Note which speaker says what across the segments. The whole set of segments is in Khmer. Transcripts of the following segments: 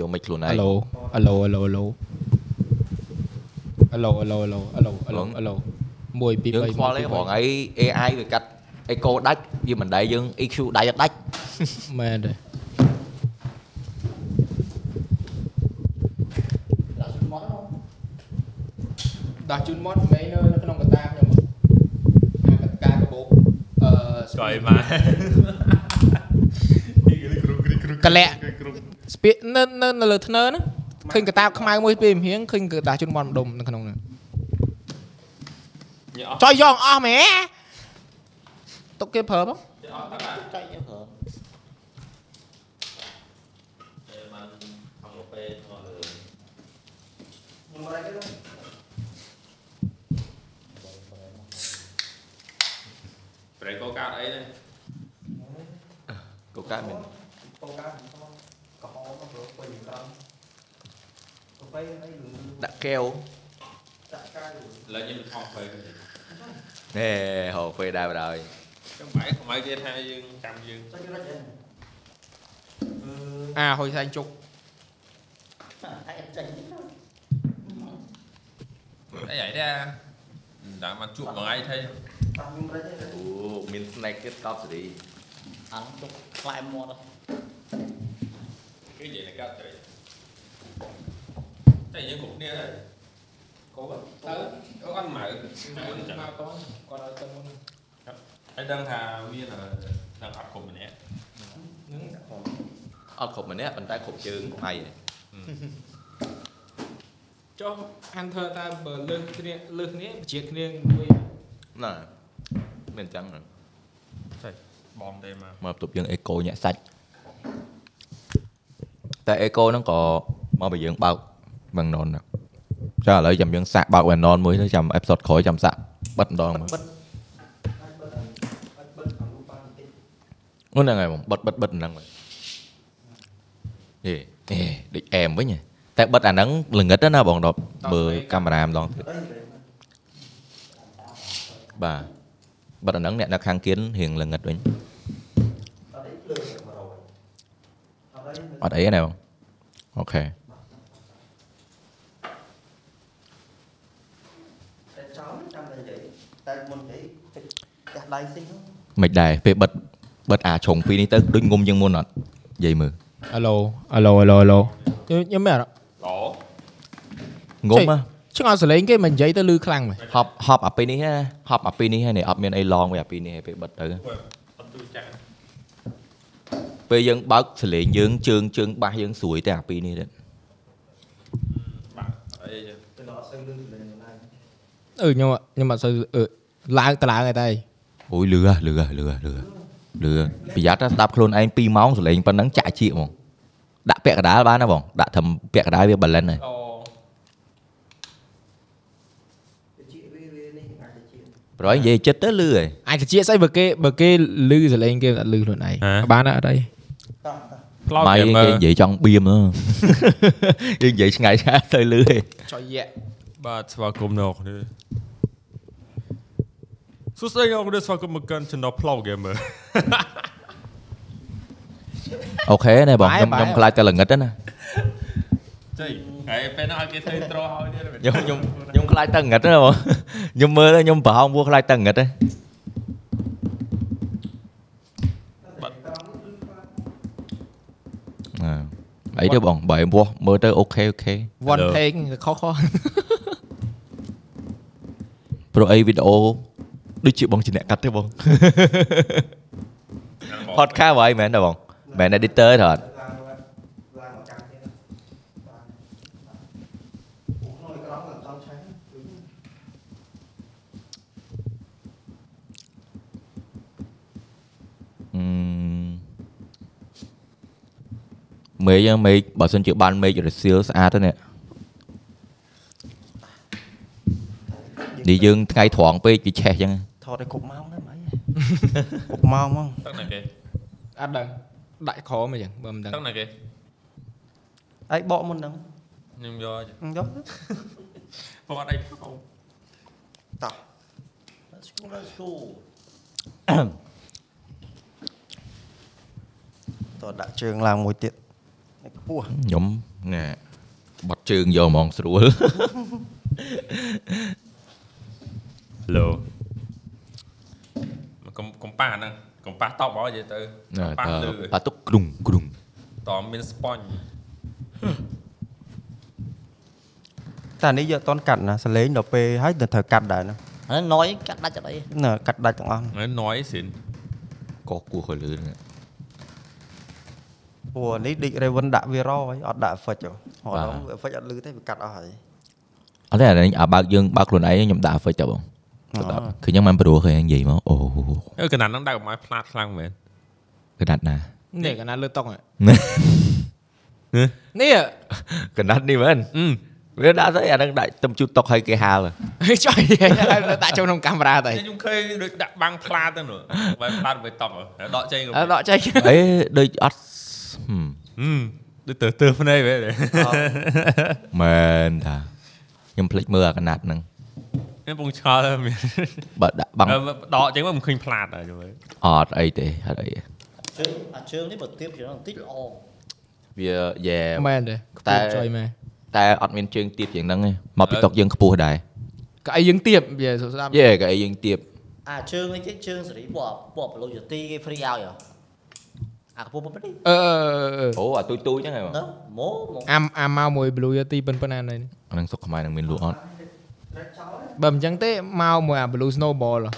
Speaker 1: យកមិនខ្លួនឯ
Speaker 2: អា
Speaker 1: ង
Speaker 2: ឡូអាឡូអាឡូអាឡូអាឡូអាឡូអាឡូអាឡូអាឡូ
Speaker 1: ហ្មង
Speaker 2: អាឡូ1 2 3
Speaker 1: យើងខ្វល់ទេបងឯង AI វាកាត់ echo ដាច់វាមិនដែរយើង EQ ដៃអត់ដាច់
Speaker 2: មែនទេដាក់ជូនមកមែននៅក្នុងកតាខ្ញុំការកាបោកអឺ
Speaker 3: ចុយមក គ្រីគ្រូគ្រី
Speaker 2: កលាក់
Speaker 3: គ្រូ
Speaker 2: ស្ពាកនៅនៅនៅលើធ្នើហ្នឹងឃើញកតាបខ្មៅមួយពេលម្ហៀងឃើញកតាបជូនមាត់ម្ដុំនៅក្នុងហ្នឹង
Speaker 3: ញ៉អស់
Speaker 2: ចុយយកអស់មែទុកគេប្រើមក
Speaker 3: ប្រេកូកាតអីនេះ
Speaker 1: កូកាមិនក
Speaker 4: ោកាកំហមកព្រោះពេញក្រំទៅពេញអីលឺ
Speaker 1: ដាក់កែវ
Speaker 4: ដាក់កាយ
Speaker 3: ឥឡូវខ្ញុំខំទៅ
Speaker 1: ណែហៅពេលដែរបងហើយ
Speaker 3: ចាំបែកខ្មៅគេថាយើងចាំយើង
Speaker 4: ចុចរត់អីអឺ
Speaker 2: អាហុយសែងជុក
Speaker 4: តែអត់ចេញ
Speaker 3: អីហីដែរដាក់មកជួបមួយថ្ងៃថៃ
Speaker 4: តាមខ្ញុំរត់ទេ
Speaker 1: អូមាន snack ទៀតកប់សេរី
Speaker 5: អង្គទុកខ្លែមាត់
Speaker 3: គេនិយាយតែកាត់ត្រីតែយើងគ្រប់គ្នាដែរ
Speaker 2: កូន
Speaker 3: ទៅអត់មើលមិនចាំ
Speaker 2: គាត់ឲ្យទៅមុន
Speaker 3: ហើយដឹងថាមានដល់អត់គ្រប់ម្នាក់
Speaker 2: ហ្នឹង
Speaker 1: អត់គ្រប់ម្នាក់ប៉ុន្តែគ្រប់ជើងខ្មៃឯង
Speaker 2: ចុះ hunter តើបើលើសគ្នាលើសគ្នាបជាគ្នាមួយ
Speaker 1: ណាមានអញ្ចឹងហ៎
Speaker 3: បងទេមក
Speaker 1: មកបន្ទប់យើង echo ញាក់សាច់តែ echo ហ្នឹងក៏មកបើយើងបើកបងណនណាចាឥឡូវចាំយើងសាក់បើកបងណនមួយទៅចាំ episode ក្រោយចាំសាក់បិទម្ដង
Speaker 4: អា
Speaker 1: មើល
Speaker 4: ចបិទអាចបិទខាងរូបបានបន្តិច
Speaker 1: ហ្នឹងហើយបងបិទបិទបិទហ្នឹងហេហេដូចអែមវិញហ៎តែបិទអាហ្នឹងល្ងិតណាបងដប់មើលកាមេរ៉ាម្ដងទៀត
Speaker 4: អីវិញ
Speaker 1: បាទបិទអាហ្នឹងអ្នកនៅខាងគៀនរៀងល្ងិតវិញ
Speaker 4: អត់អីលើ100អត់អី
Speaker 1: អត់អីណាបងអូខេ
Speaker 4: តែចោលចាំតែនិយាយតែមុននិយាយតិចចាស់ដៃសិនហ្នឹង
Speaker 1: មិនដែរពេលបិទបិទអាឆុងពីរនេះទៅដូចងុំជាងមុនអត់និយាយមើល
Speaker 2: អាឡូអាឡូអាឡូអាឡូខ្ញុំខ្ញុំមែនអត់
Speaker 3: ល្អ
Speaker 1: ងុំ
Speaker 2: ចេះ
Speaker 1: ហ៎
Speaker 2: ឆ្ងល់សលេងគេមិននិយាយទៅលឺខ្លាំងមែន
Speaker 1: ហប់ហប់អាពេលនេះណាហប់អាពេលនេះហើយនេះអត់មានអីឡងវាអាពេលនេះហើយពេលបិទទៅ
Speaker 3: អត់ទូចាក់
Speaker 1: ពេលយើងបើកសលេងយើងជើងជើងបាសយើងស្រួយតែអាពេលនេះទៀត
Speaker 3: បាក់អីចឹង
Speaker 4: ទៅដល់អត់សូវលឺសម្លេងខ្លួនឯង
Speaker 2: អឺខ្ញុំអត់ខ្ញុំអត់សូវអឺឡើងតឡើងឯតែ
Speaker 1: អូយលឺហ៎លឺហ៎លឺហ៎លឺហ៎ លឺប្រយ័ត្នណាស្ដាប់ខ្លួនឯង2ម៉ោងសលេងប៉ុណ្ណឹងចាក់ជៀកហ្មងដាក់ពាក់កណ្ដាលបានណាបងដាក់ត្រឹមពាក់កណ្ដាលវា balance ហើយ
Speaker 3: ល្អ
Speaker 4: ទៅជីកវាវានេះអាចទៅជីក
Speaker 1: ប្រហែលនិយាយចិត្តទៅលឺហើយ
Speaker 2: អាចជាស្អីបើគេបើគេលឺសលេងគេមិនអត់លឺខ្លួនឯងបានអត់
Speaker 4: តោះតោ
Speaker 2: អី
Speaker 4: ះ
Speaker 1: ម៉ៃយើងគេនិយាយចង់បៀមហ៎ យើងនិយាយឆ្ងាយឆ្ងាយទៅលឺហើយ
Speaker 2: ចុយយៈ
Speaker 3: បាទស្វាគមន៍អ្នកនេះសួស្ដីអ្នកនេះស្វាគមន៍មកកាន់ Channel Flow Gamer
Speaker 1: អូខេណែបងខ្ញុំខ្ញុំខ្លាចតែល្ងិតហ្នឹងណា
Speaker 3: ចៃថ្ងៃពេលហ្នឹងឲ្យគេធ្វើ intro ឲ្យទៀត
Speaker 1: ខ្ញុំខ្ញុំខ្ញុំខ្លាចតែល្ងិតហ្នឹងណាបង ខ្ញុំមើលទៅខ្ញុំប្រហោងពោះខ្លាចតែល្ងិតហ្នឹង
Speaker 3: បាទ
Speaker 1: ណាអីទៅបងបើឯងពោះមើលទៅអូខេអូខេ
Speaker 2: one take ខុសខុស
Speaker 1: ព្រោះអីវីដេអូដូចជាបងជាអ្នកកាត់ទេបង podcast ហ្មងមែនទេបងមែន editor ទេអត់
Speaker 4: ឡើងមកឡើងមកចាំទៀតបាទអូក្នុងអេក្រង់ឡើងចង់ឆែកដូចនេះ
Speaker 1: អឺមេឃហ្នឹងមេឃបើសិនជាបានមេឃរសៀលស្អាតទៅនេះនេះយើងថ្ងៃត្រង់ពេកវាឆេះអញ្ចឹង
Speaker 4: ថតឲ្យគ្រប់ម៉ោងហ្នឹង អី គ្រប់ម៉ោងហ្មង
Speaker 3: ទឹកណាគេ
Speaker 2: អត់ដឹងដាក់ក្រមអីចឹងបើមិនដឹង
Speaker 3: ទឹកណាគេ
Speaker 4: អីបកមុនហ្នឹង
Speaker 3: ខ្ញុំយកឲ្យ
Speaker 4: យក
Speaker 3: បងអត់អីផង
Speaker 5: Let's go Let's go
Speaker 4: តោះដាក់ជើងឡើងមួយទៀត នេះខ្ពស់
Speaker 1: ខ្ញុំណែបត់ជើងយកហ្មងស្រួល
Speaker 3: Hello កំកំប៉ាហ្នឹងកំប៉ាតបមកនិយាយទៅ
Speaker 1: ណែ
Speaker 3: កំប៉ា
Speaker 1: តើ
Speaker 3: លឺ
Speaker 1: បាតុកគ្រុងគ្រុង
Speaker 3: តមាន sponge
Speaker 6: តែអានេះយកអត់តន់កាត់ណាសលេងដល់ពេលហើយទៅត្រូវកាត់ដែរណា
Speaker 5: ហើយ noise កាត់ដាច់អត់អី
Speaker 6: ណាកាត់ដាច់ទាំងអស់
Speaker 3: ហ្នឹង noise សិនក
Speaker 1: កគោះឲ្យលឺហ្នឹង
Speaker 6: ព្រោះអានេះដូច Raven ដាក់វារហើយអត់ដាក់ effect ហ៎ហ្នឹង effect អត់លឺទេវាកាត់អស់ហើយ
Speaker 1: អត់ទេអានេះអាបើកយើងបើកខ្លួនឯងខ្ញុំដាក់ effect ទៅបងទៅដាក់
Speaker 6: Ờ.
Speaker 1: គឺខ្ញុំមិនព្រោះឃើញហ្នឹងនិយាយមកអូ
Speaker 3: អើកណ្ដាលហ្នឹងដាក់កុំឲ្យផ្លាតខ្លាំងមែន
Speaker 1: កណាត់ណា
Speaker 2: នេះកណាលើតុកហ៎
Speaker 1: ណា
Speaker 2: នេះ
Speaker 1: កណាត់នេះមែន
Speaker 3: អឺ
Speaker 1: វាដាក់ស្អីអាហ្នឹងដាក់ទំជូតតុកឲ្យគេហាល
Speaker 2: ហេចុយ ហើយនៅដាក់ចូល ក្នុងកាមេរ៉ាទៅ
Speaker 3: ខ្ញុំឃើញដូចដាក់បាំងផ្លាតទៅនោះបើផ្លាតវាតបហើយដកចេញក៏
Speaker 2: អើដកចេញ
Speaker 1: អេដូចអត់ហឹម
Speaker 3: ហឹមដូចទៅទៅភ្នែកវិញ
Speaker 1: មែនថាខ្ញុំភ្លេចមើលអាកណាត់ហ្នឹង
Speaker 3: ខ្ញុំពងឆ្លល់មាន
Speaker 1: បើដាក់បាំង
Speaker 3: អឺដកចេញមកមិនឃើញផ្លាតហើយជួយ
Speaker 1: អត់អីទេអត់អីទេ
Speaker 5: ជើងអាជើងនេះបើទៀបជាងបន្តិចល្អ
Speaker 1: វាយ៉ែ
Speaker 2: មែនទេ
Speaker 1: តែ
Speaker 2: តែចុយមែន
Speaker 1: តែអត់មានជើងទៀបជាងហ្នឹងទេមកពីតុកយើងខ្ពស់ដែរ
Speaker 2: ក្អីយើងទៀបវាសួស្ដាប់
Speaker 1: យេក៏អីយើងទៀប
Speaker 5: អាជើងនេះទៀតជើងសេរីពណ៌ពណ៌ប្លូយទីគេ free ឲ្យហ៎អាកពុះប៉ុណ្ណេះ
Speaker 2: អឺអឺអឺអឺ
Speaker 1: អូអាទុយទុយហ្នឹងហ៎
Speaker 5: ណាម៉ូមក
Speaker 2: អាមអាមមកមួយ blue yeti ប៉ុនប៉ុណ្ណានៅនេះ
Speaker 1: អាហ្នឹងសុខខ្មែរនឹងមានលក់អ
Speaker 4: ត
Speaker 1: ត់
Speaker 4: ្រេកចោល
Speaker 2: បើមិនចឹងទេមកមួយអា blue snowball ហ៎
Speaker 5: អូយ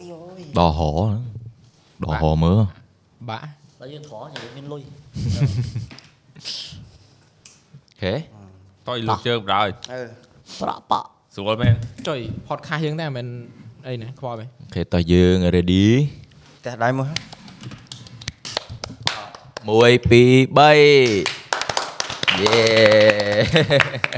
Speaker 5: អូយ
Speaker 1: ដកហហ្នឹងដកហមើល
Speaker 2: បាក់
Speaker 5: ដល់យើងត្រង់យើងមានលុយ
Speaker 1: ហេ
Speaker 3: តយលើកជើងបណ្ដោយ
Speaker 4: អឺ
Speaker 6: Ừ.
Speaker 5: ប្រាក់ប៉ាក់
Speaker 3: ស្រួលមែន
Speaker 2: ចុយ podcast យើងតែមិនអីណាខ្វល់ទេ
Speaker 1: អូខេតោះយើង ready
Speaker 6: ផ្ទះដៃមក
Speaker 1: 1 2 3យេ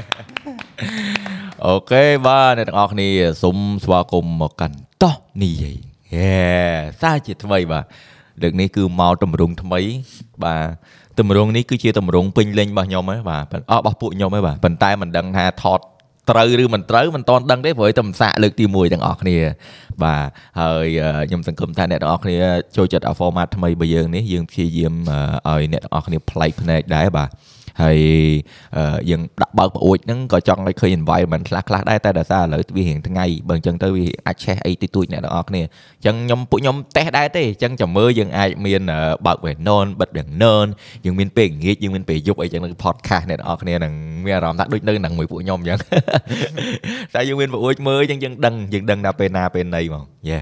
Speaker 1: អូខេបាទអ្នកទាំងអស់គ្នាសូមស្វាគមន៍មកកាន់តោះនីយាយយេសារជាថ្មីបាទលើកនេះគឺមកតម្រងថ្មី បាទតម្រងនេះគឺជាតម្រងពេញលេញរបស់ខ្ញុំហ៎បាទប៉ុន្អស់របស់ពួកខ្ញុំហ៎បាទប៉ុន្តែមិនដឹងថាថតត្រូវឬមិនត្រូវមិនតន់ដឹងទេព្រោះតែមិនសាកលើកទី1ទាំងអស់គ្នា បាទហើយអឺខ្ញុំសង្ឃឹមថាអ្នកទាំងអស់គ្នាចូលចិត្តអា format ថ្មីរបស់យើងនេះយើងព្យាយាមអឺឲ្យអ្នកទាំងអស់គ្នាប្លែកភ្នែកដែរបាទហើយអឺយើងដាក់បើកប្អួចហ្នឹងក៏ចង់ឲ្យឃើញ environment ខ្លះខ្លះៗដែរតែដោយសារឥឡូវវារៀងថ្ងៃបើអញ្ចឹងទៅវាអាចឆេះអីតិចតួចអ្នកទាំងអស់គ្នាអញ្ចឹងខ្ញុំពួកខ្ញុំតេសដែរទេអញ្ចឹងចាំមើលយើងអាចមានអឺបើក Venon បិទ Venon យើងមានពេលល្ងាចយើងមានពេលយប់អីចឹងនឹង podcast អ្នកទាំងអស់គ្នានឹងមានអារម្មណ៍ថាដូចនៅនឹងមួយពួកខ្ញុំអញ្ចឹង តែយើងមានប្អួចមើលអញ្ចឹងយើងដឹងយើងដឹងថាពេលណាពេលណីហ្មងយេ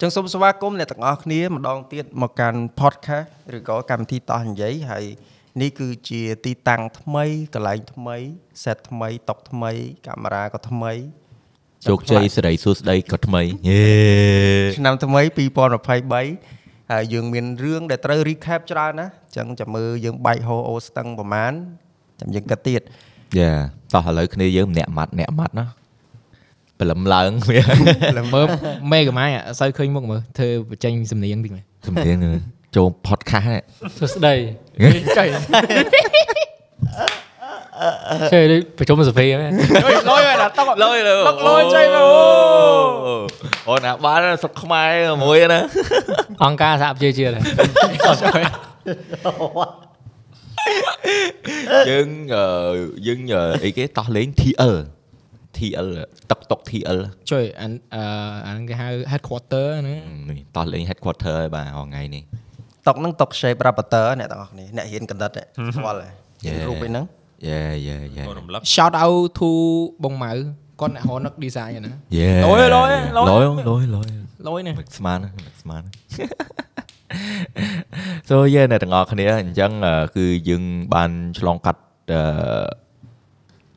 Speaker 6: ចឹងសូមស្វាគមន៍អ្នកទាំងអស់គ្នាម្ដងទៀតមកកាន់ podcast ឬក៏កម្មវិធីតោះនិយាយហើយនេះគឺជាទីតាំងថ្មីកន្លែងថ្មី set ថ្មីតុកថ្មីកាមេរ៉ាក៏ថ្មី
Speaker 1: ជោគជ័យសេរីសួស្ដីក៏ថ្មីយេ
Speaker 6: ឆ្នាំថ្មី2023ហើយយើងមានរឿងដែលត្រូវ recap ច្រើនណាស់អញ្ចឹងចាំមើលយើងបែកហោអូស្ទឹងប្រមាណចាំយើងគិតទៀត
Speaker 1: យេតោះឥឡូវគ្នាយើងម្នាក់ម៉ាត់ម្នាក់ម៉ាត់ណាព្រលឹមឡើង វា
Speaker 2: លើ មើលមេកម៉ាយអត់សូវឃើញមុខមើលធ្វើបញ្ចេញសំនៀងតិចមើល
Speaker 1: សំនៀងចូល podcast នេះ
Speaker 7: សួស្តី ចៃចៃដូចប្រជុំសភា ហ្នឹង
Speaker 2: លយដល់តុក
Speaker 1: លយលើ
Speaker 2: លយចេញមើល
Speaker 1: អូណាបានសុកខ្មែរមួយ ណា
Speaker 7: អង្គការសហប្រជាជាតិហ្នឹង
Speaker 1: យើងយើងអីគេតោះលេង TL TL តុកតុក TL
Speaker 2: ជួយអានអឺអាហ្នឹងគេហៅ headquarter ហ្នឹង
Speaker 1: នេះតោះលេង headquarter ហើយបាទហងៃនេះ
Speaker 6: តុកហ្នឹងតុក shape rapporteur អ្នកទាំងអស់គ្នាអ្នកហ៊ានកណ្ដិតឯងស្គាល់ហើយ
Speaker 1: យេ
Speaker 6: រូបឯហ្នឹង
Speaker 1: យេយេយេ
Speaker 3: អូរំលឹក
Speaker 2: shout out to បងម៉ៅគាត់អ្នក Honor design ហ្នឹង
Speaker 1: Yeah.
Speaker 2: Lỗi, lỗi, lỗi.
Speaker 1: Lỗi không? Lỗi, lỗi.
Speaker 2: លយនេះ
Speaker 1: Mực smart á, mực smart á. So yeah អ្នកទាំងអស់គ្នាអញ្ចឹងអឺគឺយើងបានឆ្លងកាត់អឺ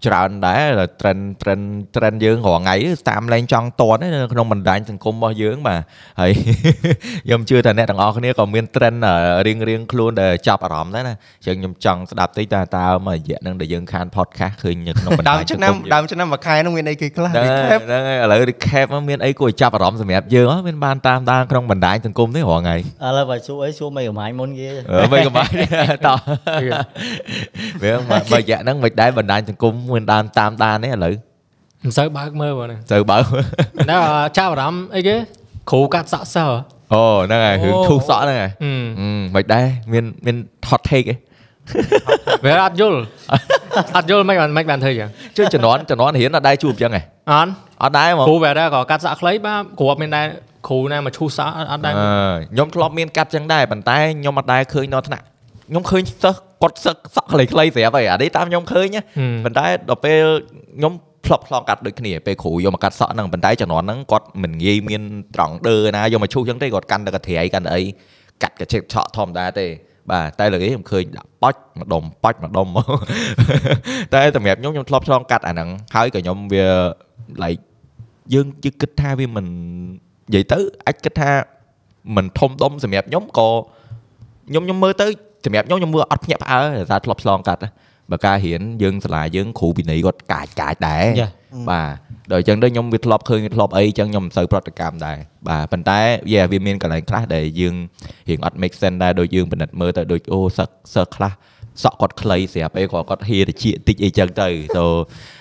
Speaker 1: ច្រើនដែរដល់ trend trend trend យើងរាល់ថ្ងៃតាមលែងចង់តន់នៅក្នុងបណ្ដាញសង្គមរបស់យើងបាទហើយ ខ្ញុំជឿថាអ្នកទាំងអស់គ្នាក៏មាន trend អឺរៀងរៀងខ្លួនដែលចាប់អារម្មណ៍ដែរណាអញ្ចឹងខ្ញុំចង់ស្ដាប់តិចតើតើមករយៈហ្នឹងដែលយើងខាន podcast ឃើញនៅក្នុងបណ្ដា
Speaker 6: ដើ
Speaker 1: ញ
Speaker 6: ម
Speaker 1: សង្គម
Speaker 6: ឆ្នាំ
Speaker 1: យើង
Speaker 6: ដើមឆ្នាំមួយខែហ្នឹងមានអីគេខ្លះ
Speaker 1: ហ្នឹងហើយ
Speaker 6: recap
Speaker 1: ហ្នឹងហើយឥឡូវ recap មកមានអីគួរឲ្យចាប់អារម្មណ៍សម្រាប់យើងហ៎មានបានតាមដានក្នុងបណ្ដាញសង្គមទេរាល់ ថ្ងៃ
Speaker 5: ឥឡូវបើសួរអីសួរមិនកំហាញមុនគេ
Speaker 1: អឺមិនក៏បាន តោះវាមកមករយៈហ្នឹងមិនដែរបណ្ដាញសង្គមមិន ដើមតាមដានទេឥឡូវ
Speaker 7: មិនសូវបើកមើលបងហ្នឹង
Speaker 1: ទៅបើ
Speaker 7: ដល់ចាប់អារម្មណ៍អីគេគ្រូកាត់សក់សើ
Speaker 1: អូហ្នឹងហើយរឿង
Speaker 2: អូ
Speaker 1: ខូសសក់ហ្នឹងហើយ
Speaker 7: អឺ
Speaker 1: ហឹមមិនដែរមានមាន hot take ឯង
Speaker 7: វាអត់យល់អត់យល់មិនបានមិនបានធ្វើចឹង
Speaker 1: ជួយជំនាន់ជំនាន់រៀនអត់ដែរជួបអញ្ចឹងឯង
Speaker 7: អត់
Speaker 1: អត់ដែរហ្មង
Speaker 7: គ្រូវាដែរក៏កាត់សក់ខ្លីបាទគ្រូអត់មានដែរគ្រូណាមកឈូសសក់អត់ដែរ
Speaker 1: អើខ្ញុំធ្លាប់មានកាត់ចឹងដែរប៉ុន្តែខ្ញុំអត់ដែរឃើញដល់ថ្នាក់ខ្ញុំឃើញសិស្សគាត់សឹកសក់ខ្លីៗស្រាប់ហើយអានេះតាមខ្ញុំឃើញណាប៉ុន្តែដល់ពេលខ្ញុំធ្លាប់ឆ្លងកាត់ដូចគ្នាពេលគ្រូយកមកកាត់សក់ហ្នឹងប៉ុន្តែជំនាន់ហ្នឹងគាត់មិនងាយមានត្រង់ដើរណាយកមកឈូសចឹងទេគាត់កាន់តែកន្ត្រៃកាន់តែអីកាត់កញ្ឆេកឆក់ធម្មតាទេបាទតែលើនេះខ្ញុំឃើញដាក់ប៉ាច់ម្ដុំប៉ាច់ម្ដុំ មក តែសម្រាប់ខ្ញុំខ្ញុំធ្លាប់ឆ្លងកាត់អាហ្នឹងហើយក៏ខ្ញុំវា like យើងយើងគិតថាវាមិននិយាយទៅអាចគិតថា មិនធំដុំសម្រាប់ខ្ញុំក៏ខ្ញុំខ្ញុំមើលទៅសម្រាប់ខ្ញុំខ្ញុំមើលអត់ភ្ញាក់ផ្អើលតែធ្លាប់ឆ្លងកាត់ណាបើការរៀនយើងសាលាយើងគ្រូវិន័យគាត់កាចកាចដែរ
Speaker 7: យ៉ា
Speaker 1: បាទដល់អញ្ចឹងទៅខ្ញុំវាធ្លាប់ឃើញវាធ្លាប់អីអញ្ចឹងខ្ញុំមិនសូវប្រតិកម្មដែរបាទប៉ុន្តែយេវាមានកន្លែងខ្លះដែលយើងរៀងអត់ make sense ដែរដូចយើងពិនិត្យមើលទៅដូចអូសឹកសឹកខ្លះសក់គាត់ខ្លីស្រាប់អីគាត់គាត់ហៀរតិចតិចអីចឹងទៅ so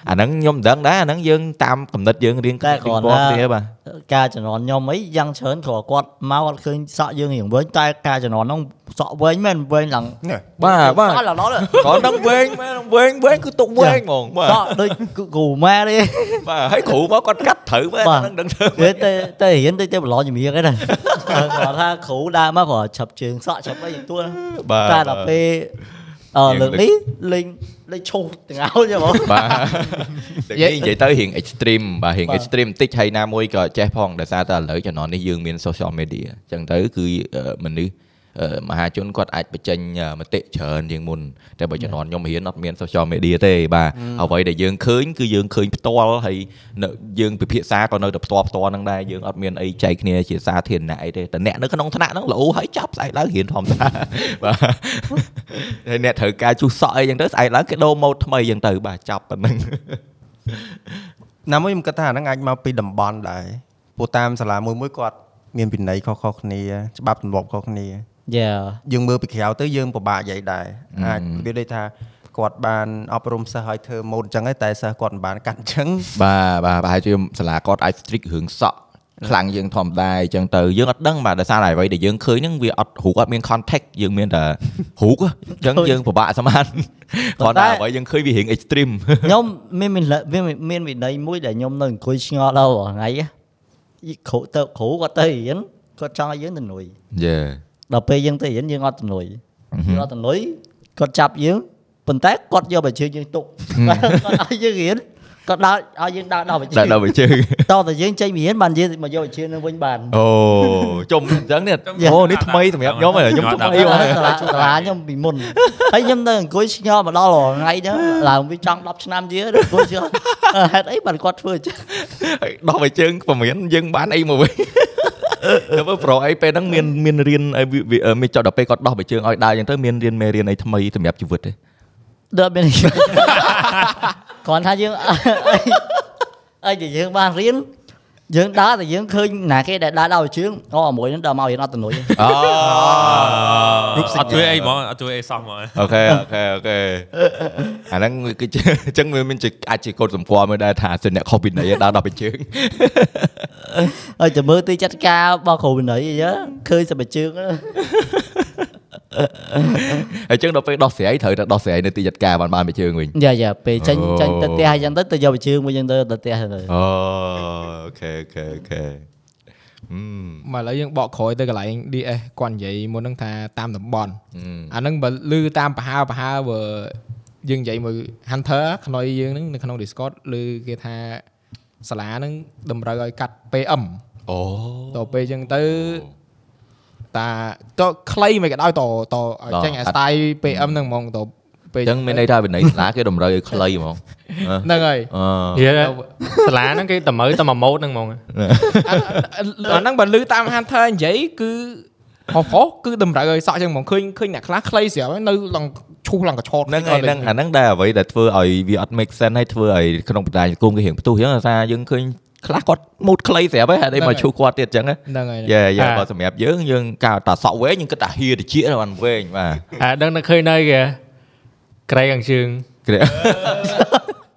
Speaker 1: អាហ្នឹងខ្ញុំមិនដឹងដែរអាហ្នឹងយើងតាមកំណត់យើងរៀង
Speaker 5: តែគ្រាន់
Speaker 1: ពី
Speaker 5: ថា
Speaker 1: គ្នាបាទ
Speaker 5: ការជំនាន់ខ្ញុំអីយ៉ាងច្រើនគ្រាន់គាត់មកគាត់ឃើញសក់យើងរៀងវែងតែការជំនាន់ហ្នឹងសក់វែងមែនវែងឡើង
Speaker 1: បាទបាទ
Speaker 5: សក់ឡើងដល់ហ្នឹង
Speaker 1: គ្រាន់ដឹងវែងមែនវែងវែងគឺទុកវែងហ្មងបាទ
Speaker 5: សក់ដូចគ្រូម៉ែទេ
Speaker 1: បាទហើយគ្រូមកគាត់កាត់ត្រូវមែន
Speaker 5: បាទ
Speaker 1: អាហ្នឹងដឹងធ្វើ
Speaker 5: គេទៅទៅរៀនទៅទៅប្រឡងជំនាញគេ ណាគាត់ថាគ្រូដើរមកគាត់ឆាប់ជើងសក់ឆាប់អីទាំងទួល
Speaker 1: បាទ
Speaker 5: តែដល់ពេលអឺលើកនេះលេងលេងឈោសទាំងអោចហ្មង
Speaker 1: បាទនិយាយទៅរៀង extreme បាទរៀង
Speaker 5: បាទ
Speaker 1: extreme បន្តិចហើយណាមួយក៏ចេះផងដោយសារតែឥឡូវជំនាន់នេះយើងមាន social media អញ្ចឹងទៅគឺអឺមនុស្សអឺមហាជនគាត់អាចបញ្ចេញអឺមតិច្រើនជាងមុនតែបើជំនាន់ខ្ញុំរៀនអត់មាន social media ទេបាទអ្វីដែលយើងឃើញគឺយើងឃើញផ្ទាល់ហើយនៅយើងពិភាក្សាក៏នៅតែផ្ទាល់ផ្ទាល់ហ្នឹងដែរយើងអត់មានអីចែកគ្នាជាសាធារណៈអីទេតែអ្នកនៅក្នុងថ្នាក់ហ្នឹងល្អហើយចាប់ស្អែកឡើងរៀនធម្មតា បាទ ហើយអ្នកត្រូវការជុះសក់អីចឹងទៅស្អែកឡើងគេដូរម៉ូដថ្មីចឹងទៅ បាទចាប់ប៉ុណ្្នឹង
Speaker 6: ណាមួយខ្ញុំគិតថាអាហ្នឹងអាចមកពីតំបន់ដែរព្រោះតាមសាលាមួយមួយៗគាត់មានវិន័យខុសៗគ្នាច្បាប់ទម្លាប់ខុសគ្នា
Speaker 5: យ៉ា
Speaker 6: យើងមើលពីក្រៅទៅយើងពិបាកនិយាយដែរ
Speaker 1: អឺ
Speaker 6: អាចវាដូចថាគាត់បានអប់រំសិស្សឲ្យធ្វើម៉ូដអញ្ចឹងហើយតែសិស្សគាត់មិនបានកាត់អញ្ចឹង
Speaker 1: បាទបាទប្រហែលជាសាលាគាត់អាច strict រឿងសក់ខ្លាំងជាងធម្មតាអញ្ចឹងទៅយើងអត់ដឹងបាទដោយសារតែអ្វីដែលយើងឃើញហ្នឹងវាអត់រូកអត់មាន context យើងមានតែ រូកហ៎អញ្ចឹងយើងពិបាកសមាន គ្រាន់តែអ្វីយើងឃើញវារឿង extreme
Speaker 5: ខ្ញុំមានមានមានមានវិន័យមួយដែលខ្ញុំនៅអង្គុយឆ្ងល់ដល់រាល់ថ្ងៃហ៎គ្រូទៅគ្រូគាត់ទៅរៀនគាត់ចង់ឲ្យយើងទៅនុយ
Speaker 1: យេ
Speaker 5: ដល់ពេលយើងទៅរៀនយើងអត់ទំនុយ
Speaker 1: អឺហឹម
Speaker 5: យើងអត់ទំនុយគាត់ចាប់យើងប៉ុន្តែគាត់យកបើជើងយើងទុក គាត់ឲ្យយើងរៀនគាត់ដើរឲ្យយើងដើរដល់បើជើ
Speaker 1: តែ
Speaker 5: ង
Speaker 1: ដល់វាជើង
Speaker 5: តោះតែយើងចេញពីរៀនបានយើងមកយកបើជើងនឹងវិញបាន
Speaker 1: អូចុំអញ្ចឹងនេះអូនេះថ្មីសម្រាប់ខ្ញុំ ហ៎ខ្ញុំថ្មី
Speaker 5: អី
Speaker 1: ហ៎
Speaker 5: បងសាលាសាលាខ្ញុំពីមុនហើយខ្ញុំនៅអង្គុយឆ្ងល់មកដល់រាល់ថ្ងៃហ្នឹងឡើងវាចង់10ឆ្នាំទៀតអង្គុយឆ្ងល់ហេតុអីបានគាត់ធ្វើអញ្ចឹង
Speaker 1: ហើយដោះឲ្យជើងពមៀនយើងបានអីមក វិញទៅមើលប្រូអីពេលហ្នឹងមានមានរៀនឲ្យវាវាអឺមានចុះដល់ពេលគាត់ដោះបើជើងឲ្យដើរអញ្ចឹងទៅមានរៀនមេរៀនអីថ្មី សម្រាប់ជីវិតទេ
Speaker 5: ដល់មាន គ្រាន់ថាយើង អីដែលយើងបានរៀនយើងដើរតែយើងឃើញណាគេដែលដើរដល់ជើងអូអាមួយហ្នឹងដល់មករៀនអត់ទំនុយ
Speaker 1: អូ
Speaker 3: រូបសញ្ញាអត់ជួយអីហ្មងអត់ជួយអីសោះហ្មង
Speaker 1: អូខេអូខេអូខេអាហ្នឹងវាគឺជាអញ្ចឹងវាមានជាអាចជាកូដសម្គាល់មួយដែរថាសិនអ្នកខុសពីណីដើរដោះបើជើង
Speaker 5: ហើយតែមើលទីចាត់ការរបស់គ្រូវិន័យអីចឹងឃើញសម្បជើងហ្នឹ
Speaker 1: ហើ
Speaker 5: ង
Speaker 1: យអញ្ចឹងដល់ពេលដោះស្រាយត្រូវតែដោះស្រាយនៅទីចាត់ការបានបានបើជើងវិញ
Speaker 5: យ៉ាយ៉ាពេលចេញ
Speaker 1: អូ
Speaker 5: ចេញទៅផ្ទះអីចឹងទៅទៅយកសម្បជើងមួយចឹងទៅទៅផ្ទះទៅ
Speaker 1: អូអូខេអូខេអូខេអឺ
Speaker 2: មកឥឡូវយើងបកក្រោយទៅកន្លែង DS គាត់និយាយមុនហ្នឹងថាតាមតំបន់
Speaker 1: អឺ
Speaker 2: អាហ្នឹងបើលឺតាមប្រហែលប្រហែលបើយើងនិយាយមួយ Hunter ខ្នុយយើងហ្នឹងនៅក្នុង Discord ឮគេថាសាលាហ្នឹងតម្រូវឲ្យកាត់ PM
Speaker 1: អូ
Speaker 2: ដល់ពេលអញ្ចឹងទៅតាតខ្លីមិនក៏ដោយតតឲ្យចេញអា style PM ហ្នឹងហ្មងតពេល
Speaker 1: អញ្ចឹងមានន័យថាវិន័យសាលាគេតម្រូវឲ្យខ្លីហ្ម ងអឺ
Speaker 2: ហ្នឹងហើយ
Speaker 1: អឺ
Speaker 7: និយាយសាលាហ្នឹងគេតម្រូវតែមួយម៉ូតហ្នឹងហ្មង
Speaker 2: អាអាហ្នឹងបើលឺតាម Hunter និយាយគឺហោះហោះគឺតម្រូវឲ្យសក់ចឹងហ្មងឃើញឃើញអ្នកខ្លះខ្លីស្រាប់ហើយនៅឡងឈូសឡងកញ្ឆោត
Speaker 1: ហ្នឹងហើយហ្នឹងអាហ្នឹងដែរអ្វីដែលធ្វើឲ្យវាអត់ make sense ហើយធ្វើឲ្យក្នុងបណ្ដាញសង្គមគេរៀងផ្ទុះអញ្ចឹ ងដោយសារយើងឃើញខ្លះគាត់មូតខ្លីស្រាប់ហើយហេតុអីមកឈូសគាត់ទៀតអញ្ចឹងណា
Speaker 2: ហ្នឹងហើយ
Speaker 1: យេយេបើសម្រាប់យើងយើងកាលតាសក់វែងយើងគិតថាហៀតិច ទៅបានវែងបាទ
Speaker 7: អាដឹងតែឃើញនៅគេក្រៃខាងជើង
Speaker 1: គ្រា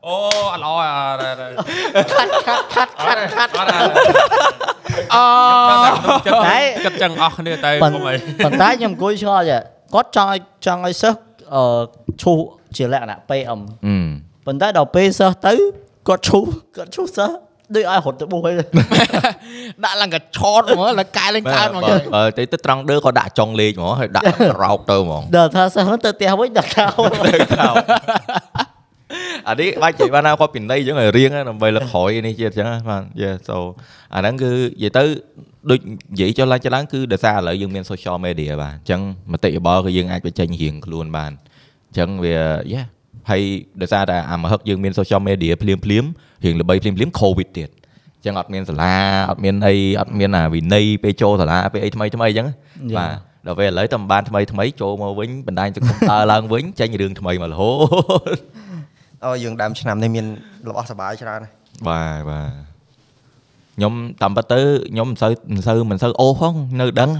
Speaker 3: អូអត់ល្អអត់អត់អត់
Speaker 2: ខាត់ខាត់ខាត់ខាត់
Speaker 3: អត់
Speaker 5: តែ
Speaker 3: គិតចឹងអស់គ្នាតែ
Speaker 5: ប៉ុន្
Speaker 3: ខ្ញុំអី
Speaker 5: ប៉ុន្តែខ្ញុំអង្គុយឆ្ងល់ចេះគាត់ចង់ឲ្យចង់ឲ្យសិស្សអឺឈូសជាលក្ខណៈ PM
Speaker 1: អឺ
Speaker 5: ប៉ុន្តែដល់ពេលសិស្សទៅគាត់ឈូសគាត់ឈូសសិស្សដូចឲ្យរត់ទៅបុះហើយ
Speaker 2: ដាក់ឡើងក៏ឆោតហ្មងឡើងកែឡើង
Speaker 1: បើ
Speaker 2: កើតហ្ម
Speaker 1: បើ
Speaker 2: ង
Speaker 1: បើទៅទៅត្រង់ដើរក៏ដាក់ចុងលេខហ្មងហើយ ដាក់ក្រោកទៅហ្មង
Speaker 5: ដល់ថាសិស្សហ្នឹងទៅផ្ទះវិញដល់កៅ
Speaker 1: អានេះបាច់និយាយបានថាគាត់ពីនៃអញ្ចឹងឲ្យរៀងណាដើម្បីលកក្រោយនេះទៀតអញ្ចឹងណាបានយេសូអាហ្នឹងគឺនិយាយទៅដូចនិយាយចុះឡើងចុះឡើងគឺដោយសារឥឡូវយើងមាន social media បាទអញ្ចឹងមតិយោបល់គឺយើងអាចបញ្ចេញរៀងខ្លួនបានអញ្ចឹងវាយេហើយដោយសារតែអាមហឹកយើងមាន social media ភ្លាមភ្លាមៗរៀងល្បីភ្លាមភ្លាម COVID ទៀតអញ្ចឹងអត់មានសាលាអត់មានអីអត់មានអាវិន័យពេលចូលសាលាពេលអីថ្មីថ្មីអញ្ចឹងណាបាទដល់ពេលឥឡូវតែមិនបានថ្មីថ្មីចូលមកវិញ បណ្ដាញសង្គមដើរឡើងវិញចេញរឿងថ្មីមករហូត
Speaker 6: អូយើងដើមឆ្នាំនេះមានរបស់សប្បាយច្រើនណាស់
Speaker 1: បាទបាទខ្ញុំតាមពិតទៅខ្ញុំមិនសូវមិនសូវមិនសូវអូសផងនៅដឹង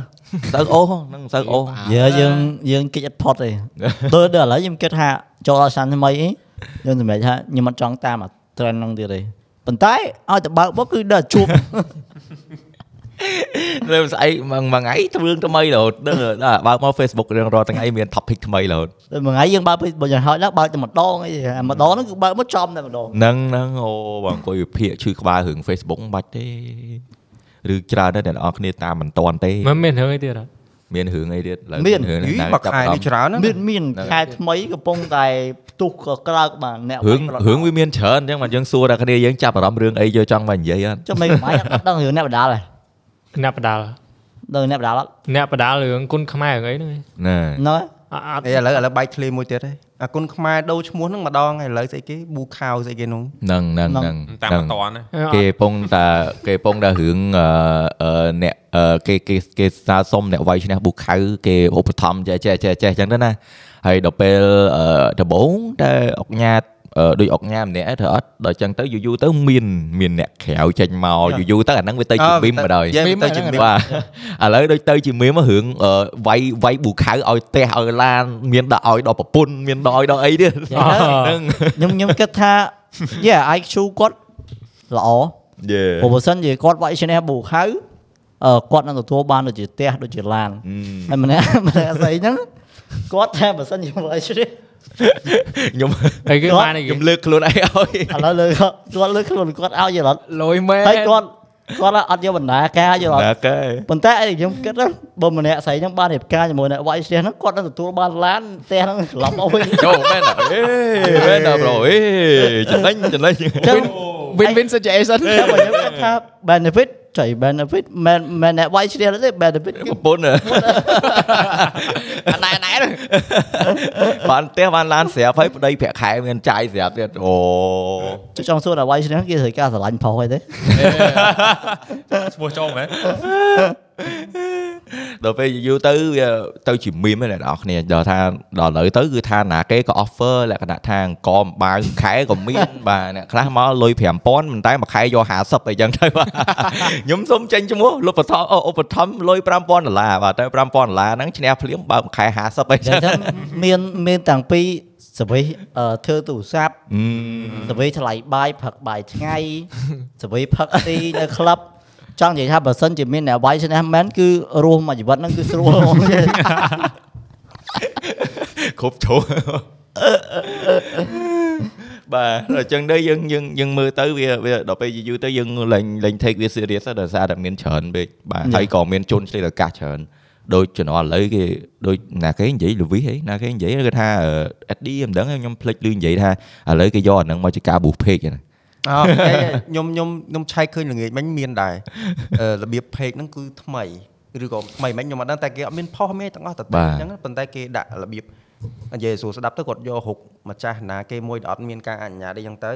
Speaker 1: សូវអូសហ្នឹងមិនសូវអូស
Speaker 5: យើយើងយើងគិតអត់ផុតទេដល់ដល់ឥឡូវខ្ញុំគិតថាចូលដល់ឆ្នាំថ្មីអីខ្ញុំសម្រេចថាខ្ញុំអត់ចង់តាមអា trend ហ្នឹងទៀតទេប៉ុន្តែឲ្យទៅបើកមកគឺដល់ជួប
Speaker 1: លើស្អែកមួយមួយថ្ងៃ ធ្វើរឿងថ្មីរហូតដឹងហើយដល់បើកមក Facebook រឿងរាល់ថ្ងៃមាន topic ថ្មីរហូត
Speaker 5: តែមួយថ្ងៃយើងបើកពេកបើយ៉ាងហោចណាស់បើកតែម្ដងអីអាម្ដងហ្នឹងគឺបើកមកចំតែម្ដង
Speaker 1: ហ្នឹងហ្នឹងអូបងអង្គុយវិភាគឈឺក្បាលរឿង Facebook មិនបាច់ទេឬច្រើនដែរអ្នកនរគ្នាតាមមិនតាន់ទេ
Speaker 7: មិនមានរឿងអីទៀតអត់
Speaker 1: មានរឿងអីទៀតឡើយ
Speaker 5: មាន
Speaker 1: រឿង
Speaker 6: យី
Speaker 1: ហ្នឹង
Speaker 6: មកខែនេះច្រើនណាស់
Speaker 5: មានមានខែថ្មីកំពុងតែផ្ទុះក៏ក្រើកបាទអ្នក
Speaker 1: រឿង
Speaker 5: ប
Speaker 1: រឿងវាមានច្រើនអញ្ចឹងបាទយើងសួរតែគ្នាយើងចាប់អារម្មណ៍រឿងអីយកចង់មកនិយាយអត់
Speaker 5: ចុះមិនខ្មែរអត់ដឹងរឿងអ្នកបដាលហ៎
Speaker 7: អ្នកបដាល
Speaker 5: ដឹងអ្នកបដាលអត់
Speaker 7: អ្នកបដាលរឿងគុណខ្មែររឿងអីហ្នឹងឯង
Speaker 1: ណែ
Speaker 5: ណ៎
Speaker 7: អត់អត់
Speaker 6: អេឥឡូវឥឡូវបែកឃ្លីមួយទៀតឯងអាគុណខ្មែរដូរឈ្មោះហ្នឹងម្ដងឥឡូវស្អីគេប៊ូខាវស្អីគេហ្នឹង
Speaker 1: ហ្នឹងហ្នឹងហ្នឹង
Speaker 3: តាម
Speaker 1: ហ្នឹ
Speaker 3: មិ
Speaker 1: ង
Speaker 3: នតាន់ណា
Speaker 7: Dạ.
Speaker 1: គេពងតាគេពងតារឿងអឺអឺអ្នកអឺគេគេគេសាសុំអ្នកវាយឈ្នះប៊ូខៅគេឧបត្ថម្ភចេះចេះចេះចេះអញ្ចឹងទៅណាហើយដល់ពេលអឺដំបូងតែអុកញ៉ាតអឺដូចអុកញ៉ាម្នាក់ឯងធ្វើអត់ដល់អញ្ចឹងទៅយូរយូរទៅមានមានអ្នកក្រៅចេញមកយូរយូរទៅអាហ្នឹងវាទៅជាមីមបណ្ដោយ
Speaker 6: យើងទៅជាមីម
Speaker 1: បាទ ឥឡូវដូចទៅជាមីមរឿងអឺវាយវាយប៊ូខៅឲ្យផ្ទះឲ្យឡានមានដាក់ឲ្យដល់ប្រពន្ធមានដាក់ឲ្យដល់អីទៀត ហ្នឹង
Speaker 5: ខ្ញុំខ្ញុំគិតថា yeah IQ គាត់ល្អ
Speaker 1: យេ
Speaker 5: ព្រោះបើសិនជាគាត់វាយឈ្នះប៊ូខៅអឺគាត់នឹងទទួលបានដូចជាផ្ទះដូចជាឡាន
Speaker 1: Ừ.
Speaker 5: ហើយម្នាក់ ម្នាក់ស្អីហ្នឹងគាត់ថាបើសិនជាវាយឈ្នះ
Speaker 1: ខ្ញុំ
Speaker 7: អីគេបានអីគេ
Speaker 1: ខ្ញុំលើកខ្លួនឯងឲ្យ
Speaker 5: ឥឡូវលើគាត់គាត់លើខ្លួនគាត់ឲ្យយល់អត់
Speaker 2: លុយមែន
Speaker 5: ហើយគាត់គាត់អត់យកបណ្ដាការយល់អត់
Speaker 1: ណាកែ
Speaker 5: ប៉ុន្តែអីខ្ញុំគិតណាបើម្នាក់ស្រីហ្នឹងបានរៀបការជាមួយអ្នកវាយស្ទះហ្នឹងគាត់នឹងទទួលបានឡានផ្ទះហ្នឹងត្រឡប់មកវិញ
Speaker 1: ចូលមែនអេមែនដល់ប្រូអេចំណេញចំណេញ
Speaker 5: ចឹង
Speaker 2: វិញវិញ suggestion
Speaker 5: តែបើខ្ញុំគិតថា benefit ចៃ benefit មិនមែនអ្នកវាយស្ទះទេ benefit គឺ
Speaker 1: ប្រពន្ធណា
Speaker 2: អណែណែហ្នឹង
Speaker 1: បានផ្ទះបានឡានស្រាប់ហើយប្តីប្រាក់ខែមានចាយស្រាប់ទៀតអូ
Speaker 5: ចុះចង់សួរអ្នកវាយស្ទះហ្នឹងគេត្រូវការស្រឡាញ់ផុសអីទេ
Speaker 3: ឈ្មោះចូលមែន
Speaker 1: ដល់ពេលយូរទៅវាទៅជាមីមហ្នឹងអ្នកនរគ្នាដល់ថាដល់ឥឡូវទៅគឺថាណាគេក៏ offer លក្ខណៈថាអង្គមបាវខែក៏មានបាទអ្នកខ្លះមកលុយ5000ប៉ុន្តែមួយខែយក50អីចឹងទៅបាទខ្ញុំសុំចេញឈ្មោះលុបបឋមអូឧបត្ថម្ភលុយ5000ដុល្លារបាទតែ5000ដុល្លារហ្នឹងឈ្នះភ្លាមបើមួយខែ50អី
Speaker 5: ចឹ
Speaker 1: ចឹ
Speaker 5: ង
Speaker 1: ង
Speaker 5: ថាមានមានតាំងពីសេវីអឺធ្វើទូរស័ព្ទ
Speaker 1: អឺ
Speaker 5: សេវីថ្លៃបាយផឹកបាយថ្ងៃសេវីផឹកទី នៅក្លឹបចង់និយាយថាបើសិនជាមានអ្នកវាយស្ទះមែនគឺរស់មួយជីវិតហ្នឹងគឺស្រួលហ្មង
Speaker 1: គ្រប់ជ្រុង បាទអញ្ចឹងទៅយើងយើងយើងមើលទៅវាវាដល់ពេលយូរៗទៅយើងលែងលែង take វា serious ហើយដោយសារតែមានច្រើនពេកបាទហើយក៏មានជនឆ្លៀតឱកាសច្រើនដូចជំនាន់ឥឡូវគេដូចណាគេនិយាយលូវីហីណាគេនិយាយគេថាអេឌីមិនដឹងទេខ្ញុំភ្លេចឮនិយាយថាឥឡូវគេយកអាហ្នឹងមកជាការប៊ូពេកហ្នឹង
Speaker 6: អូខេខ្ញុំខ្ញុំខ្ញុំឆែកឃើញល្ងាចមិញមាន ដែរអឺរបៀបផេកហ្នឹងគឺថ្មីឬក៏ថ្មីមិញខ្ញុំអត់ដឹងតែគេអត់មានផុសមានទាំងអស់តែតែអញ្ចឹងប៉ុន្តែគេដាក់របៀបនិយាយឲ្យសួរស្ដាប់ទៅគាត់យករុកម្ចាស់ណាគេមួយដែលអត់មានការអនុញ្ញាតអីចឹងទៅ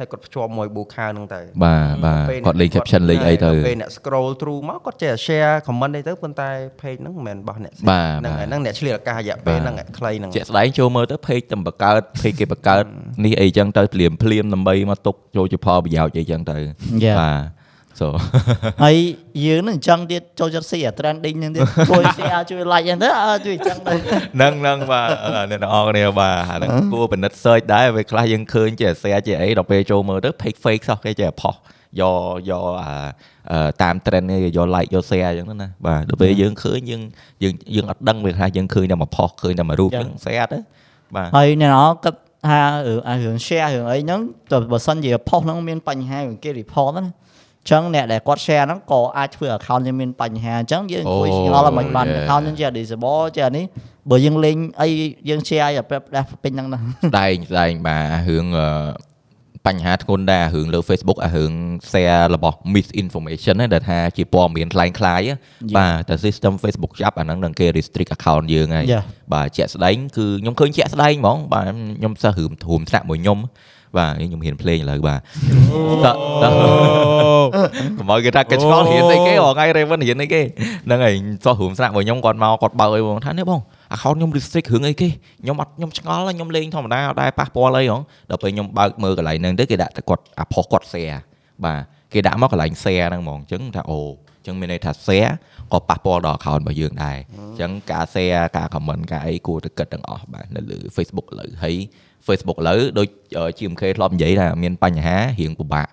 Speaker 6: ហើយគាត់ភ្ជាប់មួយប៊ូខាវហ្នឹងទៅ
Speaker 1: បាទបាទ
Speaker 6: ពេល
Speaker 1: គាត់លេង caption លេងអីទៅ
Speaker 6: ពេលអ្នក scroll through មកគាត់ចេះ share comment អីទៅប៉ុន្តែ page ហ្នឹងមិនមែនរបស់អ្នក
Speaker 1: បាទ
Speaker 6: ហ្នឹងហើយហ្នឹងអ្នកឆ្លៀតឱកាសរយៈពេលហ្នឹងអ្នកខ្លីហ្នឹង
Speaker 1: ជាក់ស្ដែងចូលមើលទៅ page តែបង្កើត page គេបង្កើតនេះអីចឹងទៅភ្លាមភ្លាមដើម្បីមកទុកចូលជាផលប្រយោជន៍អីចឹងទៅ
Speaker 5: Yeah.
Speaker 1: បាទ so
Speaker 5: ហើយយើងនឹងអញ្ចឹងទៀតចូលចិត្តស៊ីអា trending ហ្នឹងទៀតជួយ share ជួយ like ហ្នឹងទៅអើ ជួយអញ្ចឹងទៅ
Speaker 1: ហ្នឹងហ្នឹងបាទអឺអ្នកនរអគ្នាបាទអាហ្នឹងគួរពិនិត្យ search ដែរពេលខ្លះយើងឃើញជា share ជាអីដល់ពេលចូលមើលទៅ page fake សោះគេចេះផុស យកយកអាអឺតាម trend នេះយក like យក share អញ្ចឹងទៅណាបាទដល់ពេលយើងឃើញយើងយើងយើងអត់ដឹងវាខ្លះយើងឃើញតែមួយផុសឃើញតែមួយរូប
Speaker 5: ចឹ
Speaker 1: ហ្នឹង ង share ទៅបាទ
Speaker 5: ហើយអ្នកនរគិតថារឿងអារឿង share រឿងអីហ្នឹងតែបើសិនជា post ហ្នឹងមានបញ្ហាគេ report ហ្នឹងណាអញ្ចឹងអ្នកដែលគាត់ share ហ្នឹងក៏អាចធ្វើ account យើងមានបញ្ហាអញ្ចឹងយើងអង្គុយ
Speaker 1: អូ
Speaker 5: ឆ្ងល់ឲ្យមិនបាន
Speaker 1: yeah.
Speaker 5: account ហ្នឹងជា disable ជាអានេះបើយើងលេងអីយើង share ឲ្យប្រេះប្រេះពេញហ្នឹងណា
Speaker 1: ស្ដែងស្ដែងបាទរឿងអឺបញ្ហាធ្ងន់ដែរអារឿងលើ Facebook អារឿង share របស់ misinformation ហ្នឹងដែលថាជាព័ត៌មានខ្លាំងខ្លាយហ្នឹងបាទតែ system Facebook ចាប់អាហ្នឹងនឹងគេ restrict account យើងហើយ
Speaker 5: Yeah.
Speaker 1: បាទជាក់ស្ដែងគឺខ្ញុំឃើញជាក់ស្ដែងហ្មងបាទខ្ញុំសោះរឿងធំថ្នាក់មួយខ្ញុំបាទនេះខ្ញុំហ៊ានភ្លេងឥឡូវបាទតតកុំឲ្យគេថាគេឆ្កល់ហ៊ានអីគេហ៎ថ្ងៃ Raven ហ៊ានអីគេហ្នឹងហើយសោះរឿងស្នាក់របស់ខ្ញុំគាត់មកគាត់បើកអីបងថានេះបង account ខ្ញុំ restrict រឿងអីគេខ្ញុំអត់ខ្ញុំឆ្ងល់ខ្ញុំលេងធម្មតាអត់ដែរប៉ះពាល់អីហ៎ដល់ពេលខ្ញុំបើកមើលកន្លែងហ្នឹងទៅគេដាក់តែគាត់អាផុសគាត់ share បាទគេដាក់មកកន្លែង share ហ្នឹងហ្មងអញ្ចឹងថាអូអញ្ចឹងមានន័យថា share ក៏ប៉ះពាល់ដល់ account របស់យើងដែរអញ្ចឹងការ share ការ comment ការអីគួរតែគិតទាំងអស់បាទនៅលើ Facebook ឥឡូវហើយ Facebook ឥឡូវដូច GMK ធ្លាប់និយាយថាមានបញ្ហារឿងពិបាក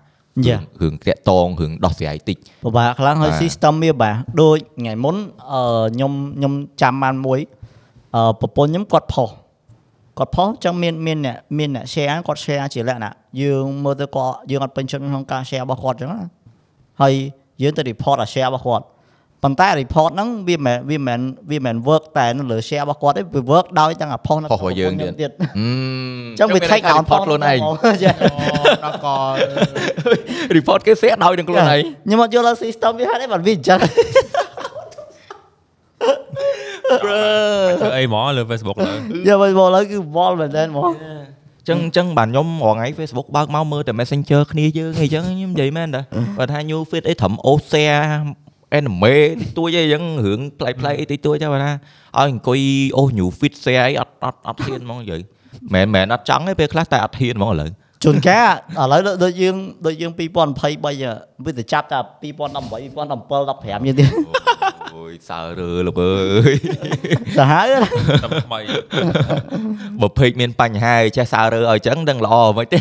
Speaker 5: Yeah.
Speaker 1: រឿងតាក់តងរឿងដោះស្រាយតិច
Speaker 5: ពិបាកខ្លាំងហើយ
Speaker 1: បាទ
Speaker 5: system វាពិបាកដូចថ្ងៃមុនអឺខ្ញុំខ្ញុំចាំបានមួយអឺប្រពន្ធខ្ញុំគាត់ផុសគាត់ផុសចឹងមានមានអ្នកមានអ្នក share គាត់ share ជាលក្ខណៈយើងមើលទៅគាត់យើងអត់ពេញចិត្តក្នុងការ share របស់គាត់ចឹងណាហើយយើងទៅ report អា share របស់គាត់ប៉ុន្តែ report ហ្នឹងវាមិនមែនវាមិនមែនវាមិនមែន work តែនៅលើ share របស់គាត់ទេវា work ដោយទាំងអាផុសនៅ
Speaker 1: ផុសរបស់យើងទៀត
Speaker 5: ទៀត
Speaker 1: អ
Speaker 5: អញ្ចឹងវា take down
Speaker 1: ផតខ្លួនឯង
Speaker 5: ចា
Speaker 2: ដល់ក៏
Speaker 1: report គេ share ដោយនឹងខ្លួនឯង
Speaker 5: ខ្ញុំអត់យល់ដល់ system វាហេតុអីបានវាអញ្ចឹង
Speaker 3: ធ្វើអីហ្មងលើ Facebook លើ
Speaker 5: យកមកឥឡូវគឺ wall មែនតើហ្មង
Speaker 1: ចឹងចឹងបាទខ្ញុំរងថ្ងៃ Facebook បើកមកមើលតែ Messenger គ្នាយើងអីចឹងខ្ញុំនិយាយមែនតាបើថា new feed អីត្រឹម Osea anime តិចតួចអីចឹងរឿងផ្លៃផ្លៃអីតិចតួចទៅបើថាឲ្យអង្គុយអូ new feed share អីអត់អត់អត់ហ៊ានហ្មងនិយាយមែនមែនអត់ចង់ទេពេលខ្លះតែអត់ហ៊ានហ្មងឥឡូវ
Speaker 5: ជួនកាលឥឡូវដូចយើងដូចយើង2023វាទៅចាប់តែ2018 2017 15យើងទៀត
Speaker 1: អូយសើរើលបើអើ យ
Speaker 5: សាហាវណាស់
Speaker 3: តាមថ្មី
Speaker 1: បើពេកមានបញ្ហាអីចេះសើរើឲ្យចឹងដឹងល្អមិនទេ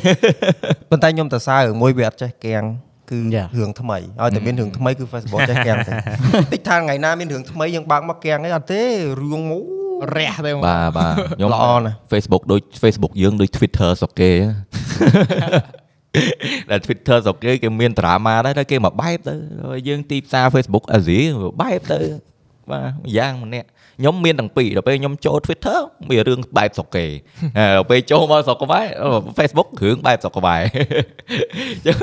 Speaker 6: ប៉ុន្តែខ្ញុំតសើរឿងមួយវាអត់ចេះកៀងគឺ
Speaker 5: យ៉ា
Speaker 6: រឿងថ្មីឲ្យតែមានរឿងថ្មីគឺ Facebook ចេះកៀង តែ តិចថាថ្ងៃណាមានរឿងថ្មីយើងបើកមកកៀងអីអត់ទេរឿងមួយ
Speaker 2: រះទៅមក
Speaker 1: បាទ បាទខ្ញុំ
Speaker 6: ល្អណាស់
Speaker 1: Facebook ដូច Facebook យើងដូច Twitter ស្រុកគេ ហ៎ ដែល Twitter ស្រុកគេគេមាន drama ដែរតែគេមកបែបទៅហើយយើងទីផ្សារ Facebook អាស៊ីមកបែបទៅបាទយ៉ាងម្នាក់ខ្ញុំមានទាំងពីរដល់ពេលខ្ញុំចូល Twitter មានរឿងបែបស្រុក គេ អឺដល់ពេលចូលមកស្រុកខ្មែរអឺ Facebook រឿងបែបស្រុក ខ្មែរ ចឹង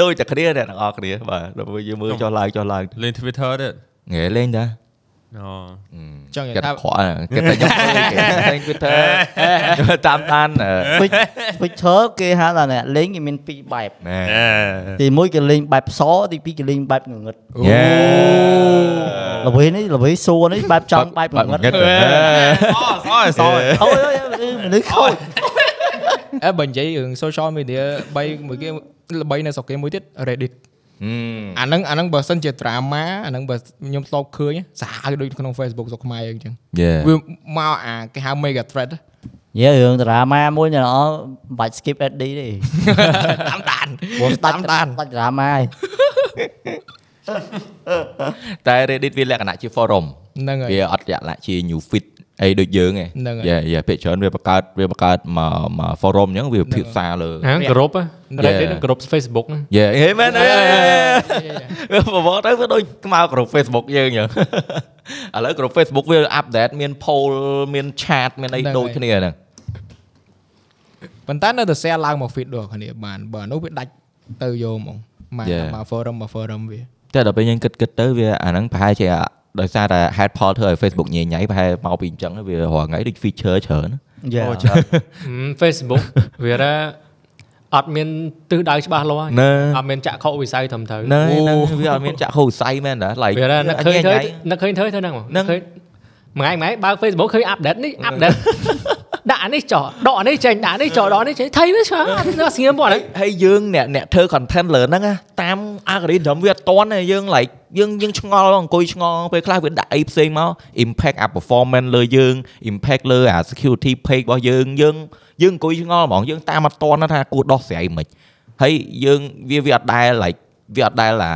Speaker 1: ដូចតែគ្នាអ្នកទាំងអស់គ្នាបាទដល់ពេលយើងមើលចុះឡើងចុះឡើង
Speaker 3: លេង Twitter ទៀត
Speaker 1: ងែលេងតា
Speaker 3: អូ
Speaker 1: អឺ
Speaker 2: ចង់និ
Speaker 1: គេ
Speaker 2: យាយថា
Speaker 1: ខកគេតែខ្ញុំគេគឺថាតាមតាន
Speaker 5: ពេចពេចធើគេហៅថាអ្នកលេងគេមានពីរបែប
Speaker 1: ណែ
Speaker 5: ទី1គេលេងបែបផ្សោទី2គេលេងបែបងងឹត
Speaker 1: យេ
Speaker 5: ល្វីនេះល្វីសួរនេះបែបចង់បែបងងឹត
Speaker 1: អឺ
Speaker 3: អត់សោយ
Speaker 5: អូយអូយមនុស្សខូច
Speaker 2: អើបើនិយាយរឿង social media 3មួយគេល្បីនៅស្រុកគេមួយទៀត Reddit អាហ្នឹងអាហ្នឹងបើសិនជា drama អាហ្នឹងបើខ្ញុំធ្លាប់ឃើញសាហាវដូចក្នុង Facebook ស្រុកខ្មែរយើងអញ្ចឹង
Speaker 1: យេ
Speaker 2: វាមកអាគេហៅ mega thread
Speaker 5: យើរឿងតារាម៉ាមួយអ្នកអត់បាច់ skip ad ទេ
Speaker 2: តាមដាន
Speaker 5: ព្រោះស្ដាប់ដានតារាម៉ាហើយ
Speaker 1: តែ Reddit វាលក្ខណៈជា forum
Speaker 2: ហ្នឹងហើយ
Speaker 1: វាអត់លក្ខណៈជា new feed អីដូចយើងឯ
Speaker 2: ហ្នឹង
Speaker 1: ង
Speaker 2: ហើយ
Speaker 1: យេយេពាក្យច្រើនវាបង្កើតវាបង្កើតមកមក forum អញ្ចឹងវាភាសាលើ
Speaker 7: ហ្នឹង
Speaker 2: រះ
Speaker 7: គោរពហ៎
Speaker 1: Yeah.
Speaker 7: Reddit ហ្នឹងគោរព Facebook ហ្នឹង
Speaker 1: យេហេមែនអេ វាបបទៅវាដូចខ្មៅក្រុម Facebook យើង អញ្ចឹងឥឡូវក្រុម Facebook វា update មាន poll មាន chat មានអី
Speaker 2: ហ្នឹង
Speaker 1: ដូច
Speaker 2: ហើយ
Speaker 1: គ្នាហ្នឹង
Speaker 2: ប៉ុន្តែនៅតែ share ឡើងមក feed ដូចគ្នាបានបើនោះវាដាច់ទៅយកហ្មងមក
Speaker 1: Yeah.
Speaker 2: មក forum មក forum វា
Speaker 1: តែដល់ពេលយើងគិតគិតទៅវាអាហ្នឹងប្រហែលជាដោយសារតែ head poll ធ្វើឲ្យ Facebook ញ៉ៃញ៉ៃប្រហែលមកពីអញ្ចឹងវារាល់ថ្ងៃដូច feature ច្រើន
Speaker 5: Yeah.
Speaker 7: ហឹម Facebook វារ៉ាអត់មានទិសដៅច្បាស់លា
Speaker 1: ណ
Speaker 7: ស់
Speaker 1: ែ
Speaker 7: អត់មានចាក់ខុសវិស័យត្រឹមត្រូវ
Speaker 1: ណែហ្នឹងវាអត់មានចាក់ហូរស័យមែនតា like
Speaker 7: វារ៉ានឹកឃើញ
Speaker 1: ញ៉ៃ
Speaker 7: ធ្វើ
Speaker 1: ញ៉ៃ
Speaker 7: នឹកឃើញធ្វើធ្វើហ្នឹង
Speaker 1: ហ្នឹង
Speaker 7: ឃើញមួយថ្ងៃមួយថ្ងៃបើក Facebook ឃើញ update នេះ update ដាក់អានេះចោះដកអានេះចេញដាក់អានេះចោះដកអានេះចេញថៃវាឆ្ងាយអត់ស្ងៀមបង
Speaker 1: ហើយហើយយើងអ្នកអ្នកធ្វើ content លើហ្នឹងណាតាម algorithm វាអត់តន់ទេយើង like យើងយើងឆ្ងល់អង្គុយឆ្ងល់ពេលខ្លះវាដាក់អីផ្សេងមក impact អា performance លើយើង impact លើអា security page របស់យើងយើងយើងអង្គុយឆ្ងល់ហ្មងយើងតាមអត់តន់ណាថាគួរដោះស្រាយមិន ហើយយើងវាវាអត់ដែល like វាអត់ដែលថា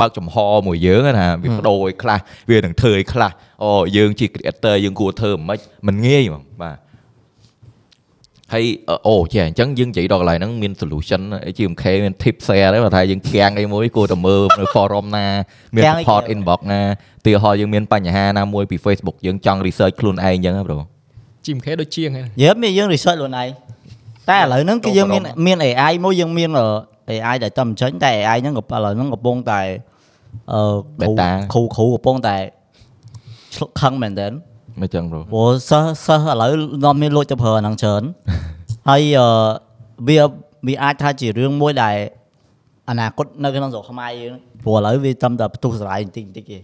Speaker 1: បើកចំហមួយយើងហ្នឹងណាវាបដូរឲ្យខ្លះវានឹងធ្វើឲ្យខ្លះអូយើងជា creator យើងគួរធ្វើមិនមិនងាយហ្មងបាទ ហើយអឺអូចេះអញ្ចឹងយើងនិយាយដល់កន្លែងហ្នឹងមាន solution អី GMK មាន tip share ដែរបើថាយើងគាំងអីមួយគួរតែមើលនៅ forum ណាមាន
Speaker 5: គាំងអី
Speaker 1: support
Speaker 5: គេ
Speaker 1: inbox ណាទីហោយើងមានបញ្ហាណាមួយពី Facebook យើងចង់ research ខ្លួនឯងអញ្ចឹងណាប្រូ
Speaker 2: ជីមខេដូចជាងហ្នឹង
Speaker 5: យើមានយើង research ខ្លួនឯងតែឥឡូវហ្នឹងគឺ
Speaker 1: ចូល
Speaker 5: យើងមាន
Speaker 1: ប្រដៅ
Speaker 5: មាន AI មួយយើងមានអឺ AI ដែលតំចេញតែ AI ហ្នឹងក៏ឥឡូវហ្នឹងកំពុងតែអឺ
Speaker 1: Beta
Speaker 5: គ្រូគ្រូកំពុងតែឆ្លុកខឹងមែនតើ
Speaker 1: មិនអញ្ចឹងប្រូ
Speaker 5: ព្រោះសិស្សសិស្សឥឡូវនាំមានលួចទៅប្រើអាហ្នឹង ច្រើន ហើយអឺវាវាអាចថាជារឿងមួយដែលអនាគតនៅក្នុងស្រុកខ្មែរយើងព្រោះឥឡូវវាតាមតែផ្ទុះស្រ័យបន្តិចបន្តិចទេ
Speaker 1: យេ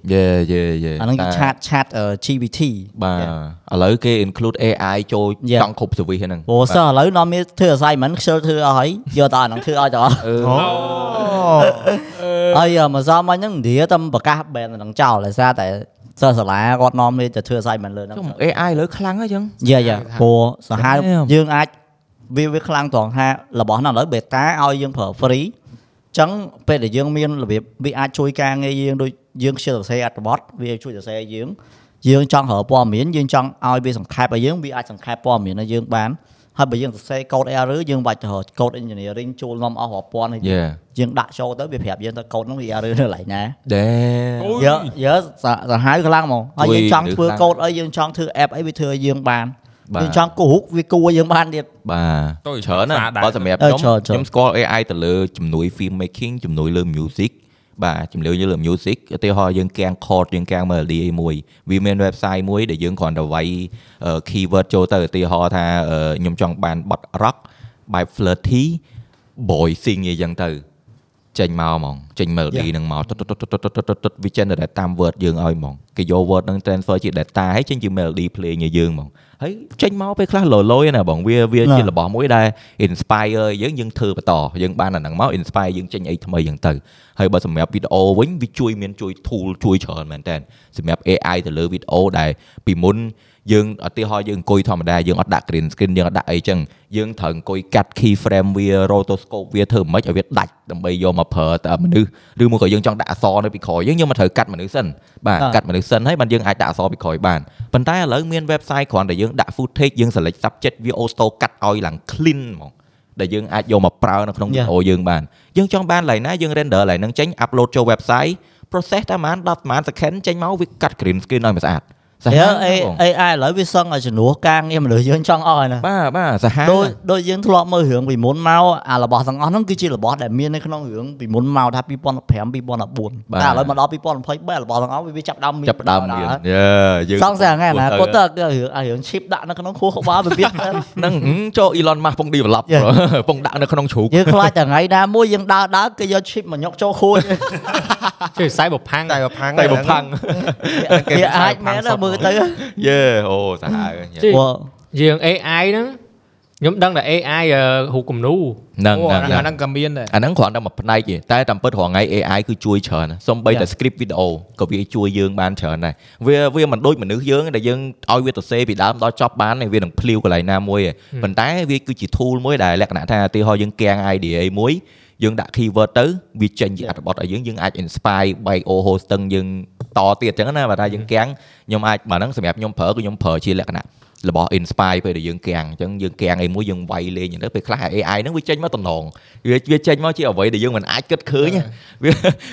Speaker 1: យេយេ
Speaker 5: អាហ្នឹងគឺ
Speaker 1: តែ
Speaker 5: ឆាតឆាតអឺ GPT
Speaker 1: បាទ
Speaker 5: ច
Speaker 1: ឥ
Speaker 5: ា
Speaker 1: ឡូវគេ include AI ចូល
Speaker 5: យ៉ា
Speaker 1: ចង់គ្រប់ service ហ្នឹង
Speaker 5: ព្រោះសិស្សឥឡូវនាំមានធ្វើ assignment ខ្ជិលធ្វើអស់ហើយយកតែអាហ្នឹងធ្វើឲ្យតអស់
Speaker 6: អូ
Speaker 5: ហើយអឺមួយសមមកហ្នឹងឥណ្ឌាតាមប្រកាស ban អាហ្នឹងចោលដោយសារតែសិស្សសាលាគាត់នាំមានតែធ្វើ assignment លើហ្នឹង
Speaker 1: ចុះ AI ឥឡូវខ្លាំងហើយអញ្ចឹង
Speaker 5: យាយាព្រោះសាហាវ
Speaker 1: Damn.
Speaker 5: យើងអាចវាវាខ្លាំងត្រង់ថារបស់ហ្នឹងឥឡូវ beta ឲ្យយើងប្រើ free អញ្ចឹងពេលដែលយើងមានរបៀបវាអាចជួយការងារយើងដូចយើងខ្ជិលសរសេរអត្ថបទវាជួយសរសេរយើងយើងចង់រកព័ត៌មានយើងចង់ឲ្យវាសង្ខេបឲ្យយើងវាអាចសង្ខេបព័ត៌មានឲ្យយើងបានហើយបើយើងសរសេរ code error យើងបាច់ទៅរក code engineering ចូលនាំអស់រាប់ពាន់ហើយ
Speaker 1: Yeah
Speaker 5: យើងដាក់ចូលទៅវាប្រាប់យើងថា code ហ្នឹងវា error នៅកន្លែងណា
Speaker 1: Damn
Speaker 5: យើយើសាសាហាវខ្លាំងហ្មងហើយ
Speaker 1: ជួយ
Speaker 5: យើងចង់ធ្វើ
Speaker 1: ខ្លាំង
Speaker 5: កូដអីយើងចង់ធ្វើ app អីវាធ្វើឲ្យយើងបាន
Speaker 1: បាទ
Speaker 5: យើងចង់គូររូបវាគួរយើងបានទៀត
Speaker 1: បាទ
Speaker 3: ទុយ
Speaker 1: ច្រើនណា
Speaker 3: ស្អាតដែរ
Speaker 1: បើសម្រាប់
Speaker 5: អឺ
Speaker 1: ខ្ញុំ
Speaker 5: ច្រើនច្រើន
Speaker 1: ខ្ញុំស្គាល់ AI ទៅលើជំនួយ film making ជំនួយលើ music បាទជំនួយលើ music ឧទាហរណ៍យើងកាំង chord យើងកាំង melody អីមួយវាមាន website មួយដែលយើងគ្រាន់តែវាយអឺ keyword ចូលទៅឧទាហរណ៍ថាអឺខ្ញុំចង់បានបទ rock បែប flirty boy sing អីចឹងទៅ ចេញមកហ្មងចេញ melody ហ្នឹងមកទុតទុតទុតទុតទុតទុតទុតវា generate តាម word យើងឲ្យហ្មងគេយក word ហ្នឹង transfer ជា data ហើយចេញជា melody playing ឲ្យយើងហ្មងហើយចេញមកពេលខ្លះលលយណាបងវាវា
Speaker 5: ណា
Speaker 1: ជារបស់មួយដែល inspire ឲ្យយើងយើងធ្វើបន្តយើងបានអាហ្នឹងមក inspire យើងចេញអីថ្មីហ្នឹងទៅហើយបើសម្រាប់ video វិញវាជួយមានជួយ tool ជួយច្រើនមែនតើសម្រាប់ AI ទៅលើ video ដែលពីមុនយើងឧទាហរណ៍យើងអង្គុយធម្មតាយើងអត់ដាក់ green screen យើងអត់ដាក់អីចឹងយើងត្រូវអង្គុយកាត់ key frame វា rotoscope វាធ្វើមិនឲ្យវាដាច់ដើម្បីយកមកប្រើតាមមនុស្សឬមួយក៏យើងចង់ដាក់អក្សរនៅពីក្រោយយើងយើងមកត្រូវកាត់មនុស្សសិនបាទ
Speaker 5: បាទ
Speaker 1: កាត់មនុស្សសិនហើយបានយើងអាចដាក់អក្សរពីក្រោយបានប៉ុន្តែឥឡូវមាន website គ្រាន់តែយើងដាក់ footage យើង select subject វា auto កាត់ឲ្យឡើង clean ហ្មងដែលយើងអាចយកមកប្រើនៅក្នុង
Speaker 5: Yeah.
Speaker 1: video យើងបានយើងចង់បានកន្លែងណាយើង render កន្លែងហ្នឹងចេញ upload ចូល website process តែប្រហែល10ប្រហែល second ចេញមកវាកាត់ green screen ឲ្យមិនស្អាតសា
Speaker 5: យើ
Speaker 1: ហាវណាស់បង
Speaker 5: AI ឥឡូវវាសឹងឲ្យជំនួសការងារមនុស្សយើងចង់អស់ហើយណា
Speaker 1: បាទបាទសាហាវ
Speaker 5: ដូច
Speaker 1: ណាស់
Speaker 5: ដូចយើងធ្លាប់មើលរឿងពីមុនមកអារបស់ទាំងអស់ហ្នឹងគឺជារបស់ដែលមាននៅក្នុងរឿងពីមុនមកថា2015 2014
Speaker 1: បាទ
Speaker 5: តែឥឡូវមកដល់2023របស់ទាំងអស់វាចាប់ដើមមាន
Speaker 1: ចាប់ផ្ដើម
Speaker 5: ដល់
Speaker 1: រៀន
Speaker 5: ហើយ
Speaker 1: យេយើង
Speaker 5: សង្ស័យថ្ងៃណា
Speaker 1: គ
Speaker 5: គាត់ទៅរឿងអារឿង chip ដាក់នៅក្នុងខួរក្បាលវាវា
Speaker 1: ហ្នឹងហឹមចូល Elon Musk ពង develop
Speaker 5: Yeah.
Speaker 1: ពងដាក់នៅក្នុងជ្រូក
Speaker 5: យើងខ្លាចតែថ្ងៃណាមួយយើងដើរដើរគេយក chip មកញុកចូលខួរយើង
Speaker 7: ជួយខ្សែបផាំង
Speaker 6: តែបំផាំង
Speaker 1: តែបំផាំង
Speaker 5: វាអាចមែនណាមើលទៅ
Speaker 1: យេអូសាហាវញ៉ាំ
Speaker 7: ជួយ
Speaker 5: Wow.
Speaker 7: យើង AI ហ្នឹងខ្ញុំដឹងតែ AI អឺហូបគំនូរ
Speaker 1: ហ្នឹង
Speaker 2: អូអា
Speaker 1: ហ្នឹងហ្នឹ
Speaker 2: ហ្នឹ
Speaker 1: ង ង
Speaker 2: អាហ្នឹងក៏មានដែរ
Speaker 1: អាហ្នឹងគ្រាន់តែមួយផ្នែកទេតែតាមពិតរហងៃ AI គឺជួយច្រើនណាស់សំបីតែ script video ក៏វាជួយយើងបានច្រើនដែរវាវាមិនដូចមនុស្សយើងដែលយើងឲ្យវាសរសេរពីដើមដល់ចប់បានហើយវានឹងភ្លាវកន្លែងណាមួយឯងប៉ុន្តែវាគឺជា tool មួយដែលលក្ខណៈថាឧទាហរណ៍យើងកៀង idea មួយយើងដាក់ keyword ទៅវាចេញជាអត្ថបទឲ្យយើងយើងអាច inspire by o hosting យើងតទៀតអញ្ចឹងណាបើថាយើងកៀងខ្ញុំអាចបើហ្នឹងសម្រាប់ខ្ញុំប្រើគឺខ្ញុំប្រើជាលក្ខណៈ របស់ inspire ពេលដែលយើងកៀងអញ្ចឹងយើងកៀងអីមួយយើងវាយលេងទៅពេលខ្លះ AI ហ្នឹងវាចេញមកតំណងវាវាចេញមកជាអ្វីដែលយើងមិនអាចគិតឃើញណាវា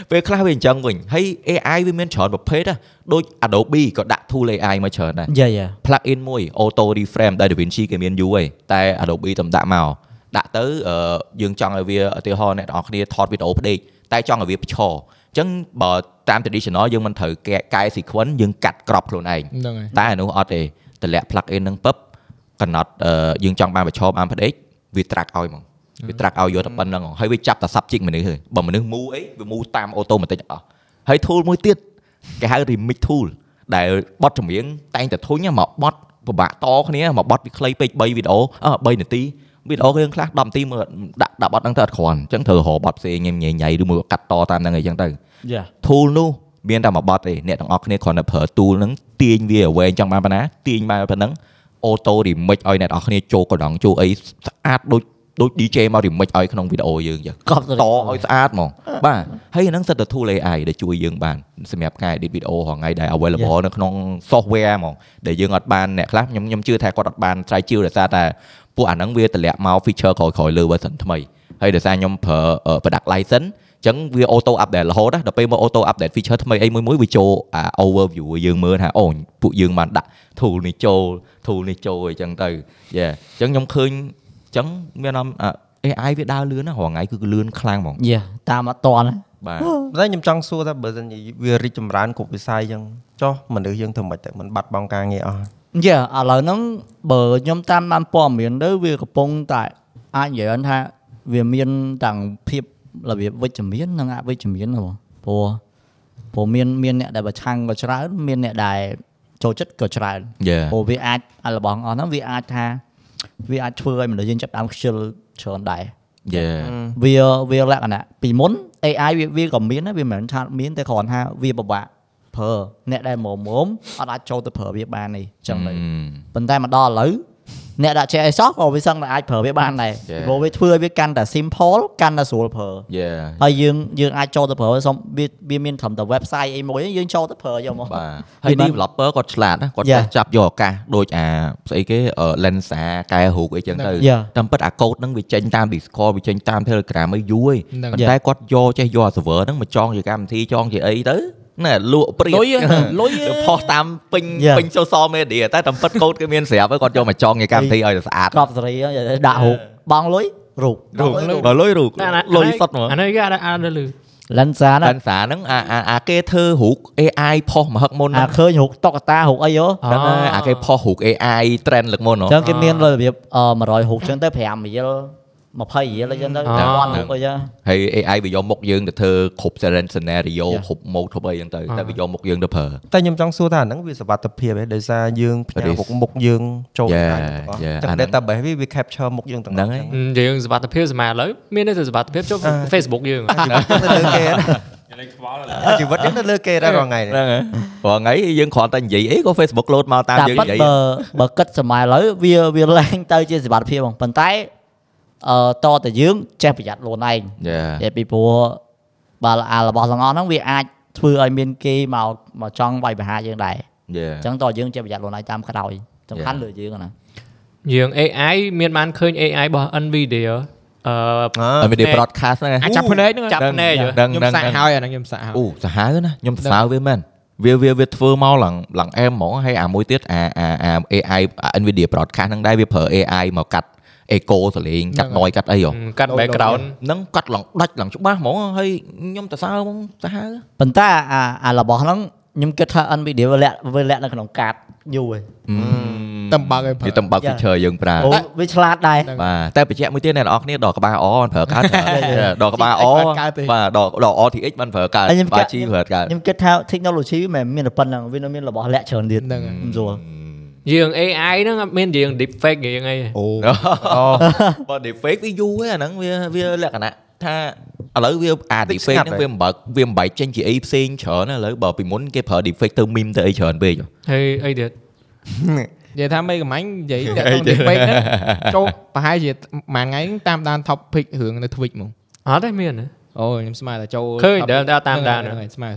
Speaker 1: ពេលខ្លះវាអញ្ចឹងវិញហើយ AI វាមានច្រើនប្រភេទណាដូច Adobe ក៏ដាក់ tool AI មកច្រើនដែរ
Speaker 5: យាយា
Speaker 1: plugin មួយ auto reframe ដែល DaVinci គេមានយូរហើយតែ Adobe តែដាក់មកដាក់ទៅអឺយើងចង់ឲ្យវាឧទាហរណ៍អ្នកនរគ្នាថតវីដេអូផ្ដេកតែចង់ឲ្យវាផ្ឈរអញ្ចឹងបើតាម traditional យើងមិនត្រូវកែកែ sequence យើងកាត់ក្របខ្លួនឯង
Speaker 2: ហ្នឹងហើយ
Speaker 1: តែអានោះអត់ទេតម្លាក់ plug in នឹងពឹបកំណត់អឺយើងចង់បានបញ្ឈប់បានផ្ដេកវា track ឲ្យហ្មងវា track ឲ្យយកតែប៉ុណ្្នឹងហ្មងហើយវាចាប់តែ subject មនុស្សហើយបើមនុស្ស move អីវា move តាម automatic ទាំងអស់ហើយ tool មួយទៀតគេហៅ remix tool ដែលបត់ចម្រៀងតែងតែធុញហ្នឹងមកបត់ពិបាកតគ្នាមកបត់វាខ្លីពេក3វីដេអូអឺ3នាទីវីដេអូរឿងខ្លះ10នាទីមើលដាក់ដាក់បត់ហ្នឹងទៅអត់គ្រាន់អញ្ចឹងត្រូវរកបត់ផ្សេងញ៉ៃញ៉ៃញ៉ៃឬមួយក៏កាត់តតាមហ្នឹងអីចឹងទៅ
Speaker 5: យា
Speaker 1: tool នោះមានតែមួយបត់ទេអ្នកទាំងអស់គ្នាគ្រាន់តែប្រើ tool ហ្នឹងទាញវាឲ្យវែងចង់បានប៉ុណ្ណាទាញបានប៉ុណ្ណឹង auto remix ឲ្យអ្នកទាំងអស់គ្នាចូលកណ្ដងចូលអីស្អាតដូច ដូច DJ មក remix ឲ្យក្នុងវីដេអូយើងចឹង
Speaker 5: កប់ទៅ
Speaker 1: តឲ្យស្អាតហ្មងបាទហើយអាហ្នឹងសិតតែ tool AI ដែលជួយយើងបានសម្រាប់ការ edit video រាល់ថ្ងៃដែល available នៅក្នុង software ហ្មងដែលយើងអត់បានអ្នកខ្លះខ្ញុំខ្ញុំជឿថាគាត់អត់បានស្រាវជ្រាវដោយសារតែពួកអាហ្នឹងវាតម្លាក់មក feature ក្រោយៗលើ version ថ្មីហើយដោយសារខ្ញុំប្រើ product ờ, license អញ្ចឹងវា auto update រហូតណាដល់ពេលមក auto update feature ថ្មីអីមួយមួយវាចូលអា À, overview ឲ្យយើងមើលថាអូពួកយើងបានដាក់ tool នេះចូល tool នេះចូលអញ្ចឹងទៅយេអញ្ចឹងខ្ញុំឃើញអញ្ចឹងមានអារម្មណ៍អា AI វាដើរលឿនណារាល់ថ្ងៃគឺលឿនខ្លាំងហ្មង
Speaker 5: យេតាមអត់តន់ណា
Speaker 1: បាទ
Speaker 6: តែខ្ញុំចង់សួរថាបើសិនជាវារីកចម្រើនគ្រប់វិស័យអញ្ចឹងចុះមនុស្សយើងធ្វើម៉េចទៅមិនបាត់បង់ការងារអស់
Speaker 5: យេឥឡូវហ្នឹងបើខ្ញុំតាមតាមព័ត៌មានទៅវាកំពុងតែអាចនិយាយថាវាមានទាំងភាពរបៀបវិជ្ជមាននិងអវិជ្ជមានហ្នឹងបងព្រោះព្រោះមានមានអ្នកដែលប្រឆាំងក៏ច្រើនមានអ្នកដែលចូលចិត្តក៏ច្រើន
Speaker 1: យេ
Speaker 5: ព្រោះវាអាចអារបស់អស់ហ្នឹងវាអាចថាវាអាចធ្វើឲ្យមនុស្សយើងចាប់ផ្ដើមខ្ជិលច្រើនដែរ
Speaker 1: យេ
Speaker 5: វាវាលក្ខណៈពីមុន AI វាវាក៏មានដែរវាមិនមែនថាមានតែគ្រាន់ថាវាពិបាកប្រើអ្នកដែលមុំមុំអត់អាចចូលទៅប្រើវាបានទេអញ្ចឹង
Speaker 1: Ừ.
Speaker 5: ទៅប៉ុន្តែមកដល់ឥឡូវអ្នកដាក់ចេះអីសោះក៏វាសឹងតែអាចប្រើវាបានដែរព្រោះវាធ្វើឲ្យវាកាន់តែ simple កាន់តែស្រួលប្រើ
Speaker 1: យេ
Speaker 5: ហើយយើងយើងអាចចូលទៅប្រើសុំវាវាមានត្រឹមតែ website អីមួយទេយើងចូលទៅប្រើយកមក
Speaker 1: បាទហើយ developer គាត់ឆ្លាតណាគាត់
Speaker 5: Yeah.
Speaker 1: ចាប់យកឱកាសដូចអាស្អីគេ Lensa កែរូបអីចឹងទៅ
Speaker 5: Yeah.
Speaker 1: តាមពិតអា code ហ្នឹងវាចេញតាម Discord វាចេញតាម Telegram អីយូរឯ
Speaker 2: ហ្នឹង
Speaker 1: ងប៉ុន្តែគាត់យកចេះយកអា server ហ្នឹងមកចងជាកម្មវិធីចងជាអីទៅណែលក់ព្រៀត
Speaker 2: លុយ ហ៎លុយហ៎
Speaker 1: ទៅផុសតាមពេញ
Speaker 5: Yeah.
Speaker 1: ពេញ social media តែតាមពិត code គេមានស្រាប់ហើយគាត់យកមកចងជាកម្មវិធីឲ្យតែស្អាត
Speaker 5: ក្របសេរីហ្នឹងដាក់រូបបងលុយរូប
Speaker 1: បើលុយរូប
Speaker 7: តែអាណា
Speaker 1: លុយសុទ្ធហ្មង
Speaker 7: អានេះគេអាចអាចដល់លឺ
Speaker 5: Lensa ណា
Speaker 1: អានសារហ្នឹងអាអាអាគេធ្វើរូប AI ផុសមហឹកមុន
Speaker 5: អា
Speaker 1: ហ្នឹង
Speaker 5: ឃើញរូបតុក្កតារូបអីហ៎
Speaker 1: ហ្នឹងហើយអាគេផុសរូប AI trend លើកមុនហ៎
Speaker 5: អញ្ចឹងគេមានរបៀបអឺ100រូបអញ្ចឹងទៅ5រៀល20រៀលអញ្ចឹងទៅ
Speaker 7: អ่า
Speaker 5: តែ1000រូបអីចឹង
Speaker 1: ហើយ AI វាយកមកយើងទៅធ្វើគ្រប់ scenario
Speaker 5: យ៉ា
Speaker 1: គ្រប់ mode គ្រប់អីហ្នឹងទៅតែវាយកមកយើងទៅប្រើ
Speaker 6: តែខ្ញុំចង់សួរថាអាហ្នឹងវាសុវត្ថិភាពឯងដោយសារយើងផ្ញើ
Speaker 1: Risk
Speaker 6: មុខមុខយើងចូល
Speaker 1: Yeah,
Speaker 6: បានទាំងអស់
Speaker 1: yeah,
Speaker 6: ចឹ
Speaker 1: អា
Speaker 6: ង
Speaker 1: ហ្នឹង
Speaker 6: database វាវា capture មុខយើងទាំងអ
Speaker 1: ហ្នឹងហើ
Speaker 6: ស់
Speaker 1: យ
Speaker 6: ចឹង
Speaker 7: យើងសុវត្ថិភាពសម័យឥឡូវមានតែសុវត្ថិភាពចូល Facebook យើង
Speaker 6: ទៅលើគេ
Speaker 3: ឥឡូវខ្វល់ឥឡូវ
Speaker 6: ណាជីវិតយើងទៅលើគេដែររាល់ថ្ងៃនេះ
Speaker 1: ហ្នឹងហើយព្រោះថ្ងៃយើងគ្រាន់តែនិយាយអីក៏ Facebook load មកតាម
Speaker 5: តែ
Speaker 1: យើង
Speaker 5: ប៉ិត
Speaker 1: និយាយ
Speaker 5: បើបើគិតសម័យឥឡូវវាវាឡើងទៅជាសេវត្ថិភាពហ្មងប៉ុន្តែអឺតតែយើងចេះប្រយ័ត្នខ្លួនឯង
Speaker 1: យ៉ា
Speaker 5: តែពីព្រោះបាល់អារបស់ទាំងអស់ហ្នឹងវាអាចធ្វើឲ្យមានគេមកមកចង់វាយប្រហារយើងដែរ
Speaker 1: យ៉ា
Speaker 5: អញ្ចឹងតយើងចេះប្រយ័ត្នខ្លួនឯងតាមក្រោយសំខាន់លើយើងណា
Speaker 7: យើង AI មានបានឃើញ AI របស់ NVIDIA ờ, à, អឺ
Speaker 1: NVIDIA
Speaker 7: ណែ
Speaker 1: broadcast ហ្នឹង
Speaker 2: អា
Speaker 1: ឯង
Speaker 2: ចាប់ភ្នែកហ្នឹង
Speaker 7: ចាប់ភ្នែកយល់
Speaker 1: ដឹង
Speaker 2: ខ្ញុំ
Speaker 1: ដឹង
Speaker 2: សាក់
Speaker 1: ដឹង
Speaker 2: ហើយអាហ្នឹងខ្ញុំសាក់ហើយ
Speaker 1: អូសាហាវណាខ្ញុំសរសើរវាមែនវាវាវាធ្វើមកឡើងឡើងអែមហ្មងហើយអាមួយទៀតអាអាអា AI អា NVIDIA broadcast ហ្នឹងដែរវាប្រើ AI មកកាត់ echo សលេងកាត់ noise កាត់អីហ៎
Speaker 7: កាត់ background
Speaker 1: ហ្នឹងកាត់ឡើងដាច់ឡើងច្បាស់ហ្មងហើយខ្ញុំតសើហ្មងសាហាវ
Speaker 5: ប៉ុន្តែអាអារបស់ហ្នឹងខ្ញុំគិតថា NVIDIA វាលាក់វាលាក់នៅក្នុងកាតយូរហើយ
Speaker 2: តឹមបើកឲ្យប្រើ
Speaker 1: វាតំបើក
Speaker 5: យ៉ា
Speaker 1: feature យើងប្រើ
Speaker 5: អូវាឆ្លាតដែរ
Speaker 1: បាទតែបញ្ជាក់មួយទៀតអ្នកនរអស់គ្នាដល់ក្បាលអបានប្រើកើតច្រើនដល់ក្បាលអ
Speaker 2: TX បានកើតទេ
Speaker 1: បាទដល់ដល់ RTX បានប្រើកើត
Speaker 5: ហើយខ្ញុំ
Speaker 1: បា
Speaker 5: ចាក់
Speaker 1: ជីប្រើកើត
Speaker 5: ខ្ញុំគិតថា technology មិនមែនមានតែប៉ុណ្្នឹងវានៅមានរបស់លាក់ច្រើនទៀត
Speaker 2: ហ្នឹងហើយ
Speaker 5: មិនស្រួល
Speaker 7: យើង AI ហ្នឹងអត់មានយើង deep fake យើងអី
Speaker 1: អូបើ defect វាយូរហ្នឹងអាហ្នឹងវាវាលក្ខណៈថាឥឡូវវាអា
Speaker 6: តិចស្ងា
Speaker 1: defect
Speaker 6: ត់
Speaker 1: ហ្នឹង
Speaker 6: ហើយ
Speaker 1: វាមិនបើកវាមិនបែកចេញជាអីផ្សេងច្រើនណាឥឡូវបើពីមុនគេប្រើ defect ទៅ meme ទៅអីច្រើនពេក
Speaker 7: ហើយអីទៀត
Speaker 2: និយាយថាមេកំាញ់និយាយតែក្នុងទីពេកហ្នឹងចូលប្រហែលជាមួយថ្ងៃតាមដាន topic រឿងនៅ Twitch ហ្មង
Speaker 7: អត់ទេមានទេ
Speaker 2: អូខ្ញុំស្មានតែចូល
Speaker 7: ឃើញ
Speaker 2: topic
Speaker 7: ដែលតាមដាន
Speaker 2: ហ្នឹងហើយស្មាន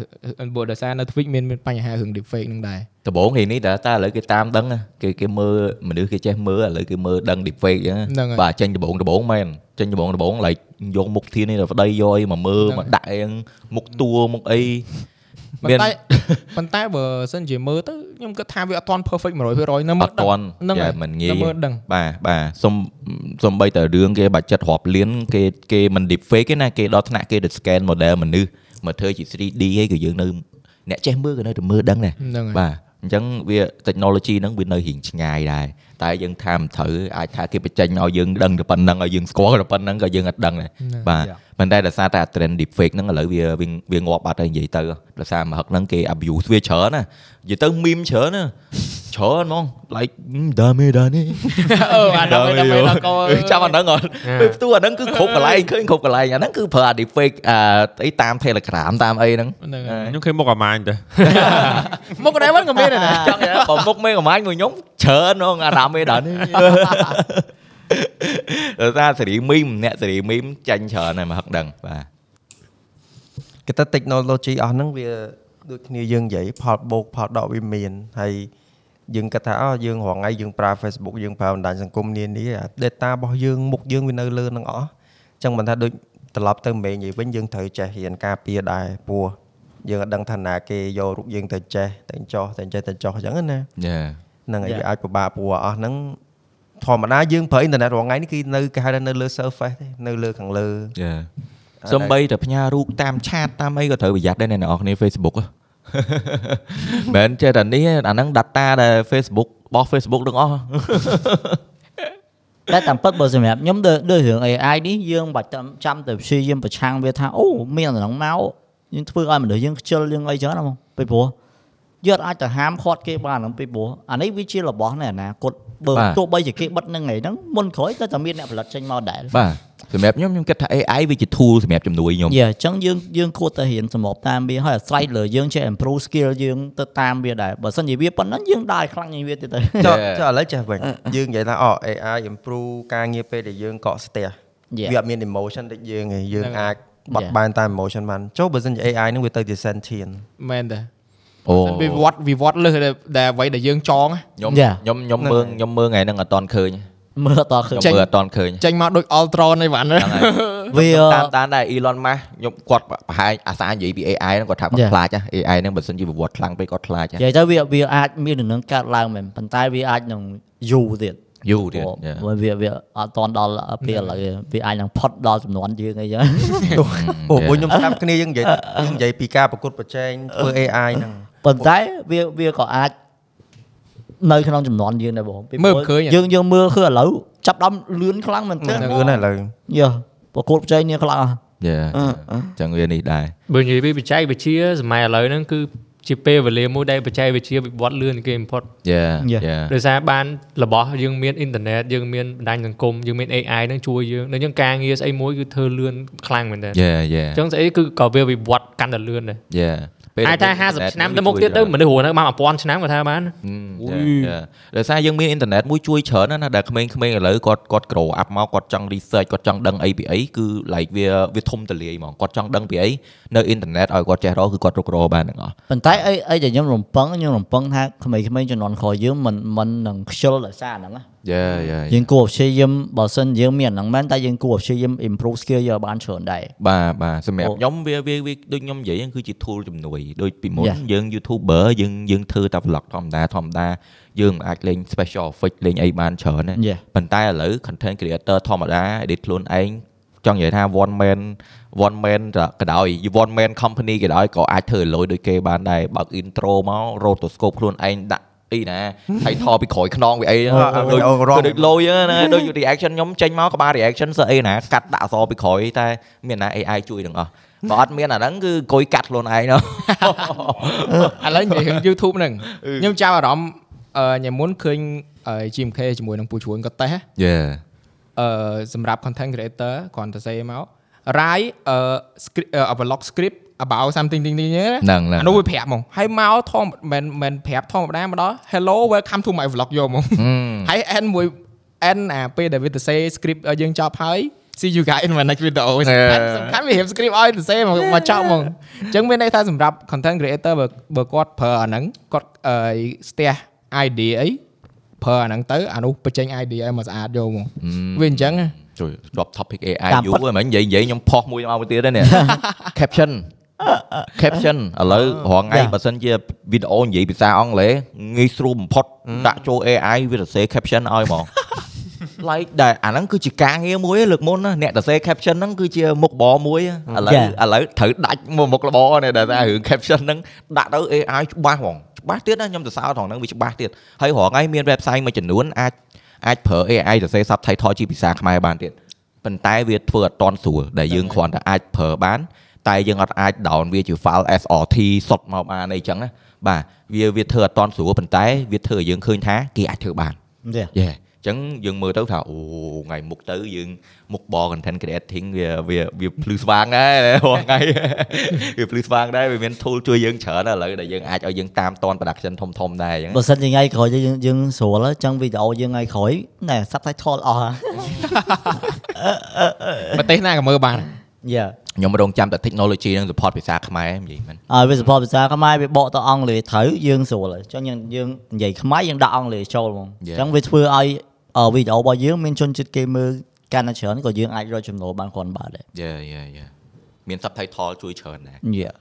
Speaker 2: ព្រោះដោយសារនៅ Twitch មានមានបញ្ហារឿង deepfake ហ្នឹងដែរ
Speaker 1: ដំបូងគេនេះតើតើឥឡូវគេតាមដឹងណាគេគេមើលមនុស្សគេចេះមើលឥឡូវគេមើលដឹង defect អញ្ចឹងណា
Speaker 2: ហ្នឹងហើយ
Speaker 1: បាទចេញដំបងដំបងមែនចេញដំបងដំបងឡែកយកមុខធាននេះទៅប្តីយកអីមកមើលម
Speaker 2: ហ្នឹង
Speaker 1: កដាក់អីហ្នឹងមុខតួមុខអី
Speaker 2: ប៉ុ
Speaker 1: មាន
Speaker 2: ន្តែ ប៉ុន្តែបើសិនជាមើលទៅខ្ញុំគិតថាវាអត់ទាន់ perfect 100%នៅមើល
Speaker 1: អត់ទាន់
Speaker 2: ដឹង
Speaker 1: យ៉ា
Speaker 2: ហ្នឹ
Speaker 1: មិនងាយ
Speaker 2: នៅមើលដឹង
Speaker 1: បាទបាទសុំសុំបីតើរឿងគេបាច់ចិត្តរាប់លានគេគេមិន deep fake ទេណាគេដល់ថ្នាក់គេទៅ scan model មនុស្សមកធ្វើជា 3D ហីក៏យើងនៅអ្នកចេះមើលក៏នៅតែមើលដឹងដែរ
Speaker 2: ហ្នឹងហើយ
Speaker 1: បាទអញ្ចឹងវា technology ហ្នឹងវានៅរៀងឆ្ងាយដែរតែយើងថាមិនត្រូវអាចថាគេបញ្ចេញឲ្យយើងដឹងតែប៉ុណ្្នឹងឲ្យយើងស្គាល់តែប៉ុណ្្នឹងក៏យើងអត់ដឹងដែរ បាទប៉ុន្តែដោយសារតែ trend deep fake ហ្នឹងឥឡូវវាវាវាងាប់បាត់ហើយនិយាយទៅដោយសារមហឹកហ្នឹងគេ abuse វាច្រើនណានិយាយទៅ meme ច្រើនណាច្រើនហ្មង like ដាមេដានេះ
Speaker 2: អឺអាដល់ដល់ដល់កោ
Speaker 1: ចាំអាហ្នឹងអត់ពេលផ្ទុះអាហ្នឹងគឺគ្រប់កន្លែងឃើញគ្រប់កន្លែងអាហ្នឹងគឺប្រើអា deep fake អាអីតាម Telegram តាមអីហ្នឹង
Speaker 2: ហ្នឹង
Speaker 3: ខ្ញុំឃើញមុខអាម៉ាញទៅ
Speaker 2: មកកណ្ដាលមិនក៏មានដែរណា
Speaker 1: ចង់បើមុខមេកំាញ់មួយខ្ញុំច្រើនហ្មងអាដាមេដានេះ ដោយសារសេរីមីមអ្នកសេរីមីមចាញ់ច្រើនហើយមកហឹកដឹងបាទ
Speaker 6: គេថា technology អស់ហ្នឹងវាដូចគ្នាយើងនិយាយផលបូកផលដកវាមានហើយយើងគិតថាអោះយើងរងថ្ងៃយើងប្រើ Facebook យើងប្រើបណ្ដាញសង្គមនានាអា data របស់យើងមុខយើងវានៅលើហ្នឹងអស់អញ្ចឹងមិនថាដូចត្រឡប់ទៅមេញនិយាយវិញយើងត្រូវចេះរៀនការពារដែរព្រោះយើងអត់ដឹងថាណាគេយករូបយើងទៅចេះទៅចោះទៅចេះទៅចោះអញ្ចឹង
Speaker 1: យេ
Speaker 6: ណាហ្នឹងហើយ
Speaker 5: Yeah.
Speaker 6: វាអាចពិបាកព្រោះអស់ហ្នឹងធម្មតាយើងប្រើអ៊ីនធឺណិតរាល់ថ្ងៃនេះគឺនៅគេហៅថានៅលើ surface ទេនៅលើខាងលើ
Speaker 1: យេសំបីតែផ្ញើរូបតាមឆាតតាមអីក៏ត្រូវប្រយ័ត្នដែរអ្នកនរអគ្នា Facebook ហ៎ មែនចេះតែនេះអាហ្នឹង data ដែល Facebook របស់ Facebook ទាំងអស់
Speaker 5: តែតាមពិតបើសម្រាប់ខ្ញុំដូចដូចរឿង AI នេះយើងមិនបាច់តាមចាំទៅព្យាយាមប្រឆាំងវាថាអូមានអាហ្នឹងមកយើងធ្វើឲ្យមនុស្សយើងខ្ជិលយើងអីចឹងណាបងពីព្រោះយើងអត់អាចទៅហាមឃាត់គេបានហ្នឹងពីព្រោះអានេះវាជារបស់នៃអនាគតបើ
Speaker 1: បាទ
Speaker 5: ទោះបីជាគេបិទហ្នឹងឯងហ្នឹងមុនក្រោយក៏តែមានអ្នកផលិតចេញមកដែរ
Speaker 1: បាទសម្រាប់ខ្ញុំខ្ញុំគិតថា AI វាជា tool សម្រាប់ជំនួយខ្ញុំ
Speaker 5: យ៉ាអញ្ចឹងយើងយើងគួរតែរៀនសម្របតាមវាហើយអាស្រ័យលើយើងចេះ improve skill យើងទៅតាមវាដែរបើមិនជាវាប៉ុណ្ណឹងយើងដើរខ្លាំងជាងវាទៀតទៅ
Speaker 6: ចុះ
Speaker 1: Yeah.
Speaker 6: ចុះឥឡូវចេះវិញយើងនិយាយថាអូ AI improve ការងារពេលដែលយើងកក់ស្ទះ
Speaker 5: Yeah.
Speaker 6: វាអត់មាន emotion ដូចយើងឯងយើង
Speaker 2: ហ្នឹងហើយ
Speaker 6: អាចបត់
Speaker 5: Yeah.
Speaker 6: បែនតាម emotion បានចុះបើសិនជា AI ហ្នឹងវាទៅជា sentient
Speaker 2: មែនតា
Speaker 1: អូ
Speaker 2: សិនវាវត្តវាវត្តលើសដែលដែលអ្វីដែលយើងចង់ណា
Speaker 1: ខ្ញុំ
Speaker 5: Yeah.
Speaker 1: ខ្ញុំខ្ញុំមើលខ្ញុំមើលថ្ងៃហ្នឹងអត់តន់ឃើញ
Speaker 5: មើលអត់តឃើញ
Speaker 1: ខ្ញុំមើលអត់តន់ឃើញ
Speaker 2: ចេញមកដូច Ultron អីវ៉ាន់
Speaker 1: ហ្នឹងហើយ
Speaker 5: វា
Speaker 1: តាមតាមដែរ Elon Musk ខ្ញុំគាត់ប្រហែលអាសានិយាយពី AI ហ្នឹងគាត់ថាគាត់
Speaker 5: Yeah.
Speaker 1: ខ្លាចណា AI ហ្នឹងបើសិនជាវិវត្តខ្លាំងពេកគាត់ខ្លាចណា
Speaker 5: និយាយទៅវាវាអាចមានដំណឹងកើតឡើងមែនប៉ុន្តែវាអាចនឹងយូរទៀត
Speaker 1: យូរទៀត
Speaker 5: ព្រោះ
Speaker 1: Yeah.
Speaker 5: ព្រោះវាវាអត់តន់ដល់ពេលឥឡូវទេវាអាចនឹងផុតដល់ចំនួនយើង អីចឹង
Speaker 6: អូមួយខ្ញុំស្ដាប់គ្នាយើងនិយាយយើងនិយាយពីការប្រកួតប្រជែងធ្វើ AI ហ្នឹង
Speaker 5: ប៉ុន្តែវាវាក៏អាចនៅក្នុងចំនួនយើងដែរបងពី
Speaker 2: មើលមិនឃើញហ៎
Speaker 5: យើងយើងមើលឃើញឥឡូវចាប់ផ្ដើមលឿនខ្លាំងមែនទែន
Speaker 6: ហ្នឹងលឿនហើយឥឡូវ
Speaker 5: យោប្រកួតប្រជែងគ្នាខ្លាំងអស់
Speaker 1: Yeah. អញ្ចឹងវានេះដែរ
Speaker 7: បើនិយាយពីបច្ចេកវិទ្យាសម័យឥឡូវហ្នឹងគឺជាពេលវេលាមួយដែលបច្ចេកវិទ្យាវិវត្តលឿនគេបំផុត
Speaker 1: Yeah.
Speaker 5: Yeah.
Speaker 1: Yeah.
Speaker 7: ដោយសារបានរបស់យើងមានអ៊ីនធឺណិតយើងមានបណ្ដាញសង្គមយើងមាន AI ហ្នឹងជួយយើងដូចយើងការងារស្អីមួយគឺធ្វើលឿនខ្លាំងមែនតើអ
Speaker 1: Yeah. Yeah.
Speaker 7: ញ្ចឹងស្អីគឺក៏វាវិវត្តកាន់តែលឿនដែរ
Speaker 1: Yeah.
Speaker 7: អាចថា50ឆ្នាំទៅមុខទៀតទៅមនុស្សរស់នៅបាន1000ឆ្នាំក៏ថាបាន
Speaker 1: អឺ yeah, yeah. ដោយសារយើងមានអ៊ីនធឺណិតមួយជួយច្រើនណាស់ណាដែលក្មេងៗឥឡូវគាត់គាត់ grow up មកគាត់ចង់ research គាត់ចង់ដឹងអីពីអីគឺ like វាវាធំទលាយហ្មងគាត់ចង់ដឹងពីអីនៅអ៊ីនធឺណិតឲ្យគាត់ចេះរកគឺគាត់រករកបានទាំងអស់
Speaker 5: ប៉ុន្តែអីអីដែលខ្ញុំរំពឹងខ្ញុំរំពឹងថាក្មេងៗចំនួនក្រោយយើងមិនមិននឹងខ្ជិលដោយសារហ្នឹងណា
Speaker 1: Yeah. Yeah.
Speaker 5: យើងគួរព្យាយាមបើសិនយើងមានអាហ្នឹងមែនតែយើងគួរព្យាយាម improve skill យើងឲ្យបានច្រើនដែរ
Speaker 1: បាទបាទសម្រាប់
Speaker 5: អូ
Speaker 1: ខ្ញុំវាវាវាដូចខ្ញុំនិយាយហ្នឹងគឺជា tool ជំនួយដូចពីមុន
Speaker 5: Yeah.
Speaker 1: យើង YouTuber យើងយើងធ្វើតែ vlog ធម្មតាធម្មតាយើងមិនអាចលេង special effect លេងអីបានច្រើនទេ
Speaker 5: Yeah.
Speaker 1: ប៉ុន្តែឥឡូវ content creator ធម្មតា edit ខ្លួនឯងចង់និយាយថា one man one man ក៏ដោយ one man company ក៏ដោយក៏អាចធ្វើឲ្យលយដូចគេបានដែរបើក intro មក rotoscope ខ្លួនឯងដាក់អី ណា title ពីក្រោយខ្នងវាអីហ្នឹង
Speaker 6: វីដេអូរំ
Speaker 1: ដូចលយហ្នឹងណាដូច reaction ខ្ញុំចេញមកក្បាល reaction សើអីណាកាត់ដាក់អសរពីក្រោយតែមានណា AI ជួយទាំងអស់បើអត់មានអាហ្នឹងគឺអង្គុយកាត់ខ្លួនឯងណោះ
Speaker 2: ឥឡូវនិយាយរឿង YouTube ហ្នឹងខ្ញុំចាប់អារម្មណ៍អឺញ៉ាំមុនឃើញអឺ GMK ជាមួយនឹងពូជួនក៏តេះ
Speaker 1: Yeah
Speaker 2: អឺសម្រាប់ content creator គ្រាន់តែសេមក write អឺ script អឺ a vlog script about something ទីនេះណា
Speaker 1: ហ្នឹងហ្នឹង
Speaker 2: អានោះវាប្រាប់ហ្មងហើយមកធម្មមិនមិនប្រាប់ធម្មតាមកដល់ hello welcome to my vlog យកហ្មង ហើយ end មួយ end អាពេលដែលវាទៅសេ script ឲ្យយើងចប់ហើយ see you guys in my next video សំខាន់សំខាន់វារៀប script ឲ្យទៅសេមកមកចប់ហ្មងអញ្ចឹងមានន័យថាសម្រាប់ content creator បើបើគាត់ប្រើអាហ្នឹងគាត់អឺស្ទះ idea អីប្រើអាហ្នឹងទៅអានោះបញ្ចេញ idea ឲ្យមកស្អាតយកហ្មង វាអញ្ចឹងហ៎
Speaker 1: ជួយ drop topic AI
Speaker 5: តាម
Speaker 1: យូ
Speaker 5: ពិ
Speaker 1: រ
Speaker 5: ត
Speaker 1: ហ្នឹងនិយាយនិយាយខ្ញុំផុសមួយមកមួយទៀត ហ្នឹង caption caption ឥឡូវរងថ្ងៃ
Speaker 5: Yeah.
Speaker 1: បើសិនជាវីដេអូនិយាយភាសាអង់គ្លេសងាយស្រួលបំផុតដាក់ចូល AI វាសរសេរ caption ឲ្យ ហ្មង like ដែលអាហ្នឹងគឺជាការងារមួយឯងលើកមុនណាអ្នកសរសេរ caption ហ្នឹងគឺជាមុខរបរមួយឯងឥឡូវ
Speaker 5: Yeah.
Speaker 1: ឥឡូវត្រូវដាច់មកមុខរបរនេះដែលថារឿង caption ហ្នឹងដាក់ទៅ AI ច្បាស់ហ្មងច្បាស់ទៀតណាខ្ញុំសរសើរត្រង់ហ្នឹងវាច្បាស់ទៀតហើយរហងៃមាន website មួយចំនួនអាចអាចប្រើ AI សរសេរ subtitle ជាភាសាខ្មែរបានទៀតប៉ុន្តែវាធ្វើអត់តន់ស្រួលដែលយើងគ្រាន់តែអាចប្រើបាន តែយើងអត់អាច down វាជា file SRT សុតមកបានអីចឹងណាបាទវាវាធ្វើអត់តន់ស្រួលប៉ុន្តែវាធ្វើឲ្យយើងឃើញថាគេអាចធ្វើបាន
Speaker 5: យេ
Speaker 1: Yeah. ចឹងយើងមើលទៅថាអូថ្ងៃមុខទៅយើងមុខបរ content creating វាវាវាភ្លឺស្វាងដែរ រាល់ថ្ងៃ វាភ្លឺស្វាងដែរវាមាន tool ជួយយើងច្រើនឥឡូវដែលយើងអាចឲ្យយើងតាមតន production ធំធំៗដែរចឹង
Speaker 5: បើសិនជាថ្ងៃក្រោយយើងយើងស្រួលហើយចឹងវីដេអូយើងថ្ងៃក្រោយណែ subtitle អស់ហ่ะ
Speaker 2: ប្រទេសណាក៏មើលបាន
Speaker 5: យ៉ា
Speaker 1: ខ្ញុំរងចាំតែ technology នឹង support ភាសាខ្មែរនិយាយមិន
Speaker 5: អើវាសពលភាសាខ្មែរវាបកទៅអង់គ្លេសត្រូវយើងស្រួលហើយចឹងយើងយើងនិយាយខ្មែរយើងដាក់អង់គ្លេសចូលហ្មងចឹងវាធ្វើឲ្យអឺវីដេអូរបស់យើងមានជនជាតិគេមើលកាន់តែច្រើនក៏យើងអាចរកចំណូលបានគ្រាន់បើដែរ
Speaker 1: យេយេយេមាន subtitle ជួយច្រើនដែរ
Speaker 5: យ៉ា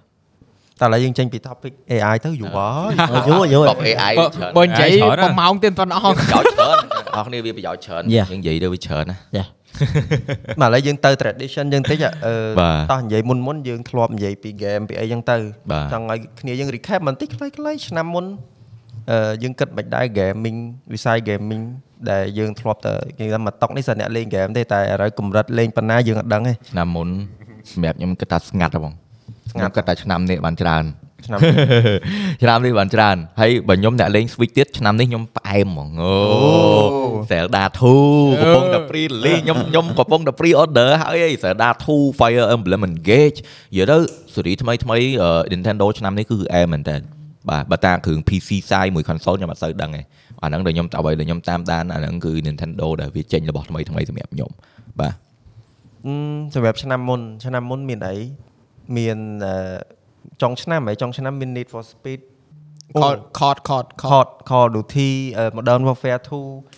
Speaker 6: តែឥឡូវយើងចេញពី topic AI ទៅយូរ ហើយ
Speaker 5: យូរ យូរ
Speaker 1: កប់ AI
Speaker 2: បើ
Speaker 1: ច្រើន
Speaker 2: បើ
Speaker 1: ប្រ
Speaker 2: និយាយ
Speaker 3: ច្រើនណាស់
Speaker 2: ប្រម៉ោងទៀតប៉ុណ្ណោះ
Speaker 1: យោជន៍ច្រើនអរគ្នាវាប្រយោជន៍ច្រើនយ
Speaker 5: Yeah.
Speaker 1: ើងនិយាយទៅវាច្រើនណា
Speaker 6: មកឥឡូវយើងទៅ tradition យើងតិច
Speaker 1: ប
Speaker 6: អឺ
Speaker 1: ាទ
Speaker 6: តោះនិយាយមុនមុនយើងធ្លាប់និយាយពី game ពីអីចឹងទៅ
Speaker 1: បាទ
Speaker 6: ចង់ឲ្យគ្នាយើង recap បន្តិចខ្លីៗឆ្នាំមុនអឺយើងគិតមិនដែរ gaming វិស័យ gaming ដែលយើងធ្លាប់ទៅគេថាមកតុកនេះសិនអ្នកលេង game ទេតែឥឡូវកម្រិតលេងប៉ុណ្ណាយើងអត់ដឹងទេ
Speaker 1: ឆ្នាំមុនសម្រាប់ខ្ញុំគិតថាស្ងាត់ហ៎បង
Speaker 6: ស្ងា
Speaker 1: ស្ងា
Speaker 6: ត់
Speaker 1: ត់គិតថាឆ្នាំនេះបានច្រើន
Speaker 6: ឆ្នាំ
Speaker 1: ឆ្នាំនេះបានច្រើនហើយបើខ្ញុំអ្នកលេង Switch ទៀតឆ្នាំនេះខ្ញុំផ្អែមហ្មងអូ Zelda 2កំពុងតែ pre release ខ្ញុំខ្ញុំកំពុងតែ pre order ហើយឯង Zelda 2 Fire Emblem Engage និយាយទៅស៊េរីថ្មីថ្មីអឺ Nintendo ឆ្នាំនេះគឺអែមមែនតើបាទបើតាគ្រឿង PC សាយមួយ console ខ្ញុំអត់សូវដឹងទេអាហ្នឹងដែលខ្ញុំអ្វីដែលខ្ញុំតាមដានអាហ្នឹងគឺ Nintendo ដែលវាចេញរបស់ថ្មីថ្មីសម្រាប់ខ្ញុំបាទ
Speaker 6: អឺសម្រាប់ឆ្នាំមុនឆ្នាំមុនមានអីមានអឺចុងឆ្នាំហើយចុងឆ្នាំមាន Need for Speed
Speaker 2: ខតខតខតខត
Speaker 6: Call Call of Duty អឺ Modern Warfare 2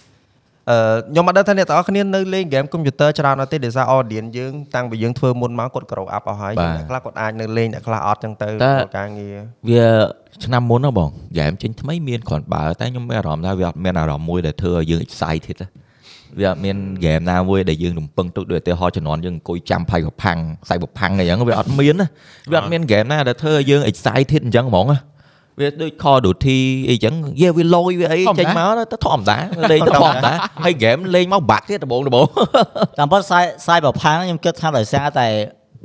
Speaker 6: អឺខ្ញុំអត់ដឹងថាអ្នកទាំងអស់គ្នានៅលេង game computer ច្រើនអត់ទេដោយសារ audience យើងតាំងពីយើងធ្វើមុនមកគាត់ grow up អស់ហើយ
Speaker 1: បាទ
Speaker 6: អ្នកខ្លះគាត់អាចនៅលេងអ្នកខ្លះអត់ចឹងទៅ
Speaker 1: តែ
Speaker 6: ក្នុងការងារ
Speaker 1: វាឆ្នាំមុនហ្នឹងបងយ៉ែមចេញថ្មីមានគ្រាន់បើតែខ្ញុំមានអារម្មណ៍ថាវាអត់មានអារម្មណ៍មួយដែលធ្វើឲ្យយើង excited ទេវាអត់មានហ្គេមណាមួយដែលយើងរំពឹងទុកដូចឧទាហរណ៍ជំនាន់យើងអង្គុយចាំផៃកផាំងសៃបផាំងអីចឹងវាអត់មានណាវាអត់មានហ្គេមណាដែលធ្វើឲ្យយើង excited អញ្ចឹងហ្មងណាវាដូច Call of Duty អីចឹងយេវាលយវាអី
Speaker 2: ធម្មតា
Speaker 1: ចេញមកទៅធម្មតាលេងទៅធម្មតាហើយហ្គេមលេងមកបាក់ទៀតដបងដបង
Speaker 5: តាមពិតសាយសាយប្រផាំងខ្ញុំគិតថាដោយសារតែ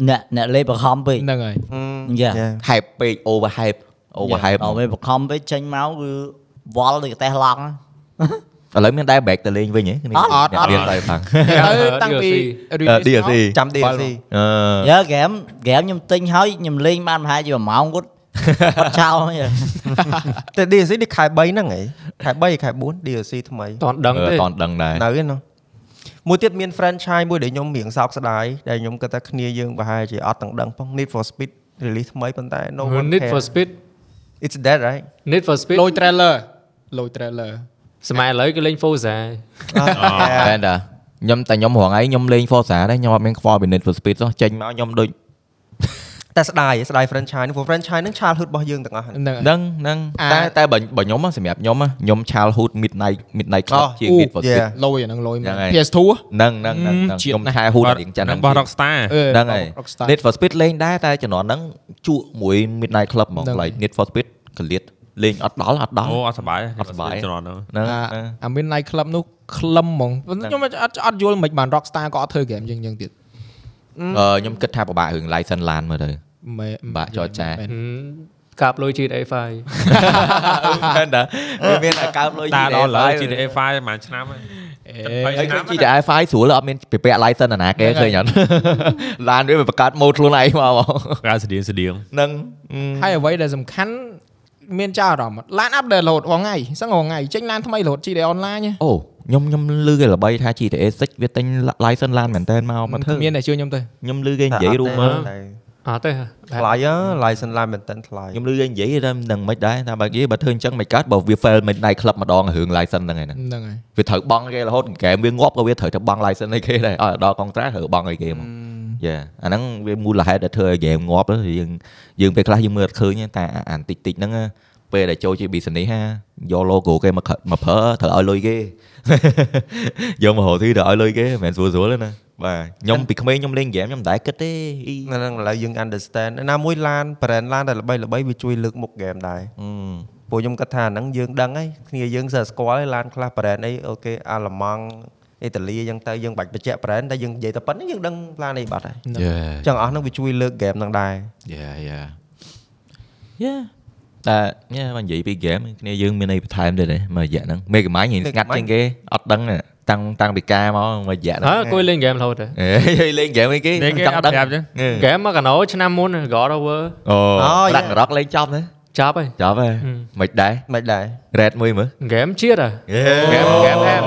Speaker 5: អ្នកអ្នកលេបបង្ខំពេក
Speaker 2: ហ្នឹងហើយ
Speaker 5: Yeah
Speaker 6: Yeah
Speaker 1: hype ពេក over hype over hype
Speaker 5: ដល់ពេលបង្ខំពេកចេញមកគឺវល់ដូចកទេសឡង់
Speaker 1: ឥឡូវមានដែរ break ទៅលេងវិញហ៎គ្នា
Speaker 5: អត់អត់
Speaker 1: មានតែផាំង
Speaker 2: ទៅតាំងពី release មក
Speaker 1: DLC
Speaker 6: ចាំ DLC
Speaker 1: អឺ
Speaker 5: យើហ្គេមហ្គេមខ្ញុំទិញហើយខ្ញុំលេងបានប្រហែលជា1ម៉ោងគាត់ គាត់ចោលហើយ
Speaker 6: តែ DLC នេះខែ3ហ្នឹងហីខែ3ខែ4 DLC ថ្មី
Speaker 7: តន់ដឹងទេ
Speaker 1: អត់ដឹងដែរ
Speaker 6: នៅឯណោះមួយទៀតមាន franchise មួយដែលខ្ញុំរៀងសោកស្ដាយដែលខ្ញុំគិតថាគ្នាយើងប្រហែលជាអត់ទាំងដឹងផង Need for Speed release ថ្មីប៉ុន្តែ no one
Speaker 7: Need
Speaker 6: care.
Speaker 7: for Speed
Speaker 6: it's dead right
Speaker 7: Need for Speed
Speaker 2: លុយ trailer លុយ trailer
Speaker 7: សម័យឥឡូវគេលេង Forza
Speaker 1: តែតាខ្ញុំតែខ្ញុំរងឯងខ្ញុំលេង Forza ដែរខ្ញុំអត់មានខ្វល់ពី Need for Speed សោះចេញមកខ្ញុំដូច
Speaker 6: តែស្ដាយស្ដាយ franchise ហ្នឹងព្រោះ franchise ហ្នឹង childhood របស់យើងទាំងអស់ហ្នឹង
Speaker 1: ហ្នឹ
Speaker 2: ហ្នឹងហើយ
Speaker 1: ងហ្នឹង
Speaker 2: អា
Speaker 1: តែតែបើបើខ្ញុំហ៎សម្រាប់ខ្ញុំហ៎ខ្ញុំ Childhood Midnight Midnight Club
Speaker 6: អូ
Speaker 1: ជាង
Speaker 6: អូ
Speaker 1: Need for Speed
Speaker 6: yeah
Speaker 2: លុយអាហ្នឹងលុយមែ
Speaker 1: ហ្នឹង
Speaker 2: ន
Speaker 1: ហើយ
Speaker 2: PS2
Speaker 1: ហ្នឹងហ្នឹងហ្នឹងហ្នឹង
Speaker 2: ជាតិ
Speaker 1: ខ្ញុំ
Speaker 2: ណាស់
Speaker 1: ឆែហូត
Speaker 3: បាទ
Speaker 1: រៀងចា
Speaker 3: ហ្នឹ
Speaker 1: ហ្នឹង ង
Speaker 3: របស់ Rockstar
Speaker 1: ហ្នឹងហើយ
Speaker 2: Rockstar
Speaker 1: Need for Speed លេងដែរតែជំនាន់ហ្នឹងជក់មួយ Midnight Club ហ្មង
Speaker 2: ហ្នឹង
Speaker 1: like Need for Speed កលៀតលេងអត់ដល់អត់ដល់
Speaker 3: អូអត់សុបាយ
Speaker 1: អត់សប្បាយ
Speaker 3: ជំនាន់ហ្នឹង
Speaker 1: ហ្នឹង
Speaker 2: អា
Speaker 1: ហ្នឹង
Speaker 2: អាមាន night club នោះក្លឹមហ្មងប៉ុន្តែ
Speaker 1: ហ្នឹង
Speaker 2: ខ្ញុំអត់អត់យល់មិនបាន Rockstar ក៏អត់ធ្វើ game យើងយើងទៀត
Speaker 1: អឺខ្ញុំគិតថាពិបាករឿង license ឡានមើលទៅ
Speaker 2: មែន
Speaker 1: បាក់ចរចា
Speaker 2: មែន
Speaker 7: កាប់លុយ GTA 5
Speaker 1: មែនតាវាមានអាកើបលុយ
Speaker 3: តាដល់ឥឡូវ
Speaker 1: GTA
Speaker 3: GTA 5ប្រហែលឆ្នាំហើយ
Speaker 1: ហើយ
Speaker 3: 7ឆ្នាំ
Speaker 1: ឃើញ GTI 5ស្រួលអត់មានពាក់ license អាណាគេឃើញ អត់ ឡានវាបង្កើតម៉ូដខ្លួនឯងមកបង
Speaker 3: កាស្ដៀងស្ដៀង
Speaker 1: ហ្នឹង
Speaker 2: ហើយអ្វីដែលសំខាន់មានចារអារម្មណ៍ឡានអាប់ដែលរហូតរងថ្ងៃសឹងរងថ្ងៃចេញឡានថ្មីរហូតជីដែរអនឡាញ
Speaker 1: អូខ្ញុំខ្ញុំលឺគេល្បីថា GTA 6វាទិញ license ឡានមែនតើមកមកធ្វើ
Speaker 2: មានតែជួយខ្ញុំទៅ
Speaker 1: ខ្ញុំលឺគេនិយាយ rumor
Speaker 6: តែ
Speaker 7: អត់ទេ
Speaker 6: ថ្លៃអើ license ឡានមែនតើថ្លៃ
Speaker 1: ខ្ញុំលឺគេនិយាយតែមិនដឹងមិនដែរថាបើគេបើធ្វើអញ្ចឹងមិនកើតបើវា fail មិនដៃ club ម្ដងរឿង license ហ្នឹងឯណា
Speaker 2: ហ្នឹងហើយ
Speaker 1: វាត្រូវបង់គេរហូតហ្គេមវាងាប់ក៏វាត្រូវតែបង់ license ឲ្យគេដែរឲ្យដល់ contract ត្រូវបង់ឲ្យគេហ្មកយ៉ាអាហ្នឹងវាមូលហេតុដែលធ្វើឲ្យ game ងាប់ហ្នឹងយើងយើងពេលខ្លះយើងមើលអត់ឃើញទេតែអាអានតិចតិចហ្នឹងណាពេលដែលចូលជា business ហាយក logo គេមកខមកប្រើត្រូវឲ្យលុយគេ យកមករហូតទីត្រូវឲ្យលុយគេមិនមែនស្រួលស្រួលទេណាបាទខ្ញុំពីក្មេងខ្ញុំលេង game ខ្ញុំមិនដែរគិតទេអ៊ី
Speaker 6: នៅហ្នឹងឥឡូវយើង understand ណាមួយឡាន brand ឡានដែលល្បីល្បីវាជួយលើកមុខ game ដែរ
Speaker 1: អឺ
Speaker 6: ពួកខ្ញុំគិតថាអាហ្នឹងយើងដឹងហើយគ្នាយើងសើស្គាល់ហើយឡានខ្លះ brand អីអូខេអាល្លឺម៉ង់អ៊ីតាលីអញ្ចឹងទៅយើងបាច់បញ្ជាក់ brand តែយើងនិយាយតែប៉ុណ្្នឹងយើងដឹងឡាននេះបាត់ហើយ
Speaker 1: យ៉ា
Speaker 6: អញ្ចឹងអស់ហ្នឹងវាជួយលើក game ហ្នឹងដែរ
Speaker 1: យ៉ាយ៉ាយ៉ា តែញ៉ែបើនិយាយពីហ្គេមគ្នាយើងមានអីបន្ថែមទៀតទេមើលរយៈហ្នឹងមេកាម៉ាញញ៉ាំស្ងាត់
Speaker 6: Mega Mind
Speaker 1: ជាងគេអត់ដឹងទេតាំងតាំងពីការមកមើលរយៈហ្នឹង
Speaker 7: ហើ គួយលេងហ្គេមរហូតទៅ
Speaker 1: អេលេងហ្គេមអីគេ
Speaker 3: លេងគេ
Speaker 1: ចង់ដឹង
Speaker 3: អត់ប្រាប់ទេ
Speaker 1: ហេ
Speaker 7: ហ្គេមមកកណោឆ្នាំមុន God of War
Speaker 1: អូ
Speaker 6: អូ
Speaker 1: ដាក់ rock លេងចប់ណា
Speaker 7: ចាប់ហើយ
Speaker 1: ចប់ហើយ
Speaker 7: ហឹម
Speaker 1: មិនដែរ
Speaker 6: មិនដែរ
Speaker 1: red មួយមើល
Speaker 7: ហ្គេមជាតិហ៎
Speaker 1: game game ហែម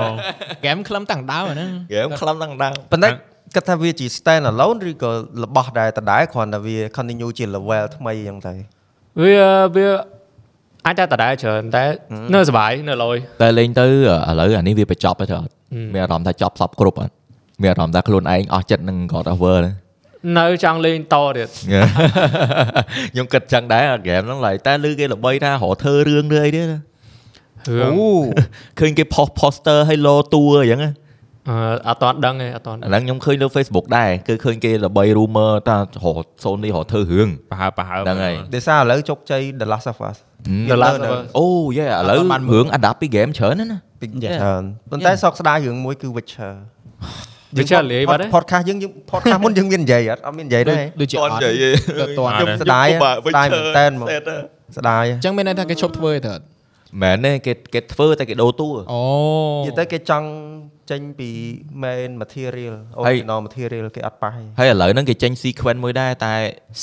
Speaker 2: ហ្គេមខ្លឹមតាំងដើមអាហ្នឹង
Speaker 1: game ខ្លឹមដល់ដល់
Speaker 6: ប៉ុន្តែគាត់ថាវាជា stand alone ឬក៏របស់ដែលដដែលគ្រាន់តែវា continue ជា level ថ្មីអញ្ចឹងទៅ
Speaker 7: វាវាអាចតែដដែលច្រើនតែនៅសុបាយនៅលយ
Speaker 1: តែលេងទៅឥឡូវអានេះវាបញ្ចប់ហើយទៅអត់
Speaker 7: ហឹម
Speaker 1: មានអារម្មណ៍ថាចប់សពគ្រប់អត់មានអារម្មណ៍ថាខ្លួនឯងអស់ចិត្តនឹង God of War ហ្នឹង
Speaker 7: នៅចង់លេងតទៀ ត
Speaker 1: ខ្ញុំគិតចឹងដែរអា game ហ្នឹងឡើយតែលឺគេល្បីថារកធ្វើរឿងឬអីទេណា
Speaker 7: រឿង
Speaker 1: ឃើញគេ post poster ឲ្យលោតួអញ្ចឹងណា
Speaker 7: អឺអត់តន់ដឹងទេអត់តន់
Speaker 1: អាហ្នឹងខ្ញុំឃើញលើ Facebook ដែរគឺឃើញគេល្បី rumor ថារក Sony រកធ្វើរឿង
Speaker 3: ប្រហើប្រហើ
Speaker 1: ហ្នឹងហើយ
Speaker 6: ដោយសារឥឡូវជោគជ័យ The Last of Us
Speaker 7: ដុល្លារ
Speaker 6: នៅ
Speaker 1: អូយេឥឡូវ
Speaker 2: អត់បានមើល
Speaker 1: រឿង adapt ពី game ច្រើនណាស់ណា
Speaker 6: ពី
Speaker 5: Dạ.
Speaker 6: ច្រើនប៉ុន្តែសោកស្ដាយរឿងមួយគឺ Witcher
Speaker 7: វាចាលាយបាត់ទេ
Speaker 6: podcast យើងយើង podcast មុនយើងមាននិយាយអត់អត់មាននិយាយទេ
Speaker 2: ដូចជាអត់ដូចតន់
Speaker 6: ខ្ញុំស្ដាយស្ដាយមែនតើមកស្ដាយ
Speaker 2: អញ្ចឹងមានន័យថាគេឈប់ធ្វើទេ
Speaker 1: មែនទេគេគេធ្វើតែគេដូរតួ
Speaker 2: អូ
Speaker 6: និយាយទៅគេចង់ចេញពី main material
Speaker 1: ហើយ
Speaker 6: original material គេអត់ប៉ះទេ
Speaker 1: ហើយឥឡូវហ្នឹងគេចេញ sequence មួយដែរតែ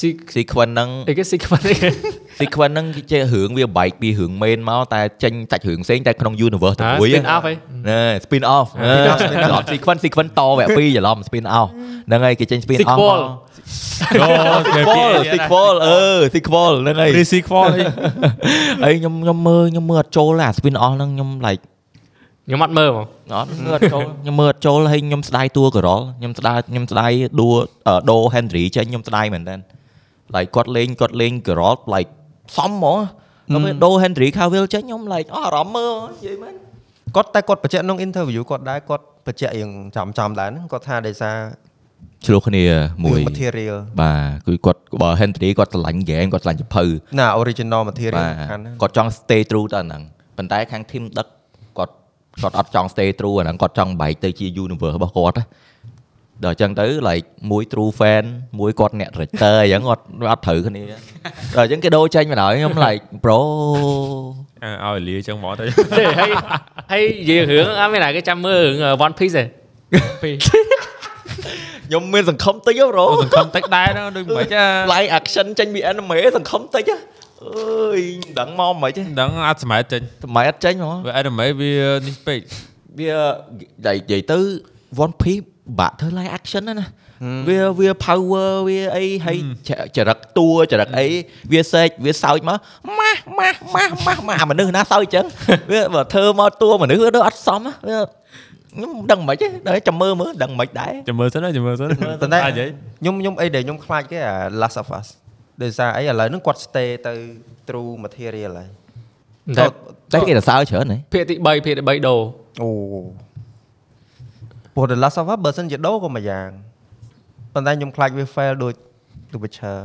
Speaker 7: ស៊ី
Speaker 1: sequence ហ្នឹង
Speaker 7: អីគេស៊ីខ្វា ត់អីគេ
Speaker 1: sequence ហ្នឹងគេចេះរឿងវាបែកពីរឿង main មកតែចេញដាច់រឿងផ្សេងតែក្នុង universe តែ
Speaker 7: អា
Speaker 1: មួយ
Speaker 7: spin off ហី
Speaker 1: ណែ spin off អឺ sequence sequence តវគ្គពីរច្រឡំ spin off ហ្នឹងហើយគេចេញ spin off មក
Speaker 7: Sequel
Speaker 3: អូ
Speaker 1: sequel
Speaker 3: គេពី
Speaker 1: sequel អឺ sequel ហ្នឹងហើយ
Speaker 3: រីស៊ីខ្វល់ អី
Speaker 1: ហើយខ្ញុំខ្ញុំមើលខ្ញុំមើលអត់ចូលទេអា spin off ហ្នឹងខ្ញុំ like
Speaker 7: ខ្ញុំអត់មើលហ្មង
Speaker 1: អត់មើលអត់ចូល ខ្ញុំមើលអត់ចូលហើយខ្ញុំស្ដាយតួករ៉លខ្ញុំស្ដាយខ្ញុំស្ដាយដួអឺដូ Henry ចេញខ្ញុំស្ដាយមែនតើ like គាត់លេងគាត់លេងករ៉ល like សមហ្មងដល់ពេលដូ Henry Cavill ចេញខ្ញុំ like អស់អារម្មណ៍មើលនិយាយមែន
Speaker 6: គាត់តែគាត់បញ្ជាក់ក្នុង interview គាត់ដែរគាត់បញ្ជាក់រឿងចំចំៗដែរហ្នឹងគាត់ថាដោយសារ
Speaker 1: ឆ្លោះគ្នាមួយ
Speaker 6: រឿង material
Speaker 1: បាទគឺគាត់បើ Henry គាត់ឆ្លាញ់ game គាត់ឆ្លាញ់ចភៅ
Speaker 6: ណា original material
Speaker 1: បាទ
Speaker 6: សំខាន់ណាស់
Speaker 1: គាត់ចង់ stay true ទៅអាហ្នឹងប៉ុន្តែខាង team ដឹកគាត់គាត់អត់ចង់ stay true អាហ្នឹងគាត់ចង់បែកទៅជា universe របស់គាត់ណាដល់អញ្ចឹងទៅ like មួយ true fan មួយគាត់អ្នក director អញ្ចឹងគាត់អត់ត្រូវគ្នាដល់អញ្ចឹងគេដូរចេញមកហើយខ្ញុំ like bro
Speaker 3: អើឲ្យលាចឹងមកទៅ
Speaker 7: ទេហើយហើយនិយាយរឿងអត់មានណាគេចាំមើលរឿង ờ, One Piece ទេ
Speaker 1: ខ្ញុំមានសង្ឃឹមតិចហ៎ bro
Speaker 3: អូសង្ឃឹមតិចដែរហ្នឹងដូចមិនខ្មិចអា
Speaker 1: like action ចេញពី anime សង្ឃឹមតិចហ៎អើយមិនដឹងមកមិនទេ
Speaker 3: ដឹងអត់សម័យចេញ
Speaker 1: ថ្មអត់ចេញហ្មង
Speaker 3: វាអេមីវានេះពេក
Speaker 1: វាតែនិយាយទៅ One Piece បាក់ធ្វើ live action ណាស់ណាវាវា power វាអីហើយចចរិតតួចរិតអីវាសែកវាសើចមកម៉ាស់ម៉ាស់ម៉ាស់ម៉ាស់ម៉ាស់អាមនុស្សណាសើចអញ្ចឹង វាបើធ្វើមកតួមនុស្សវាដូចអត់សមណាវាខ្ញុំមិនដឹងមិនទេដល់ចាំមើលមើលដឹងមិនដែរ
Speaker 3: ចាំមើលសិនណាចាំមើលសិន
Speaker 6: ប៉ុន្តែ
Speaker 3: អាចហី
Speaker 6: ខ្ញុំខ្ញុំអីដែលខ្ញុំខ្លាចគេអា Last of Us ដោយសារអីឥឡូវហ្នឹងគាត់ stay ទៅ true material ហើយ
Speaker 7: តែ
Speaker 1: តែគេទៅសើចច្រើនហ៎
Speaker 7: ភាគទី3ភាគទី3ដូរ
Speaker 6: អូព្រោះ The Last of Us បើសិនជាដូរក៏មួយយ៉ាងប៉ុន្តែខ្ញុំខ្លាចវា fail ដូច The Witcher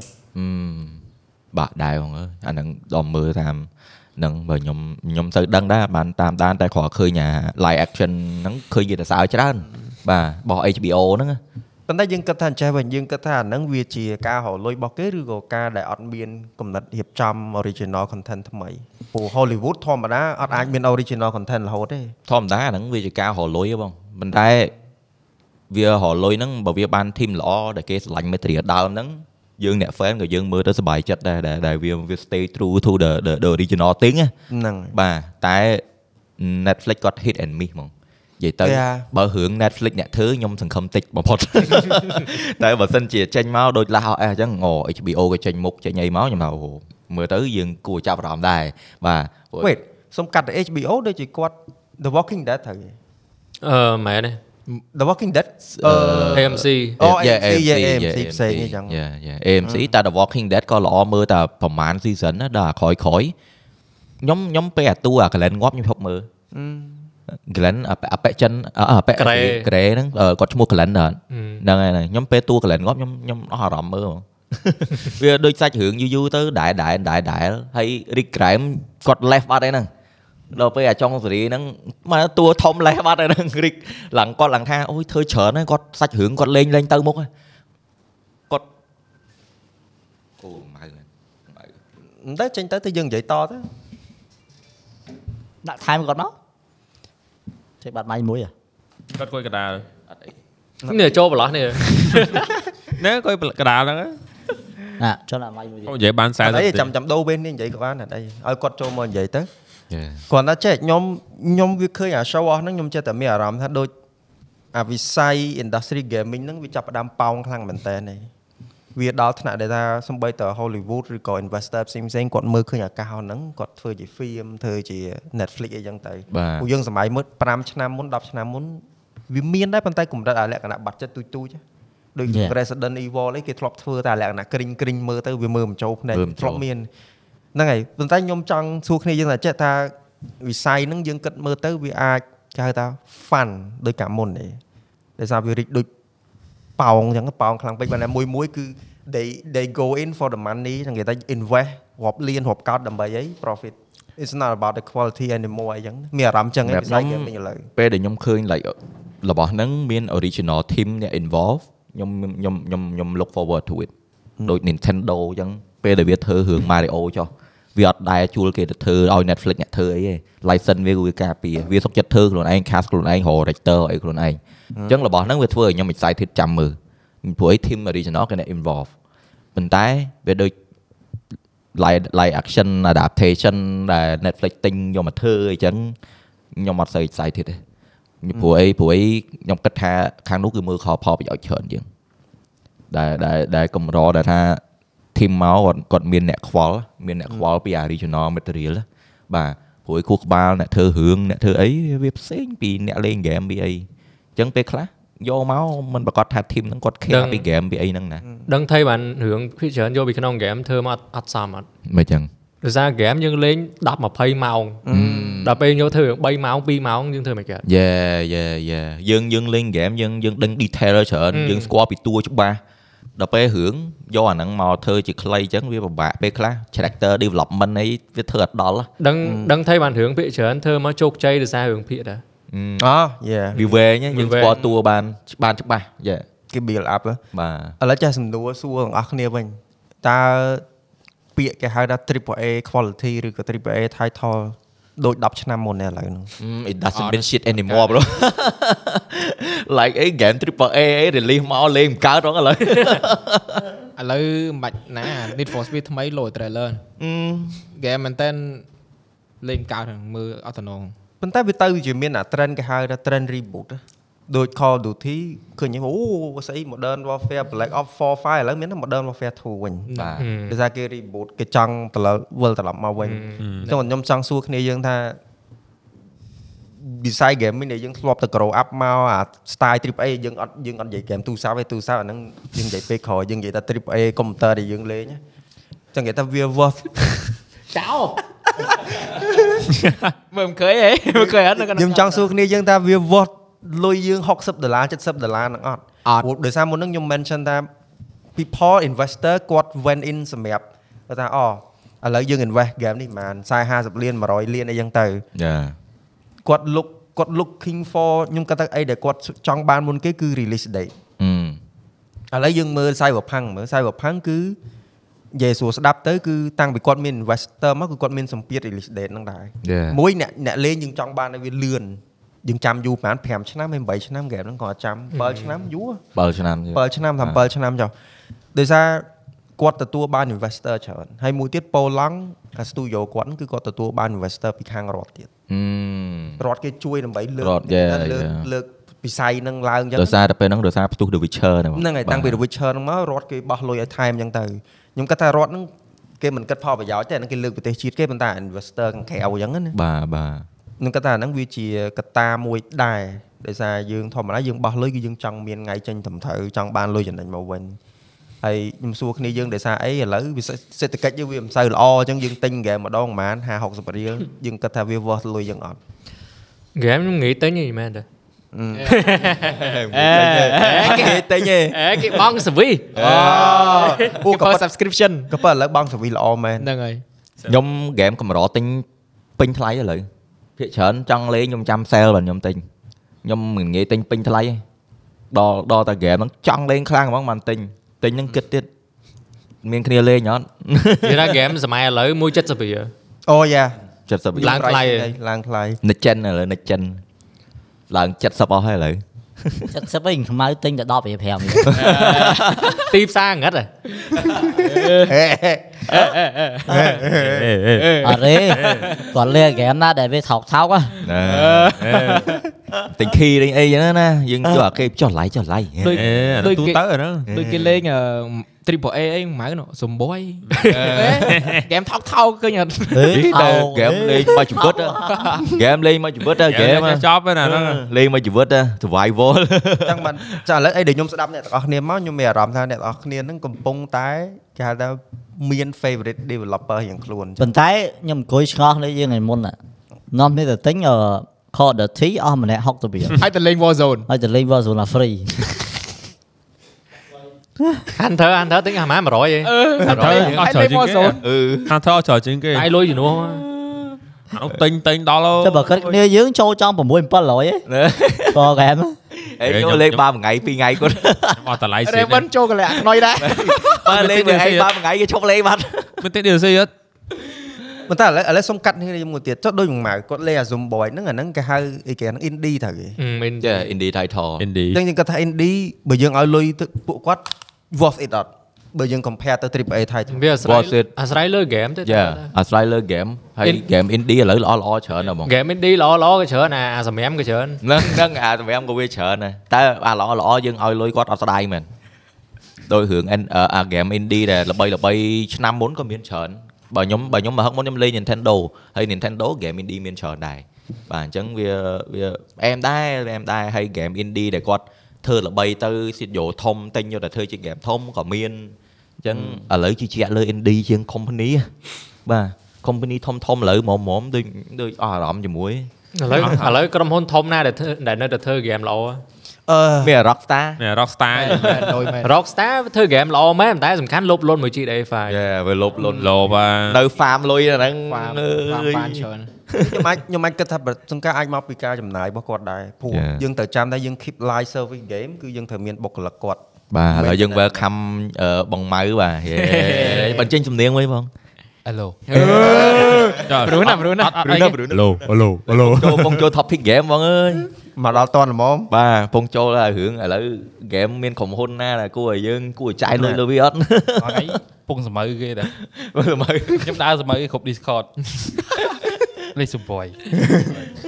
Speaker 1: បាក់ដែរហងអើយអាហ្នឹងដល់មើលតាមនឹងបើខ្ញុំខ្ញុំទៅដឹងដែរបានតាមដានតែគ្រាន់ឃើញអា live action ហ្នឹងឃើញគេទៅសើចច្រើនបាទរបស់ HBO ហ្នឹងណា
Speaker 6: ប៉ុន្តែយើងគិតថាអញ្ចេះវិញយើងគិតថាអាហ្នឹងវាជាការរលួយរបស់គេឬក៏ការដែលអត់មានកំណត់រៀបចំ original content ថ្មីព្រោះ Hollywood ធម្មតាអត់អាចមាន original content រហូតទេ
Speaker 1: ធម្មតាអាហ្នឹងវាជាការរលុយហ៎បងប៉ុន្តែវារលុយហ្នឹងបើវាបានធីមល្អដែលគេស្រឡាញ់មេត្រីដើមហ្នឹងយើងអ្នក fan ក៏យើងមើលទៅសប្បាយចិត្តដែរដែលដែលវាវា stay true to the the, the original thing ណា
Speaker 6: ហ្នឹង
Speaker 1: បាទតែ Netflix គាត់ hit and miss ហ្មងនិយាយទៅ
Speaker 6: Yeah.
Speaker 1: បើរឿង Netflix អ្នកធ្វើខ្ញុំសង្ឃឹមតិចបំផុត តែបើសិនជាចេញមកដូច Last of Us អញ្ចឹងអូ HBO ក៏ចេញមុខចេញអីមកខ្ញុំថាអូមើលទៅយើងគួរចាប់អារម្មណ៍ដែរបាទព្រោះ
Speaker 6: wait សុំកាត់ទៅ HBO ដូចជាគាត់ The Walking Dead ត្រូវទេ
Speaker 7: អឺមែនទេ
Speaker 6: The Walking Dead អឺ
Speaker 7: AMC
Speaker 6: Oh,
Speaker 1: Yeah,
Speaker 6: AMC, yeah, AMC ផ្សេងអីចឹង
Speaker 1: Yeah, yeah, AMC
Speaker 6: Ừ.
Speaker 1: តែ The Walking Dead ក៏ល្អមើលតែប្រហែល season ណាដល់អាក្រោយក្រោយៗខ្ញុំខ្ញុំពេលអាតួអា Glenn ងាប់ខ្ញុំឈប់មើល Glenn អាប៉ាអាប៉ែចិនអអអាប៉ែ
Speaker 7: Grey
Speaker 1: ក្រេហ្នឹងអឺគាត់ឈ្មោះ Glenn ដែរហ
Speaker 7: ហឹម
Speaker 1: ្នឹងហើយហ្នឹងខ្ញុំពេលតួ Glenn ងាប់ខ្ញុំខ្ញុំអស់អារម្មណ៍មើ លហ្មង វាដូចសាច់រឿងយូរយូរទៅដែរដែរដែរដែរហើយ Rick Grimes គាត់ left បាត់ឯហ្នឹងដល់ពេលអាចុងសេរីហ្នឹងមកតួធំ left បាត់ឯហ្នឹង Rick ឡើងគាត់ឡើងថាអូយធ្វើច្រើនហើយគាត់សាច់រឿងគាត់លេងលេងទៅមុខហើយ គាត់អូម៉ៅម៉ៅ
Speaker 6: មិនទៅចេញទៅទៅយើងនិយាយតទៅ
Speaker 5: ដាក់ថែមគាត់មកចេះបាត់ម៉ៃមួយហ៎
Speaker 3: គាត់គួយកដាល
Speaker 7: នេះចូលប្រឡោះនេះ
Speaker 3: ណែគួយកដាលហ្នឹង
Speaker 5: ណាចុះដាក់ម៉ៃមួយទៀត
Speaker 3: ខ្ញុំនិយាយបាន40
Speaker 6: អត់
Speaker 3: នា
Speaker 6: អី
Speaker 3: ទី
Speaker 6: ចាំចាំដូរវេននេះនិយាយក៏បានអត់អីឲ្យគាត់ចូលមកនិយាយ
Speaker 1: យេ
Speaker 6: ទៅគាត់ថាចេះខ្ញុំខ្ញុំវាឃើញអា show អស់ហ្នឹងខ្ញុំចេះតែមានអារម្មណ៍ថាដូចអាវិស័យ industry gaming ហ្នឹងវាចាប់ផ្ដើមប៉ោងខ្លាំងមែនតើនេះវាដល់ថ្នាក់ដែលថាសំបីតើ Hollywood ឬក៏ investor ផ្សេងផ្សេងៗគាត់មើលឃើញឱកាសហ្នឹងគាត់ធ្វើជា film ធ្វើជា Netflix អីចឹងទៅ
Speaker 1: បាទ
Speaker 6: ពួកយើងសម័យមុន5ឆ្នាំមុន10ឆ្នាំមុនវាមានដែរប៉ុន្តែកម្រិតអាលក្ខណៈបាត់ចិត្តទូចទូចៗដូច
Speaker 5: Yeah.
Speaker 6: Resident Evil អីគេធ្លាប់ធ្វើតែអាលក្ខណៈគ្រិញគ្រិញៗមើលទៅវាមើលមិនចូលភ្នែក
Speaker 1: មើលមិន
Speaker 6: ធ្លា
Speaker 1: ចូល
Speaker 6: ប់មានហ្នឹងហើយប៉ុន្តែខ្ញុំចង់សួរគ្នាយើងថាចេះថាវិស័យហ្នឹងយើងគិតមើលទៅវាអាចគេហៅថា fun ដូចកាលមុនទេដោយសារវារីកដូចប៉ោងអញ្ចឹងប៉ោងខ្លាំងពេកប៉ុន្តែមួយមួយគឺ they they go in for the money ហ្នឹងគេថា invest រាប់លានរាប់កោតដើម្បីអី profit it's not about the quality anymore អីចឹងមានអារម្មណ៍ចឹងឯងវិស័យ gaming ឥឡូវ
Speaker 1: ពេលដែលខ្ញុំឃើញ like របស់ហ្នឹងមាន original team អ្នក involve ខ្ញុំខ្ញុំខ្ញុំខ្ញុំ look forward to it ដូច Nintendo អញ្ចឹងពេលដែលវាធ្វើរឿង Mario ចុះវាអត់ដែរជួលគេទៅធ្វើឲ្យ Netflix អ្នកធ្វើអីទេ license វាគឺវាការពារវាសុកចិត្តធ្វើខ្លួនឯង cast ខ្លួនឯងរក director អីខ្លួនឯងអញ្ចឹងរបស់ហ្នឹងវាធ្វើឲ្យខ្ញុំ excited ចាំមើលព្រោះឯ team original គេអ្នក involve ប៉ុន្តែវាដូច live live action adaptation ដែល Netflix ទិញយកមកធ្វើអីចឹងខ្ញុំអត់សូវ excited ទេខ្ញុំព្រោះអីព្រោះអីខ្ញុំគិតថាខាងនោះគឺមើលខលផលប្រយោជន៍ច្រើនជាងដែលដែលដែលកម្រដែលថា team មកគាត់គាត់មានអ្នកខ្វល់មានអ្នកខ្វល់ពី original material ណាបាទព្រោះឯងគូក្បាលអ្នកធ្វើរឿងអ្នកធ្វើអីវាផ្សេងពីអ្នកលេង game ពីអីអញ្ចឹងពេលខ្លះយកមកមិនប្រកាសថា team ហ្នឹងគាត់ care ពី game ពីអីហ្នឹងណា
Speaker 7: ដឹងថៃបានរឿងភាគច្រើនយកពីក្នុង game ធ្វើមកអត់សមអត់
Speaker 1: មិនអញ្ចឹង
Speaker 7: ដោយសារ game យើងលេង10 20ម៉ោងដល់ពេលយកធ្វើរឿង3ម៉ោង2ម៉ោងយើងធ្វើមិនកើត
Speaker 1: យេយេយេយើងយើងលេងហ្គេមយើងយើងដឹង detail ច្រើន
Speaker 7: អឺ
Speaker 1: យើងស្គាល់ពីតួច្បាស់ដល់ពេលរឿងយកអាហ្នឹងមកធ្វើជាខ្លីអញ្ចឹងវាពិបាកពេលខ្លះ character development អីវាធ្វើអត់ដល់ហ៎
Speaker 7: ដឹងដឹងថៃបានរឿងភាគច្រើនធ្វើមកជោគជ័យដោយសាររឿងភាគដែ
Speaker 1: អ
Speaker 7: រ
Speaker 1: ឺ
Speaker 6: អូ yeah
Speaker 1: វាវែងហ៎យើ
Speaker 7: វា
Speaker 1: ង
Speaker 7: វែង
Speaker 1: ស្គាល់តួបានច្បាស់ច្បាស់យេ
Speaker 6: គេ build up ហ៎
Speaker 1: បាទ
Speaker 6: ឥឡូវចាស់សំដួលសួរទាំងអស់គ្នាវិញតើពាក្យគេហៅថា triple A quality ឬក៏ triple A title ដូច10ឆ្នាំមុននេះឥឡូវហ្នឹង
Speaker 1: អឺ it doesn't mean shit anymore bro like a game triple A អី release មកលេងមិនកើតហ្មងឥឡូវ
Speaker 2: ឥឡូវមិនបាច់ណា Need for Speed ថ្មីលោ trailer ហ្គេមមែនតើលេងកើតហ្នឹងមើលអត់តំណង
Speaker 6: ប៉ុន្តែវាទៅជាមានអា trend គេហៅថា trend reboot ហ៎ដូច Call of Duty ឃើញហ្នឹងអូស្អី Modern Warfare Black Ops 4 5ឥឡូវមានតែ Modern Warfare 2វិញ
Speaker 1: បាទ
Speaker 6: ដោយសារគេ reboot គេចង់ត្រឡប់វិលត្រឡប់មកវិញចឹងខ្ញុំចង់សួរគ្នាយើងថា design gaming ដែលយើងធ្លាប់ទៅ grow up មកអា style triple A យើងអត់យើងអត់និយាយ game ទូរស័ព្ទទេទូរស័ព្ទអាហ្នឹងយើងនិយាយពេលក្រោយយើងនិយាយថា triple A computer ដែលយើងលេងណាចឹងនិយាយថាវា worth
Speaker 7: ចោ
Speaker 2: មើលមិនឃើញហេមិនឃើញអត់នៅក្នុង
Speaker 6: ខ្ញុំចង់សួរគ្នាយើងថាវា worth លុយយើង60ដុល្លារ70ដុល្លារហ្នឹងអត់
Speaker 2: អត់
Speaker 6: ព្រោះដោយសារមុនហ្នឹងខ្ញុំ mention ថា people investor គាត់ went in សម្រាប់គាត់ថាអូឥឡូវយើង invest game នេះប្រហែល40 50លាន100លានអីចឹងទៅ
Speaker 1: យេ
Speaker 6: គាត់ look គាត់ looking for ខ្ញុំគាត់ថាអីដែលគាត់ចង់បានមុនគេគឺ release date
Speaker 1: អឺ
Speaker 6: ឥឡូវយើងមើល Cyberpunk មើល Cyberpunk គឺនិយេស៊ូស្ដាប់ទៅគឺតាំងពីគាត់មាន investor មកគឺគាត់មានសម្ពាធ release date ហ្នឹងដែរ
Speaker 1: យេ
Speaker 6: មួយអ្នកអ្នកលេងយើងចង់បានឲ្យវាលឿនយើងចាំយូរប្រហែល5ឆ្នាំឬ8ឆ្នាំហ្គេមហ្នឹងក៏ចាំ7ឆ្នាំយូរ
Speaker 1: 7ឆ្នាំទៀត
Speaker 6: 7ឆ្នាំ7ឆ្នាំចុះដោយសារគាត់ទទួលបាន investor ច្រើនហើយមួយទៀតប៉ូឡង់អា studio គាត់ហ្នឹងគឺគាត់ទទួលបាន investor ពីខាងរដ្ឋទៀត
Speaker 1: អ
Speaker 6: រដ្ឋគេជួយដើម្បីលើ
Speaker 1: រដ្ឋ yeah,
Speaker 6: លើក
Speaker 1: yeah.
Speaker 6: លើកវិស័យហ្នឹងឡើងអញ្ចឹ
Speaker 1: ឺ
Speaker 6: ង
Speaker 1: ដោយសារតែពេលហ្នឹងដោយសារផ្ទុះ The Witcher ហ្
Speaker 6: ហ្នឹងហើយតាំងពី The Witcher ហ្នឹងមករត់គេបោះលុយឲ្យថែមអញ្ចឹងទៅខ្ញុំគាត់ថារត់ហ្នឹងគេមិនគិតផលប្រយោជន៍ទេហ្នឹងគេលើកប្រទេសជាតិគេប៉ុន្តែ investor ខាងក្រៅអញ្ចឹងណា
Speaker 1: បាទបាទ
Speaker 6: ខ្ញុំគាត់ថាហ្នឹងវាជាកត្តាមួយដែរដោយសារយើងធម្មតាយើងបោះលុយគឺយើងចង់មានថ្ងៃចេញត្រឹមត្រូវចង់បានលុយចំណេញមកវិញហើយខ្ញុំសួរគ្នាយើងដោយសារអីឥឡូវវាសេសេដ្ឋកិច្ចយើងវាមិនសូវល្អអញ្ចឹងយើងទិញហ្គេមម្ដងប្រហែល50 60រៀលយើងគិតថាវា worth លុយយើងអត់
Speaker 7: ហ្គេមខ្ញុំងាយទិញហីមែនតើ
Speaker 6: គេទិញទេ
Speaker 7: អេគេបងសវី
Speaker 6: អូ
Speaker 2: អូ
Speaker 6: ក៏
Speaker 2: ក៏
Speaker 6: ប៉ុត
Speaker 2: subscription
Speaker 6: ក៏ប៉ុតឥឡូវបងសវីល្អមែន
Speaker 2: ហ្នឹងហើយ
Speaker 1: ខ្ញុំហ្គេមកម្រទិញពេញថ្លៃឥឡូវភាគច្រើនចង់លេងខ្ញុំចាំ sale បាទខ្ញុំទិញខ្ញុំមិនងាយទិញពេញថ្លៃទេដល់ដល់តែហ្គេមហ្នឹងចង់លេងខ្លាំងហ្មងបានទិញទិញហ្នឹងគិតទៀត មានគ្នាលេង អត់
Speaker 7: និយាយថាហ្គេមសម័យឥឡូវ170រៀល
Speaker 6: អូយ៉ា
Speaker 1: 70
Speaker 7: ឡើងថ្លៃហើយ
Speaker 6: ឡើងថ្លៃ
Speaker 1: និចចិនឥឡូវនិចចិនឡើង70អស់ហើយឥឡូវ
Speaker 5: 70វិញខ្មៅទិញតែ10រៀល5រៀល
Speaker 7: ទីផ្សារងឹត
Speaker 5: អ
Speaker 7: ហ៎
Speaker 5: ត់ទេគាត់លេងហ្គេមណាដែលវាថោកថោកហ៎
Speaker 1: ណាទិញឃីទិញអីចឹងណាយើងយកអាគេចុះឡៃចុះឡៃ
Speaker 2: ដូច
Speaker 3: ដូ
Speaker 2: ដូច
Speaker 3: ចទូ
Speaker 2: គេ
Speaker 3: ទៅអាហ្នឹង
Speaker 2: ដូចគេលេងអឺ Triple A អីម៉ៅនោះសំបុយហ្គេមថោកថោកឃើញអត់
Speaker 1: នេះទៅហ្គេមលេងមកជីវិតហ្គេមលេងមកជីវិត
Speaker 8: Ờ,
Speaker 1: ហ្គេម
Speaker 3: គេចប់ហ្នឹងអា
Speaker 8: Ừ.
Speaker 3: ហ្នឹង
Speaker 1: លេងមកជីវិត survival
Speaker 6: ចឹងបានចាឥឡូវអីដែលខ្ញុំស្ដាប់អ្នកទាំងអស់គ្នាមកខ្ញុំមានអារម្មណ៍ថាអ្នកទាំងអស់គ្នាហ្នឹងកំពុងតែគេហៅថាមាន favorite developer រៀងខ្លួនចឹង
Speaker 5: ប៉ុន្តែខ្ញុំអង្គុយឆ្ងល់នេះយើងឯមុនណានាំគ្នាទៅទិញអឺ Call of Duty អស់ម្នាក់60រៀល
Speaker 2: ហើយទៅលេង Warzone
Speaker 5: ហើយទៅលេង Warzone free
Speaker 7: Hunter Hunter ទិញអាម៉ា100ឯង
Speaker 3: ថាត្រូវយើងអត់ច្រើនជាង
Speaker 1: អឺ
Speaker 3: គេថាត្រូវអត់ច្រើនជាងគេ
Speaker 7: អាយលុយជំនួស
Speaker 3: អានោះទិញទិញដល់
Speaker 5: តែបើគិតគ្នាយើងចូលចង់6 700ហ៎ ក៏ហ្គេម
Speaker 1: អេយកលេង3ថ្ងៃ2ថ្ងៃគាត់
Speaker 3: អត់តម្លៃសេ
Speaker 2: Raven ចូលកលាក់ខ្នុយដែរ
Speaker 1: បើលេងមួយថ្ងៃ3ថ្ងៃគេឈប់លេងបាត់
Speaker 3: មានទេ DLC អត់
Speaker 6: ប៉ុន្តែឥឡូវឥឡូវសុំកាត់នេះមួយទៀតចុះដូចមួយម៉ៅគាត់លេងអា Zomboid ហ្នឹងអាហ្នឹងគេហៅអីគេហ្នឹង indie ទៅគេ
Speaker 7: មិន
Speaker 1: ចា indie title
Speaker 3: Indie
Speaker 6: ចឹងយើងគាត់ថា indie បើយើងឲ្យលុយទៅពួកគាត់ worth it អត់បើយើង compare ទៅ AAA ថៃទៅ
Speaker 7: វាអាស្រ័យ
Speaker 1: What's it?
Speaker 7: អាស្រ័យលើហ្គេមទេ
Speaker 1: យ៉ាអាស្រ័យលើហ្គេមហើយហ្គេម indie ឥឡូវល្អល្អច្រើនណាស់ហ្មង
Speaker 7: ហ្គេម indie ល្អល្អក៏ច្រើនអាអាសម្រាមក៏ច្រើន
Speaker 1: ហ្នឹងហ្នឹងអាសម្រាប់ក៏វាច្រើនដែរតែអាល្អល្អយើងឲ្យលុយគាត់អត់ស្ដាយមែនដោយរឿង N- អឺអា game indie ដែលល្បីល្បីឆ្នាំមុនក៏មានច្រើនបើខ្ញុំបើខ្ញុំមកហឹកមុនខ្ញុំលេង Nintendo ហើយ Nintendo game indie មានច្រើនដែរបាទអញ្ចឹងវាវាអែមដែរអែមដែរហើយ game indie ដែលគាត់ធ្វើល្បីទៅសិតយោធំទិញយកតែធ្វើជា game ធំក៏មានអញ្ចឹងឥឡូវជឿជាក់លើ indie ជាង company ហ៎បាទ company ធំធំឥឡូវមុំមុំដូចដូចអស់អារម្មណ៍ជាមួយ
Speaker 7: ឥឡូវឥឡូវក្រុមហ៊ុនធំណាដែលធ្វើដែលនៅតែធ្វើហ្គេមល្អ
Speaker 6: អឺ
Speaker 1: មាន Rockstar
Speaker 3: នេះ Rockstar
Speaker 2: ដូចមែន
Speaker 7: Rockstar វាធ្វើហ្គេមល្អមែនប៉ុន្តែសំខាន់លុបលុនមួយ GTA 5
Speaker 1: យេវាលុប
Speaker 8: Ừ.
Speaker 1: លុន
Speaker 3: លោបា
Speaker 1: នៅ farm លុយអាហ្នឹង
Speaker 2: បាន
Speaker 1: អើយ
Speaker 2: បានច្រើន
Speaker 6: ខ្ញុំអាចខ្ញុំអាចគិតថាប្រសង្ការអាចមកពីការចំណាយរបស់គាត់ដែរព្រោះ
Speaker 1: Yeah.
Speaker 6: យើងត្រូវចាំថាយើង keep live service game គឺយើងត្រូវមានបុគ្គលិកគាត់
Speaker 1: បាទឥឡូវយើង welcome អឺបងម៉ៅបាទយេ បញ្ចេញសំនៀងមួយបង
Speaker 2: Hello
Speaker 3: ព្រោះណាព្រោះណាព្រោះណាព្រោះណាឡូឡូឡូ
Speaker 1: ចូលបងចូល topic game បងអើយ
Speaker 6: មកដល់តនល្មម
Speaker 1: បាទបងចូលហើយរឿងឥឡូវ game មានក្រុមហ៊ុនណាដែលគួរឲ្យយើងគួរឲ្យចាយលុយលើវាអត់
Speaker 8: ថ្ងៃពងសមៅគេដែរ
Speaker 1: មើលមើល
Speaker 8: ខ្ញុំដើរសមៅគេគ្រប់ Discord លេខសំបុយ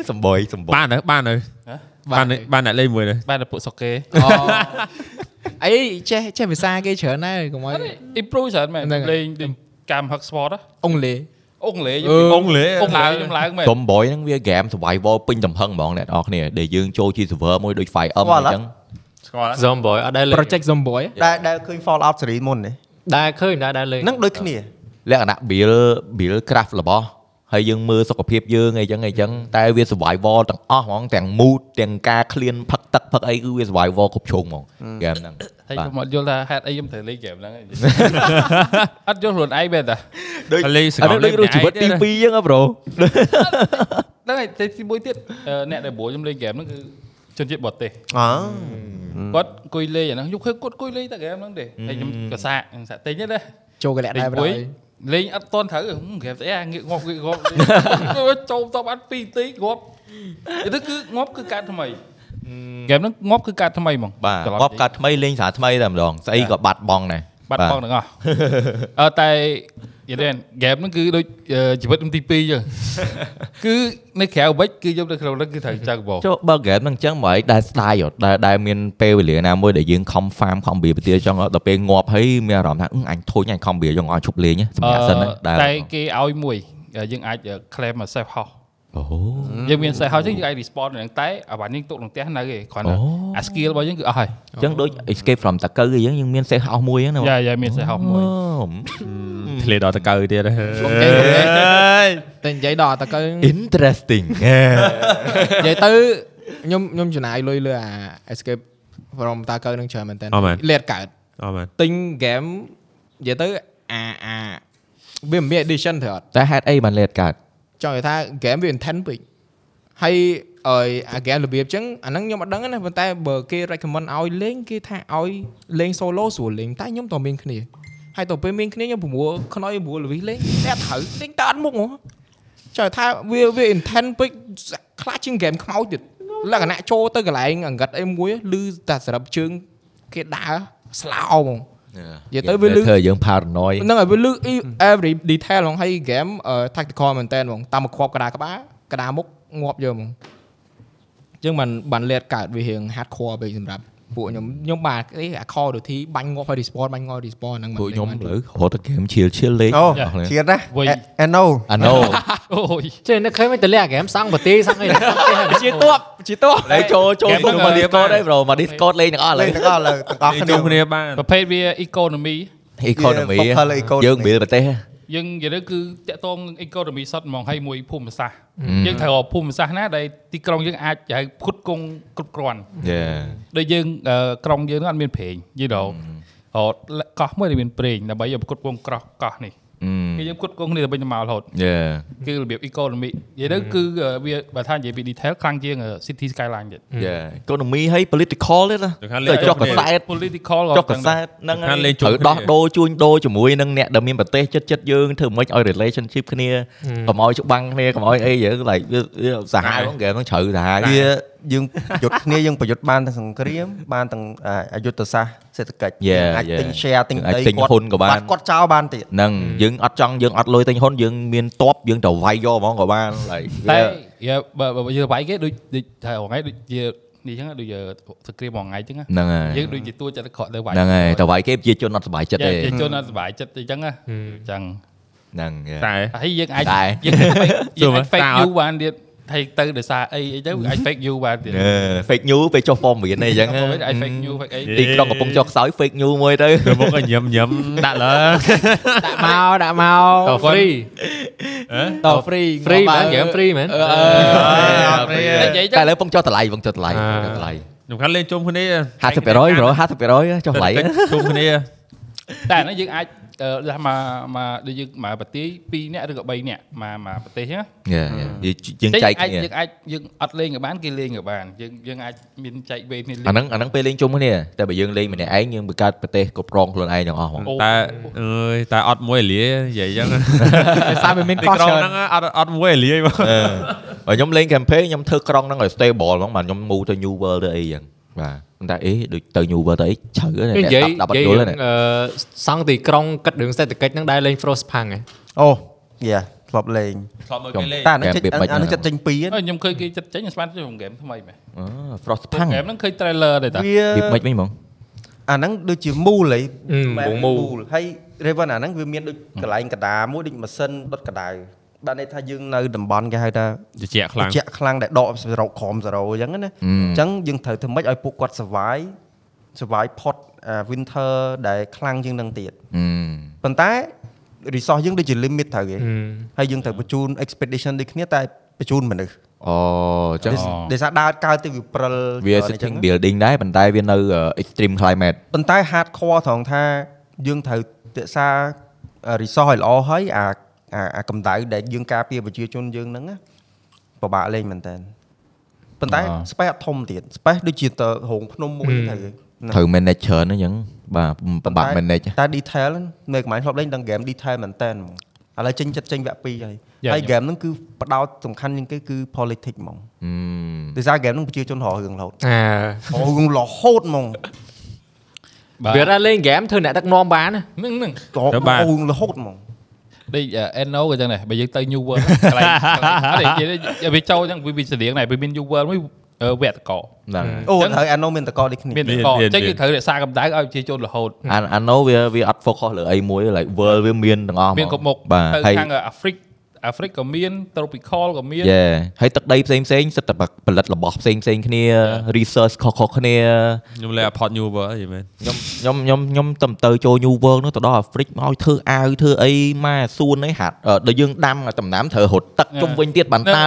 Speaker 1: សំបុយសំបុយ
Speaker 3: បានទៅបានទៅបានទៅបានអ្នកលេងមួយទៅ
Speaker 8: បានតែពួកសុកគេ
Speaker 2: Ờ. អីចេះចេះភាសាគេច្រើនដែរកុំឲ្យ
Speaker 8: improve ច្រើនមែន
Speaker 2: ហ្នឹងហើយ
Speaker 8: លេងដូចកម្មហឹក sport ហ៎
Speaker 2: អង់គ្លេស
Speaker 8: អ៊ុងលេ
Speaker 3: អឺអ៊ុងលេ
Speaker 8: អ៊ុងឡើងខ្ញុំឡើងមែន
Speaker 1: សំបុយហ្នឹងវា game survival ពេញទំហឹងហ្មងអ្នកនរគ្នាដែលយើងចូលជា server មួយដូច Fire Emblem អញ្ចឹង
Speaker 3: ស្គាល់
Speaker 7: Zombie អត់ដែរលេង
Speaker 2: Project Zomboy
Speaker 6: ដែលដែលឃើញ Fallout series មុននេះ
Speaker 7: ដែរឃើញដែរដែរលេង
Speaker 6: ហ្នឹងដូចគ្នា
Speaker 1: លក្ខណៈ build build craft របស់ហើយយើងមើលសុខភាពយើងអីចឹងអីចឹងតែវា survival ទាំងអស់ហ្មងទាំង mood ទាំងការ clean ផឹកទឹកផឹកអីគឺវា survival គ្រប់ជ្រុងហ្មងហ្គេមហ្នឹង
Speaker 8: ហើយ
Speaker 1: បាទ
Speaker 8: ខ្ញុំអត់យល់ថាហេតុអីខ្ញុំត្រូវលេងហ្គេមហ្នឹងឯង អត់យល់ខ្លួនឯងមែនតា
Speaker 1: ដូច
Speaker 3: លេងសកល
Speaker 1: អានេះដូចរស់ជីវិតទី2ចឹងហ៎ bro
Speaker 8: ហ្នឹងហើយតែទីមួយទៀតអឺអ្នកដែលបួលខ្ញុំលេងហ្គេមហ្នឹងគឺជនជាតិបរទេស
Speaker 6: អើ
Speaker 8: គាត់អង្គុយលេងអាហ្នឹងខ្ញុំឃើញគាត់អង្គុយលេងតែហ្គេមហ្នឹងទេហើយខ្ញុំកសាក់ខ្ញុំសាក់ទិញទេណា
Speaker 2: ចូលកលាក់ដែរបង
Speaker 8: Địch Quỳ. Liên ắt tôn thử ừ, kẹp té à, ngược ngọt ngược ngọt. Trộm tao bắt pi tí ngọt. Thì nó cứ ngọt cứ cắt thầm mày. Kẹp nó ngọt cứ cắt thầm mày mà.
Speaker 1: បាទ
Speaker 8: Trời
Speaker 1: ងា
Speaker 8: lắm
Speaker 1: ប់
Speaker 8: chị.
Speaker 1: កាត់ថ្មីលេងសារថ្មីតែម្ដងស្អីក៏បាត់បង់ដែរ
Speaker 8: Bắt con được không? Ờ tại vậy nên kẹp nó cứ đôi ờ, chỉ biết ông TP chứ. Cứ nó kẹo bách cứ giống nó kẹo nó cứ thằng chàng bộ.
Speaker 1: ចុះបើ game ហ្នឹងចឹងមកឲ្យដែរស្ដាយដែរដែរមានពេលវេលាណាមួយដែលយើងខំ farm ខំ build ទៅចឹងដល់ពេលងាប់ហើយមានអារម្មណ៍ថាអឺអញធុញអញខំ build យើងអត់ឈប់លេងហ៎សម្រាប់សិនណា
Speaker 8: Ờ
Speaker 1: ដែរ
Speaker 8: tại cái ao mùi ờ, dân ai ờ, claim mà safe house.
Speaker 1: អូ
Speaker 8: Dân miền safe house chứ dân ai respond được tới ở bản nhưng tụ đồng té này kì. Còn là
Speaker 1: Ồ.
Speaker 8: à, skill bao nhiêu cứ ờ hay.
Speaker 1: ចឹងដូច escape from តាកើអីចឹងយើងមាន safe house មួយហ្នឹងណាបង
Speaker 8: Dạ dạ miền safe house mùi.
Speaker 1: អូម
Speaker 3: ធ្លាដល់តកៅទៀតហេ
Speaker 2: បងចេះបងចេះតែនិយាយដល់តែកើ
Speaker 1: interesting
Speaker 2: និយាយទៅខ្ញុំខ្ញុំចំណាយលុយលើអា Escape from តាកើនឹងច្រើនមែនតើ
Speaker 3: អត់មែន
Speaker 2: លេតកើត
Speaker 3: អូមែន
Speaker 2: ទិញ game À, និយាយទៅអាអាវាមិនមាន edition ទេអត់
Speaker 1: តែហេតុអីបានលេតកើត
Speaker 2: ចង់និយាយថា game វា intense ពេកហើយអើយអា game របៀបចឹងអាហ្នឹងខ្ញុំអត់ដឹងណាប៉ុន្តែបើគេ recommend ឲ្យលេងគេថាឲ្យលេង solo ស្រួលលេងតែខ្ញុំតើមានគ្នា ហើយទៅពេលមានគ្នាខ្ញុំប្រមូលខ្នុយប្រមូលលវិសលេងតែត្រូវលេងតើអត់មុខហ៎ចុះថាវាវា intense ពេកខ្លាចជាងហ្គេមខ្មោចទៀតលក្ខណៈចូលទៅកន្លែងអង្កត់អីមួយឮតែសរុបជើងគេដើរស្លោហ្មង និយាយទៅវាលឺ
Speaker 1: ធ្វើឲ្យយើង Dạ, paranoid
Speaker 2: ហ្នឹងហើយវាលឺ e- every detail ហ្មងហើយ game tactical មែនតើហ្មងតាមមកគ្របកណ្ដាលក្បាលកណ្ដាលមុខងាប់យកហ្មងអញ្ចឹងបានបានលេតកើតវារៀង hardcore ពេកសម្រាប់ពួកខ្ញុំខ្ញុំបាទអីអា Call of Duty បាញ់ងាប់ហើយ respawn បាញ់ងាប់ respawn ហ្នឹង
Speaker 1: ពួកខ្ញុំ
Speaker 2: បាន
Speaker 1: លើរត់តែ game chill chill Ờ, លេង
Speaker 6: អូ
Speaker 1: អស់គ្នា
Speaker 6: ទៀតណា
Speaker 8: វិញ
Speaker 6: អេណូ
Speaker 1: អា ណូ
Speaker 8: អូយ
Speaker 7: ចេះនឹកឃើញមិនតលាក់ហ្គេមសាំងប្រទេសសាំងអី
Speaker 2: ជាតបជាតប
Speaker 1: ហើយចូលចូល
Speaker 8: Game
Speaker 1: ពួកមក
Speaker 8: ហ្នឹង
Speaker 1: Discord ដែរ bro មក Discord លេងទាំងអស់ឥឡូ
Speaker 6: លេង
Speaker 1: វ
Speaker 6: ទាំងអស់លើទាំងអស់
Speaker 3: ជុំ
Speaker 6: គ្នា
Speaker 3: គ្នាបាន
Speaker 8: ប្រភេទវា economy
Speaker 1: economy
Speaker 6: focus លើ economy
Speaker 1: យើងមានប្រទេសហ៎
Speaker 8: យើងនិយាយទៅគឺតកតង economy សុទ្ធហ្មងហើយមួយភូមិសាស្ត្រយើងត្រូវរកភូមិសាស្ត្រណាដែលទីក្រុងយើងអាចហៅផ្គត់ផ្គង់គ្រប់គ្រាន់
Speaker 1: Yeah
Speaker 8: ដូចយើងអឺក្រុងយើងហ្នឹងអត់មានប្រេងយីដល់រត់កោះមួយដែលមានប្រេងដើម្បីឲ្យផ្គត់ផ្គង់ក្រោះកោះនេះ
Speaker 1: អឺ
Speaker 8: គឺយើងផ្គត់ផ្គង់នេះដើម្បីទៅមករហូត
Speaker 1: Yeah
Speaker 8: គឺរបៀប economy និយាយទៅគឺអឺវាបើថានិយាយពី detail ខ្លាំងជាងអឺ city skyline ទៀត
Speaker 1: Yeah economy ហើយ political ទៀតណាទៅចុះកសែត
Speaker 8: political
Speaker 1: ចុះកសែតហ្នឹង
Speaker 3: ខាងលេងជុំ
Speaker 1: ត្រូវដោះដូរជួញដូរជាមួយនឹងអ្នកដែលមានប្រទេសចិត្តចិត្តយើងធ្វើម៉េចឲ្យ relationship គ្នាកុំឲ្យច្បាំងគ្នាកុំឲ្យអីយើង like វាវាសាហាវហ្គេមហ្នឹងជ្រៅសាហាវ
Speaker 6: វាយើងប្រយុទ្ធគ្នាយើងប្រយុទ្ធបានទាំងសង្គ្រាមបានទាំងអអយុទ្ធសាស្ត្រសេដ្ឋកិច្ចយើ
Speaker 1: Yeah,
Speaker 6: ងអាច
Speaker 1: yeah.
Speaker 6: ទិញ share ទិញ
Speaker 1: អាច
Speaker 6: ដី
Speaker 1: ទិញហ៊ុនក៏បាន
Speaker 6: គាត់ចោលបានទៀត
Speaker 1: ហ្នឹងយើងអត់ចង់យើងអត់លុយទិញហ៊ុនយើងមានតបយើងទៅវាយយកហ្មងក៏បាន like វា
Speaker 8: តែយើបើបើយើងបាយគេដូចដូចថាហងៃដូចជានេះចឹងដូចជាសក្រាមហងៃចឹង
Speaker 1: ហ្នឹងហើយ
Speaker 8: យើងដូចជាតួចិត្តក្រក់ទៅវាយ
Speaker 1: ហ្នឹងហើយតវាយគេប្រជាជនអត់សុបាយចិត្ត
Speaker 8: យើ
Speaker 1: ទេ
Speaker 8: ជាជនអត់សុបាយចិត្តទៅចឹងចឹង
Speaker 1: ហ្នឹង yeah.
Speaker 3: តែ
Speaker 8: ហើយយើងអាចយើង
Speaker 3: ទោះ
Speaker 8: អាច fake
Speaker 3: តា
Speaker 8: you បានទៀតហើយទៅដោយសារអីអីទៅអាច fake you បានទៀត
Speaker 1: Yeah, Ờ, fake news ពេលចុះ form រៀនអីចឹង
Speaker 8: ខ្ញុំមិនអាច fake you fake អី
Speaker 1: ទីក្រុងកំពុងចុះខ្សោយ fake news មួយទៅ
Speaker 3: ទៅមកញ៉ាំញ៉ាំដាក់លើ
Speaker 2: ដាក់មកដាក់មក
Speaker 7: តហ្វ្រី
Speaker 2: ត free
Speaker 7: free មែនហ្គេម free មែន
Speaker 8: តែនិយាយចឹ
Speaker 1: តែ
Speaker 8: ង
Speaker 1: ឥឡូវពងចុះតម្លៃពងចុះតម្លៃចុះតម្លៃ
Speaker 3: សំខាន់លេងជុំគ្នា
Speaker 1: 50%ប្រហែល50%ចុះតម្លៃ
Speaker 3: សេដ្ឋកិច្ចជុំគ្នា
Speaker 8: តែហ្នឹងយើងអាចដាក់មកមកដូចយើងមកប្រទេស2នាក់ឬក៏3នាក់មកមកប្រទេសហ្នឹង
Speaker 1: យើងចែក
Speaker 8: អាច
Speaker 1: គ្នា
Speaker 8: យើងអាចយើងអត់លេងក៏បានគេលេងក៏បានយើងយើងអាចមានចែកវេនគ្នាលេ
Speaker 1: អា
Speaker 8: ង
Speaker 1: ហ្នឹងអាហ្នឹងពេលលេងជុំគ្នាតែបើយើងលេងម្នាក់ឯងយើងបង្កើតប្រទេសគ្រប់គ្រងខ្លួនឯងទាំងអស់ហ្មង
Speaker 3: តែអើយតែអត់មួយលានិយាយចឹង
Speaker 2: តែវាមានកោះ
Speaker 3: ទីក្រុង
Speaker 2: ច្រើន
Speaker 3: ហ្នឹងអត់អត់មួយលាមក
Speaker 1: Ờ. បើខ្ញុំលេង campaign ខ្ញុំធ្វើក្រុងហ្នឹងឲ្យ stable ហ្មងបាទខ្ញុំ move ទៅ new world ទៅអីចឹងបាទប៉ុន្តែអេដូចទៅ new world ទៅអីជ្រៅណាស់
Speaker 7: និយាយ
Speaker 1: 10 10
Speaker 7: និ
Speaker 1: ដុល្លា
Speaker 7: យា
Speaker 1: រ
Speaker 7: យ
Speaker 1: ណា
Speaker 7: អឺសង់ទីក្រុងគិតរឿងសេដ្ឋកិច្ចហ្នឹងដែរលេង Frostpunk ហ៎
Speaker 6: អូយ៉ាធ្លាប់លេង
Speaker 3: ធ្លាប់មើលគេលេង
Speaker 6: តែអានឹងចិត្តអានឹងចិត្តចេញពី
Speaker 8: អើខ្ញុំឃើញគេចិត្តចេញស្មានទៅក្នុងហ្គេមថ្មីមែន
Speaker 1: អូ Frostpunk
Speaker 8: ហ្គេមហ្នឹងឃើញ trailer ដែរតា
Speaker 6: វា
Speaker 1: ពីមិនវិញហ្មង
Speaker 6: អានឹងដូចជាមូលហី
Speaker 7: ហឹម
Speaker 6: មូលហើយ Raven អានឹងវាមានដូចកន្លែងកណ្ដាលមួយដូចម៉ាស៊ីនដុតកណ្ដៅបានន័យថាយើងនៅតំបន់គេហៅថា
Speaker 3: ជាជាក់ខ្លាំង
Speaker 6: ជាក់ខ្លាំងដែលដកសរុបក្រមសរោអញ្ចឹងណា អញ្ចឹងយើងត្រូវធ្វើម៉េចឲ្យពួកគាត់ survive survive ផុតអា winter ដែលខ្លាំងជាងនឹងទៀតប៉ុន្តែ resource យើងដូចជា limit ត្រូវគេ
Speaker 7: Ừ.
Speaker 6: ហើយយើងត្រូវបញ្ជូន expedition ដូចគ្នាតែបញ្ជូនមនុស្ស
Speaker 1: អូចឹង
Speaker 6: ដេដោយសារដើរកើតទៅវាព្រិល
Speaker 1: វា
Speaker 6: ច្រើនអញ្ចឹង
Speaker 1: setting building ដែរប៉ុន្តែវានៅ extreme climate
Speaker 6: ប៉ុន្តែ hardcore ត្រង់ថាយើងត្រូវរក្សាអ่า resource ឲ្យល្អហើយអាអាអាកម្ដៅដែលយើងការពារប្រជាជនយើងហ្នឹងណាពិបាកលេងមែនតើប៉ុន្តែ space អត់ធំទៀត space ដូចជាទៅរោងភ្នំមួយទៅហ្នឹង
Speaker 1: ត្រូវ manage ច្រើនហ្នឹងចឹងបាទពិបាក manage
Speaker 6: តែ detail ហ្នឹងនៅកន្លែងធ្លាប់លេងដល់ game detail មែនតើហ្មងឥឡូវចេញចិត្តចេញវគ្គ2ហើយហើយ game ហ្នឹងគឺផ្ដោតសំខាន់ជាងគេគឺ politics ហ្មង
Speaker 1: ហឹម
Speaker 6: ដោយសារ game ហ្នឹងប្រជាជនរករឿងរហូត
Speaker 7: អា
Speaker 6: រករឿងរហូតហ្មង
Speaker 7: វារ៉ាលេងហ្គេមធ្វើអ្នកដឹកនាំបានណា
Speaker 8: ហ្នឹងហ្នឹង
Speaker 6: រករឿងរហូតហ្មង
Speaker 8: ដូច NO ក៏ចឹងដែរបើយើងទៅ New World កន្លែងអត់ទេវាចូលចឹងវាស្រៀងដែរវាមាន New World មួយវេតកោ
Speaker 1: ហ្នឹង
Speaker 6: អូហើយអានោះមានតកដូចគ្នា
Speaker 8: មានតកោចឹងគឺត្រូវរក្សាកម្ដៅឲ្យប្រជាជនរហូត
Speaker 1: អាអាណូវាវាអត់ focus លើអីមួយ like world វាមានទាំងអស់ហ្
Speaker 8: មានគ្រប់មុខ
Speaker 1: បាទ
Speaker 8: ទៅ
Speaker 1: ហើយ
Speaker 8: ខាងអាហ្វ្រិកអាហ្វ្រិកក៏មាន tropical ក៏មាន
Speaker 1: yeah ហើយទឹកដីផ្សេងផ្សេងសិតតែផលិតរបស់ផ្សេងផ្សេងគ្នា research ខុសខុសគ្នា
Speaker 3: ខ្ញុំលេង Apot New World ហីមែន
Speaker 1: ខ្ញុំខ្ញុំខ្ញុំខ្ញុំតែទៅចូល new world នោះទៅដល់អាហ្វ្រិកមកឲ្យធ្វើអាវធ្វើអីម៉ែសួនអីហាត់អឺដល់យើងដាំដំណាំត្រូវរត់ទឹក
Speaker 8: Yeah.
Speaker 1: ជុំវិញទៀតបានតើ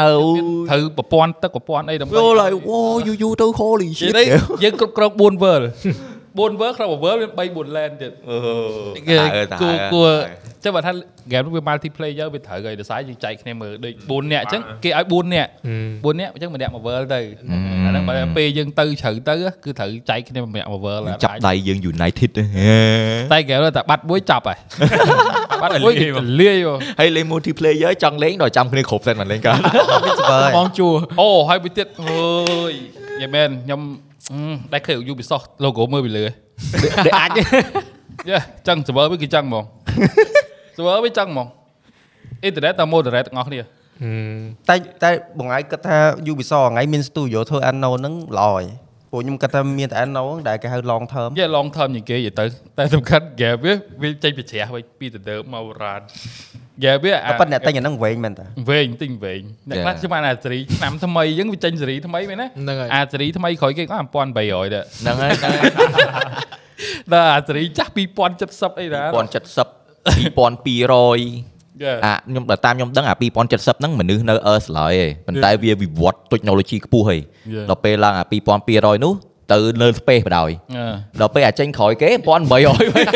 Speaker 8: ត្រូវប្រព័ន្ធទឹកប្រព័ន្ធអីដើម្បី
Speaker 1: យល់ហើយអូយូយូទៅ holy
Speaker 8: និយាយ
Speaker 1: shit
Speaker 8: ទៅយើងគ្រប់គ្រង4 world 4 verse ក្នុង1 verse មាន3 4 lane ទៀត
Speaker 1: អឺ
Speaker 8: គឺ
Speaker 1: តាអើតា
Speaker 8: គួ
Speaker 1: អើតាអើ
Speaker 8: រគួរចាំបើថា game នោះវា multiplayer វាត្រូវហើយដោយសារយើងចែកគ្នាមើលដូច4នាក់អញ្ចឹងគេឲ្យ4នាក់4នាក់អញ្ចឹងម្នាក់មួយ verse ទៅអាហ្នឹងបើពេលយើងទៅជ្រៅទៅគឺត្រូវចែកគ្នាម្នាក់មួយ verse
Speaker 1: ចាប់ដៃយើង United ហ៎
Speaker 8: តែ game នោះតែបាត់មួយចាប់ហើយ បាត់មួយគេលាយបង
Speaker 1: ហើយលេង multiplayer ចង់លេងដល់ចាំគ្នាគ្រប់សិនមិនលេងកើត
Speaker 6: server
Speaker 2: បងជួ
Speaker 8: អូហើយមួយទៀតអើយយ៉ាមែនខ្ញុំអឺដែរឃើញ Ubisoft logo មើលពីលើហ៎
Speaker 7: អាច
Speaker 8: យ៉ាចឹង server វាគឺចឹងហ្មង server វាចឹងហ្មងអ៊ីនធឺណិតតាម moderate ទាំងអស់គ្នា
Speaker 6: តែតែបងឯងគិតថា Ubisoft ថ្ងៃមាន studio ធ្វើ Anno ហ្នឹងល្អហើយពួកខ្ញុំគិតថាមានតែ Anno ហ្នឹងដែលគេហៅ long term
Speaker 8: យ៉ា long term ជាងគេនិយាយទៅតែសំខាន់ game វាវាចេញពីជ្រះវិញពីទៅដើមមករ៉ាន game វា
Speaker 6: តែប៉ុន្តែតែញអាហ្នឹងវែងមែនតា
Speaker 8: វែងទិញវែងអ្នកខ្លះ
Speaker 1: Yeah.
Speaker 8: ខ្ញុំបានអាសេរីឆ្នាំថ្មីអញ្ចឹងវាចេញសេរីថ្មីមែនណា
Speaker 2: ហ្នឹងហើយ
Speaker 8: អាសេរីថ្មីក្រោយគេក៏1800ដែរ
Speaker 1: ហ្នឹង ហើយ
Speaker 8: ដល់អាសេរីចាស់2070អីណា
Speaker 1: 1070 2200
Speaker 8: យ៉ា
Speaker 1: អាខ្ញុំបើតាមខ្ញុំដឹងអា2070ហ្នឹងមនុស្សនៅ Earth ឡើយឯងប៉ុន្តែវាវិវត្ត technology ខ្ពស់ហើយដល់ពេលឡើងអា2200នោះទៅលើ space បណ្ដោយដល់ពេលអាចេញក្រោយគេ1800វិញ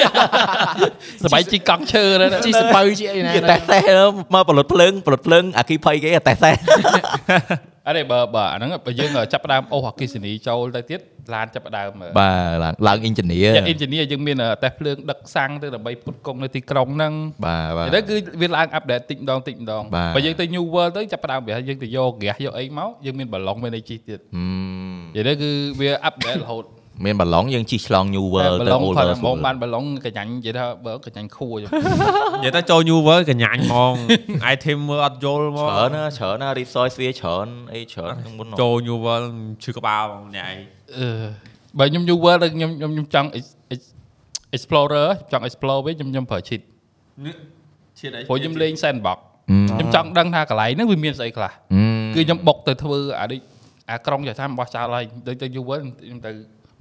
Speaker 8: សបាយជីកកង់ឈើទៅណា
Speaker 2: ជីសបើជីអីណា
Speaker 1: វាតែតែមកប្លុតភ្លើងប្លុតភ្លើងអាគីភ័យគេអាតែតែ
Speaker 8: អត់ទេបើបើអាហ្នឹងបើយើងចាប់ផ្ដើមអូសអគ្គិសនីចូលទៅទៀតឡានចាប់ផ្ដើម
Speaker 1: បាទឡើងឡើង engineer
Speaker 8: យ៉ាង engineer យើងមានតេស្តភ្លើងដឹកសាំងទៅដើម្បីពុតគង់នៅទីក្រុងហ្នឹង
Speaker 1: បាទបាទ
Speaker 8: តែគឺវាឡើង update តិចម្ដងតិចម្ដង
Speaker 1: បាទ
Speaker 8: បើយើងទៅ new world ទៅចាប់ផ្ដើមវាយើងទៅយកហ្គាសយកអីមកយើងមានបឡុងមានអីជីទៀត
Speaker 1: ហឹម
Speaker 8: និយាយទៅគឺវា update រហូត
Speaker 1: មានប្រឡងយើងជិះឆ្លង new
Speaker 8: តែ
Speaker 1: world
Speaker 8: ប
Speaker 1: ទៅ
Speaker 8: ឡុង
Speaker 1: old
Speaker 8: ផាត់
Speaker 1: world
Speaker 8: ហ្មងបានបឡុងកញ្ញាញ់និយាយថាបើកញ្ញាញ់ខួរ ចុះ
Speaker 3: និយាយទៅចូល New World កញ្ញាញហ្មង item មើលអត់យល់ហ្មង
Speaker 1: ច្រើនណាស់ច្រើនណាស់ resource វាច្រើនអីច្រើនក្នុងមុនហ្មង
Speaker 3: ចូល New World ឈឺក្បាលហ្មងអ្នកឯង
Speaker 8: អឺបើខ្ញុំ new world ខ្ញុំខ្ញុំខ្ញុំចង់ ex- ex- explorer ចង់ explore វិញខ្ញុំខ្ញុំប្រើ cheat
Speaker 3: ឈៀតអី
Speaker 8: ព្រោះខ្ញុំលេង sandbox
Speaker 1: អឺ
Speaker 8: ខ្ញុំចង់ដឹងថាកន្លែងហ្នឹងវាមានស្អីខ្លះគឺខ្ញុំបុកទៅធ្វើអាដូចអាក្រុងចថារបស់ចោលហើយដូចទៅ new world ខ្ញុំទៅ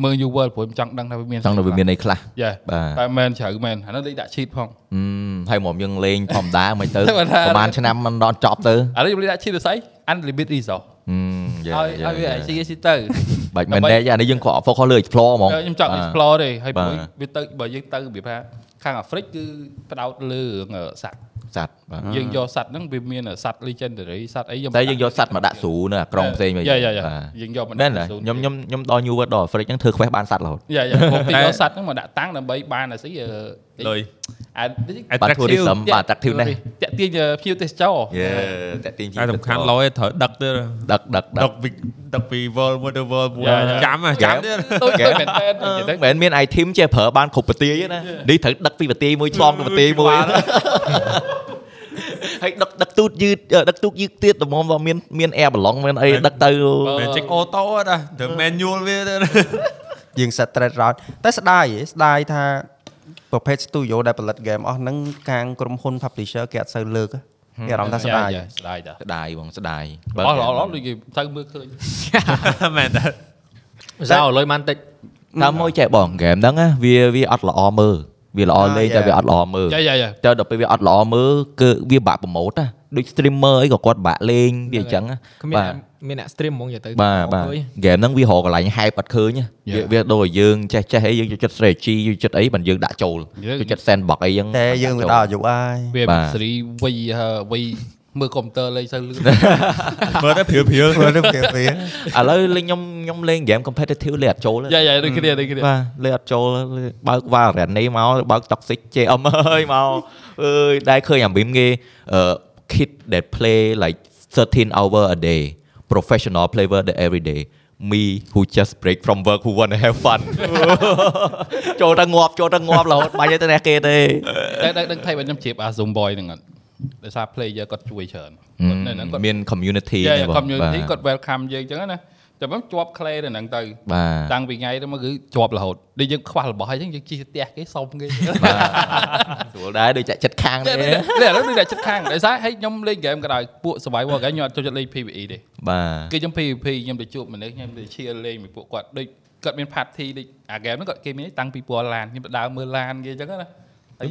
Speaker 8: មើល new world ព្រោះខ្ញុំចង់ដឹងថាវាមាន
Speaker 1: ចង់ទៅវាមានអីខ្លះ
Speaker 8: យ៉ា
Speaker 1: បាទ
Speaker 8: តែមែនជ្រៅមែនអានោះលេងដាក់ cheat ផង
Speaker 1: ហឹមហើយមកយើងលេងធម្មតាមិនទៅ
Speaker 8: តែ
Speaker 1: ប្រ
Speaker 8: បើថា
Speaker 1: ហែលឆ្នាំមិនដល់ចប់ទៅ
Speaker 8: ឥឡូវខ្ញុំលេងដាក់ cheat ទៅស្អី unlimited resource
Speaker 1: ហឹមយ៉ា
Speaker 8: ឲ្យឲ្យវា
Speaker 1: យ៉ា
Speaker 8: អាស៊ីស៊ីទៅ
Speaker 1: បាច់មែនទេអានេះយើងក៏ focus លើ explore ហ្មង
Speaker 8: ខ្ញុំចង់ explore ទេហើយ
Speaker 1: បាទ
Speaker 8: ព្រោះវាទៅបើយើងទៅរបៀបថាខាងអាហ្វ្រិកគឺផ្ដោតលើរឿងអឺសត្វ
Speaker 1: សัตว์បាទ
Speaker 8: យើងយកសัตว์ហ្នឹងវាមានសัตว์ legendary សัตว์អីយកមក
Speaker 1: តែយើងយកសัตว์មកដាក់ស្រូនៅអាក្រុងផ្សេង
Speaker 8: យ៉ា
Speaker 1: វិញ
Speaker 8: យ៉ាយ៉ា
Speaker 1: បាទ
Speaker 8: យើងយកមក
Speaker 1: មែនទេខ្ញុំខ្ញុំខ្ញុំដល់ New World ដល់ Freak ហ្នឹងធ្វើ quest បានសัตว์រហូត
Speaker 8: យ៉ាយ៉ាពួកគេ
Speaker 3: តែ
Speaker 8: យកសัตว์ហ្នឹងមកដាក់តាំងដើម្បីបានអាស្អីអឺ
Speaker 3: លុយ
Speaker 8: អា
Speaker 1: បាទ
Speaker 3: attractive
Speaker 1: tourism បាទ attractive ណាស់
Speaker 8: តាក់ទាញភ្ញៀវទេសចរ
Speaker 1: យេតាក់ទាញជីវិ
Speaker 3: តែសំខាន់លយត្រូវដឹកទៅ
Speaker 1: ដឹកដឹកដឹ
Speaker 3: ដឹ
Speaker 1: ក
Speaker 3: កពីដឹកពី world មួយទៅ world à, មួយ
Speaker 8: យ៉ា
Speaker 3: ចាំហ៎ចាំទៀត
Speaker 8: ដូចទៅ
Speaker 1: Yeah.
Speaker 8: មែនតើនិយាយទៅ
Speaker 1: មិនមែនមាន item ចេះប្រើបានគ្រប់ប្រទាយទេណានេះត្រូវដឹកពីប្រទាយមួយឆ្លងទៅប្រទាយមួយ ហើយដឹកដឹកទូតយឺតអឺដឹកទូកយឺតទៀតតម្រុំថាមានមាន air ballon មានអីដឹកទៅ
Speaker 3: មែនចេញអូតូណាទៅ manual វា ទៅណា
Speaker 6: យើង set thread route តែស្ដាយហ៎ស្ដាយថាប្រភេទ studio ដែលផលិត game អស់ហ្នឹងខាងក្រុមហ៊ុន publisher គេអត់សូវលើកហ៎គេអារម្មណ៍ថាស្ដាយ
Speaker 8: យ៉ាស្ដាយតា
Speaker 1: ស្ដាយបងស្ដាយ
Speaker 8: អស់ល្អល្អដូចគេទៅមើលឃើញ
Speaker 3: មែនតើ
Speaker 7: sao lôi man tịch
Speaker 1: តាមមកចេះបងហ្គេមហ្នឹងណាវាវាអត់ល្អមើលវាល្អ
Speaker 6: អ่า
Speaker 1: លេងតែ
Speaker 6: yeah.
Speaker 1: វាអត់ល្អមើល
Speaker 8: យ៉ាយ៉ាយ៉ា
Speaker 1: តែដល់ពេលវាអត់ល្អមើលគឺវាបាក់ប្រម៉ូតណាដូច streamer អីក៏គាត់បាក់លេងវាអញ្ចឹងណា
Speaker 2: គ្មាន
Speaker 1: បាទ
Speaker 2: អ្នកមានអ្នក stream ហ្មងយកទៅ
Speaker 1: បាទបាទ
Speaker 2: អើយ
Speaker 1: ហ្គេមហ្នឹងវារកកន្លែង hype អត់ឃើញណាវាវាដូចឲ្យយើងចេះចេះអីយើងចូលចិត្ត strategy យើងចិត្តអីបានយើងដាក់ចូលចូលចិត្ត sandbox អីចឹង
Speaker 6: តែយើង
Speaker 1: បា
Speaker 6: ទៅ
Speaker 1: ន
Speaker 6: ដល់
Speaker 1: ដាក់
Speaker 6: អាយុហើយ
Speaker 8: វា
Speaker 1: បា
Speaker 8: មាន
Speaker 1: ទ
Speaker 8: សេរីវៃហ่าវៃមើលកុំព្យូទ័រលេងទៅលឿន
Speaker 3: មើ លទៅព្រាវព្រាវ
Speaker 6: ព្រោះនេះវាវា
Speaker 1: ចូលឥឡូវលេងខ្ញុំខ្ញុំលេង game competitive លេងអត់ចូលទេ
Speaker 8: យ៉ាយ៉ាដូចគ្នាដូចគ្នា
Speaker 1: បាទលេងអត់ចូលលេងបើក Valorant នេះមកបើក Toxic JM អើយមក អើយដែរឃើញអាមីមគេអឺ kid that play like 13 hour a day professional player that every day me who just break from work who want to have fun ចូលតែងាប់ចូលតែងាប់រហូតបាញ់ទៅតែគេ ទេ
Speaker 8: តែដឹងដឹងថៃបើខ្ញុំជ្រាបអា Zoom À, Boy ហ្នឹងអត់ដោយសារ player គាត់ជួយច្រើនគាត់នៅហ្នឹងគាត់
Speaker 1: មាន community
Speaker 8: យ៉ា
Speaker 1: នេះ
Speaker 8: យ៉ា
Speaker 1: បង
Speaker 8: community
Speaker 1: បា
Speaker 8: គាត់ welcome យើងអញ្ចឹងណាតែមិនជាប់ clay ទៅហ្នឹងទៅ
Speaker 1: បាទ
Speaker 8: តាំងពីថ្ងៃទៅមកគឺជាប់រហូតដូចយើងខ្វះរបស់អញ្ចឹងយើងជិះផ្ទះគេសុំគេ
Speaker 1: ស្រួលដែរដូចចាក់ចិត្តខាង
Speaker 8: តែ
Speaker 1: ទេ
Speaker 8: ឥឡូវនេះតែចិត្តខាងដោយសារឲ្យខ្ញុំលេង game ក៏ដោយពួក survival គេខ្ញុំអត់ចូលចិត្តលេង PvE ទេ
Speaker 1: បាទ
Speaker 8: គេខ្ញុំ PvP ខ្ញុំទៅជួបមនុស្សខ្ញុំទៅឈៀលលេងពីពួកគាត់ដូចគាត់មាន party ដូចអា game ហ្នឹងគាត់គេមានតាំងពីពណ៌ឡានខ្ញុំទៅដើរមើលឡានគេអញ្ចឹងណា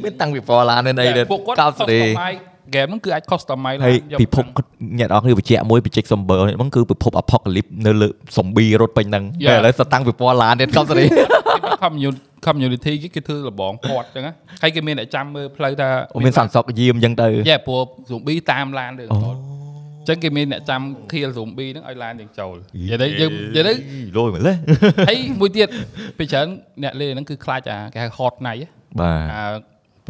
Speaker 1: មានតាំងពីពណ៌ឡាននៅនេះ
Speaker 8: ពួកគាត់
Speaker 1: កោតសេរី
Speaker 8: សុខសប្បាយ game ហ្នឹងគឺអាច customize
Speaker 1: ហើយ
Speaker 8: យក
Speaker 1: ពិភពអ្នកនរគ្នាបញ្ជាក់មួយបញ្ជាក់សំបើហ្នឹងគឺ ពិភព apocalypse នៅលើ zombie រត់ពេញហ្នឹងតែឥឡូវសតាំងពីពណ៌ឡានទៀត កំសរី
Speaker 8: ពី community community គេគេធ្វើលបងពាត់អញ្ចឹងណាហើយគេមានអ្នកចាំមើលផ្លូវថា
Speaker 1: មានសន្តិសុខយាមអញ្ចឹងទៅ
Speaker 8: យ៉ាព្រោះ zombie តាមឡានទៅអញ្ចឹងគេមានអ្នកចាំ kill zombie ហ្នឹងឲ្យឡានយើងចូលនិយាយទៅយើងនិយាយ
Speaker 1: ល
Speaker 8: ទៅ
Speaker 1: យម្លេះ
Speaker 8: ហើយមួយទៀតពេលច្រើនអ្នកលេងហ្នឹងគឺខ្លាចអាគេហៅ hot night ហ៎
Speaker 1: បា
Speaker 8: អា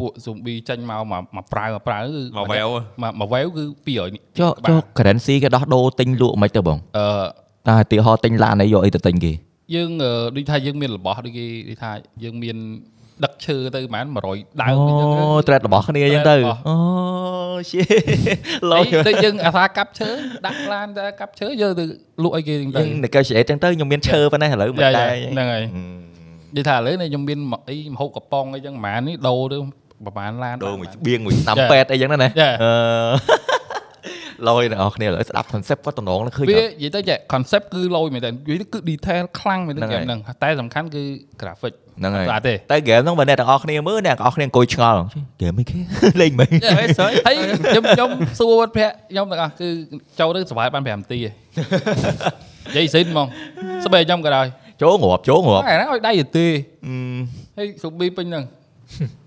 Speaker 8: ពួក zombie ចេញមកមកមកប្រើមកប្រើគឺ
Speaker 3: មក wave
Speaker 8: មកមក wave គឺ200នេះ
Speaker 1: ទចុះចុះ currency គេដោះដូរទិញលក់មិនទៅបង
Speaker 8: អឺ
Speaker 1: តែឧទីហោទិញឡានអីយកអីទៅទិញគេ
Speaker 8: យើងអឺដូចថាយើងមានរបស់ដូចគេដូចថាយើងមានដឹកឈើទៅប្រហែល100ដើមអញ្ចឹងទៅ
Speaker 1: អូ thread របស់គ្នាអញ្ចឹងទៅ
Speaker 8: អូ
Speaker 1: អូឈី ល
Speaker 8: អី
Speaker 1: យយើ
Speaker 8: ដូចយើងអាសាកាប់ឈើដាក់ឡានទៅកាប់ឈើយើងទៅលក់ឲ្យគេហ្នឹងទៅ
Speaker 1: ង negotiate អញ្ចឹងទៅខ្ញុំមានឈើប៉ុណ្ណេះឥឡូវមិន
Speaker 8: យ៉ា
Speaker 1: ដែរ
Speaker 8: យ៉ាហ្នឹងហើយនិយាយថាឥឡូវនេះខ្ញុំមានមកអីមហូបកំប៉ុងអីចឹងប្រហែលនេះដូរទៅប្រហែលឡាន
Speaker 1: ដូរមួយស្បៀងមួយឆ្នាំ
Speaker 8: ចា
Speaker 1: ពេទ្យអីចឹងណាណា
Speaker 8: ចា
Speaker 1: អឺ លយអ្នកនរគ្នាឥឡូវស្ដាប់ concept គាត់តំណងនឹងឃើញ
Speaker 8: វា
Speaker 1: អត់
Speaker 8: និយាយទៅចេះ concept គឺលយមែនតើនិយាយទៅគឺ detail ខ្លាំងមែនតើហ្គេមហ្នឹងតែសំខាន់គឺ graphic
Speaker 1: ហ្នឹងហើយ
Speaker 8: ស្អាតទេ
Speaker 1: តែ game ហ្នឹងបើអ្នកទាំងអស់គ្នាមើលអ្នកទាំងអស់គ្នាអង្គុយឆ្ងល់ game មិនគេ លេងមិន
Speaker 8: ហើយខ្ញុំខ្ញុំសួរវត្តភ័ក្រខ្ញុំទាំងអស់គឺចូលទៅសុវ័យបាន5នាទីឯងនិយាយស៊ីនហ្មងស្បែកខ្ញុំក៏ដោយ
Speaker 1: ចូលងាប់ចូលងាប់
Speaker 8: តែហ្នឹងឲ្យដៃទៅទេ
Speaker 1: អឺ
Speaker 8: ហើយសុប៊ីពេញហ្នឹង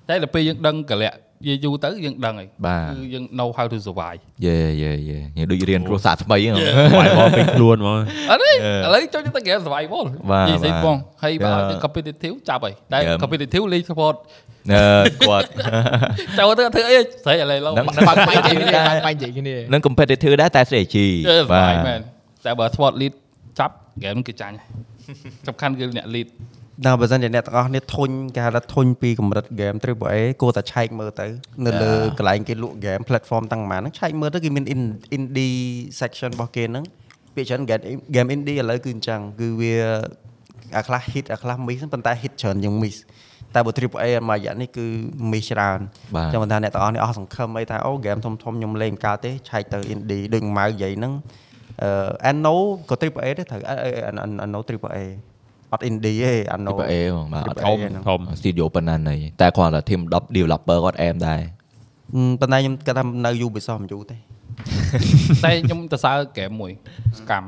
Speaker 8: តែដល់ពេលយើងដឹងកលៈយយូរទៅយើងដឹងហើយ
Speaker 1: បាទ
Speaker 8: គឺយើង know how to survive
Speaker 1: យេយេយេនេះដូចរៀនគ្រួសារថ្មីហ្នឹង
Speaker 3: បាយបងពេញខ្លួនមក
Speaker 8: អត់ទេឥឡូវចូលទៅ game survival
Speaker 1: បាទ
Speaker 8: ស្អី
Speaker 1: បាទ
Speaker 8: ផងហើយបើឲ្យទៅ
Speaker 1: Yeah.
Speaker 8: competitive ចាប់ហើយតែ
Speaker 1: Yeah.
Speaker 8: competitive league support
Speaker 1: អឺ គាត់
Speaker 8: ចូលទៅធ្វើអីស្រីឥឡូវឡូវ
Speaker 1: ហ្នឹង
Speaker 8: បា
Speaker 1: បា
Speaker 8: ក់
Speaker 1: ក់
Speaker 8: បែ
Speaker 1: បែ
Speaker 8: ក
Speaker 1: កគ្នាដែរ
Speaker 2: បាញ់និយាយគ្នា
Speaker 1: នឹង competitive ដែរតែ strategy
Speaker 8: បាទមែនតែបើ support lead ចាប់ game គឺចាញ់សំខាន់គឺអ្នក lead
Speaker 6: ដល់បើសិនជាអ្នកទាំងអស់គ្នាធុញគេហៅថាធុញពីកម្រិត game AAA គួរតែឆែកមើលទៅនៅលើកន្លែងគេលក់ game platform ទាំងប៉ុន្មានហ្នឹងឆែកមើលទៅគឺមាន in- indie section របស់គេហ្នឹងពាក្យច្រើន game- game indie ឥឡូវគឺអញ្ចឹងគឺវាអាខ្លះ hit អាខ្លះ miss ហ្នឹងប៉ុន្តែ hit ច្រើនជាង miss តែបើ AAA មករយៈនេះគឺ miss ច្រើន
Speaker 1: បាទ
Speaker 6: ចាំមិនថាអ្នកទាំងអស់នេះអស់សង្ឃឹមអីថាអូ game ធំៗខ្ញុំលេងមិនកើតទេឆែកទៅ indie ដូចម៉ៅនិយាយហ្នឹងអឺ Anno ក៏ AAA ដែរត្រូវអីអី Anno AAA អត់ indie ទេ Anno
Speaker 1: ទៅអេហ្មងបាទអត់ធំ
Speaker 6: AAA ហ្នឹង
Speaker 3: ធំ
Speaker 1: studio ប៉ុណ្ណាណីតែគ្រាន់តែ team 10 developer គាត់អែមដែរ
Speaker 6: ហឹមប៉ុន្តែខ្ញុំគាត់ថានៅ Ubisoft មិនយូរទេ
Speaker 8: តែខ្ញុំទៅសើ game មួយ scam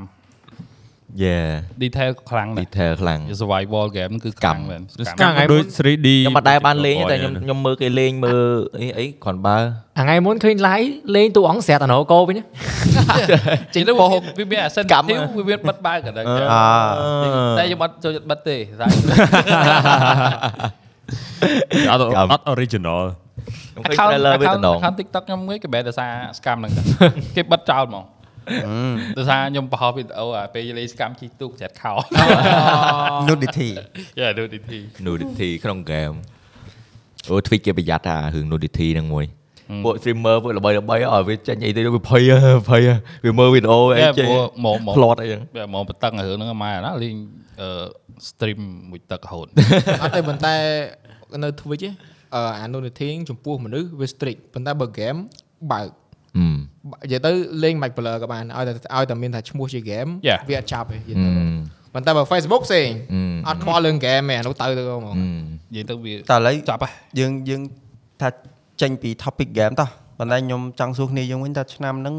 Speaker 1: យេ
Speaker 8: detail ខ្លាំងណាស់
Speaker 1: detail ខ្លាំង
Speaker 8: survival game គឺខ្លាំងមែន scam
Speaker 7: កាំងឯង
Speaker 3: ដូច
Speaker 7: មុន
Speaker 3: 3D
Speaker 1: ខ្ញុំមិនដែរបានលេងទេតែខ្ញុំខ្ញុំមើលគេលេងមើលអីអីគ្រាន់បើ
Speaker 7: អាថ្ងៃមុនឃើញ live លេងតួអង្គស្រាតអណូកោវិញណា
Speaker 8: ចេះទៅវាមាន
Speaker 1: Scam
Speaker 8: sensitive វាមានបិទបើកក៏ដឹង
Speaker 6: អើ
Speaker 8: តែខ្ញុំអត់ចូលចិត្តបិទទេតែ
Speaker 3: អត់អត់ original
Speaker 1: ខ្ញុំឃើញ trailer វាតំណង
Speaker 8: account TikTok ខ្ញុំមួយគេបែរដោយសារ scam ហ្នឹងទៅ គេបិទចោលហ្មងដោយសារខ្ញុំបង្ហោះវីដេអូអាពេលលេង scam ជីកទូ កចាត់ខោ
Speaker 6: Nudity
Speaker 8: យ៉ាដូចទី
Speaker 1: nudity ក្នុង game អូ tweet គេប្រយ័ត្នថារឿង nudity ហ្នឹងមួយពួក streamer ពួកល្បីល្បីឲ្យវាចេញអីទៅវាភ័យហ៎ភ័យហ៎វាមើលវីដេអូអី
Speaker 8: យ៉ា
Speaker 1: ចេញ
Speaker 8: ព្រោះហ្មងហ្មង
Speaker 1: ផ្លត់អីចឹង
Speaker 8: បែរហ្មងបតឹងរឿងហ្នឹងម៉ែណាលេងអឺ stream មួយទឹករហូ ត
Speaker 2: អត់ទេប៉ុន្តែនៅ Twitch ឯងអឺអានោះនីធីចំពោះមនុស្សវា strict ប៉ុន្តែបើ game បើក
Speaker 1: អឺ
Speaker 2: និយាយទៅលេង Mac Blur ក៏បានឲ្យតែឲ្យតែមានថាឈ្មោះជា game
Speaker 8: Yeah.
Speaker 2: វាអត់ចាប់ទេនិយាយទៅប៉ុន្តែបើ Facebook ផ្សេង
Speaker 1: អឺ
Speaker 2: អត់ខ្វល់រឿង game ទេអានោះទៅទៅហ្មង
Speaker 8: និយាយទៅវា
Speaker 6: តែឥឡូវ
Speaker 8: ចាប់ហ៎
Speaker 6: យើងយើងថាចេញពី topic game តោះប៉ុន្តែខ្ញុំចង់សួរគ្នាយើងវិញថាឆ្នាំហ្នឹង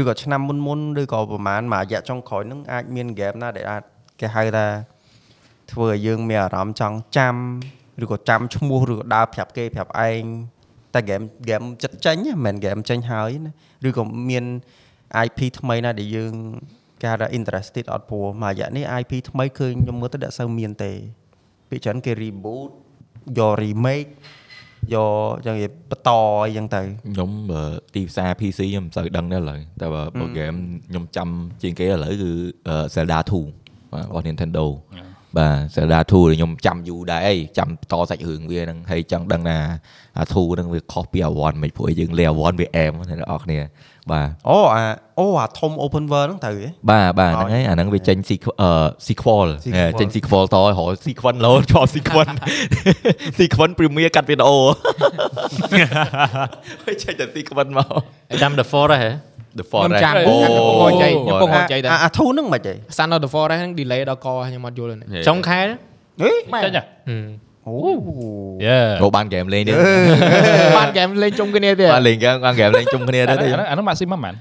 Speaker 6: ឬក៏ឆ្នាំមុនមុនឬក៏ប្រហែលមួយរយៈចុងក្រោយហ្នឹងអាចមាន game ណាដែលអាចគេហៅថាធ្វើឲ្យយើងមានអារម្មណ៍ចង់ចាំឬក៏ចាំឈ្មោះឬក៏ដើរប្រាប់គេប្រាប់ឯងតែ game game ចិត្តចេញហ៎មិនមែន game ចេញហើយណាឬក៏មាន IP ថ្មីណាដែលយើងគេហៅថា interested អត់ព្រោះមួយរយៈនេះ IP ថ្មីឃើញខ្ញុំមើលទៅដាក់សូវមានទេ ពីច្រើនគេ reboot យក remake យកយ៉ាងនិយាយបន្តអីចឹងទៅ
Speaker 1: ខ្ញុំបើទីផ្សារ PC ខ្ញុំមិនសូវដឹងដែរឥឡូវតែបើបើ game ខ្ញុំចាំជាងគេឥឡូវគឺ Zelda 2បាទរបស់ Nintendo បាទ Zelda 2ដែលខ្ញុំចាំយូរដែរអីចាំបន្តសាច់រឿងវាហ្នឹងហើយចង់ដឹងថាអា2ហ្នឹងវាខុសពីអា1មិនព្រោះយើងលេអា1វាអែមណាអ្នកនរគ្នាបាទ
Speaker 6: អូអាអូអាធំ open world ហ្នឹងត្រូវហ៎
Speaker 1: បាទបាទហ្នឹងហើយអាហ្នឹងវាចេញ sequel អឺ sequel ហ៎ចេញ sequel តឲ្យរហល់ sequel លោតជាប់ sequel sequel premiere កាត់វីដេអូហើយចេញតែ sequel មក
Speaker 7: ចាំ the forest ហ៎
Speaker 1: The
Speaker 2: ខ្ញុំ
Speaker 1: Forest
Speaker 2: ចាំ
Speaker 1: អូ
Speaker 2: ខ្ញុំកំពុងចៃ
Speaker 1: បាទ
Speaker 2: ខ្ញុំកំពុងចៃដែរ
Speaker 6: អាអាធូហ្នឹងមិនហ៎
Speaker 2: សានដល់ Forest ហ្នឹង delay ដល់កខ្ញុំអត់យល់ទេ
Speaker 7: ចុងខែ
Speaker 6: ហេ
Speaker 8: ចាញ់ហ៎
Speaker 7: ហឹម
Speaker 6: អូ
Speaker 8: យេ
Speaker 1: ក៏បានហ្គេមលេងទៀត
Speaker 2: បានហ្គេមលេងជុំគ្នាទៀត
Speaker 1: បានលេងហ្គេមបានហ្គេមលេងជុំគ្នា
Speaker 8: អា
Speaker 1: ដែរទេ
Speaker 8: ហ្នឹងអាហ្នឹងម៉ាស៊ីមហ្នឹង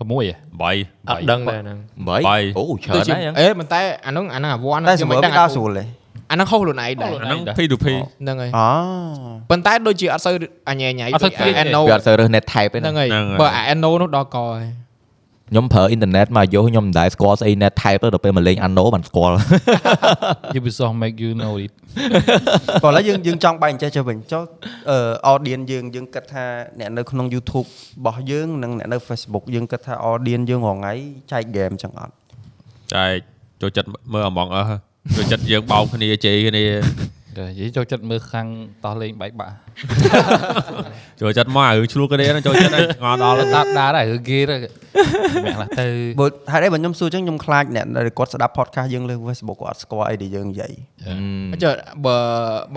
Speaker 8: 6ហ៎
Speaker 3: 8
Speaker 7: អត់ដឹងដែរហ្នឹង
Speaker 1: 8
Speaker 3: បី
Speaker 1: អូច្រើន
Speaker 2: ដូចជា
Speaker 1: ហើយហ្នឹង
Speaker 2: អេប៉ុន្តែអាហ្នឹងអាហ្នឹងអាវ៉ាន់
Speaker 6: តែសម្រាប់វាដល់ស្រួលទេ
Speaker 2: អាហ្នឹងហុសខ្លួនឯងដែរ
Speaker 8: ហុស
Speaker 3: អាហ្នឹង P to P
Speaker 2: ហ្នឹងហើយ
Speaker 6: អូ
Speaker 2: ប៉ុន្តែដូចជាអត់សូវអញ៉ែញ៉ៃ
Speaker 8: អត់សូវ
Speaker 2: ដូច
Speaker 8: create ទេ
Speaker 2: Anno
Speaker 1: វាអត់សូវរើស net type ទេ
Speaker 2: ហ្នឹ
Speaker 1: ហ្នឹង ង
Speaker 2: ហើយ
Speaker 3: ហ្នឹងហើយ
Speaker 2: បើអា Anno នោះដល់កហើយ
Speaker 1: ខ្ញុំប្រើ internet មកយោខ្ញុំមិនដែលស្គាល់ស្អី net type ទេដល់ពេលមកលេង Anno បានស្គាល់
Speaker 8: Ubisoft make you know it
Speaker 6: ក៏ឡើយយើងយើងចង់បែងចែកចុះវិញចុះអឺ audience យើងយើងគិតថាអ្នកនៅក្នុង YouTube របស់យើងនិងអ្នកនៅ Facebook យើងគិតថា audience យើងរងថ្ងៃចែក game ចឹងអត់
Speaker 3: ចែកចូលចិត្តមើល Among Us ហ៎ចូលចិត្តយើងបោកគ្នាជេរគ្នា
Speaker 8: និយាយចូលចិត្តមើលខាងតោះលេងបែកបាក់
Speaker 3: ចូលចិត្តមកអារឿងឆ្លោះគ្នាហ្នឹងចូលចិត្តហ្នឹងងល់ដល់
Speaker 8: ដល់តាប់ដាដែរឬគេដែរអ្នកខ្លះទៅ
Speaker 6: បើហេតុអីបើខ្ញុំសួរចឹងខ្ញុំខ្លាចអ្នកនៅគាត់ស្ដាប់ podcast យើងលើ Facebook គាត់អត់ស្គាល់អីដែលយើងនិយាយ
Speaker 2: ចុះបើ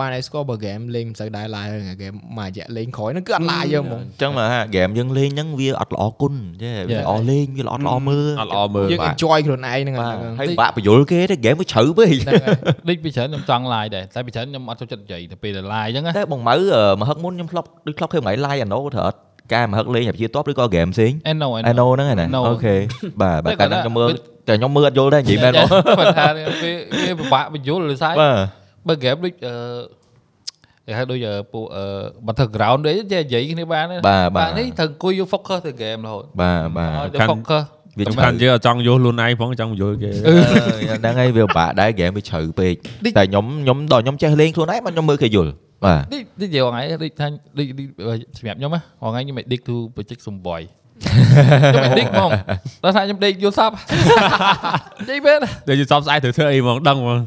Speaker 2: បានឯស្គាល់បើហ្គេមលេងមិនសូវដែរឡើយហ្នឹងហ្គេមមករយៈលេងក្រោយហ្នឹងគឺអត់ឡាយយើងហ្មង
Speaker 1: អញ្ចឹងមកហាហ្គេមយើងលេងហ្នឹងវាអត់ល្អគុណទេវាល្អលេងវាល្អល្អមើល
Speaker 3: អត់ល្អមើល
Speaker 2: យើង
Speaker 3: បាទ
Speaker 2: enjoy ខ្លួនឯងហ្នឹង
Speaker 1: បា
Speaker 2: ហើយ
Speaker 1: ទ
Speaker 2: ហ្នឹង
Speaker 1: ហើយបាក់បញ្យលគេទេហ្គេមវាជ្រៅពេក
Speaker 2: ហ្នឹងហើយ
Speaker 8: ដូចពីច្រើនខ្ញុំចង់ឡាយដែរតែពីច្រើនខ្ញុំអត់ចូលចិត្តនិយាយទៅពេលឡាយអញ្ចឹងណា
Speaker 1: តែបងម៉ៅអឺមកហឹកមុនខ្ញុំធ្លាប់ដូចធ្លាប់ឃើញថ្ងៃ live Anno ត្រូវអត់ការមកហឹកលេងអាជាតបឬក៏ហ្គេមផ្សេង
Speaker 8: អេណូអេ
Speaker 1: Anno ហ្នឹងឯណា
Speaker 8: Anno
Speaker 1: អូខេបាទបាទតែ
Speaker 8: តែគាត់
Speaker 1: ខ្ញុំមើលតែខ្ញុំមើលអត់យល់ដែរនិ
Speaker 8: Dạ,
Speaker 1: យាយមែនបង
Speaker 8: បើថាពេលគេពិបាកបញ្យល់ឬស្អី
Speaker 1: បាទ
Speaker 8: បើហ្គេមដូចអឺគេហៅដូចអឺពួកអឺ battleground ដូចចេះនិយាយគ្នាបានទេ
Speaker 1: បាទបាទ
Speaker 8: នេះត្រូវអង្គុយយក focus ទៅហ្គេមរហូត
Speaker 1: បាទបាទ
Speaker 8: ឲ្យទៅ
Speaker 3: ខាង
Speaker 8: focus
Speaker 1: វា
Speaker 3: សំ
Speaker 1: ជ្រៅ
Speaker 3: ខាន់យើងអត់ចង់យល់ខ្លួនឯងផងចង់យល់គេ
Speaker 1: អឺហ្នឹងហើយវាពិបាកដែរហ្គេមវាជ្រៅពេកតែខ្ញុំខ្ញុំដល់ខ្ញុំចេះលេងខ្លួនឯងមកខ្ញុំមើលគេយល់បាទ
Speaker 8: នេះនេះនិយាយថ្ងៃដូចថាដូចដូចសម្រាប់ខ្ញុំណាថ្ងៃខ្ញុំ addict to project zomboy ខ្ញុំ addict ហ្មងដល់ថាខ្ញុំដេកយល់សັບនិយាយមែន
Speaker 3: ដូចយើងសពស្អែកត្រូវធ្វើអីហ្មងដឹងហ្មង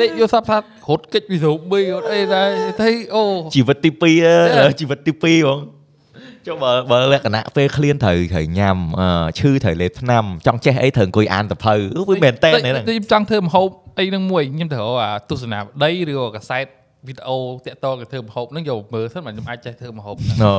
Speaker 8: ដេកយល់សັບថារត់គេចពីរូបមីរត់អីដែរតែអូ
Speaker 1: ជីវិតទី2ជីវិតទី2បងចុះបើបើលក្ខណៈពេលឃ្លានត្រូវត្រូវញ៉ាំអឺឈឺត្រូវលេបថ្នាំចង់ចេះអីត្រូវអង្គុយអានសភៅអូវាមែនតើហ្នឹង
Speaker 8: ខ្ញុំចង់ធ្វើម្ហូបអីហ្នឹងមួយខ្ញុំទៅរកអាទស្សនាវដ្ដីឬក៏កាសែតវីដេអូតាក់ទងទៅធ្វើម្ហូបហ្នឹងយកមើលសិនបើខ្ញុំអាចចេះធ្វើម្ហូបហ្នឹង
Speaker 1: អូ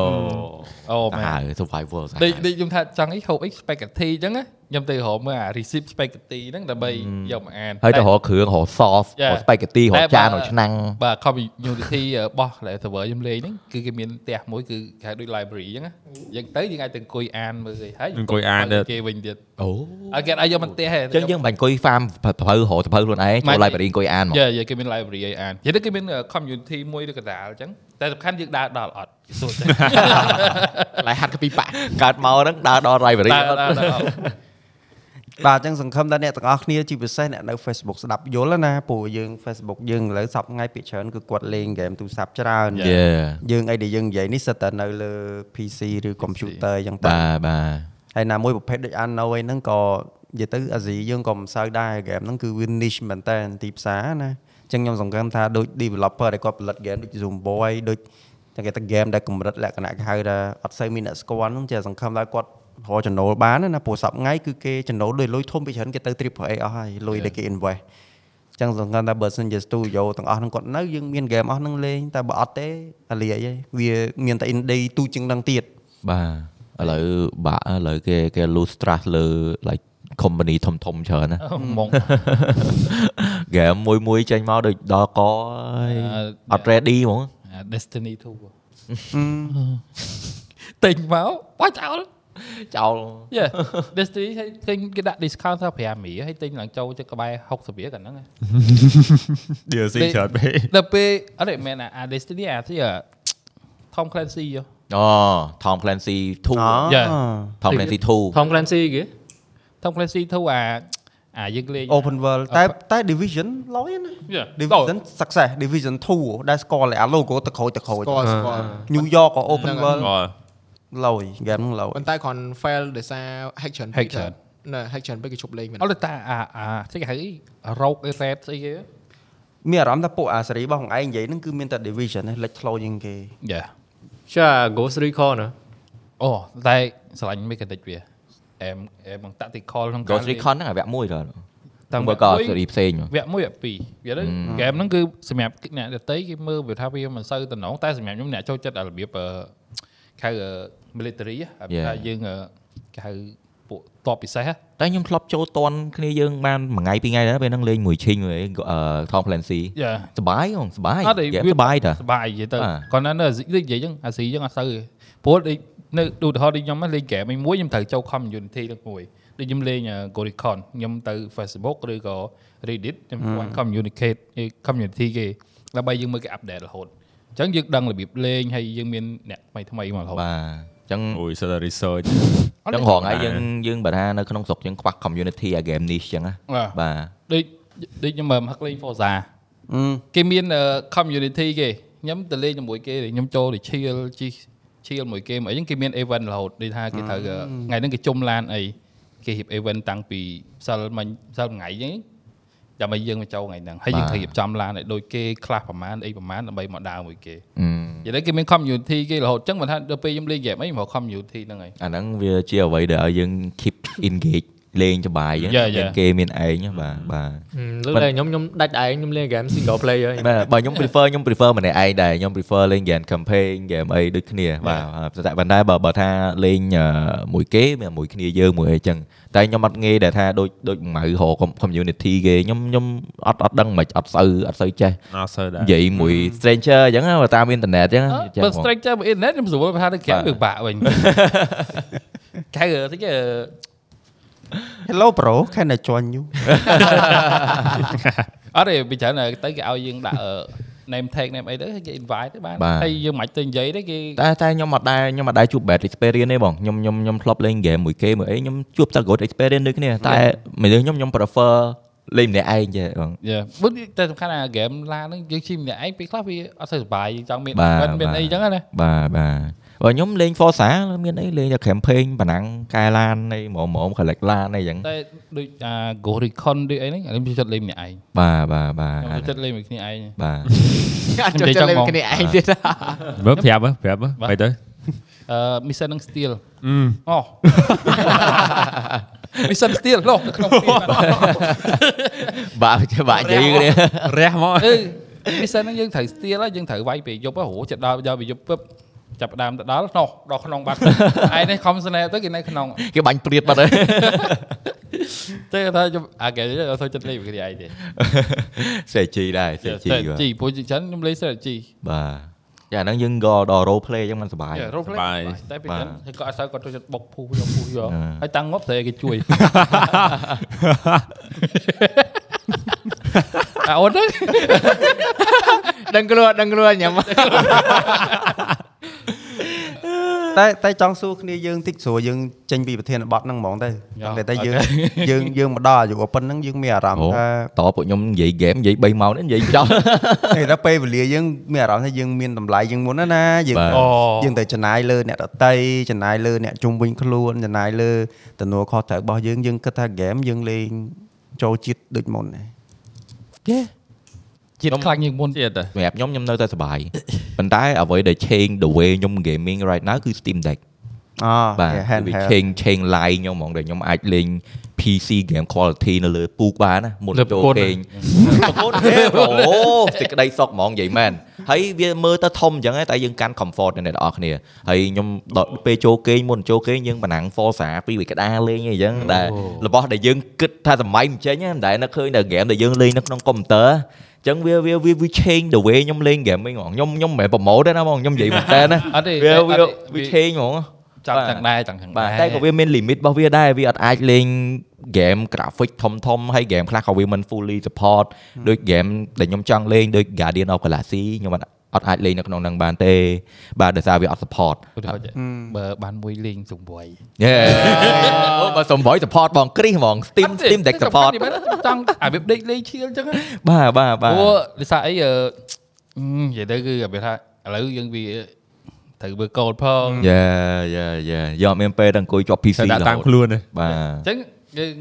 Speaker 8: អូមែន
Speaker 1: អា survival
Speaker 8: ដេកដេកខ្ញុំថាចង់អីហូបអី spaghetti អញ្ចឹងណាខ្ញុំទៅរកមើលអា recipe spaghetti ហ្នឹងដើម្បីយកមកអាន
Speaker 1: ហើយទៅរកគ្រឿងរក sauce រក spaghetti រកចានរកឆ្នាំង
Speaker 8: បាទ community របស់ server ខ្ញុំលេងហ្នឹងគឺគេមានផ្ទះមួយគឺគេហៅដូច library អញ្ចឹងណាយើងទៅយើងអាចទៅអង្គុយអានមើលគេហើយ
Speaker 3: អង្គុយអាន
Speaker 8: ទៅ
Speaker 3: ទៅ
Speaker 8: គេវិញទៀត
Speaker 1: អូ
Speaker 8: ឲ្យគេឲ្យយកមកផ្ទះ
Speaker 1: ចឹងយើងបាញ់អង្គុយ farm ប្រភៅរហោប្រភៅខ្លួនឯងចូល library អង្គុយអានមក
Speaker 8: យេយេគេមាន dạ, library ឲ្យអាននិយាយទៅគេមាន community មួយឬកណ្ដាលអញ្ចឹងតែសំខាន់យើងដើរដល់អត់គេសួរតែ
Speaker 2: ឡាយហាត់ក្ពីប៉ាក់
Speaker 1: កើតមកហ្នឹងដើរដល់ library
Speaker 8: ដើរដល់ដល់អត់
Speaker 6: បាទអញ្ចឹងសង្ឃឹមថាអ្នកទាំងអស់គ្នាជាពិសេសអ្នកនៅ Facebook ស្ដាប់យល់ណាព្រោះយើង Facebook យើងឥឡូវសពថ្ងៃពីច្រើនគឺគាត់លេង game ទូរស័ព្ទច្រើន
Speaker 1: យេ
Speaker 6: យើងអីដែលយើងនិយាយនេះសិតតែនៅលើ PC ឬ computer អញ្ចឹងតែ
Speaker 1: បាទបាទ
Speaker 6: ហើយណាមួយប្រភេទដូច Anno ឯហ្នឹងក៏និយាយទៅអាស៊ីយើងក៏មិនសូវដែរ game ហ្នឹងគឺវា niche មែនតើទីផ្សារណាអញ្ចឹងខ្ញុំសង្កេតថាដូច developer ដែលគាត់ផលិត game ដូច Zomboy ដូចតែគេថា game ដែលកម្រិតលក្ខណៈគេហៅថាអត់សូវមានអ្នកស្គាល់ហ្នឹងជាសង្ឃឹមថាគាត់រកចំណូលបានណាណាព្រោះសប្តាហ៍ថ្ងៃគឺគេចំណូលដោយលុយធំពីច្រើនគេទៅ triple A អស់ហើយលុយដែលគេ invest ចឹងសង្ឃឹមថាបើសិនជា studio ទាំងអស់ហ្នឹងគាត់នៅយើងមានហ្គេមអស់ហ្នឹងលេងតែបើអត់ទេអាលីអីវាមានតែ indie ទូជាងហ្នឹងទៀត
Speaker 1: បាទឥឡូវបាក់ឥឡូវគេគេ lose trust លើ like company ធំធំច្រើនណា
Speaker 8: មក
Speaker 1: game មួយមួយចេញមកដូចដល់កហើយ
Speaker 8: អឺ
Speaker 1: អត់ ready ហ្មង
Speaker 8: អា À, Destiny 2ទិញមកបាច់ចោល
Speaker 1: ចោល
Speaker 8: យេ Dạ. Destiny ឲ្យទិញគេដាក់ discount ថា5រៀលហើយទិញឡើងចូលទៅក្បែរ60រៀលកណ្ដឹងហ៎
Speaker 3: DLC
Speaker 8: ដេក
Speaker 3: ច្រើនពេក
Speaker 8: ដល់ពេលអត់ទេមែនអាអា Destiny អាទីអា Tom Clancy យោ
Speaker 1: អូ Tom Clancy 2
Speaker 8: Yeah.
Speaker 1: Tom Clancy 2
Speaker 7: Tom Clancy គេ
Speaker 8: Tom Clancy ធ្វើអាអាយើងលេង
Speaker 6: open world តែតែ division ឡយណា
Speaker 8: Yeah.
Speaker 6: division success division 2ដែលស្គាល់តែអា logo ទៅក្រោយទៅក្រោយ
Speaker 2: ស្គាល់ស្គាល់
Speaker 6: New York ក៏ open
Speaker 2: ហ្នឹងហើយ
Speaker 6: world
Speaker 3: អូ
Speaker 6: ឡយ game ហ្នឹងឡយ
Speaker 2: ប៉ុន្តែគ្រាន់ fail ដោយសារ hack ច្រើន
Speaker 8: Hack ច្រើន
Speaker 2: ណា hack ច្រើនពេកគេជប់លេងមែ ន
Speaker 8: អត់តែអាអាស្អីគេហៅអីរោគអីរ៉េតស្អីគេ
Speaker 6: មានអារម្មណ៍ថាពួកអាសេរីរបស់ខ្លួនឯងនិយាយហ្នឹងគឺមានតែ division ហ្នឹងលេចធ្លោជាងគេ
Speaker 8: យ៉ា
Speaker 7: ចា Ghost Recon ណា
Speaker 8: អូតែស្រឡាញ់ mechanic វាអែមអែម tactical ក្នុងការ
Speaker 1: Ghost Recon ហ្នឹងអាវគ្គមួយដល់
Speaker 8: តាំ
Speaker 1: តាំ
Speaker 8: ង
Speaker 1: ងបើក៏
Speaker 8: មួយ
Speaker 1: ស៊េរីផ្សេងហ្មង
Speaker 8: វគ្គមួយវគ្គពីរវាទៅហ្គេមហ្នឹងគឺសម្រាប់អ្នកដតីគេមើលវាថាវាមិនសូវតំណងតែសម្រាប់ខ្ញុំអ្នកចូលចិត្តអារបៀបអឺហៅអឺ military ហ៎អារបៀបថាយើងអឺគេហៅ ពួកតបពិសេស
Speaker 1: តែខ្ញុំធ្លាប់ចូលតន់គ្នាយើងបានមួយថ្ងៃពីរថ្ងៃដែរពេលហ្នឹងលេងមួយឈីងអីថមផ្លែនស៊ី
Speaker 8: យ៉ា
Speaker 1: សបាយហងសបាយ
Speaker 8: អត់ទេ
Speaker 1: និយាយ
Speaker 8: វា
Speaker 1: សបាយតា
Speaker 8: សប្បាយនិយាយទៅ
Speaker 1: អ่า
Speaker 8: គាត់ណាស់នៅដូចនិយាយចឹងអាស៊ីចឹងអត់ទៅទេព្រោះដូចនៅឧទាហរណ៍ដូចខ្ញុំហ្នឹងលេងហ្គេមមួយខ្ញុំត្រូវចូល community ទាំងមួយដូចខ្ញុំលេង Goricon ខ្ញុំទៅ Facebook ឬក៏ Reddit ខ្ញុំគាត់ communicate ឯ community គេដើម្បីយើងមើលគេ update រហូតអញ្ចឹងយើងដឹងរបៀបលេងហើយយើងមានអ្នកថ្មីថ្មីៗមករហូត
Speaker 1: បាទអញ្ចឹង
Speaker 9: អូយសិតតែ research
Speaker 1: អញ្ចឹងរងឯងយើងយើងបើថានៅក្នុងស្រុកយើងខ្វះ community អា game នេះអញ្ចឹងណា
Speaker 8: បាទ
Speaker 1: បាទ
Speaker 8: ដូចដូចខ្ញុំមកហឹកលេង Forza គេមានអឺ community គេខ្ញុំទៅលេងជាមួយគេទេខ្ញុំចូលទៅ chill ជី chill មួយគេអីចឹងគេមាន event រហូតដូចថាគេត្រូវអឺថ្ងៃហ្នឹងគេជុំឡានអីគេរៀប event តាំងពីម្សិលមិញម្សិលថ្ងៃចឹងដើម្បីយើងមកចូលថ្ងៃហ្នឹងហើយយើង
Speaker 1: បាទ
Speaker 8: ត្រូវរៀបចំឡានឲ្យដូចគេខ្លះប្រហែលអីប្រហែលដើម្បីមកដើរមួយគេ
Speaker 1: អឺ
Speaker 8: និយាយទៅគេមាន community គេរហូតចឹងមិនថាដល់ពេលខ្ញុំលេង game អីមក community ហ្នឹងហើយ
Speaker 1: អាហ្នឹងវាជាអ្វីដែលឲ្យយើង keep engage លេងសបាយអញ្ចឹង
Speaker 8: Yeah,
Speaker 1: មាន
Speaker 8: yeah.
Speaker 1: គេមានឯងណាបាទបាទ
Speaker 7: លើ
Speaker 1: មិន
Speaker 7: កតែខ្ញុំខ្ញុំដាច់ឯងខ្ញុំលេងហ្គេម single player ហើយ
Speaker 1: បាទបើខ្ញុំ prefer ខ្ញុំ prefer ម្នាក់ឯងដែរខ្ញុំ prefer លេង game campaign game អីដូចគ្នាបាទតែប៉ុន្តែបើបើថាលេងអឺមួយគេមានមួយគ្នាយើងមួយអីចឹងតែខ្ញុំអត់ងាយដែលថាដូចដូចម៉ៅរក community គេខ្ញុំខ្ញុំអត់អត់ដឹងមិនអត់ស្ូវអត់ស្ូវចេះ
Speaker 9: អត់សូវដែរ
Speaker 1: និយាយមួយ stranger អញ្ចឹងណាបើតាមអ៊ីនធឺណិតអញ្ចឹងណាចេះ
Speaker 8: បើ
Speaker 1: ហ្មង
Speaker 8: strike ចាំ internet ខ្ញុំស្រួលថាទៅក្រាប
Speaker 1: បាទ
Speaker 8: វាបាក់ វិញ កៅតិចអឺ
Speaker 6: Hello bro can I join you
Speaker 8: អត់ទេពីច្រើនណាទៅគេឲ្យយើងដាក់អឺ name tag name អីទៅគេ invite ទៅបាន
Speaker 1: បាទ
Speaker 8: ហើយយើងមិនអាចទៅនិយាយទេគេ
Speaker 1: តែតែខ្ញុំអត់ដែរខ្ញុំអត់ដែរជួប bad experience ទេបងខ្ញុំខ្ញុំខ្ញុំធ្លាប់លេង game មួយគេមួយអីខ្ញុំជួបតែ good experience ដូចគ្នាតែមនុស្សខ្ញុំខ្ញុំ prefer លេងម្នាក់ឯងចេះបង
Speaker 8: យ៉ាព្រោះតែសំខាន់ណា game ឡានហ្នឹងយើងជិះម្នាក់ឯងពេលខ្លះវាអត់សូវសុបាយយើងចង់មាន
Speaker 1: បាទ
Speaker 8: event មានអីចឹងណា
Speaker 1: បាទបាទបើខ្ញុំលេង Forza មានអីលេងតែ campaign ប៉ណ្ណឹងកែឡានអីម៉មម៉ម collect ឡានអីចឹង
Speaker 8: តែដូចអា Goricon ដូចអីហ្នឹងអានេះខ្ញុំចូលចិត្តលេងម្នាក់ឯង
Speaker 1: បាទបាទបា
Speaker 8: ខ្ញុំ
Speaker 1: ទ
Speaker 8: ចូលចិត្តលេងមួយគ្នាឯង
Speaker 1: បាទ
Speaker 2: អាចចូល ចិត្តលេង
Speaker 8: និយាយចង់មក
Speaker 2: គ្នាឯងទៀតណា
Speaker 9: មើលប្រាប់មើលប្រាប់មើល
Speaker 8: បាទ
Speaker 9: បែរទៅ
Speaker 8: អឺ Mission នឹង Steel
Speaker 9: អឺ
Speaker 8: អូ Mission Steel ឡោះក្នុងពីបាទ
Speaker 1: បាទបាទនិយាយគ្នា
Speaker 9: រះមក
Speaker 8: អឺនេះសិនហ្នឹងយើងត្រូវស្ទៀលហើយយើងត្រូវវាយពេលយប់ហ៎រហូតចិត្តដល់ដល់ពេលយប់ពឹបចាប់ផ្ដើមទៅដល់នោះដល់ក្នុងបាត់ ឯនេះខំស្នេហ៍ទៅគេនៅក្នុង
Speaker 1: គេបាញ់ព្រាតបាត់ ហើយ
Speaker 8: តែគេថាយប់អាគេអត់សូវចិត្តលេងវាគ្នាឯងទេ
Speaker 1: សេជីដែរ
Speaker 8: Dạ,
Speaker 1: សេជីបាទ
Speaker 8: ជីព្រោះជាងច្រើនខ្ញុំលេង strategy
Speaker 1: បាទយ៉ាហ្នឹងយើងក៏ដល់ Dạ, role play ចឹងมันសុ
Speaker 7: Dạ,
Speaker 1: បាយ
Speaker 8: រ៉ូផ្លេតែពេលហ្នឹងគេក៏អត់សូវគាត់ចូលចិត្តបុកភូសយកភូសយក
Speaker 1: អឺ
Speaker 8: ហើយតាំងងប់ស្រីគេ ជួយ អាអូន ទៅ
Speaker 2: ដឹងខ្លួនដឹងខ្លួនញ៉ាំមក
Speaker 6: តែតែចង់សួរគ្នាយើងតិចស្រួលយើងចេញពីប្រធានបទហ្នឹងហ្មងទៅតែតែយើងយើងយើងមកដល់អាយុប៉ុណ្ណឹងយើងមានអារម្ម
Speaker 1: អូ
Speaker 6: ណ៍ថា
Speaker 1: តពួកខ្ញុំនិយាយ game និយាយ3ម៉ោងនេះនិយាយចោល
Speaker 6: ហេតុតែពេលវេលាយើងមានអារម្មណ៍ថាយើងមានតម្លៃជាងមុនណាណាយើង
Speaker 1: បាទ
Speaker 6: យើងទៅចំណាយលើអ្នកដតីចំណាយលើអ្នកជុំវិញខ្លួនចំណាយលើទំនួលខុសត្រូវរបស់យើងយើងគិតថាហ្គេមយើងលេងចូលជាតិដូចមុនណា
Speaker 8: ជាតិខ្លាញ់ជាងមុន
Speaker 9: ទៀតទៅ
Speaker 1: សម្រាប់ខ្ញុំខ្ញុំនៅតែសុបាយប៉ុន្តែអ្វីដែល change the way ខ្ញុំ gaming right now គឺ Steam Deck
Speaker 6: អូ
Speaker 1: បាទ
Speaker 6: ហេន
Speaker 1: វា
Speaker 6: ហេ
Speaker 1: change change line ខ្ញុំហ្មងដែលខ្ញុំអាចលេង PC game quality នៅលើពូកបានណាមុនចូលគេងប្រកួតទេ អូសេចក្តីសុខហ្មងនិយាយមែនហើយវាមើលទៅធំអញ្ចឹងឯងតែយើងកាន់ comfort នៅអ្នកនរគ្នាហើយខ្ញុំដល់ពេលចូលគេងមុនចូលគេងយើងប៉ណ្ណាំង Forza ពីវាក្តារលេងអីចឹងដែលរបស់ដែលយើងគិតថាសម័យមិនចេញណាមិនដែលនឹកឃើញដល់ game ដែលយើងលេងនៅក្នុង computer អញ្ចឹងវាវាវា change the way ខ្ញុំលេង game ហ្មងខ្ញុំខ្ញុំមិនមែនប្រម៉ូទទេណាហ្មងខ្ញុំនិយាយមែនតើណា
Speaker 8: អត់ទេ
Speaker 1: វាវា
Speaker 8: អត់
Speaker 1: វា
Speaker 8: ទេ
Speaker 1: change ហ្មង
Speaker 8: ចាំ
Speaker 1: បាទ
Speaker 8: ទាំងដែរទាំងទាំង
Speaker 1: បាទ
Speaker 8: ដែរ
Speaker 1: តែក៏វាមាន limit របស់វាដែរវាអត់អាចលេង game graphic ធំធំហើយ game ខ្លះក៏វាមិន fully support ដូច game ដែលខ្ញុំចង់លេងដូច Guardian of Galaxy ខ្ញុំអត់អត់អាចលេងនៅក្នុងហ្នឹងបានទេ បាទដោយសារវាអត់ support
Speaker 8: ឧទាហរណ៍ចេះបើបានមួយលេងសង្វ័យ
Speaker 1: យេ អូបើសំបី support បងគ្រីសហ្មង Steam Steam Deck support
Speaker 8: ចង់អាវាដេកលេងឈៀលអញ្ចឹងណា
Speaker 1: បាទបាទបាទ
Speaker 8: ព្រោះដូចថាអីអឺហ៊ឹមនិយាយទៅគឺអាវាថាឥឡូវយើងវាត្រូវមើលកូនផង
Speaker 1: យេយេយេយកអត់មានពេលដល់អង្គុយជាប់ PC
Speaker 9: ទៅ
Speaker 1: រ
Speaker 9: ដាក់
Speaker 1: ហូ
Speaker 9: តាម
Speaker 1: ត
Speaker 9: ខ្លួនទេ
Speaker 1: បាទ
Speaker 8: អញ្ចឹងយើង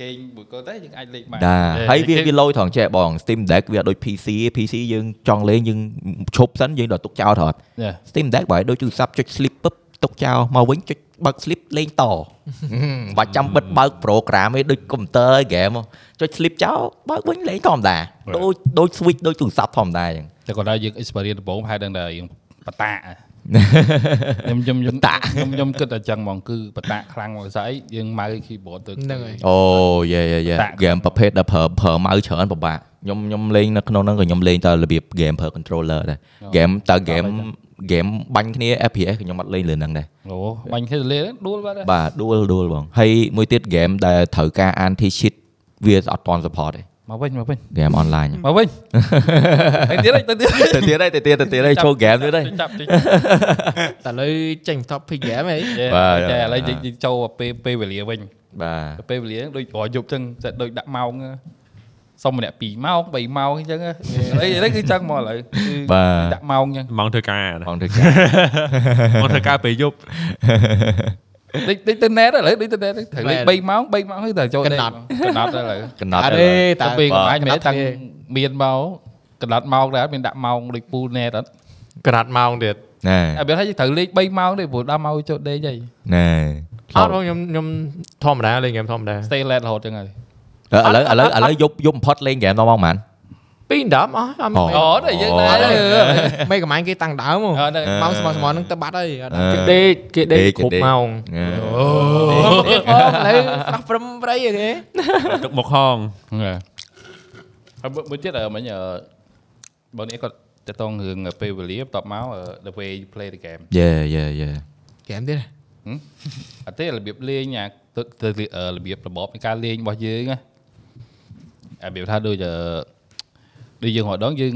Speaker 8: គេងមួយកូនតែយើងអាចលេងបាន
Speaker 1: ដែរហើយវាវាល
Speaker 8: គេ
Speaker 1: យត្រង់ចេះបង Steam Deck វាអត់ដូច PC ទេ PC យើងចង់លេងយើងឈប់សិនយើងដល់ទុកចោលត្រត់ Steam Deck បើឲ្យដូចទូរស័ព្ទចុច sleep ពឹបទុកចោលមកវិញចុចបើក sleep លេង តបាច់ចាំបិទបើក program ឯងដូច computer ឯង game ហ៎ចុច sleep ចោលបើកវិញលេងធម្មតាដូចដូច switch ដូចទូរស័ព្ទធម្មតាអញ្ចឹង
Speaker 8: តែគាត់ដល់យើង experience ដំបូងហើយដឹងតែយើងបតា ខ្ញុំខ្ញុំខ្ញុំតាខ្ញុំខ្ញុំគិតតែចឹងហ្មងគឺបតាក់ខ្លាំងមកស្អីយើងម៉ៅ keyboard ទៅ
Speaker 2: ហ្នឹងហើយ
Speaker 1: អូយេយេយេ
Speaker 8: តាក់
Speaker 1: ហ្គេមប្រភេទដែលប្រើប្រើម៉ៅច្រើនពិបាកខ្ញុំខ្ញុំលេងនៅក្នុងហ្នឹងក៏ខ្ញុំលេងតែរបៀបហ្គេមប្រើ controller ដែរហ្គេមតើហ្គេមហ្គេមបាញ់គ្នា FPS ក៏ខ្ញុំអត់លេងលើហ្នឹងដែរ
Speaker 8: អូបាញ់គ្នាទៅលេងដួលបាត់ហើយ
Speaker 1: បាទ dual dual បងហើយមួយទៀតហ្គេមដែលត្រូវការ anti cheat វាអត់ទាន់ support ទេ
Speaker 8: មកវិញមកវិញ
Speaker 1: ហ្គេម online
Speaker 8: មកវិញទៅទៀតហើយទៅទៀត
Speaker 1: ទៅទៀតហើយទៅទៀតទៅទៀតហើយចូលហ្គេមទៀតហើយ
Speaker 8: ចាប់តិច
Speaker 2: តែឥឡូវចេញ topic game ហី
Speaker 1: បាទ
Speaker 8: តែឥឡូវ
Speaker 1: បាទ
Speaker 8: យើងយើងចូលពេលពេលវេលាវិញ
Speaker 1: បាទ
Speaker 8: ពេលវេលាដូចរយយប់ចឹងតែដូចដាក់ម៉ោងសុំម្នាក់2ម៉ោង3ម៉ោងអញ្ចឹងហ៎ឥឡូវឥឡូវគឺចឹងមកឥឡូវគឺ
Speaker 1: បាទ
Speaker 8: ដាក់ម៉ោងចឹង
Speaker 3: ម៉ោងធ្វើការណា
Speaker 1: ផងធ្វើការ
Speaker 3: ម៉ោងធ្វើការពេលយប់
Speaker 8: ដូចដូចទៅ net ឥឡូវដូចទៅ net ទៅត្រូវលេខ3ម៉ោង3ម៉ោងទៅចូល
Speaker 2: ក
Speaker 8: net
Speaker 2: ណ្ដប់
Speaker 8: កណ្ដប់ទៅឥឡូវ
Speaker 1: កណ្ដប់
Speaker 2: អ
Speaker 1: ទៅ
Speaker 2: រេ
Speaker 8: តែ
Speaker 2: តែពេ
Speaker 8: ពី
Speaker 2: ល
Speaker 8: កម្លាញ់
Speaker 2: ក
Speaker 8: មែន
Speaker 2: ណ្ដាប់
Speaker 8: តាំង
Speaker 2: ទេ
Speaker 8: មានមកកណ្ដប់ម៉ោងដែរមានដាក់ម៉ោងដូច pool net អត់
Speaker 2: ក្រាត់ម៉ោងទៀត
Speaker 1: ណែ
Speaker 8: អត់មានថាយើងត្រូវលេខ3ម៉ោងទេព្រោះ10ម៉ោងចូល net ហី
Speaker 1: ណែ
Speaker 2: អត់បងខ្ញុំខ្ញុំធម្មតាលេងហ្គេមធម្មតា
Speaker 8: stay late រហូតចឹងហើយ
Speaker 1: ឥឡូវឥឡូវឥឡូវយប់យប់បំផុតលេងហ្គេមដល់ម៉ោងប៉ុន្មាន
Speaker 2: ពី10អ
Speaker 7: ờ,
Speaker 2: ស់អត់មាន
Speaker 1: អូ
Speaker 8: អូតែយើងដែរអ
Speaker 2: មេកំាញ់គេតាំងដើមហ្មង
Speaker 8: ត់ហ្នឹង
Speaker 2: ម៉ោងស្មោះស្មោះហ្នឹងទៅបាត់ហើយអត់
Speaker 1: អឺ
Speaker 2: គេដេក
Speaker 7: ដេកគេដេក
Speaker 1: ដេកគេ
Speaker 7: គ្រប់
Speaker 1: ដេក
Speaker 7: ម៉ោង
Speaker 1: ណែ
Speaker 2: ផងឥឡូវស្រស់ព្រំប្រៃហីគេ
Speaker 3: ទុកមកហង
Speaker 8: ហើយមួយមួយទៀតអឺមិញអឺបងនេះគាត់តតងរឿងពេលវេលាបន្ទាប់មកអឺ the way you play the game
Speaker 1: យេយេយេ
Speaker 2: ហ្គេមទៀត
Speaker 8: អត់ទេរបៀបលេងអាទៅទៅអឺរបៀបរបបនៃការលេងរបស់យើងណាអារបៀបថាដូចអឺដូចយើងរដងយើង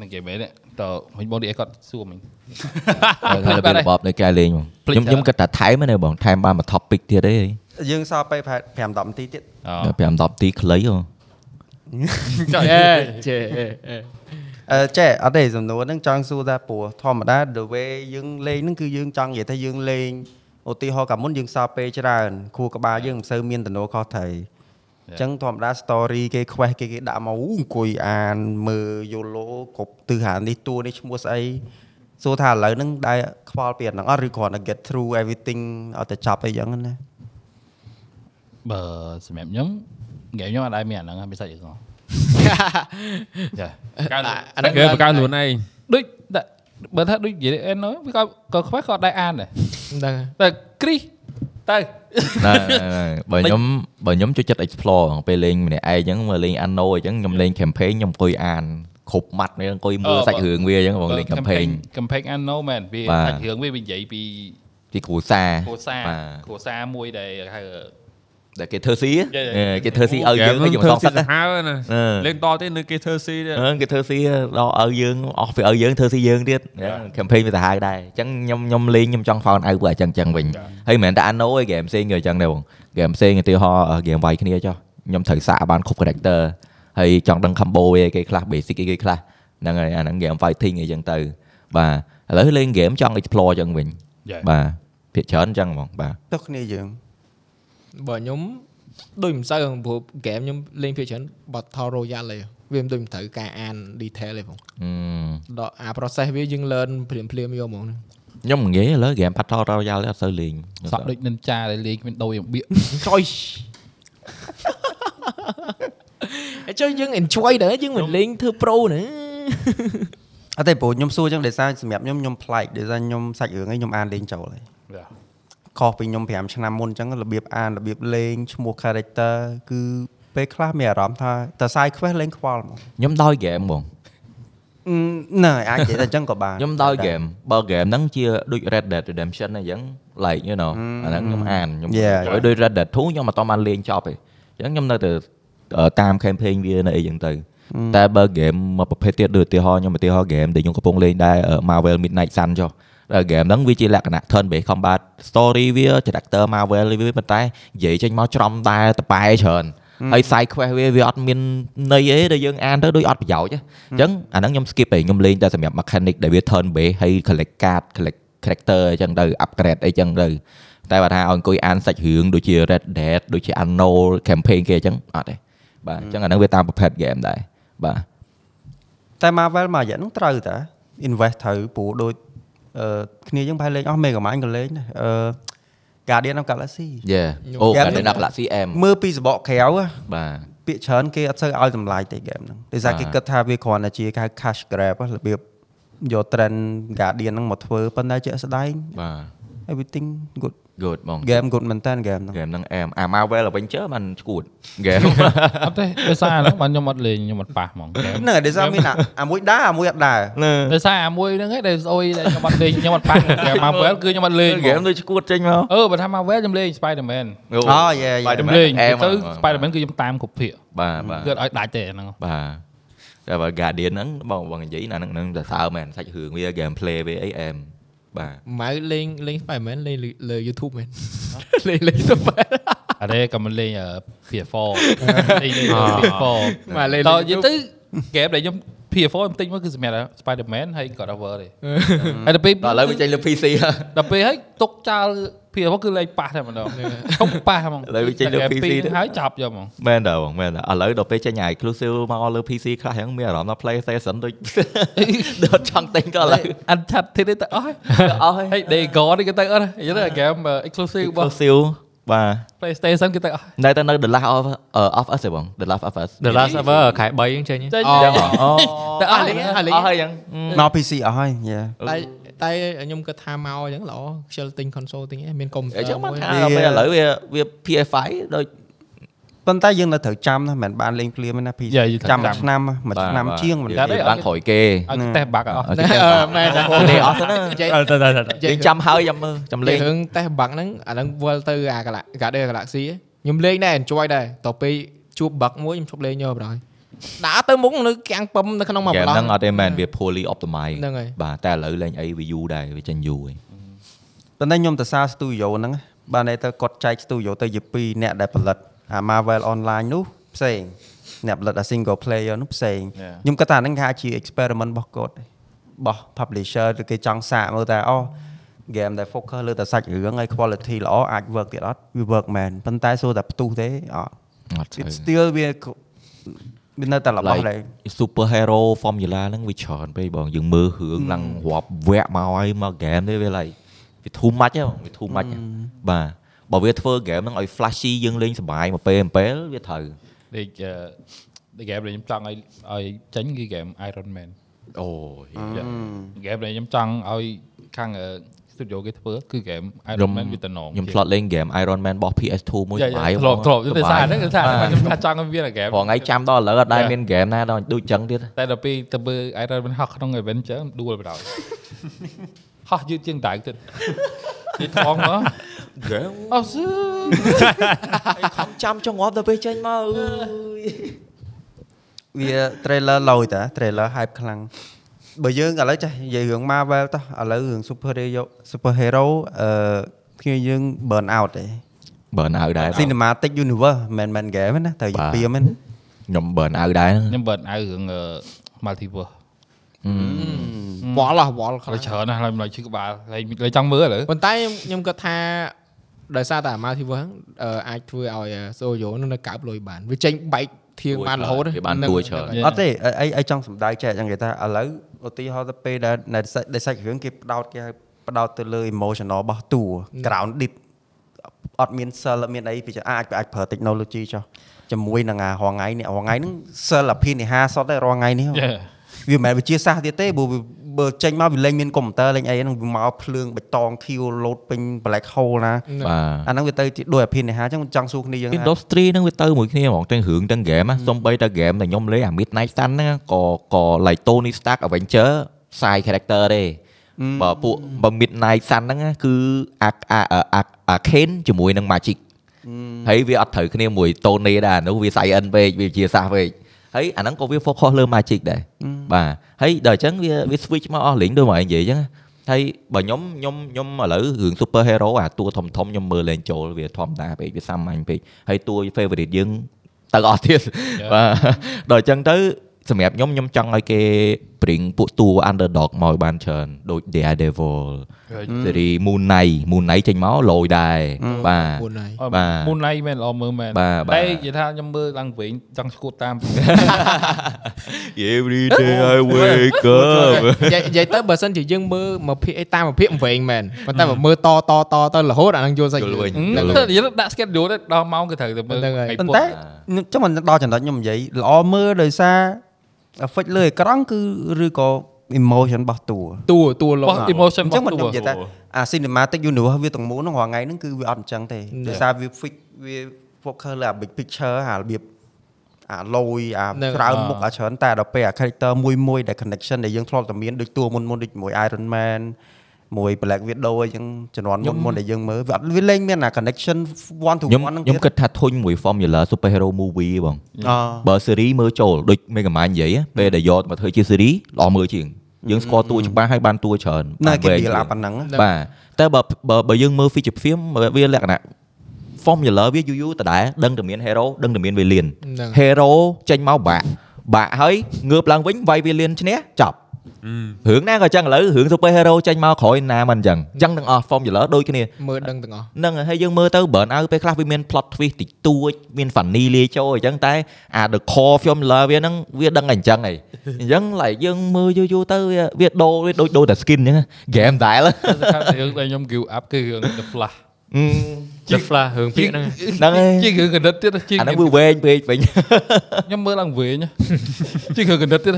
Speaker 8: នឹងគេមែនតើមិញបងឌីអេគាត់សួរមិញ
Speaker 1: ហើយរបៀបរបបនៃការលេងហ្មង
Speaker 8: ភ្លេច
Speaker 1: ខ្ញុំខ្ញុំ
Speaker 8: ទៅ
Speaker 1: គិតថាថែមហ្នឹងបងថែមបានមក topic ទៀតទេ
Speaker 6: យើងសល់ពេលប្រហែល5 10នាទីទៀត
Speaker 1: ដ
Speaker 8: អូ
Speaker 1: ល់5 10នាទីខ្លីហ៎
Speaker 2: អេជេអេអេ
Speaker 6: អឺចេះអត់ទេសំណួរហ្នឹងចង់សួរថាព្រោះធម្មតា the way យើងលេងហ្នឹងគឺយើងចង់និយាយថាយើងលេងឧទាហរណ៍កាលមុនយើងសល់ពេលច្រើនខួរក្បាលយើងមិនសូវមានទំនួលខុសត្រូវអញ្ចឹងធម្មតា story គេ quest គេគេដាក់មកអ៊ូអង្គុយអានមើលយូឡូគ្រប់ទិសអានេះតួនេះឈ្មោះស្អីសួរថាឥឡូវហ្នឹងដែរខ្វល់ពីអាហ្នឹងអត់ឬគ្រាន់តែ get through everything អត់ទៅចប់អីយ៉ាងហ្នឹងណា
Speaker 8: បើសម្រាប់ខ្ញុំហ្គេមខ្ញុំអត់ដែរមានអាហ្នឹងមិនសាច់អីហ្នឹងចា
Speaker 3: អាហ្នឹងគេបកកើតខ្លួនឯង
Speaker 8: ដូចដាក់បើថាដូចនិយាយអេនហ្នឹងវាក៏ក៏ខ្វះក៏អត់ដែរអាន
Speaker 2: ហ្នឹ
Speaker 8: ដែរ
Speaker 2: ង
Speaker 8: តែគ្រីសទៅ
Speaker 1: ណែណែបើខ្ញុំបើខ្ញុំចូលចិត្ត explore ហ្មងពេលលេងម្នាក់ឯងអញ្ចឹងមើលលេង Anno អញ្ចឹងខ្ញុំលេង campaign ខ្ញុំអង្គុយអានគ្រប់ម៉ាត់នេះអង្គុយមើល
Speaker 8: អឺ
Speaker 1: សាច់
Speaker 8: បើ
Speaker 1: រឿងវាអញ្ចឹងបងលេង campaign
Speaker 8: campaign anno មែនវា
Speaker 1: បាទ
Speaker 8: សាច់រឿងវានិយាយពី
Speaker 1: ទីគ្រូសា
Speaker 8: គ្រួសារ
Speaker 1: បាទ
Speaker 8: គ្រួសារមួយដែលហៅ
Speaker 1: ដែលគេធ្វើស៊ី
Speaker 8: យេយេ
Speaker 1: ហ៎គេធ្វើស៊ី
Speaker 3: Dạ
Speaker 1: ឲ្យយើង
Speaker 3: vâng,
Speaker 1: ឲ្យយើងមិនសងសឹកណា
Speaker 3: ហៅណា
Speaker 1: អឺ
Speaker 3: លេងតទេនៅគេធ្វើស៊ីទេ
Speaker 1: អឺគេធ្វើស៊ីដល់ឲ្យយើងអស់វាឲ្យយើងធ្វើស៊ីយើងទៀត Dạ, campaign វាសាហាវដែរអញ្ចឹងខ្ញុំខ្ញុំលេងខ្ញុំចង់ found out ពួកអញ្ចឹងអញ្ចឹងវិញហើយមិនមែនតែ Anno ឯង game ផ្សេងក៏អញ្ចឹងដែរបង game ផ្សេងឧទាហរណ៍ ờ, game វាយគ្នាចុះខ្ញុំត្រូវសាកបានគ្រប់ character ហើយចង់ដឹង combo ឯងគេខ្លះ basic ឯងគេខ្លះហ្នឹងហើយអាហ្នឹង à, game fighting អីចឹងទៅបាទឥឡូវលេង game ចង់ explore អញ្ចឹងវិញ
Speaker 8: Yeah.
Speaker 1: បាទភាគច្រើនអញ្ចឹងហ្មងបាទ
Speaker 6: ទោះគ្នាយើង
Speaker 2: បើខ្ញុំដូចមិនសូវព្រោះហ្គេមខ្ញុំលេងភាគច្រើន Battle Royale ហីវាមិនដូចមិនត្រូវការអាន detail ទេបង
Speaker 1: អឺ
Speaker 2: ដល់អា process វាយើង learn ព្រាមព្រាមៗយកហ្មងហ្នឹង
Speaker 1: ខ្ញុំមិនងាយឥឡូវ game Battle Royale អត់សូវលេង
Speaker 8: សក់ដូចនិនចាដែលលេងគ្មានដូចរបៀប
Speaker 2: Trời Ê, Chơi dân enjoy nữa chứ mình lên thư pro nữa
Speaker 6: អត់ទេព្រោះខ្ញុំសួរចឹងដោយសារសម្រាប់ខ្ញុំខ្ញុំប្លែកដោយសារខ្ញុំសាច់រឿងឯងខ្ញុំអានលេងចូលហើយខុសពីខ្ញុំ5ឆ្នាំមុនចឹងរបៀបអានរបៀបលេងឈ្មោះ character គឺពេលខ្លះមានអារម្មណ៍ថាតើសាយ quest លេងខ្វល់ហ្មង
Speaker 1: ខ្ញុំដោយ game ហ្មង
Speaker 6: ណ៎អាចនិយាយតែចឹងក៏បាន
Speaker 1: ខ្ញុំដោយហ្គេមបើហ្គេមហ្នឹងជាដូច Red Dead Redemption អញ្ចឹង like you know អាហ្នឹងខ្ញុំអានខ្ញុំ
Speaker 6: Yeah.
Speaker 1: ឲ្យដូច Red Dead 2ខ្ញុំអត់ទាន់បានលេងចប់ទេអញ្ចឹងខ្ញុំនៅតែអឺតាម campaign វានៅអីអញ្ចឹងទៅតែបើហ្គេមមួយប្រភេទទៀតដូចឧទាហរណ៍ខ្ញុំឧទាហរណ៍ហ្គេមដែលខ្ញុំកំពុងលេងដែរអឺ Marvel Midnight Sun ចុះដល់ហ្គេមហ្នឹងវាជាលក្ខណៈ turn based combat story វា character Marvel វាប៉ុន្តែនិយាយចេញមកច្រំដែរតបែច្រើនហើយ side quest វាវាអត់មានន័យអីដែលយើងអានទៅដូចអត់ប្រយោជន៍ហ៎អញ្ចឹងអាហ្នឹងខ្ញុំ skip ហើយខ្ញុំលេងតែសម្រាប់ mechanic ដែលវា turn based ហើយ collect card collect character អញ្ចឹងទៅ upgrade អីចឹងទៅតែបើថាឲ្យអង្គុយអានសាច់រឿងដូចជា Red Dead ដូចជា Anno campaign គេអញ្ចឹងអត់ទេបាទអញ្ចឹងអាហ្នឹងវាតាមប្រភេទ game ដែរបាទ
Speaker 6: តែ Marvel មួយរយៈហ្នឹងត្រូវតា invest ត្រូវព្រោះដូចអឺគ្នាយើងប្រហែលលេងអស់ Mega Man ក៏លេងដែរអឺ Guardian of Galaxy
Speaker 1: យេអូ
Speaker 6: Game
Speaker 1: Guardian of the Galaxy M
Speaker 6: មើលពីសបកក្រៅហ៎
Speaker 1: បាទ
Speaker 6: ពាក្យច្រើនគេអត់សូវឲ្យតម្លៃទេហ្គេមហ្នឹងដោយសារ
Speaker 1: បាទ
Speaker 6: គេគិតថាវាគ្រាន់តែជាការ cash grab ហ៎របៀប យក trend Guardian ហ្នឹងមកធ្វើប៉ុន្តែជាក់ស្ដែង
Speaker 1: បាទ
Speaker 6: everything good
Speaker 1: good បង
Speaker 6: game good មែនតើ game ហ្នឹង
Speaker 1: ហ្គេមហ្នឹងអែមអា Marvel Avenger បានឈួតហ្គេម
Speaker 8: អត់ទេដោយសារហ្នឹងបានខ្ញុំអត់លេងខ្ញុំអត់ប៉ះហ្មង
Speaker 6: ហ្នឹងហើយដូចថាមានអា អាមួយដែរអាមួយអត់ដែរ
Speaker 8: ដោយសារអាមួយហ្នឹងឯងដែលស្អុយដែលខ្ញុំអត់លេងខ្ញុំអត់ប៉ះហ្គេម Marvel គឺខ្ញុំអត់លេងហ្គេ
Speaker 1: ហ្គេ
Speaker 8: ម
Speaker 1: មដូចឈួតចេញមក
Speaker 8: អឺបើថា Marvel ខ្ញុំលេង Spider-Man
Speaker 6: អូ yeah
Speaker 8: ខ្ញុំ
Speaker 1: Spider-Man
Speaker 8: លេង
Speaker 1: អែម
Speaker 8: ទៅ
Speaker 1: បា
Speaker 8: Spider-Man គឺខ្ញុំតាមគ្រប់ភាគ
Speaker 1: ទបាទ
Speaker 8: គឺអត់ឲ្យដាច់ទេអាហ្នឹង
Speaker 1: បាទតែបើ Guardian ហ្នឹងបងបងនិយាយណាហ្នឹងហ្នឹងសរសើរមែនសាច់រឿងវា game play វាអីអែមបាទ
Speaker 2: ម៉ៅលេងលេង Spider-Man លេងលើ YouTube មែនលេងលេង Spider-Man
Speaker 8: អរេក៏មិនលេង PS4 លេង PS4
Speaker 2: មកលេង
Speaker 8: ត
Speaker 2: លើ
Speaker 8: និយាយ
Speaker 2: YouTube
Speaker 8: ទៅ game ដែលខ្ញុំ PS4 ខ្ញុំទិញមកគឺសម្រាប់ Spider-Man ហើយ God of War ទេហើយដល់ពេល
Speaker 1: ដល់ឥឡូវវាចេញលើ PC ហ่ะ
Speaker 8: ដល់ពេលហើយទុកចោល PS4 គឺលេងប៉ះតែម្ដងទុកប៉ះហ្មង
Speaker 1: ឥឡូវវាចេញលើ
Speaker 8: តែ
Speaker 1: PC
Speaker 8: ពីរ
Speaker 1: ទេ
Speaker 8: ហើយចាប់យកហ្មង
Speaker 1: មែនតើបងមែនតើឥឡូវដល់ពេលចេញអា exclusive មកលើ PC ខ្លះហ្នឹងមានអារម្មណ៍ថា PlayStation ដូច ដល់ចង់ទិញក៏ឥឡូវ
Speaker 8: អត់ឆាត់ទេទៅអស់ហើយ
Speaker 1: ទៅអស់ហើ
Speaker 8: ហើយ យ Day God នេះគេទៅអស់ហើយយល់ទេ game exclusive របស់
Speaker 1: exclusive បាទ
Speaker 8: PlayStation គេទៅអស់
Speaker 1: នៅតែនៅ The Last of of Us ទេបង The Last of Us Ờ.
Speaker 7: The Last Server ខែ3ហ្នឹងចេញ
Speaker 8: ចេញ
Speaker 2: អូ
Speaker 8: ទាំងអស់
Speaker 1: អូ
Speaker 8: តែអស់
Speaker 2: លេងអាលេង
Speaker 1: អស់ហើយយ៉ាង
Speaker 6: មក PC អស់ហើយ yeah
Speaker 2: តែតែខ្ញុំគិតថាមកអញ្ចឹងល្អខ្ជិលទិញ console ទិញឯងមានកុំព្យូ
Speaker 1: អ
Speaker 2: ទ័រ
Speaker 1: ញ្ចឹងមក
Speaker 2: មួយ
Speaker 1: ថាដល់ពេលឥឡូវវាវា PS5 ដូច
Speaker 6: ប៉ុន្តែយើងនៅត្រូវចាំណាមិនបានលេងភ្លាមទេណា PC
Speaker 8: Yeah, យើងត្រូវ
Speaker 6: ចាំមួ
Speaker 8: ចាំ
Speaker 6: យឆ្នាំមួយឆ្នាំ
Speaker 1: បាទ
Speaker 6: ជាងមិន
Speaker 1: បាទ
Speaker 6: ទេ
Speaker 1: យើងបានក្រោយគេ
Speaker 8: ឲ្យគេតេសបាក់ឲ្យអស់
Speaker 2: ណែអឺមែនតែ
Speaker 1: អូគេអស់ទៅណា
Speaker 2: និ
Speaker 9: Ờ, thật, thật,
Speaker 2: យាយ
Speaker 9: thật.
Speaker 2: dạ.
Speaker 1: យើងចាំហើយចាំមើលចាំលេ
Speaker 2: លេង
Speaker 1: ង
Speaker 2: រឿងតេសបាក់ហ្នឹងអាហ្នឹងវល់ទៅអា Galaxy Guardian Galaxy ឯងខ្ញុំលេងដែរ enjoy ដែរតទៅពេលជួបបាក់មួយខ្ញុំឈប់លេងយកបណ្ដោយដើរទៅមុខនៅកាំងពឹមនៅក្នុងមក
Speaker 1: ហ្គេម
Speaker 2: បណ្ដោយ
Speaker 1: ហ្នឹងអត់ទេមែនវា poorly optimized
Speaker 2: ហ្នឹងហើយ
Speaker 1: បាទតែឥឡូវលេងអីវាយូរដែរវាចេញយូរហើយ
Speaker 6: ប៉ុន្តែខ្ញុំទៅសារ studio ហ្នឹងបានតែទៅគាត់ចែក studio ទៅជា2អ្នកដែលផលិតអា Marvel Online នោះផ្សេងអ្នកផលិតអា single player នោះផ្សេង
Speaker 8: Yeah.
Speaker 6: ខ្ញុំគិតថាហ្នឹងគេហាក់ជា experiment របស់គាត់របស់ publisher ឬគេចង់សាកមើលតែអូ game ដែល focus លើតែសាច់រឿងហើយ quality ល្អអាច work ទៀតអត់វា work មែនប៉ុន្តែសួរតែផ្ទុះទេអត់
Speaker 1: អត់ស្អី
Speaker 6: It's still វាវានៅតែរបស់ដែរ
Speaker 1: like super hero formula ហ្នឹងវាច្រើនពេកបងយើងមើលរឿងឡើងរាប់វគ្គមកហើយមកហ្គេមនេះវា like វា too much ហ៎បងវា too much ហ៎បាទបើវាធ្វើហ្គេមហ្នឹងឲ្យ flashy យើងលេងសប្បាយមកពេលអំពេលវាត្រូវ
Speaker 8: ដូចអឺ the game ដែលខ្ញុំចង់ឲ្យឲ្យចេញគឺ game Iron Man
Speaker 1: អូយ
Speaker 8: Yeah. game ដែលខ្ញុំចង់ឲ្យខាងអឺ studio គេធ្វើគឺ game
Speaker 1: ខ្ញុំ
Speaker 8: Iron Man Dạ, វាតំណង
Speaker 1: ខ្ញុំធ្លាប់លេងហ្គេម Iron Man របស់ PS2 មួយ
Speaker 8: យាយ
Speaker 1: សប្បាយ
Speaker 8: ធ្លាប់ធ្លាប់ទៅ
Speaker 1: ស
Speaker 8: សារ
Speaker 1: ប្យ
Speaker 8: ហ្នឹងគឺសារហ្នឹងខ្ញុំថាចង់ឲ្យវា game
Speaker 1: ព្រោះថ្ងៃចាំដល់ឥឡូវអត់ដែរមានហ្គេមណាដល់ដូចចឹងទៀត
Speaker 8: តែដល់ពេលទៅមើល Iron Man ហោះក្នុង event ចឹងដួលបណ្ដោយ ហោះយឺតជាងដៅទៀតនិយាយថងមក
Speaker 1: game
Speaker 8: អស់
Speaker 1: ខំចាំចង់ងាប់ដល់ពេលចេញមកអឺយ
Speaker 6: វា trailer ឡយតា trailer hype ខ្លាំងបើយើងឥឡូវចេះនិយាយរឿង Marvel តោះឥឡូវរឿង super hero super hero អឺគ្នាយើង burn out ទេ
Speaker 1: burn out ដែរ
Speaker 6: cinematic universe មិនមែន game ទេណាតែ
Speaker 1: បាទ
Speaker 6: ពីមហ្នឹង
Speaker 1: ខ្ញុំ burn out ដែរហ្នឹង
Speaker 8: ខ្ញុំបើអៅរឿងអឺ ờ, multiverse
Speaker 2: វល់អស់វល់ខ្
Speaker 8: ឥឡូវ
Speaker 2: លាំង
Speaker 8: ច្រើនណាស់ឡើយមិនឡើយឈឺក្បាលឡើយឡើយចង់មើលឥឡូវ
Speaker 2: ប៉ុន្តែខ្ញុំគិតថាដោយសារតែអា Multiverse ហ្នឹងអឺអាចធ្វើឲ្យ Soyo នឹងនៅកើបលុយបានវាចេញបែកធៀង
Speaker 1: ទួយ
Speaker 2: បានរហូត
Speaker 1: ច្រើនវាបានទួយច្រើន
Speaker 2: ហ្នឹងហើយ
Speaker 8: Yeah.
Speaker 6: អត់ទេអីអីអីចង់សម្ដៅចែកអញ្ចឹងគេថាឥឡូវឧទាហរណ៍ទៅពេលដែលដែលសាច់ដែលសាច់រឿងគេផ្ដោតគេហៅផ្ដោតទៅលើ emotional របស់តួ grounded អត់មាន cell អត់មានអីពីចាអាចអាចប្រើ technology ចុះជាមួយនឹងអារងថ្ងៃនេះរងថ្ងៃហ្នឹង cell អភិនិហាសតតែរងថ្ងៃនេះហ៎
Speaker 8: Yeah.
Speaker 6: វាមិនមែនវិជាសាស្ត្រទៀតទេព្រោះវាបើចេញមកវាលែងមានកុំព្យូទ័រលែងអីហ្នឹងវាមកភ្លើងបៃតងខៀវលោតពេញ black hole ណា
Speaker 1: បាទ
Speaker 6: អាហ្នឹងវាទៅជាដូចអភិនិហាអញ្ចឹងចង់សួរគ្នាយើងថា
Speaker 1: industry ហ្នឹងវាទៅមួយគ្នាហ្មងទាំងរឿងទាំងហ្គេមណាសំបីតែហ្គេមតែខ្ញុំលេងអា Midnight Sun ហ្នឹងក៏ក៏ like Tony Stark Avenger side character ទេបើពួកបើ Midnight Sun ហ្នឹងណាគឺអាអាអាអាអា Kane ជាមួយនឹង Magic ហើយវាអត់ត្រូវគ្នាមួយ Tony ដែរអានោះវា science ពេកវាជាសាសពេកហើយអាហ្នឹងក៏វា focus លើ Magic ដែរបាទហើយដល់អញ្ចឹងវាវា switch មកអស់លេងដូចមកឯងនិយាយអញ្ចឹងណាហើយបើខ្ញុំខ្ញុំខ្ញុំឥឡូវរឿង super hero អាតួធំធំខ្ញុំមើលលេងចូលវាធម្មតាពេកវាសាមញ្ញពេកហើយតួ favorite យើងទៅ អស់ទៀត
Speaker 8: Yeah.
Speaker 1: បាទដល់អញ្ចឹងទៅសម្រាប់ខ្ញុំខ្ញុំចង់ឲ្យគេ bring ពួកតួ underdog មកឲ្យបានច្រើនដូច Daredevil
Speaker 8: ហើយ
Speaker 1: សេរី Moon Knight Moon Knight ចេញមកលយដែរបាទ
Speaker 2: មុន ហើយ
Speaker 8: អឺ
Speaker 1: បាទ
Speaker 8: Ờ, Moonlight មែនល្អមើលមែន
Speaker 1: បាទបាទ
Speaker 8: តែនិយាយថាខ្ញុំមើលឡើងវិញចង់ស្គួតតាម
Speaker 1: Every day I wake up
Speaker 2: និយាយនិយាយទៅបើសិនជាយើងមើលមកភាគអីតាមមកភាគវែងមែនប៉ុន្តែបើមើលតតតទៅរហូតអាហ្នឹងយល់សាច់
Speaker 1: យល់
Speaker 2: រឿង
Speaker 1: វិញ
Speaker 8: ហ្នឹងទៅនិយាយទៅដាក់ schedule ទៅដល់ម៉ោងគេត្រូវទៅមើល
Speaker 2: ហ្នឹងហើយ
Speaker 8: ថ្ងៃ
Speaker 6: ប៉ុ
Speaker 8: ពុធ
Speaker 6: ន្តែចាំមិនដល់ចំណុចខ្ញុំនិយាយល្អមើលដោយសារ effect លើអេក្រង់គឺឬក៏ emotion របស់តួ
Speaker 2: តួតួលោក
Speaker 8: បោះ emotion
Speaker 6: អញ្ចឹងមិ
Speaker 8: បោះ
Speaker 6: ន
Speaker 8: តួ
Speaker 6: ខ្ញុំនិយាយថាអា cinematic universe វាទាំងមូលហ្នឹងរាល់ថ្ងៃហ្នឹងគឺវាអត់អញ្ចឹងទេដោយសារវា fix វា focus លើអា big picture អារបៀបអាលយអា
Speaker 2: ហ្នឹង
Speaker 6: ច្រើន
Speaker 2: អ่า
Speaker 6: មុខអាច្រើនតែដល់ពេលអា character មួយមួយដែល connection ដែលយើងធ្លាប់តែមានដូចតួមុនមុនដូចមួយ Iron Man មួយ Black Widow អីចឹងជំនាន់មុនមុនដែលយើងមើលវាអត់វាលែងមានអា connection one to
Speaker 1: ខ្ញុំ
Speaker 6: one ហ្នឹង
Speaker 1: ខ្ញុំគិតថាធុញមួយ formula superhero movie បង
Speaker 6: អ
Speaker 1: បើ series មើលចូលដូចមេកាម៉ានិយាយហ៎ពេលដែលយកមកធ្វើជា series ល្អមើលជាងយើងស្គាល់តួច្បាស់ហើយបានតួច្រើន
Speaker 6: ឺណាគេ
Speaker 1: បានវែង
Speaker 6: deal អាប៉ុណ្ណឹង
Speaker 2: ដែរ
Speaker 1: បាទតែបើបើបើយើងមើល feature film វាលក្ខណៈ formula វាយូរយូរតដែរដឹងតែមាន hero ដឹងតែមាន villain
Speaker 2: ហ្នឹង
Speaker 1: hero ចេញមកបាក់បាក់ហើយងើបឡើងវិញវាយ villain ឈ្នះចប់
Speaker 3: Ừ.
Speaker 1: រឿងណាក៏ចឹងឥឡូវរឿង super hero ចេញមកក្រោយណាមិនចឹងចឹងទាំងអស់ formula ដូចគ្នា
Speaker 2: មើលដឹងទាំងអស់
Speaker 1: ហ្នឹងហើយហើយយើងមើលទៅ burn out ពេលខ្លះវាមាន plot twist តិចតួចមាន funny លាយចូលអញ្ចឹងតែអា the core formula វាហ្នឹងវាដឹងតែអញ្ចឹងឯងអញ្ចឹង like យើងមើលយូរយូរទៅវាវាដូរវាដូចដូរតែ skin អញ្ចឹង game ដែរ
Speaker 8: តែថារឿងដែលខ្ញុំ give up គឺរឿង The Flash
Speaker 7: ជា flash រឿងពាក្យហ្នឹង
Speaker 1: ហ្នឹងហើយ
Speaker 8: ជារឿងកណ្ដិតទៀតជា
Speaker 1: អាហ្នឹងវាវែងពេកវិញ
Speaker 8: ខ្ញុំមើលឡើងវិញជារឿងកណ្ដិតទៀត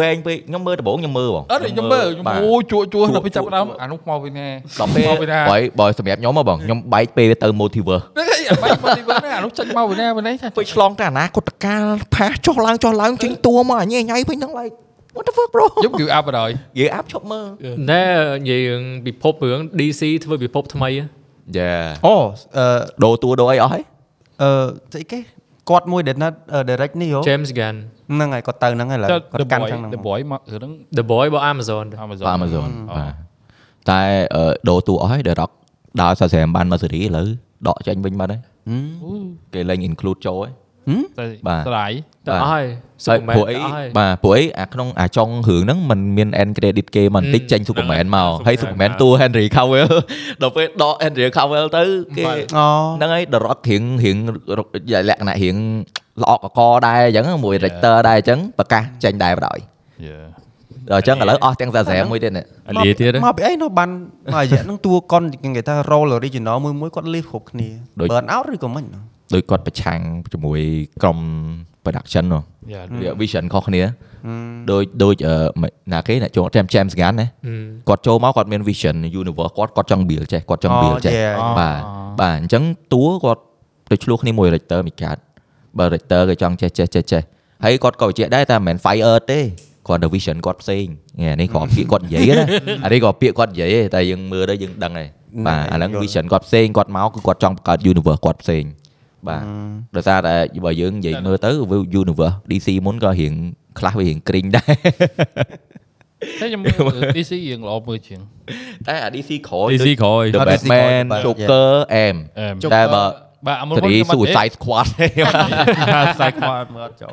Speaker 1: វែងពេកខ្ញុំមើលដំបូងខ្ញុំមើលបង
Speaker 8: អត់ទេខ្ញុំមើលខ្ញុំ
Speaker 1: បាទ
Speaker 8: អូយជួជួ
Speaker 1: ជក់
Speaker 8: ដល់ពេលចាប់ផ្ដើម
Speaker 1: ជក់
Speaker 8: អានោះមកពីណា
Speaker 1: ដល់ពេល
Speaker 8: មកពីណា
Speaker 1: បើបើសម្រាប់ខ្ញុំហ៎បងខ្ញុំបែកពេលទៅ motiver
Speaker 8: ហ្នឹងហើយអាបាច់មកទីវិញណាអានោះចេញមកពីណាពីណាថា
Speaker 1: ពេលឆ្លងតែអនាគតកាលផាសចុះឡើងចុះឡើងចេញតួមកអញញ៉ៃវិញហ្នឹង like what the fuck bro
Speaker 8: ខ្ញុំ give up បណ្ដោយ
Speaker 1: យើអាប់ឈប់មើល
Speaker 7: ណែនិយាយរឿងពិភពរឿង DC ធ្វើពិភពថ្មី
Speaker 1: yeah
Speaker 6: អូអឺ
Speaker 1: ដូរតួដូរអីអស់ហើយ
Speaker 6: អឺស្អីគេគាត់មួយដែលណាត់ direct នេះហ៎
Speaker 7: James Gunn
Speaker 6: ហ្នឹងហើយគាត់ទៅហ្នឹងហើយឥឡូវ
Speaker 8: The
Speaker 6: គាត់កាន់
Speaker 8: Boy
Speaker 6: ខាងហ្នឹង
Speaker 8: The Boy មករឿង
Speaker 7: The Boy របស់ Amazon
Speaker 8: Amazon Ờ.
Speaker 1: Amazon
Speaker 8: អ
Speaker 1: បាទតែអឺដូរតួអស់ហើយដែលរកដើរសរសែនបានមកសេរីឥឡូវដកចេញវិញបាត់ហើយគេលែង include ចូលហើយ
Speaker 8: តែ
Speaker 1: បាទ
Speaker 8: ស្រ័យ
Speaker 7: តែអស់ហើយ
Speaker 1: ហើយ
Speaker 7: Superman
Speaker 1: ព្រោះអី
Speaker 7: តែអស់ហើយ
Speaker 1: បាទព្រោះអីអាក្នុងអាចុងរឿងហ្នឹងมันមាន end credit គេមកបន្តិច
Speaker 7: អឺ
Speaker 1: ចេញ Superman មកហើយ Superman
Speaker 3: Superman
Speaker 1: តួ Henry Cavill ដល់ពេលដក Henry Cavill ទៅគេ
Speaker 6: អូ
Speaker 1: ហ្នឹងហើយដរត់រៀងរៀងលក្ខណៈរៀងល្អកកដែរអញ្ចឹងមួយ director ដែរអញ្ចឹងប្រកាសចេញដែរបណ្ដោយដល់អញ្ចឹងឥឡូវអស់ទាំងសាស្រែមួយទៀតនេះ
Speaker 9: អា
Speaker 6: À,
Speaker 9: លីទៀតហ៎
Speaker 6: មកពីអីនោះបានមករយៈហ្នឹងតួកុនគេនិយាយថា role original មួយមួយៗគាត់លេសគ្រប់គ្នា burn out ឬក៏មិនហ្នឹង
Speaker 1: ដោយគាត់ប្រឆាំងជាមួយក្រុម production ហ្នឹង
Speaker 8: យ៉ា
Speaker 1: វា vision ខុសគ្នាដូចដូចអឺណាគេអ្នកចូល James Gunn ណាគាត់ចូលមកគាត់មាន vision universe គាត់គាត់ចង់ build ចេះគាត់ចង់ build ចេះ
Speaker 6: yeah.
Speaker 1: បាទបាទអញ្ចឹងតួគាត់ទៅឆ្លោះគ្នាមួយ Richter មួយកាតបើ Richter គេចង់ចេះចេះចេះចេះហើយគាត់ក៏បញ្ជាក់ដែរតែមិនមែន fire ទេគាត់ទៅ vision គាត់ផ្សេងនេះអានេះគាត់ពាក្យគាត់និយាយណាអានេះក៏ពាក្យគាត់និយាយទេតែយើងមើលទៅយើងដឹងហើយបាទអាហ្នឹង
Speaker 6: យល់
Speaker 1: à, vision គាត់ផ្សេងគាត់មកគឺគាត់ចង់បង្កើត universe គាត់ផ្សេងបាទដោយសារតែបើយើងនិយាយមើលទៅវា universe DC មុនក៏រៀងខ្លះវារៀងគ្រិញដែរ
Speaker 8: តែខ្ញុំមើល DC រឿងល្អមើលជាង
Speaker 1: តែអា DC ក្រោយ
Speaker 9: Easy
Speaker 1: ដូច
Speaker 9: ក្រោយ
Speaker 1: The
Speaker 6: Ah, DC
Speaker 1: Batman
Speaker 6: ក្រោយ
Speaker 1: Joker M
Speaker 8: អឺម
Speaker 2: Joker
Speaker 1: តែបើ
Speaker 8: បាទអាមុន
Speaker 1: 3
Speaker 8: ខ្ញុំអត់ទេ
Speaker 1: Suicide Squad ទេ
Speaker 3: សាច់ខ្វល់មើលអត់ចូល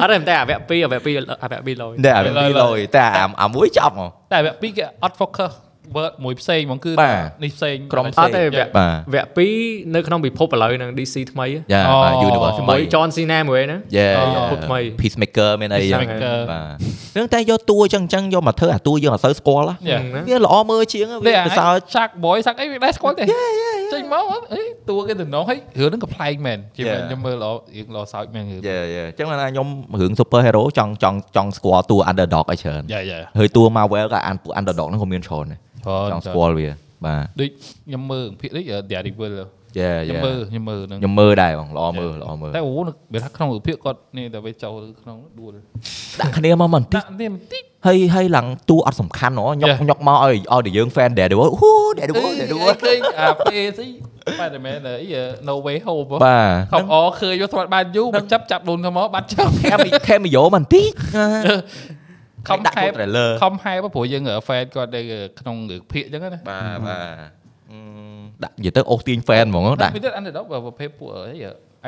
Speaker 7: អត់ទេតែអាវគ្គ2អាវគ្គ2អាវគ្គ2លយ
Speaker 1: ដែលអាវា
Speaker 8: ឡើយ
Speaker 1: ពីរ
Speaker 8: ឡើ
Speaker 1: ល
Speaker 8: យ
Speaker 1: យតែអាអាមួយចាប់ហ្មង
Speaker 8: តែវគ្គពីរគេអត់ focus word មួយផ្សេងហ្មងគឺ
Speaker 1: បាទ
Speaker 8: នេះផ្សេង
Speaker 1: ក្រុម
Speaker 8: តែ
Speaker 1: ផ្សេង
Speaker 7: អត់ទេវគ្គ
Speaker 1: បាទ
Speaker 7: វគ្គ2នៅក្នុងពិភពឥឡូវហ្នឹង DC ថ្មីហ៎
Speaker 1: យ៉ា
Speaker 8: អូ
Speaker 1: បាទ Dạ, à, Universe ថ្មី
Speaker 7: មួយ John Cena មួយហ្នឹង
Speaker 1: Yeah,
Speaker 7: អូ
Speaker 1: yeah.
Speaker 7: ពុកថ្មី
Speaker 1: Peacemaker មានអីយ៉ាង
Speaker 8: Ờ, Peacemaker
Speaker 1: បាទនឹងតែយកតួអញ្ចឹងអញ្ចឹងយកមកធ្វើអាតួយើងអត់សូវស្គាល់ហ៎
Speaker 8: Yeah. à,
Speaker 1: វាល្អមើលជាងហ៎
Speaker 8: នេះ
Speaker 1: វា
Speaker 8: អា
Speaker 1: ប្រសើរ
Speaker 8: សាក់ boy សាក់អីវាដែរស្គាល់ទេចេញមកអីតួគេតំណងហើយរឿងហ្នឹងក៏ប្លែកមែនជា
Speaker 1: Yeah.
Speaker 8: ខ្ញុំមើលល្អរឿងល្អសើចមែនរឿង
Speaker 1: យេយេអញ្ចឹងបានថាខ្ញុំរឿង super hero ចង់ចង់ចង់ស្គាល់តួ underdog ឲ្យច្រើន
Speaker 8: យ៉ាយ៉ា
Speaker 1: ហើយតួ Marvel ក៏អានពួក underdog ហ្នឹងក៏មានច្រើនដែរ
Speaker 8: Ờ,
Speaker 1: ចង់ស្គាល់វាបាទ
Speaker 8: ដូចខ្ញុំមើលភាគនេះ Daredevil
Speaker 1: យេយេ
Speaker 8: ខ្ញុំមើលខ្ញុំមើលហ្នឹង
Speaker 1: ខ្ញុំមើលដែរបងល្អមើលល្អមើល
Speaker 8: តែអូនៅវាថាក្នុងរូបភាពគាត់នេះតែវាចូលក្នុងដួល
Speaker 1: ដាក់គ្នាមកមិនតិច
Speaker 8: ដាក់នេះបន្តិច
Speaker 1: ហើយហើយឡើងតួអត់សំខាន់ហ៎ញុក
Speaker 8: Yeah.
Speaker 1: ញុកមកឲ្យឲ្យតែយើង fan Daredevil អូ Daredevil
Speaker 8: អី
Speaker 1: Daredevil
Speaker 8: ឃើញអាពេលស្អី Spider-Man អី No Way Home ហ៎
Speaker 1: បា
Speaker 8: ខំអឃើញវាស្មាត់បានយូរមកចាប់ចាប់ដូនខ្ញុំមកបាត់ចោល
Speaker 1: ទ cameo- cameo មិនតិ ច
Speaker 8: ខំ
Speaker 1: ដាក់
Speaker 8: ខែ
Speaker 1: ខ្លួន trailer
Speaker 8: ខំហែបព្រោះយើងហ្វេនគាត់នៅក្នុងរឿងភាគអញ្ចឹងណា
Speaker 1: បាទបាទអឺដាក់និយាយទៅអូសទាញ fan ហ្មងដាក់
Speaker 8: វាទៅអានដល់ប្រភេទពួកអី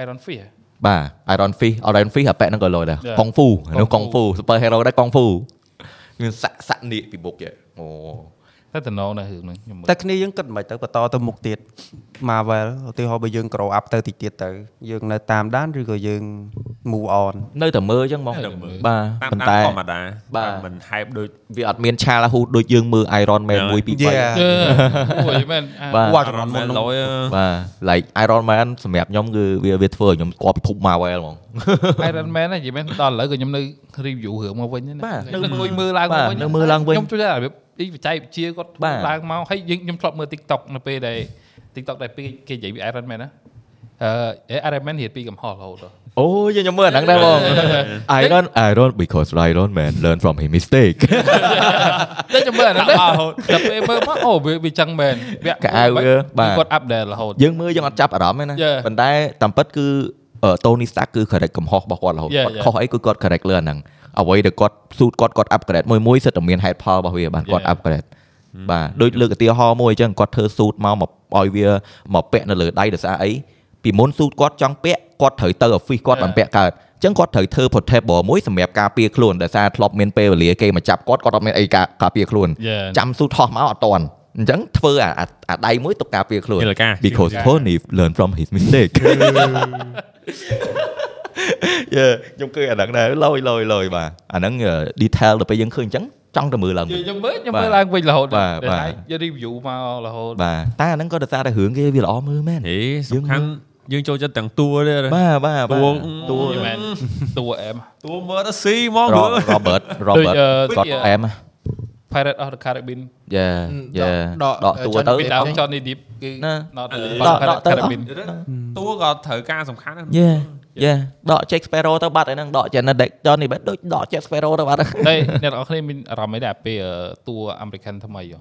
Speaker 8: Iron Fist
Speaker 1: បាទ Iron Fist Iron Fist អាប៉ែកហ្នឹងក៏លយដែរ
Speaker 8: Yeah.
Speaker 1: កុងហ្វូហ្នឹងកុង
Speaker 8: Kung
Speaker 1: ហ្វូ super hero ដែរកុងហ្វូមានសាក់សាក់នៀកពីមុខយេអូ
Speaker 8: តែតំណងនៅរឿងហ្នឹងខ្ញុំមើល
Speaker 6: តែគ្នាយើងគិតមិនទៅបន្តទៅមុខទៀត Marvel ឧទាហរណ៍បើយើង grow up ទៅតិចទៀតទៅយើងនៅតាមដានឬក៏យើង move on
Speaker 1: នៅតែមើលអញ្ចឹងបង
Speaker 3: នៅតែមើល
Speaker 1: បាទ
Speaker 3: តាម
Speaker 1: ប៉ុ
Speaker 3: តាម
Speaker 1: ន្តែ
Speaker 3: ធម្មតា
Speaker 1: បា
Speaker 3: តែ
Speaker 1: ទ
Speaker 3: មិនហែបដូច
Speaker 1: វាអត់មានឆាឡាហ៊ូដូចយើងមើល Iron Man
Speaker 3: Yeah.
Speaker 1: 1 2 3
Speaker 6: Yeah.
Speaker 8: អឺអូយមែនអា
Speaker 1: បាទ
Speaker 6: វត្តជំនាន់មុនហ្នឹ
Speaker 3: ឡ
Speaker 6: ង
Speaker 3: យ
Speaker 1: បាទ like Iron Man សម្រាប់ខ្ញុំគឺវាវាធ្វើឲ្យខ្ញុំស្គាល់ពិភព Marvel ហ្មង
Speaker 8: Iron Man ហ្នឹងនិយាយមែនដល់ឥឡូវក៏ខ្ញុំនៅ review រឿងមកវិញ
Speaker 1: បា
Speaker 8: ណា
Speaker 1: ទ
Speaker 8: នៅអង្គុយមើលឡើង
Speaker 1: បា
Speaker 8: មក
Speaker 1: ទ
Speaker 8: វិញ
Speaker 1: នៅមើលឡើងវិញ
Speaker 8: ខ្ញុំជួយថារបៀបអីបច្ចេកវិទ្យាគាត់
Speaker 1: បាទ
Speaker 8: ឡើងមកហើយយើងខ្ញុំធ្លាប់មើល TikTok នៅពេលដែល TikTok ដែលពេលគេនិយាយពី Iron Man ណាអឺ Iron Man រៀបពីកំហុសរហូតដល់
Speaker 1: អូយខ្ញុំមើលអាហ្នឹងដែរបង Iron Iron because Iron Man learn from his mistake
Speaker 8: តែចាំមើលអាហ្នឹងដែរតែពេលមើលមកអូវាវាចឹងមែនវា
Speaker 1: កៅអៅវាបាទ
Speaker 8: គាត់ update រហូត
Speaker 1: យើងមើលយើងអត់ចាប់អារម្មណ៍ទេណា
Speaker 8: Yeah.
Speaker 1: ប៉ុន្តែតាមពិតគឺតូនីស្តាគឺ correct កំហុសរបស់គាត់រហូត
Speaker 8: Yeah,
Speaker 1: គាត់
Speaker 8: yeah.
Speaker 1: ខុសអីគឺគាត់ correct លើអាហ្នឹងអ្វីដែលគាត់ស៊ូតគាត់គាត់ upgrade មួយមួយសិតតែមានហេតុផលរបស់វាបានគាត់
Speaker 8: Yeah.
Speaker 1: upgrade បាទដូចលើកឧទាហរណ៍មួយអញ្ចឹងគាត់ធ្វើស៊ូតមកមកឲ្យវាមកពាក់នៅលើដៃដោយសារអីពីមុនស៊ូតគាត់ចង់ពាក់គាត់ត្រូវទៅ office គាត់
Speaker 8: Yeah.
Speaker 1: បានពាក់កើតអញ្ចឹងគាត់ត្រូវធ្វើ portable មួយសម្រាប់ការពារខ្លួនដោយសារធ្លាប់មានពេលវេលាគេមកចាប់គាត់គាត់អត់មានអីការការពារខ្លួន
Speaker 8: Yeah.
Speaker 1: ចាំស៊ូតថោះមកអត់តាន់អញ្ចឹងធ្វើអាអាអាដៃមួយទុកការពារខ្លួន
Speaker 9: ជាលកា
Speaker 1: because Tony learn from his mistake យេខ្ញុំឃើញអាហ្នឹងដែរលយលយលយបាទអាហ្នឹង uh, detail ទៅពេលយើងឃើញអញ្ចឹងចង់ទៅមើលឡើង
Speaker 8: យើ
Speaker 1: វិញ
Speaker 8: ងខ្ញុំមើលខ្ញុំ
Speaker 1: បាទ
Speaker 8: មើលឡើងវិញរហូត
Speaker 1: បាទ
Speaker 8: ដល់
Speaker 1: បាទ
Speaker 8: ហើយយើង review មករហូត
Speaker 1: បាទតែអាហ្នឹងក៏ដោយសារតែរឿងគេវាល្អមើលមែន
Speaker 9: ហេសំខាន់យើងចូលចិត្តទាំងតួទេរ
Speaker 1: បាទបាទ
Speaker 9: តួ
Speaker 3: ừ,
Speaker 1: តួ
Speaker 8: យមែនតួអែម
Speaker 3: តួមើលទៅស៊ីហ្មង
Speaker 1: រ៉ូបឺតរ៉ូបឺត
Speaker 8: ដូ
Speaker 1: គាត់
Speaker 8: ចអឺដូចអឺ
Speaker 1: អែម
Speaker 8: Pirate of the Caribbean
Speaker 1: យេយេ
Speaker 2: ដ
Speaker 1: ដ
Speaker 2: ក
Speaker 1: កដក
Speaker 2: ដក
Speaker 1: តួទៅ
Speaker 2: តួទៅ
Speaker 8: ពីដើម Johnny Depp គឺ
Speaker 1: ណា
Speaker 8: not
Speaker 1: ដកដក
Speaker 8: Pirate
Speaker 1: ទៅ
Speaker 8: Caribbean
Speaker 3: តួក៏ត្រូវការសំខាន់ណាស់
Speaker 1: យេយេដក Jack Sparrow ទៅបាត់ឯហ្នឹងដក Janet Jackson នេះបែបដូចដក Jack Sparrow ទៅបាត់ហ្នឹង
Speaker 8: តែអ្នកនរអស់គ្នាមានអារម្មណ៍អីដែរពេលអឺតួ American ថ្មីហ៎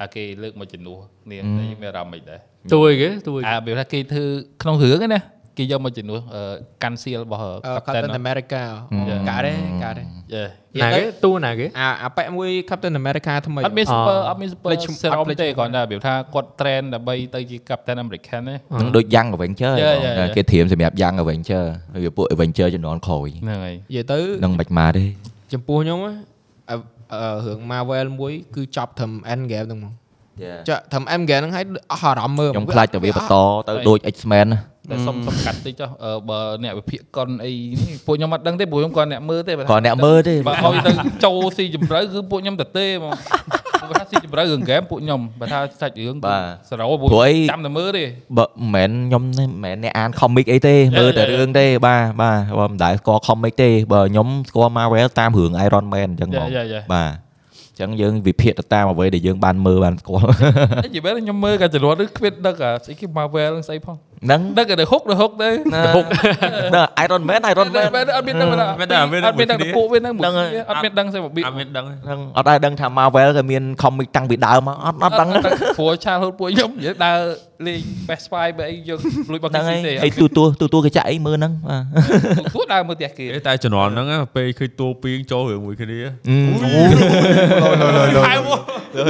Speaker 8: អាគេលើកមកជំនួសនាងតែយើងមានអារម្មណ៍អីដែរ
Speaker 7: Tôi cái tôi
Speaker 8: អាពេលថាគេធ្វើក្នុងរឿងហ្នឹងណាគេយកមកជំនួសអឺ Cancel របស់ Captain
Speaker 2: Captain
Speaker 8: ហ្នឹង
Speaker 2: America
Speaker 8: យ៉ា
Speaker 2: កាដែរកាដែរ
Speaker 8: Yeah.
Speaker 2: Dạ.
Speaker 7: nà cái tôi nà cái
Speaker 2: អាអាប៉ែកមួយ Captain America ថ្មី
Speaker 8: អត់មាន super អត់មាន super
Speaker 2: លេចឈ្មោះ
Speaker 8: serum
Speaker 2: លេចឈ្មោះ
Speaker 8: ទេគ្រាន់តែរបៀបថាគាត់ trend ដើម្បីទៅជា Captain American ណា
Speaker 1: នឹងដូច Young Avenger
Speaker 8: យេយេយេ
Speaker 1: ហ្នឹងគេធៀមសម្រាប់ Young Avenger ហើយពួក Avenger ជំនាន់ក្រោយ
Speaker 8: ហ្នឹងហើយ
Speaker 2: និយាយទៅ
Speaker 1: នឹងមិនមកទេ
Speaker 2: ចំពោះខ្ញុំណាអឺអឺរឿង Marvel មួយគឺចប់ត្រឹម End Game ហ្នឹងមកចាក់ត្រឹម End Game ហ្នឹងហើយអស់អារម្មណ៍មើល
Speaker 1: ខ្ញុំខ្លាចតែវាបន្តទៅដូច X-Men ណា
Speaker 8: តែសុំសុំកាត់តិចចុះអឺបើអ្នកវិភាគកុនអីនេះពួកខ្ញុំអត់ដឹងទេពួកខ្ញុំគាត់អ្នកមើលទេបើ
Speaker 1: គ្រាន់អ្នកមើលទេ
Speaker 8: បើឲ្យទៅចូលស៊ីជម្រៅគឺពួកខ្ញុំតែទេហ្មងបើថាស៊ីជម្រៅរឿងហ្គេមពួកខ្ញុំបើថាសាច់រឿងសរោពួកចាំតែមើលទេ
Speaker 1: បើមិនមែនខ្ញុំទេមិនមែនអ្នកអាន comic អីទេមើលតែរឿងទេបាទបាទបើមិនដែលស្គាល់ comic ទេបើខ្ញុំស្គាល់ Marvel តាមរឿង Iron Man អញ្ចឹងហ្ម
Speaker 8: យ៉ា
Speaker 1: ង
Speaker 8: យ៉ាយ៉ា
Speaker 1: បាទអញ្ចឹងយើងវិភាគទៅតាមអ្វីដែលយើងបានមើលបាន ស្គាល់
Speaker 8: តែនិយាយមែនខ្ញុំមើលកាចរត់ឬគ្មានដឹកអាស្អីគេ Marvel ស្អីផង
Speaker 1: ហ្នឹង
Speaker 8: ដឹកតែហុកទៅហុកទៅ
Speaker 1: ណាណា Iron Man Iron Man
Speaker 8: អត់មានដឹងអត់មានដឹងពួកវាហ្នឹងអត់មានដឹងស្អីបបៀ
Speaker 3: អត់មានដឹងទេ
Speaker 1: ហ្នឹងអត់ដែរដឹងថា Marvel ក៏មាន comic តាំងពីដើមមកអត់អត់ដឹងទេ
Speaker 8: ព្រោះឆាលហូតពួកខ្ញុំនិយាយដើរលេង PS5 បើអីយកលួចបក
Speaker 1: ហ្នឹង
Speaker 8: គេ
Speaker 1: ហើយ
Speaker 8: ទេ
Speaker 1: អីទូទួទូទួគេចាក់អីមើលហ្នឹងបាទ
Speaker 8: ទួដើរមើលផ្ទះគេ
Speaker 3: ទេតែជំនាន់ហ្នឹងណាពេលឃើញតួពីងចូលរឿងមួយគ្នាហៅមក
Speaker 1: Ừ.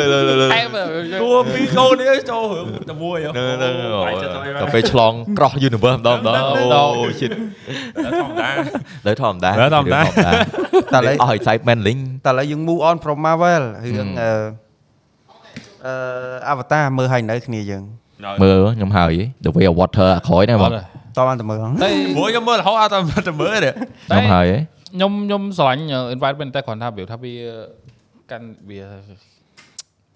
Speaker 8: តែមើល
Speaker 3: តួពីងចូលនេះចូលរឿងតែមួយហ៎តែចិត្តទៅ
Speaker 1: ទៅពេលឆ្លង cross universe ម្ដងម្ដងអូ shit
Speaker 3: ធម្មតា
Speaker 1: លើធម្មតា
Speaker 9: លើធម្មតា
Speaker 1: តែ
Speaker 6: តែ
Speaker 1: លើ
Speaker 6: ឡើយ
Speaker 1: អស់ excitement លេង
Speaker 6: តែឡើយយើង move on from Marvel រឿងអឺអឺ Avatar មើលហើយនៅគ្នាយើង
Speaker 1: មើលខ្ញុំហើយ The Way of Water អាក្រោយហ្នឹងបង
Speaker 6: តោះបានតែមើលហ្នឹង
Speaker 8: តែ
Speaker 3: មួយខ្ញុំមើលរហូតអត់ទៅទៅមើលទេ
Speaker 1: ខ្ញុំហើយ
Speaker 8: ខ្ញុំខ្ញុំស្រឡាញ់ environment តែគ្រាន់ថាវាថាវាកាន់វា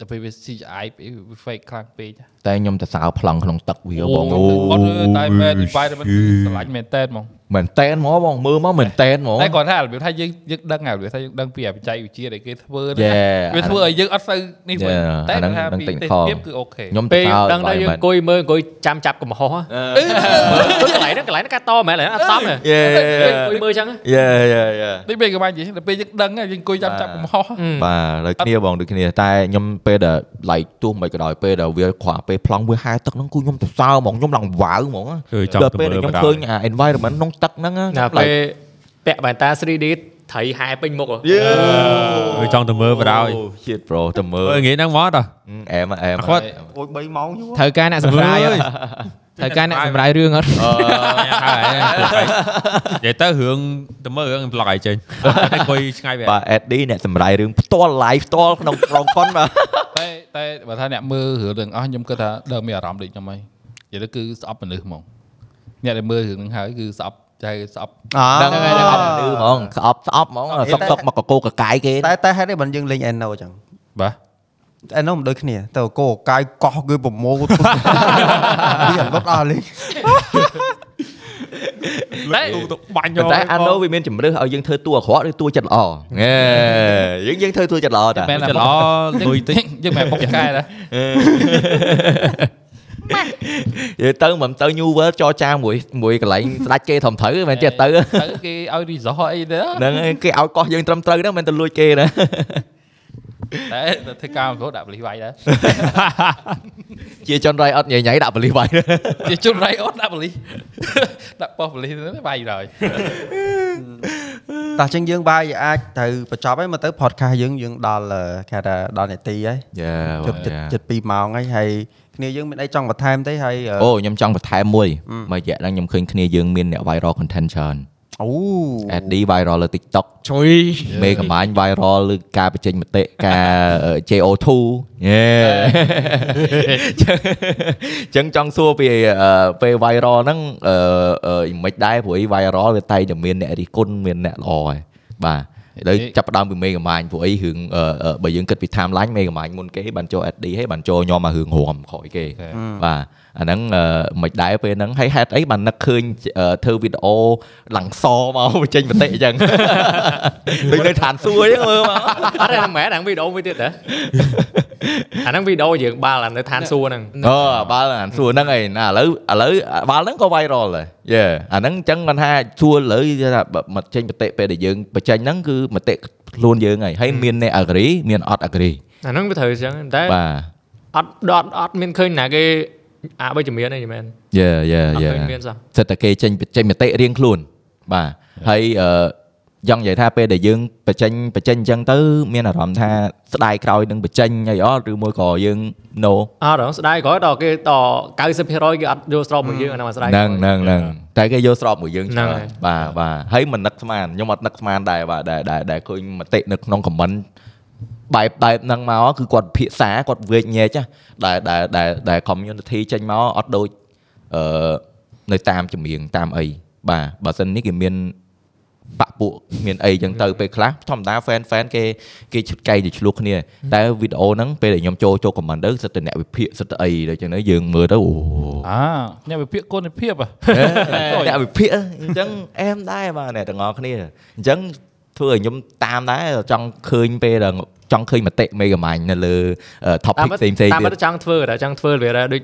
Speaker 8: តែពេលវា CGI ពេលវា fake ខ្លាំងពេក
Speaker 1: តែខ្ញុំទៅសើប្លង់ក្នុងទឹកវាបង
Speaker 8: អូ
Speaker 1: អូ
Speaker 8: អត់ទេតែ bad environment គឺស្រឡាញ់មែនតើហ្មង
Speaker 1: មែនតែនហ្មងបងមើលមកមែនតែនហ្មង
Speaker 8: តែគ្រាន់ថារបៀបថាយើងយើងដឹងហើយរបៀបថាយើងដឹងពីអាបច្ចេកវិទ្យាដែលគេធ្វើហ្នឹង
Speaker 1: Yeah à,
Speaker 8: វាធ្វើឲ្យយើងអត់ទៅនេះវិញ
Speaker 1: Yeah à,
Speaker 8: តែ
Speaker 1: អាហ្នឹង
Speaker 8: ថា
Speaker 1: ដឹង
Speaker 8: ពី
Speaker 1: technical
Speaker 8: ភាពគឺអូខេ
Speaker 1: ខ្ញុំទៅ
Speaker 7: Bây
Speaker 1: សើ
Speaker 7: đang đây
Speaker 1: environment
Speaker 7: coi mơ coi chăm chạp của một hố á
Speaker 1: Ờ.
Speaker 7: Mơ, Cái này nó cái này nó cá to mẹ lại nó ăn xóm này
Speaker 1: Yeah, yeah, yeah.
Speaker 7: Coi mơ chăng á
Speaker 1: យេយេយេ
Speaker 8: នេះពេលកុំអីដល់ពេលយើងដឹងហើយយើងអង្គុយចាំ
Speaker 1: À.
Speaker 8: ចាប់កំហុស
Speaker 7: Ừ.
Speaker 1: បាទដូចគ្នាបងដូចគ្នាតែខ្ញុំពេលដែល like ទោះមិនក៏ដោយពេលដែលវាខ្វះពេលប្លង់វាហែទឹកហ្នឹងគឺខ្ញុំទៅសើហ្មងខ្ញុំឡើងវាវហ្មង
Speaker 9: អឺចង់
Speaker 1: ដល់
Speaker 9: ទៅ
Speaker 1: ពេល
Speaker 9: មើល
Speaker 1: ដែល
Speaker 9: ប
Speaker 1: ខ្ញុំ
Speaker 9: ណ្ដោយ
Speaker 1: ឃើញអា environment ក្នុងទឹកហ្នឹងណា
Speaker 7: Nè,
Speaker 1: like
Speaker 7: về Pẹ bàn ta 3D thấy hai bên một
Speaker 1: Dạ.
Speaker 7: rồi
Speaker 9: អឺចង់ទៅមើលបណ្ដោយ
Speaker 1: អូ shit bro ទៅមើល
Speaker 9: អើងាយហ្នឹងមកតោះ
Speaker 1: អែមអែម
Speaker 9: អត់ខ្វត់
Speaker 6: អូយ3ម៉ោងយូរ
Speaker 2: ត្រូវការអ្នកសម្រាយអត់ត្រូវការអ្នកសម្រាយរឿងអត់
Speaker 9: ហើយនិយាយទៅរឿងទៅមើលរឿងប្លុកឲ្យចេញតែអង្គុយឆ្ងាយវា
Speaker 1: បាទ Eddie អ្នកសម្រាយរឿងផ្ទាល់ live ផ្ទាល់ក្នុង ក្រុមផុនបាទ
Speaker 8: តែតែបើថាអ្នកមើលរឿងទាំងអស់ខ្ញុំគិតថាដឹងមានអារម្មណ៍ដូចខ្ញុំហីនិយាយទៅគឺស្អប់មនុស្សហ្មងអ្នកដែលមើលរឿងហ្នឹងហើយគឺស្អប់ចៃស្អប់
Speaker 6: អ
Speaker 1: ដឹ
Speaker 6: ើ
Speaker 1: ងហើយអត់លឺហ្មងស្អប់ស្អប់ហ្មងសុកសុកមកកកោកកាយគេ
Speaker 6: តែតែហេតុអីបានយើងលេង Eno អញ្ចឹង
Speaker 8: បាទ
Speaker 6: អែនោះមិនដូចគ្នាទៅកោ កាយកោះគឺប្រមោទ វាអត់លត់អស់លេង
Speaker 3: តែទូទៅបាញ់យក
Speaker 1: តែអាណូវាមានជំរឿសឲ្យយើងធ្វើតួអាក្រក់ឬតួចិត្តល្អហេយើងយើងធ្វើតួចិត្តល្អតា
Speaker 8: មែន
Speaker 9: ចិត្តល្អលុយ តិច
Speaker 8: យើងមិនបុកកែដែរ
Speaker 1: និយាយទៅមិនទៅ New World ចរចាមួយមួយកន្លែងស្ដាច់គេធំត្រូវមិនចេះទៅ
Speaker 8: ទៅគេឲ្យរីសអអីទៅ
Speaker 1: ហ្នឹងហើយគេឲ្យកោះយើងត្រឹមត្រូវហ្នឹងមិនទៅលួចគេណា
Speaker 8: តែទៅធ្វើការរត់ដាក់បលិសវាយដែរ
Speaker 1: ជាចន់រៃអត់ញ៉ៃញ៉ៃដាក់បលិសវាយ
Speaker 8: ជាជុំរៃអត់ដាក់បលិសដាក់ប៉ោះបលិសទៅវាយដែរ
Speaker 6: តោះចឹងយើងបាយអាចទៅបញ្ចប់ហើយមកទៅ podcast យើងយើងដល់អឺគេថាដល់នាទីហើយ
Speaker 1: យ៉ា
Speaker 6: ជិតជិតជិត2ម៉ោងហើយហើយគ្នាយើងមានអីចង់បន្ថែមទេហើយអឺ
Speaker 1: អូខ្ញុំចង់បន្ថែមមួយមួយរយៈហ្នឹងខ្ញុំឃើញគ្នាយើងមានអ្នក viral content ច្រើន
Speaker 6: អូ
Speaker 1: AD viral លើ TikTok
Speaker 2: ជួយ
Speaker 1: មេកម្បាញ viral លើការបញ្ចេញមតិការ JO2 យេចឹងចង់សួរពីអឺពេល viral ហ្នឹងអឺអឺយ៉ាងម៉េចដែរព្រោះអី viral វាតែងតែមានអ្នករិះគន់មានអ្នកល្អឯងបាទឥឡូវចាប់ផ្ដើមពីមេកម្បាញព្រោះអីរឿងអឺអឺបើយើងគិតពី timeline មេកម្បាញមុនគេបានចូល SD ហើយបានចូលញោមមករឿងរួមក្រោយគេបាទអាហ្នឹងអឺមិនដែរពេលហ្នឹងហើយហេតុអីបាននឹកឃើញអឺធ្វើវីដេអូឡើងសមក បញ្ចេញមតិអញ្ចឹង ដូចនៅឋានសួគ៌អញ្ចឹងមើលមក
Speaker 7: អត់ទេអាម៉ែអាហ្នឹងវីដេអូមួយទៀតហ៎អាហ្នឹងវីដេអូយើងបាល់អានៅឋានសួគ៌ហ្នឹង
Speaker 1: អឺបាល់អាសួរហ្នឹងឯងណាឥឡូវឥឡូវបាល់ហ្នឹងក៏ viral ដែរយេអាហ្នឹងអញ្ចឹងមិនថាសួរលើយថាបើមកចេញមតិពេលដែលយើងបញ្ចេញហ្នឹងគឺមតិខ្លួនយើងឯងហើយមានអ្នក agree មានអត់ agree
Speaker 7: អាហ្នឹងវាត្រូវអញ្ចឹងតែ
Speaker 1: បាទ
Speaker 7: អត់ដតអត់មានឃើញណាគេអវិជ្ជមានទេមែន
Speaker 1: យេយេ
Speaker 7: អត់
Speaker 1: យេ
Speaker 7: ឃើញមានសោះ
Speaker 1: សិតតែគេចេញបញ្ចេញមតិរៀងខ្លួនបាទហើយអឺយ៉ាងនិយាយថាពេលដែលយើងបញ្ចេញបញ្ចេញអញ្ចឹងទៅ មានអារម្មណ៍ថាស្ដាយក្រោយនឹងបញ្ចេញហើយអត់ឬមួយក៏យើង no
Speaker 7: អត់ដល់ស្ដាយក្រោយដល់គេដល់90%គេអត់យកស្របមកយើងអាហ្នឹងអាស្ដាយ
Speaker 1: ហ្នឹងហ្នឹងហ្នឹងតែគេយកស្របមួយយើង
Speaker 7: ហ្នឹង
Speaker 1: ច្រើន
Speaker 7: ហើយ
Speaker 1: បាទបាទហើយមិននឹកស្មានខ្ញុំអត់នឹកស្មានដែរបាទដែរដែរដែរឃើញមតិនៅក្នុង comment បែបបែបហ្នឹងមកគឺគាត់ពិភាក្សាគាត់វែកញែកណាដែលដែលដែលដែល community ចេញមកអត់ដូចអឺនៅតាមចម្រៀងតាមអីបាទបើសិននេះគេមានបាក់ពួកមានអីចឹងទៅពេលខ្លះធម្មតា fan fan គេគេឈុតកែងទៅឆ្លោះគ្នាតែវីដេអូហ្នឹងពេលដែលខ្ញុំចូលចូល comment ទៅសិតតែអ្នកវិភាគសិតតែអីដូចចឹងទៅយើងមើលទៅអូ
Speaker 8: អាអ្នកវិភាគគុណភាពហ៎
Speaker 1: អ្នកវិភាគអញ្ចឹងអែមដែរបាទអ្នកទាំងអស់គ្នាអញ្ចឹងធ្វើឲ្យខ្ញុំតាមដែរចង់ឃើញពេលដល់ចង់ឃើញមតិមេកំាញ់នៅលើ
Speaker 7: តាម
Speaker 1: topic
Speaker 7: មិត្ត
Speaker 1: ផ្សេងផ្សេង
Speaker 7: តាម
Speaker 1: ទៀត
Speaker 7: មិនចង់ធ្វើតែចង់ធ្វើវាដែរដូច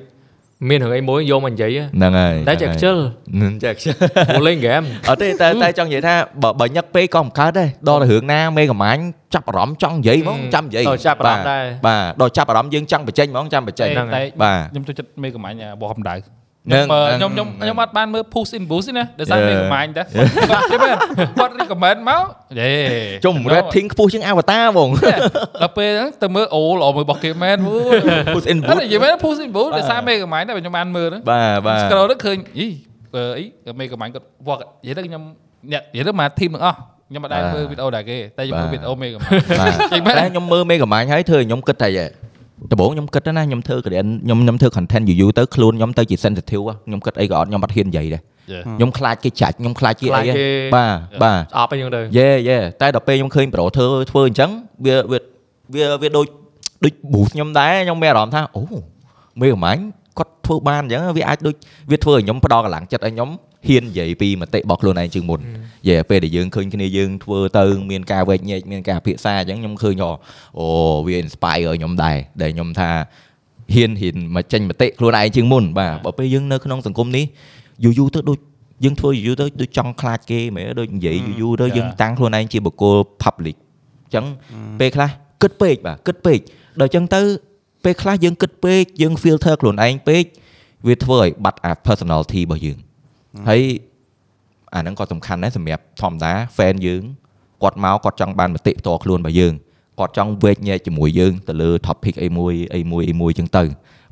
Speaker 7: មានរឿងអីមួយយកមកនិយាយហ៎
Speaker 1: ហ្នឹងហើយ
Speaker 7: តែចេះខ្ជិល
Speaker 1: ហ្នឹងចេះខ្ជិល
Speaker 7: ព្រោះលេងហ្គេម
Speaker 1: អត់ទេតែតែចង់និយាយថាបើបើញឹកពេកក៏មិនកើតដែរដល់រឿងណាមេកំាញ់ចាប់អារម្មណ៍ចង់និយាយហ្មងចាំនិយាយ
Speaker 7: ដល់ចាប់អារម្មណ៍ដែរ
Speaker 1: បាទដល់ចាប់អារម្មណ៍យើងចង់បញ្ចេញហ្មងចាំបញ្ចេញ
Speaker 8: ហ្នឹងហើយ
Speaker 1: បាទ
Speaker 8: ខ្ញុំចូលចិត្តមេកំាញ់បោះកម្ដៅ
Speaker 1: ហ្នឹង
Speaker 8: ខ្ញុំបើខ្ញុំខ្ញុំខ្ញុំអត់បានមើល push in boost ទេណាដោយសារមេកំាញ់ដែរបាទទេមែនគាត់ recommend មកយេ
Speaker 1: ជុំ rating ខ្ពស់ជាង Avatar ហ្មង
Speaker 8: ទេដល់ពេលហ្នឹងទៅមើលអូល្អមើលរបស់គេមែនអូ
Speaker 1: Push in
Speaker 8: អត់
Speaker 1: Boost
Speaker 8: និយាយមែន push in boost ដោយសារមេកំាញ់ដែរបើខ្ញុំបានមើលហ្នឹង
Speaker 1: បាទបាទ
Speaker 8: scroll ទៅឃើញអីអឺអីមេកំាញ់គាត់វ៉ាក់និយាយទៅខ្ញុំអ្នកនិយាយទៅមក team ទាំងអស់ខ្ញុំមិនដែរមើលវីដេអូដែរគេតែខ្ញុំមើល
Speaker 1: បាទ
Speaker 8: វីដេអូមេកំាញ់ ចេញមែន
Speaker 1: តែខ្ញុំមើលមេកំាញ់ហើយធ្វើឲ្យខ្ញុំគិតតែដំបូងខ្ញុំគិតណាខ្ញុំធ្វើ create ខ្ញុំខ្ញុំធ្វើ content យូរយូរទៅខ្លួនខ្ញុំទៅជា sensitive ហ៎ខ្ញុំគិតអីក៏អត់ខ្ញុំអត់ហ៊ាននិយាយដែរខ្ញុំខ្លាចគេចាច់ខ្ញុំខ្លាចគេអី
Speaker 7: ខ្លាចគេ
Speaker 1: ហ៎បាទបាទ
Speaker 7: ស្អប់អីចឹងទៅ
Speaker 1: យេយេតែដល់ពេលខ្ញុំឃើញប្រូធ្វើធ្វើអញ្ចឹងវាវាវាវាដូចដូច boost ខ្ញុំដែរខ្ញុំមានអារម្មណ៍ថាអូមេកំាញ់គាត់ធ្វើបានអញ្ចឹងវាអាចដូចវាធ្វើឲ្យខ្ញុំផ្ដល់កម្លាំងចិត្តឲ្យខ្ញុំហ៊ាននិយាយពីមតិរបស់ខ្លួនឯងជាងមុនយេពេលដែលយើងឃើញគ្នាយើងធ្វើទៅមានការវែកញែកមានការពិភាក្សាអញ្ចឹងខ្ញុំឃើញថាអូវា inspire ឲ្យខ្ញុំដែរដែលខ្ញុំថាហ៊ានហ៊ានមកចេញមតិខ្លួនឯងជាងមុនបាទបើពេលយើងនៅក្នុងសង្គមនេះយូរយូរទៅដូច យើងធ្វើយូរៗទៅដូចចង់ខ្លាចគេមែនទេដូចនិយាយយូរៗទៅ
Speaker 8: ចា
Speaker 1: យើងតាំងខ្លួនឯងជាបុគ្គល public អញ្ចឹងពេលខ្លះគិតពេកបាទគិតពេកដល់អញ្ចឹងទៅពេលខ្លះយើងគិតពេកយើង filter ខ្លួនឯងពេកវាធ្វើឲ្យបាត់អា personality របស់យើងហើយអាហ្នឹងក៏សំខាន់ដែរសម្រាប់ធម្មតា fan យើងគាត់មកគាត់ចង់បានមតិផ្ទាល់ខ្លួនរបស់យើងគាត់ចង់វែកញែកជាមួយយើងទៅលើ topic អីមួយអីមួយអីមួយអញ្ចឹងទៅ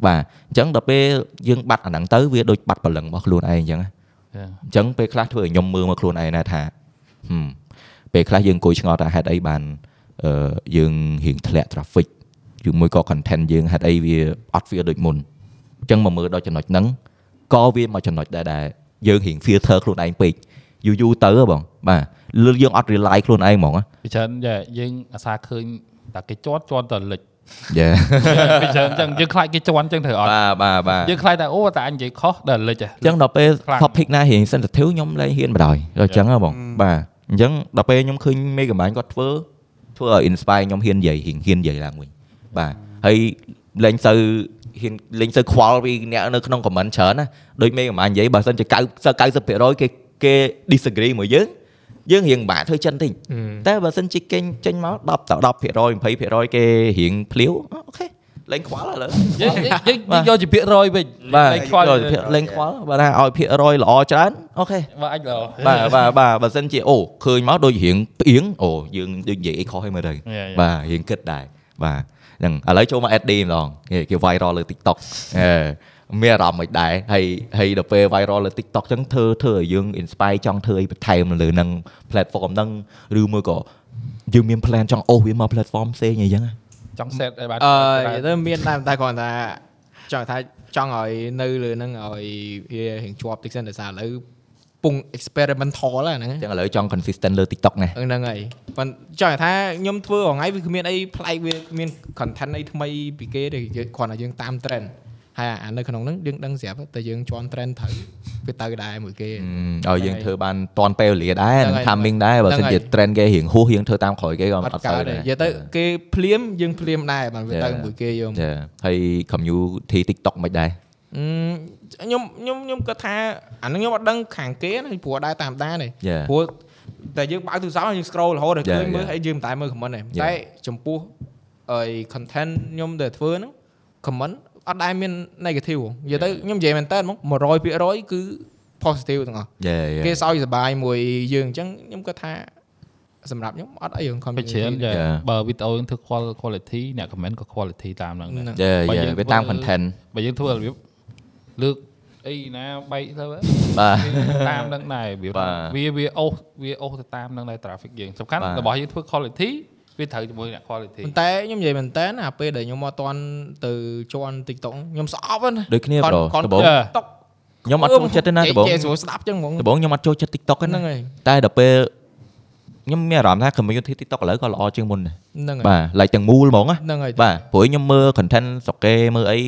Speaker 1: បាទអញ្ចឹងដល់ពេលយើងបាត់អាហ្នឹងទៅវាដូចបាត់ព្រលឹងរបស់ខ្លួនឯងអញ្ចឹងណា អញ្ចឹងពេលខ្លះធ្វើឲ្យខ្ញុំមើលមកខ្លួនឯងដែរថាហឹមពេលខ្លះយើងអង្គុយឆ្ងល់ថាហេតុអីបានអឺយើងរៀងធ្លាក់ traffic ឬមួយក៏ content យើងហេតុអីវាអត់ feel ដូចមុនអញ្ចឹងមកមើលដល់ចំណុចហ្នឹងក៏វាមកចំណុចដែរដែលយើងរៀង filter ខ្លួនឯងពេកយូរយូរទៅហ៎បងបាទលឺយើងអត់ rely ខ្លួនឯងហ្មងហ៎
Speaker 8: ពីច្រើនតែយើងអាសាឃើញតែគេជាត់ជាត់តែលិច
Speaker 1: យ៉ា
Speaker 8: ពីច្រើនអញ្ចឹងយើងខ្លាចគេជន់អញ្ចឹងត្រូវអ ត់
Speaker 1: បាទបាទបាទ
Speaker 8: យើងខ្លាចតែអូតែអញនិយាយខុសដល់លិចហ៎
Speaker 1: អញ្ចឹងដល់ពេល
Speaker 8: ខ្លាំង
Speaker 1: topic ណារៀង sensitive ខ្ញុំលែងហ៊ានបណ្ដោយដល់អញ្ចឹងហ៎បងបាទអញ្ចឹងដល់ពេលខ្ញុំឃើញមេកម្មាញគាត់ធ្វើធ្វើឲ្យ inspire ខ្ញុំហ៊ាននិយាយហ៊ានហ៊ាននិយាយឡើងវិញបាទហើយលែងទៅហ៊ានលែងទៅខ្វល់ពីអ្នកនៅក្នុង comment ច្រើនណាដូចមេកម្មាញនិយាយបើសិនជា90 90%គេគេ disagree មួយយើងយើងរៀងពិបាកធ្វើចិនតិច
Speaker 7: Ừ.
Speaker 1: តែបើសិនជាគេចេញមក10ទៅ10% 20%គេរៀងភ្លាវអូខេលែងខ្វល់ឥឡូវ
Speaker 8: យើងយើងយើងយកជាពាក្យរយវិញ
Speaker 1: បាទ
Speaker 8: លេ
Speaker 1: លេ
Speaker 8: ខ
Speaker 1: ង
Speaker 8: ខ្វ
Speaker 1: ខ្វ
Speaker 8: ល់
Speaker 1: ល់ភាគលេងខ្វល់បើថាឲ្យភាគរយល្អច្រើនអូខេ
Speaker 8: បាទអាចល្អ
Speaker 1: បាទ បាទបាទបើសិនជាអូឃើញមកដូចរៀងផ្អៀងអូយើងដូចនិយាយអីខុសហើយមើលទៅបាទរៀងគិតដែរបាទហ្នឹងឥឡូវចូលមក SD ម្ដងគេគេ viral លើ TikTok អេមានអារម្មណ៍មិនដែរហើយហើយដល់ពេល viral លើ TikTok ចឹងធ្វើធ្វើឲ្យយើង inspire ចង់ធ្វើអីបន្ថែមលើនឹង platform ហ្នឹងឬមួយក៏យើងមាន plan ចង់អូសវាមក platform ផ្សេងអីចឹងណា
Speaker 8: ចង់ set ឲ្យបាន
Speaker 2: អឺទៅមានដែរតែគ្រាន់តែចង់ថាចង់ឲ្យនៅលើហ្នឹងឲ្យវារៀងជាប់តិចសិនដោយសារឥឡូវពង experimental ហ្នឹងហ្នឹង
Speaker 1: ចឹងឥឡូវចង់ consistent លើ TikTok ណា
Speaker 2: ហ្នឹងហើយប៉ុន្តែចង់ថាខ្ញុំធ្វើរហងៃវាគ្មានអីប្លែកវាគ្មាន content អីថ្មីពីគេទេយើងគ្រាន់តែយើងតាម trend ហើយអានៅក្នុងហ្នឹងយើងដឹងស្រាប់តែយើងជន់ trend ត្រូវវាទៅដែរមួយគេ
Speaker 1: អឺឲ្យយើងធ្វើបានតាន់ពេលវេលាដែរ
Speaker 2: ហ្នឹង
Speaker 1: នឹង
Speaker 2: ហើយ
Speaker 1: timing ដែរបើ
Speaker 2: ហ្នឹ
Speaker 1: សិ
Speaker 2: ង
Speaker 1: ន
Speaker 2: ហើយ
Speaker 1: ជា trend គេរៀងហួសយើងធ្វើតាមក្រោយគេក៏
Speaker 2: អ
Speaker 1: អត់
Speaker 2: ត់កើត
Speaker 1: ស្អាត
Speaker 2: ទេ
Speaker 1: ដែរ
Speaker 2: និយាយទៅគេភ្លាមយើងភ្លាមដែរបានវាទៅមួយគេយើង
Speaker 1: ចាហើយ community TikTok មិនដែរ
Speaker 2: អឺខ្ញុំខ្ញុំខ្ញុំគាត់ថាអាហ្នឹងខ្ញុំអត់ដឹងខាងគេណាព្រោះដែរតាមដានទេ
Speaker 1: យ៉ា
Speaker 2: ព្រោះតែយើងបើកទូរស័ព្ទហើយយើង scroll រហូតដល់
Speaker 1: Yeah,
Speaker 2: ឃើញមើល
Speaker 1: yeah.
Speaker 2: ហើយយើងមិនតែមើល comment ទេ
Speaker 1: Yeah.
Speaker 2: តែចំពោះអី content ខ្ញុំដែលធ្វើហ្នឹង comment អត់ដែរមាន negative ហ៎និយាយទៅខ្ញុំនិយាយមែនតើហ្មង100%គឺ positive ទាំងអស់
Speaker 1: យ៉ា
Speaker 2: គេ
Speaker 1: យ៉ា
Speaker 2: សើចសប្បាយមួយយើងអញ្ចឹងខ្ញុំគាត់ថាសម្រាប់ខ្ញុំអត់អីរឿង
Speaker 8: ពេជ្រច្រើន
Speaker 2: community
Speaker 8: ចាបើវីដេអូយើងធ្វើ qual- quality អ្នក comment ក៏ quality តាមហ្នឹងដែរ
Speaker 2: ហ្នឹង
Speaker 1: យ៉ា
Speaker 8: បើ
Speaker 1: យ៉ា
Speaker 8: យើង
Speaker 1: វាតាម
Speaker 8: ធ្វើ
Speaker 1: content
Speaker 8: បើយើងធ្វើរបៀបលើកអីណាបែកទៅ
Speaker 1: បាទ
Speaker 8: តាមនឹងដែររបៀប
Speaker 1: បាទ
Speaker 8: វាវាអូសវាអូសទៅតាមនឹងដែរ traffic យើងសំខាន់
Speaker 1: បាទ
Speaker 8: របស់យើងធ្វើ quality វាត្រូវជាមួយអ្នក quality
Speaker 2: ប៉ុន្តែខ្ញុំនិយាយមែនតើអាពេលដែលខ្ញុំមកអត់ទាន់ទៅជន់ TikTok ខ្ញុំស្អប់ហ្នឹង
Speaker 1: ដូចគ្នាប្រដ
Speaker 2: គាត់
Speaker 1: ដបង
Speaker 2: គាត់ TikTok
Speaker 1: ខ្ញុំអត់ចូលចិត្តទេណាដបង
Speaker 2: ចេះស្រួលស្ដាប់ចឹងហ្មង
Speaker 1: ដបងខ្ញុំអត់ចូលចិត្ត TikTok ទេ
Speaker 2: ហ្នឹង
Speaker 1: ណា
Speaker 2: ហើយ
Speaker 1: តែដល់ពេលខ្ញុំមានអារម្មណ៍ថា community TikTok ឥឡូវក៏ល្អជាងមុនដែរ
Speaker 2: ហ្នឹង
Speaker 1: បាទ
Speaker 2: ហើយ
Speaker 1: ឡាយទាំងមូលហ្មងណា
Speaker 2: ហ្នឹងហើយ
Speaker 1: បាទព្រោះខ្ញុំមើល content ស្រុកគេមើលអី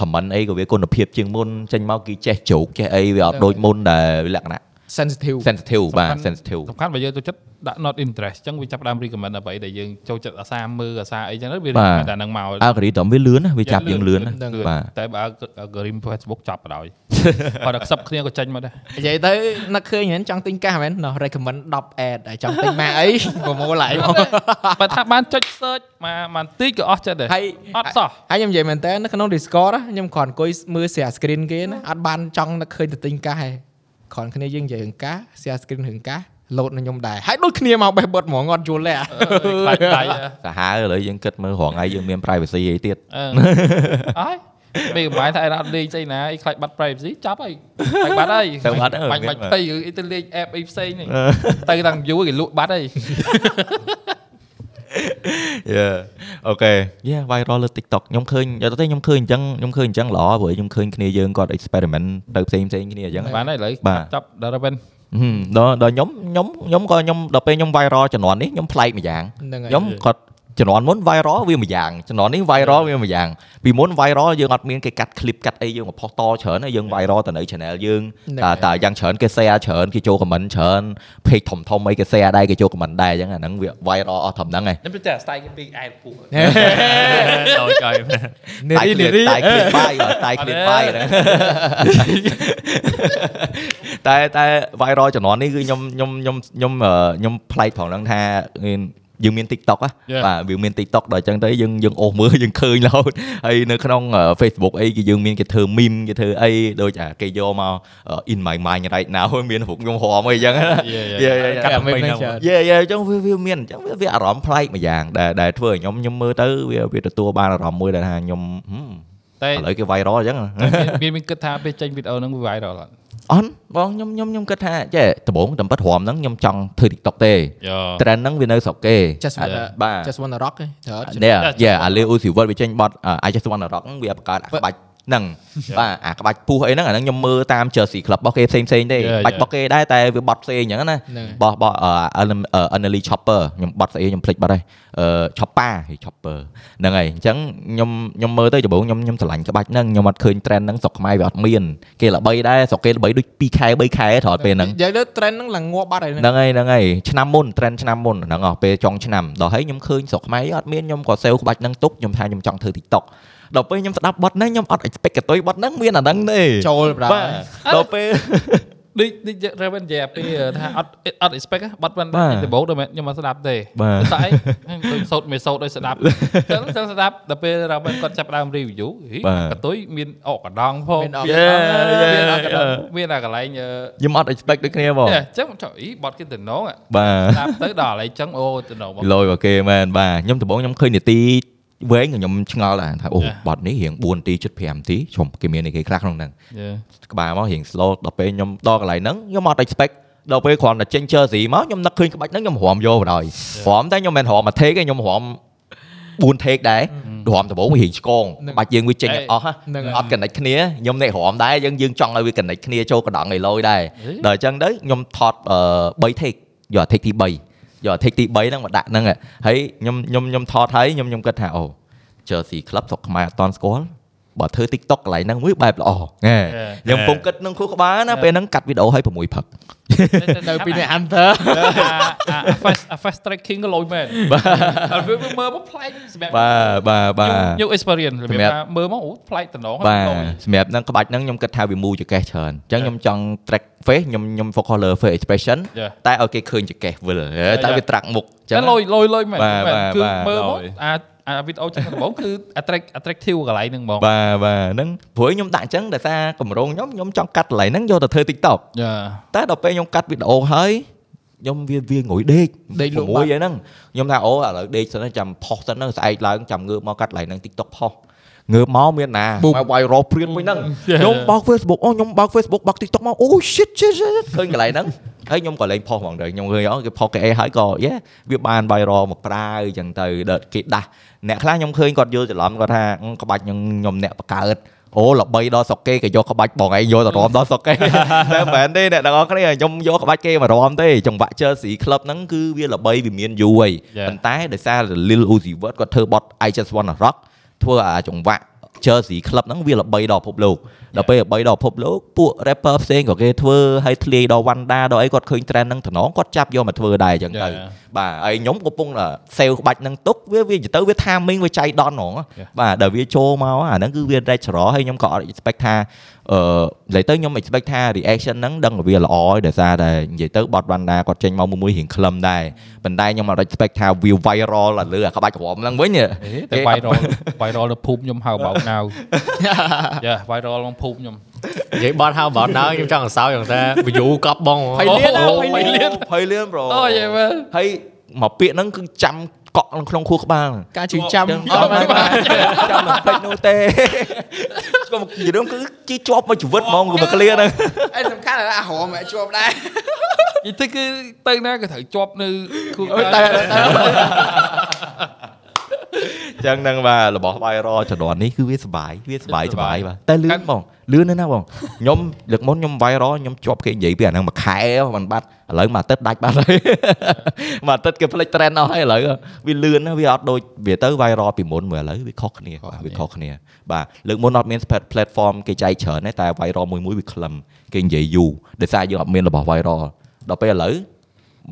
Speaker 1: comment អីក៏វាគុណភាពជាងមុនចេញមកគេចេះជ្រោកចេះអីវាអត់ដូចមុនដែលវាលក្ខណៈ
Speaker 2: sensitive
Speaker 1: sensitive បាទ
Speaker 8: សំខាន់
Speaker 1: sensitive
Speaker 8: សំខាន់បើយើងចូលចិត្តដាក់ not interest អញ្ចឹងវាចាប់ផ្ដើម recommend អ្វីដែលយើងចូលចិត្តអាសាមើលអាសាអីចឹងទៅវា
Speaker 1: បាទ
Speaker 8: recommend តែហ្នឹងមក
Speaker 1: algorithm វាលឿនណាវាចាប់យើងលឿនណា
Speaker 8: លឿលឿ
Speaker 1: បាទ
Speaker 8: តែបើ algorithm Facebook ចាប់បណ្ដោយ គាត់ដល់ខ្សឹបគ្នាក៏ចេញមកដែរ
Speaker 2: និយាយទៅនឹកឃើញហ្នឹងចង់ទិញកាសមែនណោះ recommend 10 ad ហើយចង់ទិញម៉ាកអី ប្រមូលឡើងហ្មង
Speaker 8: បើថាបានចុច search មកបន្តិចក៏អស់ចិត្តដែរ
Speaker 2: ហើយ
Speaker 8: អត់សោះ
Speaker 2: ហើយខ្ញុំនិយាយមែនតើនៅក្នុង Discord ណាខ្ញុំគ្រាន់អង្គុយមើល share screen គេណាអត់បានចង់នឹកឃើញទៅទិញកាសទេគ្រាន់គ្នាយើងនិយាយរឿងកាស share screen រឿងកាស load នឹងខ្ញុំដែរហើយដូចគ្នាមកបេះបត់ហ្មងអត់យល់ទេអា
Speaker 8: ខ្លាចដៃអ
Speaker 1: សាហាវឥឡូវយើងគិតមើលរងឯងយើងមាន privacy អីទៀត
Speaker 8: អឺអហើយមិនបាយថាអីរ៉ាត់លេងស្អីណាអីខ្លាចបាត់ privacy ចាប់ហើយបាច់បាត់ហើយ
Speaker 1: ទៅអត់អឺ
Speaker 8: បាច់បាច់ទៅអីទៅលេង app អីផ្សេងនេះទៅដល់ view គេលក់បាត់ហើយ
Speaker 1: យ៉ាអូខេយ៉ា viral លើ TikTok ខ្ញុំឃើញយកទៅទេខ្ញុំឃើញអញ្ចឹងខ្ញុំឃើញអញ្ចឹងល្អព្រោះខ្ញុំឃើញគ្នាយើងគាត់ experiment ទៅផ្សេងផ្សេងៗគ្នាអញ្ចឹង
Speaker 8: បានហើយឥឡូវ
Speaker 1: បាទ
Speaker 8: ចាប់ដល់ទៅវិញ
Speaker 1: ហឹមដល់ដល់ខ្ញុំខ្ញុំខ្ញុំក៏ខ្ញុំដល់ពេលខ្ញុំ viral ជំនាន់នេះខ្ញុំប្លែកម្យ៉ាង
Speaker 2: ហ្នឹងហើយ
Speaker 1: ខ្ញុំក៏ជំនាន់មុន viral វាម្យ៉ាងជំនាន់នេះ viral វាម្យ៉ាងពីមុន viral យើងអត់មានគេកាត់ clip កាត់អីយើងមកផុសតច្រើនហើយយើង viral ទៅនៅ channel យើង
Speaker 2: ហ្នឹង
Speaker 1: តែ
Speaker 2: ហើយ
Speaker 1: តែយ៉ាងច្រើនគេ share ច្រើនគេចូល comment ច្រើន page ធំធំៗអីគេ share ដែរគេចូល comment ដែរអញ្ចឹងអាហ្នឹងវា viral អស់ត្រឹមហ្នឹងឯង
Speaker 8: ខ្ញុំចេះស្ដាយគេពីអែតពូ
Speaker 9: ដល់ចៃ
Speaker 1: តែគ្លៀនតែគ្លៀនបាយ បាទតែគ្លៀនបាយហ្នឹងតែតែ viral ជំនាន់នេះគឺខ្ញុំខ្ញុំខ្ញុំខ្ញុំអឺខ្ញុំប្លែកផងហ្នឹងថាមានយើងមាន TikTok ហ៎បាទវាមាន TikTok ដល់អញ្ចឹងទៅយើងយើងអូសមើល យើងឃើញរហូតហើយនៅក្នុងអឺ Facebook អីគេយើងមានគេធ្វើ meme គេធ្វើអីដូចអាគេយកមកអឺ in my mind right now មាន រូបខ្ញុំហមអីអញ្ចឹងណាយេយេយេ
Speaker 9: កាត់មិនហ្នឹង
Speaker 1: យេយេអញ្ចឹងវាវាមានអញ្ចឹងវាវាអារម្មណ៍ប្លែកម្យ៉ាងដែលដែលធ្វើឲ្យខ្ញុំខ្ញុំមើលទៅវាវាទទួលបានអារម្មណ៍មួយដែលថាខ្ញុំហឹម
Speaker 8: តែ
Speaker 1: ឥឡូវគេ viral អញ្ចឹង
Speaker 8: មានមានគិតថាពេលចេញវីដេអូហ្នឹងវា viral អត់
Speaker 1: អន់បងខ្ញុំខ្ញុំខ្ញុំគិតថាចេះដំបងតំបិតរំហ្នឹងខ្ញុំចង់ធ្វើ TikTok ទេ
Speaker 8: យោ
Speaker 1: trend ហ្នឹងវានៅស្រុកគេ
Speaker 2: just want a-
Speaker 1: បាទ
Speaker 2: just want to rock ឯងត្រូវអត់
Speaker 1: នេះយេអាលីអូស៊ីវត្តវាចេញបត់ I just want to rock ហ្នឹងវាបង្កើតអាក្បាច់ ហ្នឹងបាទអាក្បាច់ពោះអីហ្នឹងអាហ្នឹងខ្ញុំមើលតាម Jersey Club របស់គេផ្សេងផ្សេងៗទេ
Speaker 8: Yeah,
Speaker 1: បាច់
Speaker 8: yeah.
Speaker 1: របស់គេដែរតែវាបត់ផ្សេងអញ្ចឹងណា
Speaker 2: ហ្នឹង
Speaker 1: បោះបោះអឺ Annelie Chopper ខ្ញុំបត់ស្អីខ្ញុំភ្លេចបាត់ហើយអឺ Chopper ហី Chopper ហ្នឹងហើយអញ្ចឹងខ្ញុំខ្ញុំមើលទៅដំបូងខ្ញុំខ្ញុំស្រឡាញ់ក្បាច់ហ្នឹងខ្ញុំអត់ឃើញ trend ហ្នឹងស្រុកខ្មែរវាអត់មានគេល្បីដែរស្រុកគេល្បីដូច2ខែ3ខែត្រង់ពេលហ្នឹង
Speaker 2: និយាយទៅ trend ហ្នឹងឡើងងាប់បាត់ហើយ
Speaker 1: ហ្នឹងហើយហ្នឹងហើយឆ្នាំមុន trend ឆ្នាំមុនហ្នឹងអស់ពេលចុងឆ្នាំដល់ហើយខ្ញុំឃើញស្រុកខ្មែរអត់មានខ្ញុំក៏សេវក្បាច់ហ្នឹងទុកខ្ញុំថាខ្ញុំចង់ធ្វើ TikTok ដល់ពេលខ្ញុំស្ដាប់បទហ្នឹងខ្ញុំអត់ expect កតុយបទហ្នឹងមានអាហ្នឹងទេ
Speaker 2: ចូលប្រា
Speaker 1: បាទដល់ពេល
Speaker 8: ដូចដូច Raven និយាយអាពីថាអត់អត់ expect ណាបាត់មិន
Speaker 1: បាទ
Speaker 8: ដំបូងដូចមែនខ្ញុំអត់ស្ដាប់ទេ
Speaker 1: បាទ
Speaker 8: តែដូចសោតមិនសោតដូចស្ដាប់ចឹងចឹងស្ដាប់ដល់ពេល Raven គាត់ចាប់ផ្ដើម review ហីកតុយមានអកកណ្ដងផង
Speaker 2: មានអត់
Speaker 8: មានអកកណ្ដងមានអាកន្លែងអ
Speaker 1: ខ្ញុំអត់ expect ដូចគ្នាបង
Speaker 8: ឺចឹងចុះអីបាត់គេតំណងអា
Speaker 1: បាទ
Speaker 8: ស្ដាប់ទៅដល់ឥឡូវចឹងអូទៅនៅមក
Speaker 1: លយមកគេមែនបាទខ្ញុំដំបូងខ្ញុំឃើញនីតិវែងក៏ខ្ញុំឆ្ងល់ដែរថាអូ
Speaker 8: ចា
Speaker 1: បទនេះរៀង4នាទី75នាទីជុំគេមានអីគេខ្លះក្នុងហ្នឹង ក្បាលមករៀង slow ដល់ពេលខ្ញុំដល់កន្លែងហ្នឹងខ្ញុំអត់ expect ដល់ពេលគ្រាន់តែចេញ jersey មកខ្ញុំនឹកឃើញក្បាច់ហ្នឹងខ្ញុំរំយកបណ្ដោយរំតែខ្ញុំមិនរំមួយ take ទេខ្ញុំរំ4 take ដែររំដំបូងវារៀងឆ្កង
Speaker 2: ហ្នឹង
Speaker 1: ក្បាច់យើងវាចេញ
Speaker 8: អេ
Speaker 1: អស់ហ
Speaker 2: ហ្នឹងហើ
Speaker 1: ่ะ
Speaker 2: យ
Speaker 1: អត់ connect គ្នាខ្ញុំនេះរំដែរយើងយើងចង់ឲ្យវា connect គ្នាចូលកណ្ដងឲ្យលយដែរដល់អញ្ចឹងទៅខ្ញុំថតអឺ3 take យក take ទី3យក take ទី3ហ្នឹងមកដាក់ហ្នឹងហ่ะហើយខ្ញុំខ្ញុំខ្ញុំថតហើយខ្ញុំខ្ញុំគិតថាអូ Jersey Club ស្រុកខ្មែរអត់តន់ស្គាល់បើធ្វើ TikTok កន្លែងហ្នឹងមួយបែបល្អហ៎ ខ្ញុំពុំគិតនឹងខួរក្បាលណាពេលហ្នឹងកាត់វីដេអូឲ្យ6ផឹក
Speaker 2: នៅពី នេះ hunter
Speaker 8: អា fast fast tracking ក៏លយមែនបាទវាមើលមកប្លែកសម្រាប់
Speaker 1: បាទបាទបាទ
Speaker 8: យក experience របៀ
Speaker 1: ស
Speaker 8: ប
Speaker 1: ម្រាប់
Speaker 8: ថាមើលមកអូប្លែកតំណង
Speaker 1: បាទ
Speaker 8: ហ្នឹង
Speaker 1: សម្រាប់ហ្នឹងក្បាច់ហ្នឹងខ្ញុំគិតថាវាមូលចង្កេះច្រើនអញ្ចឹងខ្ញុំចង់ track face ខ្ញុំខ្ញុំ focus លើ face expression
Speaker 8: យ៉ា
Speaker 1: តែឲ្យគេឃើញចង្កេះវិលហេតែវាត្រាក់មុខអញ្ចឹ
Speaker 8: តែ
Speaker 1: ង
Speaker 8: លយលយលយមែន
Speaker 1: បាទ
Speaker 8: មែន
Speaker 1: បាទ
Speaker 8: គឺ
Speaker 1: បាទ
Speaker 8: មើលមកអាអាវីដេអូចឹងដំបូងគឺ attract attractive កន្លែងហ្នឹងហ្មង
Speaker 1: បាទបាទហ្នឹងព្រោះខ្ញុំដាក់អញ្ចឹងដោយសារកម្រងខ្ញុំខ្ញុំចង់កាត់កន្លែងហ្នឹងយកទៅធ្វើ TikTok
Speaker 8: យ៉ា
Speaker 1: តែដល់ពេលខ្ញុំកាត់វីដេអូហើយខ្ញុំវាវាងុយដេក
Speaker 2: ដេកលក់
Speaker 1: មួ
Speaker 2: បាត់
Speaker 1: យហ្នឹងខ្ញុំថាអូឥឡូវដេកសិនទៅចាំផុសសិនទៅស្អែកឡើងចាំងើបមកកាត់ឡើងនឹង TikTok ផុសងើបមកមានណាមកវាយរ៉ព្រៀងមួយ ហ្នឹងខ្ញុំបើក Facebook អូខ្ញុំបើក Facebook បើក TikTok មកអូ shit shit shit ឃើញកន្លែងហ្នឹងហើយខ្ញុំក៏លេងផុសហ្មងដែរខ្ញុំឃើញអូគេផុសគេអីហើយក៏យេវាបានវាយរ៉មកប្រើអញ្ចឹងទៅដល់គេដាស់អ្នកខ្លះខ្ញុំឃើញគាត់យល់ច្រឡំគាត់ថាអឺក្បាច់ខ្ញុំខ្ញុំអ្នកបង្កើតអូល្បីដល់ស្រុកគេក៏យកក្បាច់បងឯងយកទៅរំដល់ស្រុកគេ តែមិនមែនទេអ្នកទាំងអស់គ្នាខ្ញុំយកក្បាច់គេមករំទេចង្វាក់ Chelsea Club ហ្នឹងគឺវាល្បីវាមានយូរហើយប៉ុន្តែដោយសារ Lil Uzi Vert គាត់ធ្វើបត់ I Just Wanna Rock ធ្វើអាចង្វាក់ Chelsea Club ហ្នឹងវាល្បីដល់ពិភពលោកដល់ពេលល្បីដល់ពិភពលោកពួក rapper ផ្សេងក៏គេធ្វើហើយធ្លាយដល់ Wanda ដល់អីគាត់ឃើញ trend ហ្នឹងតំណងគាត់ចាប់យកមកធ្វើដែរអញ្ចឹងទៅបាទហើយខ្ញុំកំពុងតែ sale ក្បាច់ហ្នឹងទុកវាវាទៅវា timing វាចៃដន្យហ្មងបាទដល់វាចូលមកអាហ្នឹងគឺវា natural ហើយខ្ញុំក៏អត់ expect ថា អឺនិយាយទៅខ្ញុំ expect ថា reaction ហ្នឹងដឹងថាវាល្អហើយដោយសារតែនិយាយទៅបតវ៉ាន់ដាគាត់ចេញមកមួយមួយរៀងខ្លឹមដែរប៉ុន្តែខ្ញុំអត់ expect ថាវា viral ឡើងលើអាក្បាច់ក្រមហ្នឹងវិញហ៎
Speaker 8: អេតែ viral viral នៅភូមិខ្ញុំហៅបោកណៅយ៉ា viral ក្នុងភូមិខ្ញុំ
Speaker 7: និយាយបត់ហៅបត់ដល់ខ្ញុំចង់អង្សោយ៉ាងថា view កប់បង
Speaker 8: ភ័យលានណាភ័យលាន
Speaker 1: ភ័យលឿន bro
Speaker 8: អូយយមែន
Speaker 1: ហើយមកពាក្យហ្នឹងគឺចាំកក់ក្នុងខួរក្បាល
Speaker 2: ការជឿចាំ
Speaker 1: ចឹងអត់បានចាំមិនពេចនោះទេ ខ្ញុំនិយាយគឺជីជាប់មកជីវិតហ្មងគឺមកឃ្លាហ្នឹង
Speaker 2: អីសំខាន់អារមជាប់ដែរ
Speaker 8: និយាយទៅគឺទៅណាក៏ត្រូវជាប់នៅគូ
Speaker 2: អូយតែតែ
Speaker 1: ចឹងហ្នឹងបាទរបស់ viral ជំនាន់នេះគឺវាសบายវាសบายសบายបាទតែលឿនបងលឿនណាស់ណាបងខ្ញុំលើកមុនខ្ញុំ viral ខ្ញុំជាប់គេនិយាយពីអាហ្នឹងមួយខែមិនបាត់ឥឡូវមួយអាទិត្យដាច់បាត់ហើយ មួយអាទិត្យគេផ្លិច trend អស់ហើយឥឡូវវាលឿនណាស់វាអត់ដូចវាទៅ viral ពីមុនមកឥឡូវវាខុសគ្នាបាទវាខុសគ្នា បាទលើកមុនអត់មាន spread platform គេចែកច្រើនទេតែ viral មួយមួយវាខ្លឹមគេនិយាយយូរដោយសារយើងអត់មានរបស់ viral ដល់ពេលឥឡូវ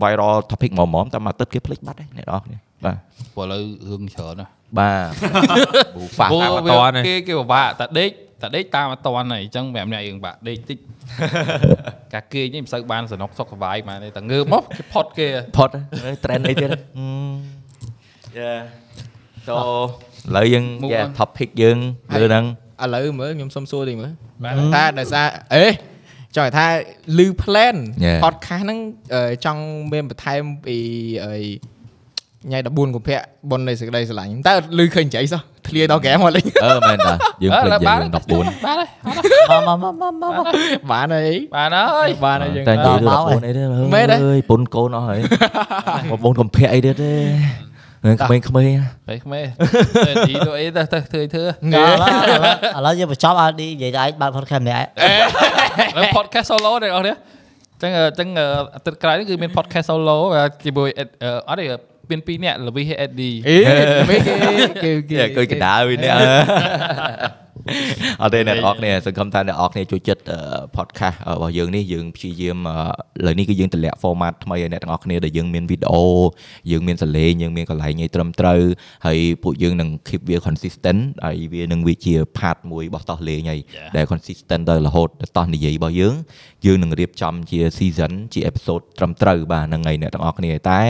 Speaker 1: viral topic មកមកតែមួយអាទិត្យគេផ្លិចបាត់ហើយអ្នកនរគ្នាបាទ
Speaker 8: ព្រោះឥឡូវរឿងច្រើនណាស់
Speaker 1: បាទហ្វា
Speaker 8: ព្រោះ
Speaker 1: អត់
Speaker 8: វា
Speaker 1: តាន់ទេ
Speaker 8: គេគេពិបាកតែដេកតែដេកតាមអត់តាន់ហើយអញ្ចឹងប្រាប់អ្នកយើងពិបាកដេកតិច ការគេងនេះមិនសូវបានសំណុកសុខសប្បាយបានទេតែងើបមកគេផុតគេ
Speaker 1: ផុតត្រេនអីទៀតយ៉ា ចូលឥឡូវយើង
Speaker 8: Move
Speaker 1: yeah,
Speaker 8: on.
Speaker 1: topic យើងលើហ្នឹង
Speaker 2: ឥឡូវមើលខ្ញុំសុំសួរតិចមើលថាដោយសារអេចង់ថាលឺ plan podcast ហ្នឹងចង់មានបន្ថែមពីអីថ្ងៃ14កុម្ភៈបុណ្យនៃសេចក្តីស្រឡាញ់តើលឺឃើញចៃសោះធ្លាយដល់ហ្គេមមកលេ ង
Speaker 1: អឺមែនតាយើង
Speaker 8: អឺ
Speaker 1: ភ្លេច
Speaker 8: ឡើយ
Speaker 1: យើ
Speaker 8: បាន
Speaker 1: ង14
Speaker 8: បានហើយ
Speaker 5: មកមកមកមកមក
Speaker 2: បានហើយ
Speaker 8: បានហើយ
Speaker 2: បានហើយយើង
Speaker 1: តែនិយាយ
Speaker 5: ដល់
Speaker 1: លើ
Speaker 5: មកហើយ
Speaker 1: 14អីទេ
Speaker 2: មែនទេ
Speaker 1: អើយពុនកូនអស់ហើយ បងប្អូនកំភៈអីទៀតទេ ហ្នឹងក្មេង ៗហ៎
Speaker 8: ហើយខ្មែរតែទីទៅអីទៅទៅធ្វើធ្វើ
Speaker 5: ឥឡូវឥឡូវយើងបញ្ចប់ឲ្យនិយាយតែឯងបើក podcast ម្នាក់ឯង
Speaker 8: ឥឡូវ podcast solo ទាំងអស់នេះអញ្ចឹងអញ្ចឹងអាទិត្យក្រោយនេះគឺមាន podcast solo ជាមួយអេតអឺអត់ទេមាន2នាក់លវីស AD
Speaker 2: អេមិនគេគេគ
Speaker 1: គេ
Speaker 2: េ
Speaker 1: កណ្ដាលវិញនេះ អត់ទេអ្នកនរអគ្នាសង្ឃឹមថាអ្នកនរអគ្នាចូលចិត្តអឺ podcast របស់យើងនេះយើងព្យាយាមអឺឥឡូវនេះគឺយើងតម្លាក់ format ថ្មីឲ្យអ្នកនរអគ្នាដែលយើងមានវីដេអូយើងមានសលេងយើងមានកន្លែងឲ្យត្រឹមត្រូវហើយពួកយើងនឹង keep វា consistent ហើយវានឹងវាជា part មួយរបស់តោះលេងហើយដែល consistent ដល់រហូតដល់តោះនិយាយរបស់យើងយើងនឹងរៀបចំជា season ជា episode ត្រឹមត្រូវបាទហ្នឹងហើយអ្នកនរអគ្នាតែឥ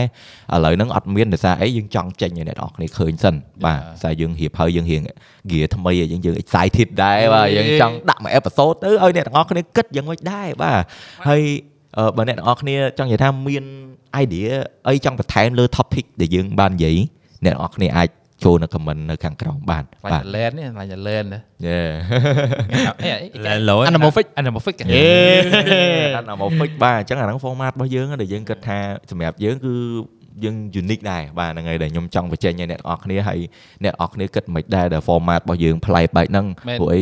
Speaker 1: ឡូវហ្នឹងអត់មានដោយសារអីយើងចង់ចេញឲ្យអ្នកនរអគ្នាឃើញសិនបាទ តែយើងរៀបហើយយើងរៀង gear ថ្មីហើយយើងយើង excited ដែរបាទយើងចង់ដាក់មួយ episode ទៅឲ្យអ្នកទាំងអស់គ្នាគិតយ៉ាងម៉េចដែរបាទហើយអឺបើអ្នកទាំងអស់គ្នាចង់និយាយថាមាន idea អីចង់បន្ថែមលើ topic ដែលយើងបាននិយាយអ្នកទាំងអស់គ្នាអាចចូលនៅ comment នៅខាងក្រោមបាន
Speaker 8: ឡា
Speaker 1: បាទ
Speaker 8: ញឡែននេះឡាញឡែន
Speaker 1: Yeah
Speaker 8: ឡែនលោអានម៉ូហ្វិកអានម៉ូហ្វិក
Speaker 1: អេដល់ topic បាទអញ្ចឹងអាហ្នឹង format របស់យើងហ្នឹងដែលយើងគិតថាសម្រាប់យើងគឺយើង unique ដែរបាទហ្នឹងហើយដែលខ្ញុំចង់បញ្ចេញឲ្យអ្នកទាំងអស់គ្នាហើយអ្នកទាំងអស់គ្នាគិតមិនដែរដែល format របស់យើងប្លែកបែបហ្នឹង
Speaker 8: មែន
Speaker 1: ព្រោះអី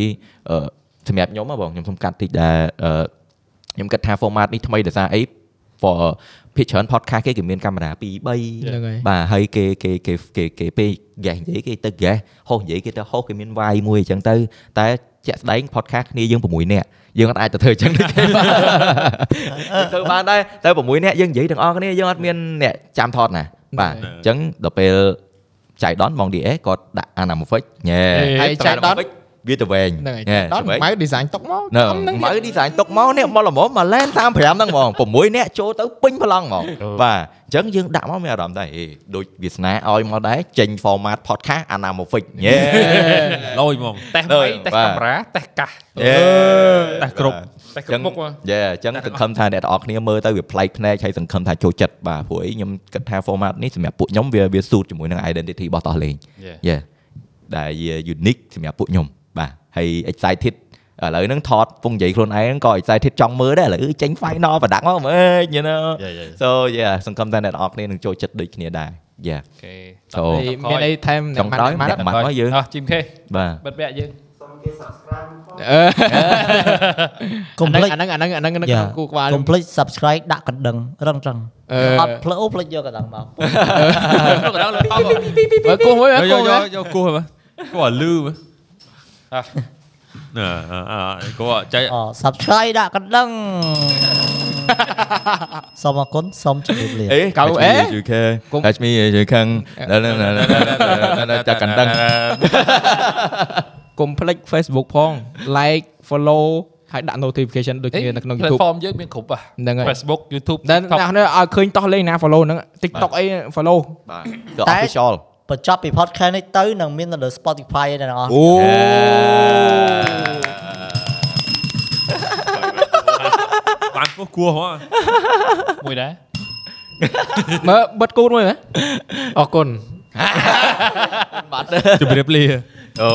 Speaker 1: អឺ សម្រាប់ខ្ញុំហ៎បងខ្ញុំសុំកាត់តិចដែរអឺខ្ញុំគិតថា format នេះថ្មីដោយសារអី for ភាគច្រើន podcast គេគេមានកាមេរ៉ា2 3
Speaker 2: ហ្នឹងហើយ
Speaker 1: បាទហើយគេគេគេគេគេពេលហ្គេសនិយាយគេទៅហ្គេសហោះនិយាយគេទៅហោះគេមានវាយមួយអញ្ចឹងទៅតែជាក់ស្ដែង podcast គ្នាយើង6នាក់យើងអត់អាចទៅធ្វើអញ្ចឹងទេគេបាទយើងធ្វើបានដែរតែ6នាក់យើងនិយាយទាំងអស់គ្នាយើងអត់មានអ្នកចាំថតណាបាទអញ្ចឹងដល់ពេលចៃដនបង DS គាត់ដាក់ anamorphic ញ៉ែ
Speaker 2: ហេ
Speaker 1: ហើយ
Speaker 2: ចៃ
Speaker 1: ចៃ
Speaker 2: ដន
Speaker 1: ដនវាទៅវែង
Speaker 2: ហ្នឹងហើយ
Speaker 1: ញ៉ែ
Speaker 2: ដល់
Speaker 1: ទៅវែង
Speaker 2: ម៉ៅ design ຕົកមក
Speaker 1: ណើ
Speaker 2: ធំហ្នឹង
Speaker 1: មើល design ຕົកមកនេះមកល្មមមកឡែន35ហ្នឹងហ្មង6នាក់ចូលទៅពេញប្លង់ហ្មងបាទអញ្ចឹងយើងដាក់មកមានអារម្មណ៍ដែរហេដូចវាសនាឲ្យមកដែរចេញ format podcast anamorphic យេ
Speaker 9: លយហ្មង
Speaker 8: តេះ
Speaker 1: ដ
Speaker 8: បី
Speaker 1: ង
Speaker 8: តេះ
Speaker 1: បា
Speaker 8: កា
Speaker 1: ទ
Speaker 8: មេរ៉ាតេះកាស
Speaker 1: យេ
Speaker 9: តែគ្រប់
Speaker 8: តេះគ្រប់មុខមក
Speaker 1: យេអញ្ចឹងសង្ឃឹមថាអ្នកទាំងអស់គ្នាមើលទៅវាប្លែកភ្នែកហើយសង្ឃឹមថាចូលចិត្តបាទព្រោះអីខ្ញុំគិតថា format នេះសម្រាប់ពួកខ្ញុំវាវា suit ជាមួយនឹង identity របស់តោះលេង
Speaker 8: Yeah.
Speaker 1: យេដែលជា unique សម្រាប់ពួកខ្ញុំបាទហើយ excited ឥឡូវហ្នឹងថតពងនិយាយខ្លួនឯងក៏ excited ចង់មើលដែរឥឡូវចេញ final product មកមើល you know
Speaker 8: Yeah, yeah,
Speaker 1: so yeah សង្ឃឹមថាអ្នកទាំងអស់គ្នានឹងចូលចិត្តដូចគ្នាដែរ yeah
Speaker 8: អូខេ
Speaker 1: so
Speaker 2: ហើយមានអីថែម
Speaker 1: ចង់ក្រោយ
Speaker 2: ម៉ា
Speaker 1: អ្នក
Speaker 2: ត់
Speaker 1: ម៉ាត់មកយើង
Speaker 8: អោះជីមខេ
Speaker 1: បាទ
Speaker 8: បិទវគ្គយើង
Speaker 4: សុំគេ subscribe ផង
Speaker 2: អឺ
Speaker 5: កុំភ្លេ
Speaker 2: អា
Speaker 5: ច
Speaker 2: ហ្នឹងអាហ្នឹងអាហ្នឹងអាហ្នឹង
Speaker 5: Yeah.
Speaker 2: គូក្បាល
Speaker 5: កុំភ្លេច subscribe ដាក់កណ្ដឹងរឹងរឹង
Speaker 2: អឺ
Speaker 5: អត់ភ្លើអូភ្លេចយកកណ្ដឹងមក
Speaker 2: បើគូមួយ
Speaker 9: យក
Speaker 2: គូ
Speaker 9: យក
Speaker 2: មួយ
Speaker 9: យកគោះមើលគាត់លឺមើលណាអឺគាត់ចៃ
Speaker 5: អូ subscribe ដាក់កណ្ដឹងសូមអរគុណសូមជម្រាបលា
Speaker 1: เอ๊ะ
Speaker 2: เก่าเอ๊ะ
Speaker 1: ยูเคดัชมียูคังนั่นนั่นนั่นนั่นจากกันดัง
Speaker 2: កុំភ្លេច Facebook ផង like follow ហើយដាក់ notification ដូចគ្នានៅក្នុង YouTube
Speaker 8: platform យើងមានគ្រប់ហ៎
Speaker 2: ហ្នឹងហើយ
Speaker 8: Facebook YouTube
Speaker 2: តែអ្នកនេះឲ្យឃើញតោះលេងណា follow ហ្នឹង TikTok អី follow
Speaker 1: ก็ official
Speaker 5: បញ្ចប់ពី podcast នេះទៅនឹងមាននៅលើ Spotify ឯអ្នកនរអស់
Speaker 2: អូ
Speaker 9: បានគោះគោះហ្មង
Speaker 8: មួយដែរ
Speaker 2: មើលបិទគូនមួយមើល
Speaker 7: Ờ,
Speaker 2: អរគុណ
Speaker 1: ជម្រាបលា អូ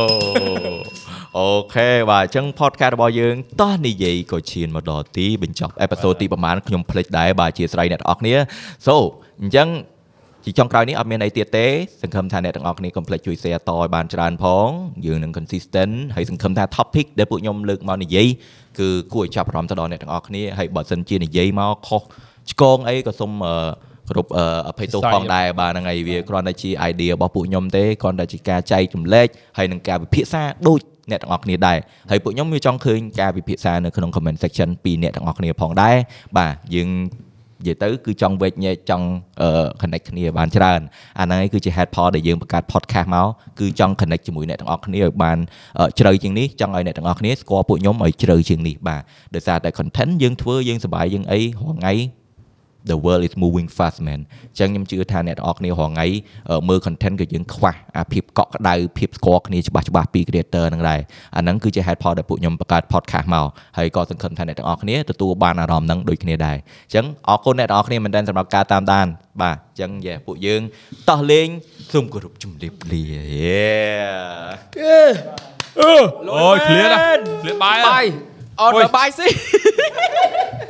Speaker 1: អូខេបាទអញ្ចឹង podcast របស់យើងតោះនិយាយក៏ឈានមកដល់ទីបញ្ចប់អេពីសូតទីប្រហែលខ្ញុំភ្លេចដែរបាទអធិស្ឋានអ្នកទាំងអស់គ្នា so អញ្ចឹងជាចុងក្រោយនេះអត់មានអីទៀតទេសង្ឃឹមថាអ្នកទាំងអស់គ្នាកុំភ្លេចជួយ share តឲ្យបានច្រើនផងយើងនឹង consistent ហើយសង្ឃឹមថា topic ដែលពួកខ្ញុំលើកមកនិយាយគឺគួរឲ្យចាប់អារម្មណ៍ទៅដល់អ្នកទាំងអស់គ្នាហើយបើសិនជានិយាយមកខុសឆ្គងអីក៏សូមអឺគោរពអឺអភ័យទោស
Speaker 8: Sorry
Speaker 1: ផងដែរ ដែរបាទហ្នឹងហើយវាគ្រាន់តែជា idea របស់ពួកខ្ញុំទេគ្រាន់តែជាការចែកចម្លែកហើយនឹងការវិភាសាដូចអ្នកទាំងអស់គ្នាដែរហើយពួកខ្ញុំវាចង់ឃើញការវិភាសានៅក្នុង comment section ពីអ្នកទាំងអស់គ្នាផងដែរបាទយើងនិយាយទៅគឺចង់វែកញែកចង់អឺ connect គ្នាបានច្រើនអាហ្នឹងឯងគឺជា head pod ដែលយើងបង្កើត podcast មកគឺចង់ connect ជាមួយអ្នកទាំងអស់គ្នាឲ្យបានអឺជ្រៅជាងនេះចង់ឲ្យអ្នកទាំងអស់គ្នាស្គាល់ពួកខ្ញុំឲ្យជ្រៅជាងនេះបាទដោយសារតែ content យើងធ្វើយើងសប្បាយយើងអីរាល់ថ្ងៃ the world is moving fast man អញ្ចឹងខ្ញុំជឿថាអ្នកទាំងអស់គ្នារាល់ថ្ងៃអឺមើល content ក៏យើងខ្វះអាភាពកក់ក្ដៅភាពស្គាល់គ្នាច្បាស់ច្បាស់ពី creator ហ្នឹងដែរអាហ្នឹងគឺជា head part ដែលពួកខ្ញុំបង្កើត podcast មកហើយក៏សង្ឃឹមថាអ្នកទាំងអស់គ្នាទទួលបានអារម្មណ៍ហ្នឹងដូចគ្នាដែរអញ្ចឹងអរគុណអ្នកទាំងអស់គ្នាមែនទែនសម្រាប់ការតាមដានបាទអញ្ចឹងយេពួកយើងតោះលេងសូមគោរពជំរាបលាយេ
Speaker 9: អូយឃ្លៀតឃ្លៀតបាយ
Speaker 2: បាយអត់បាយស៊ី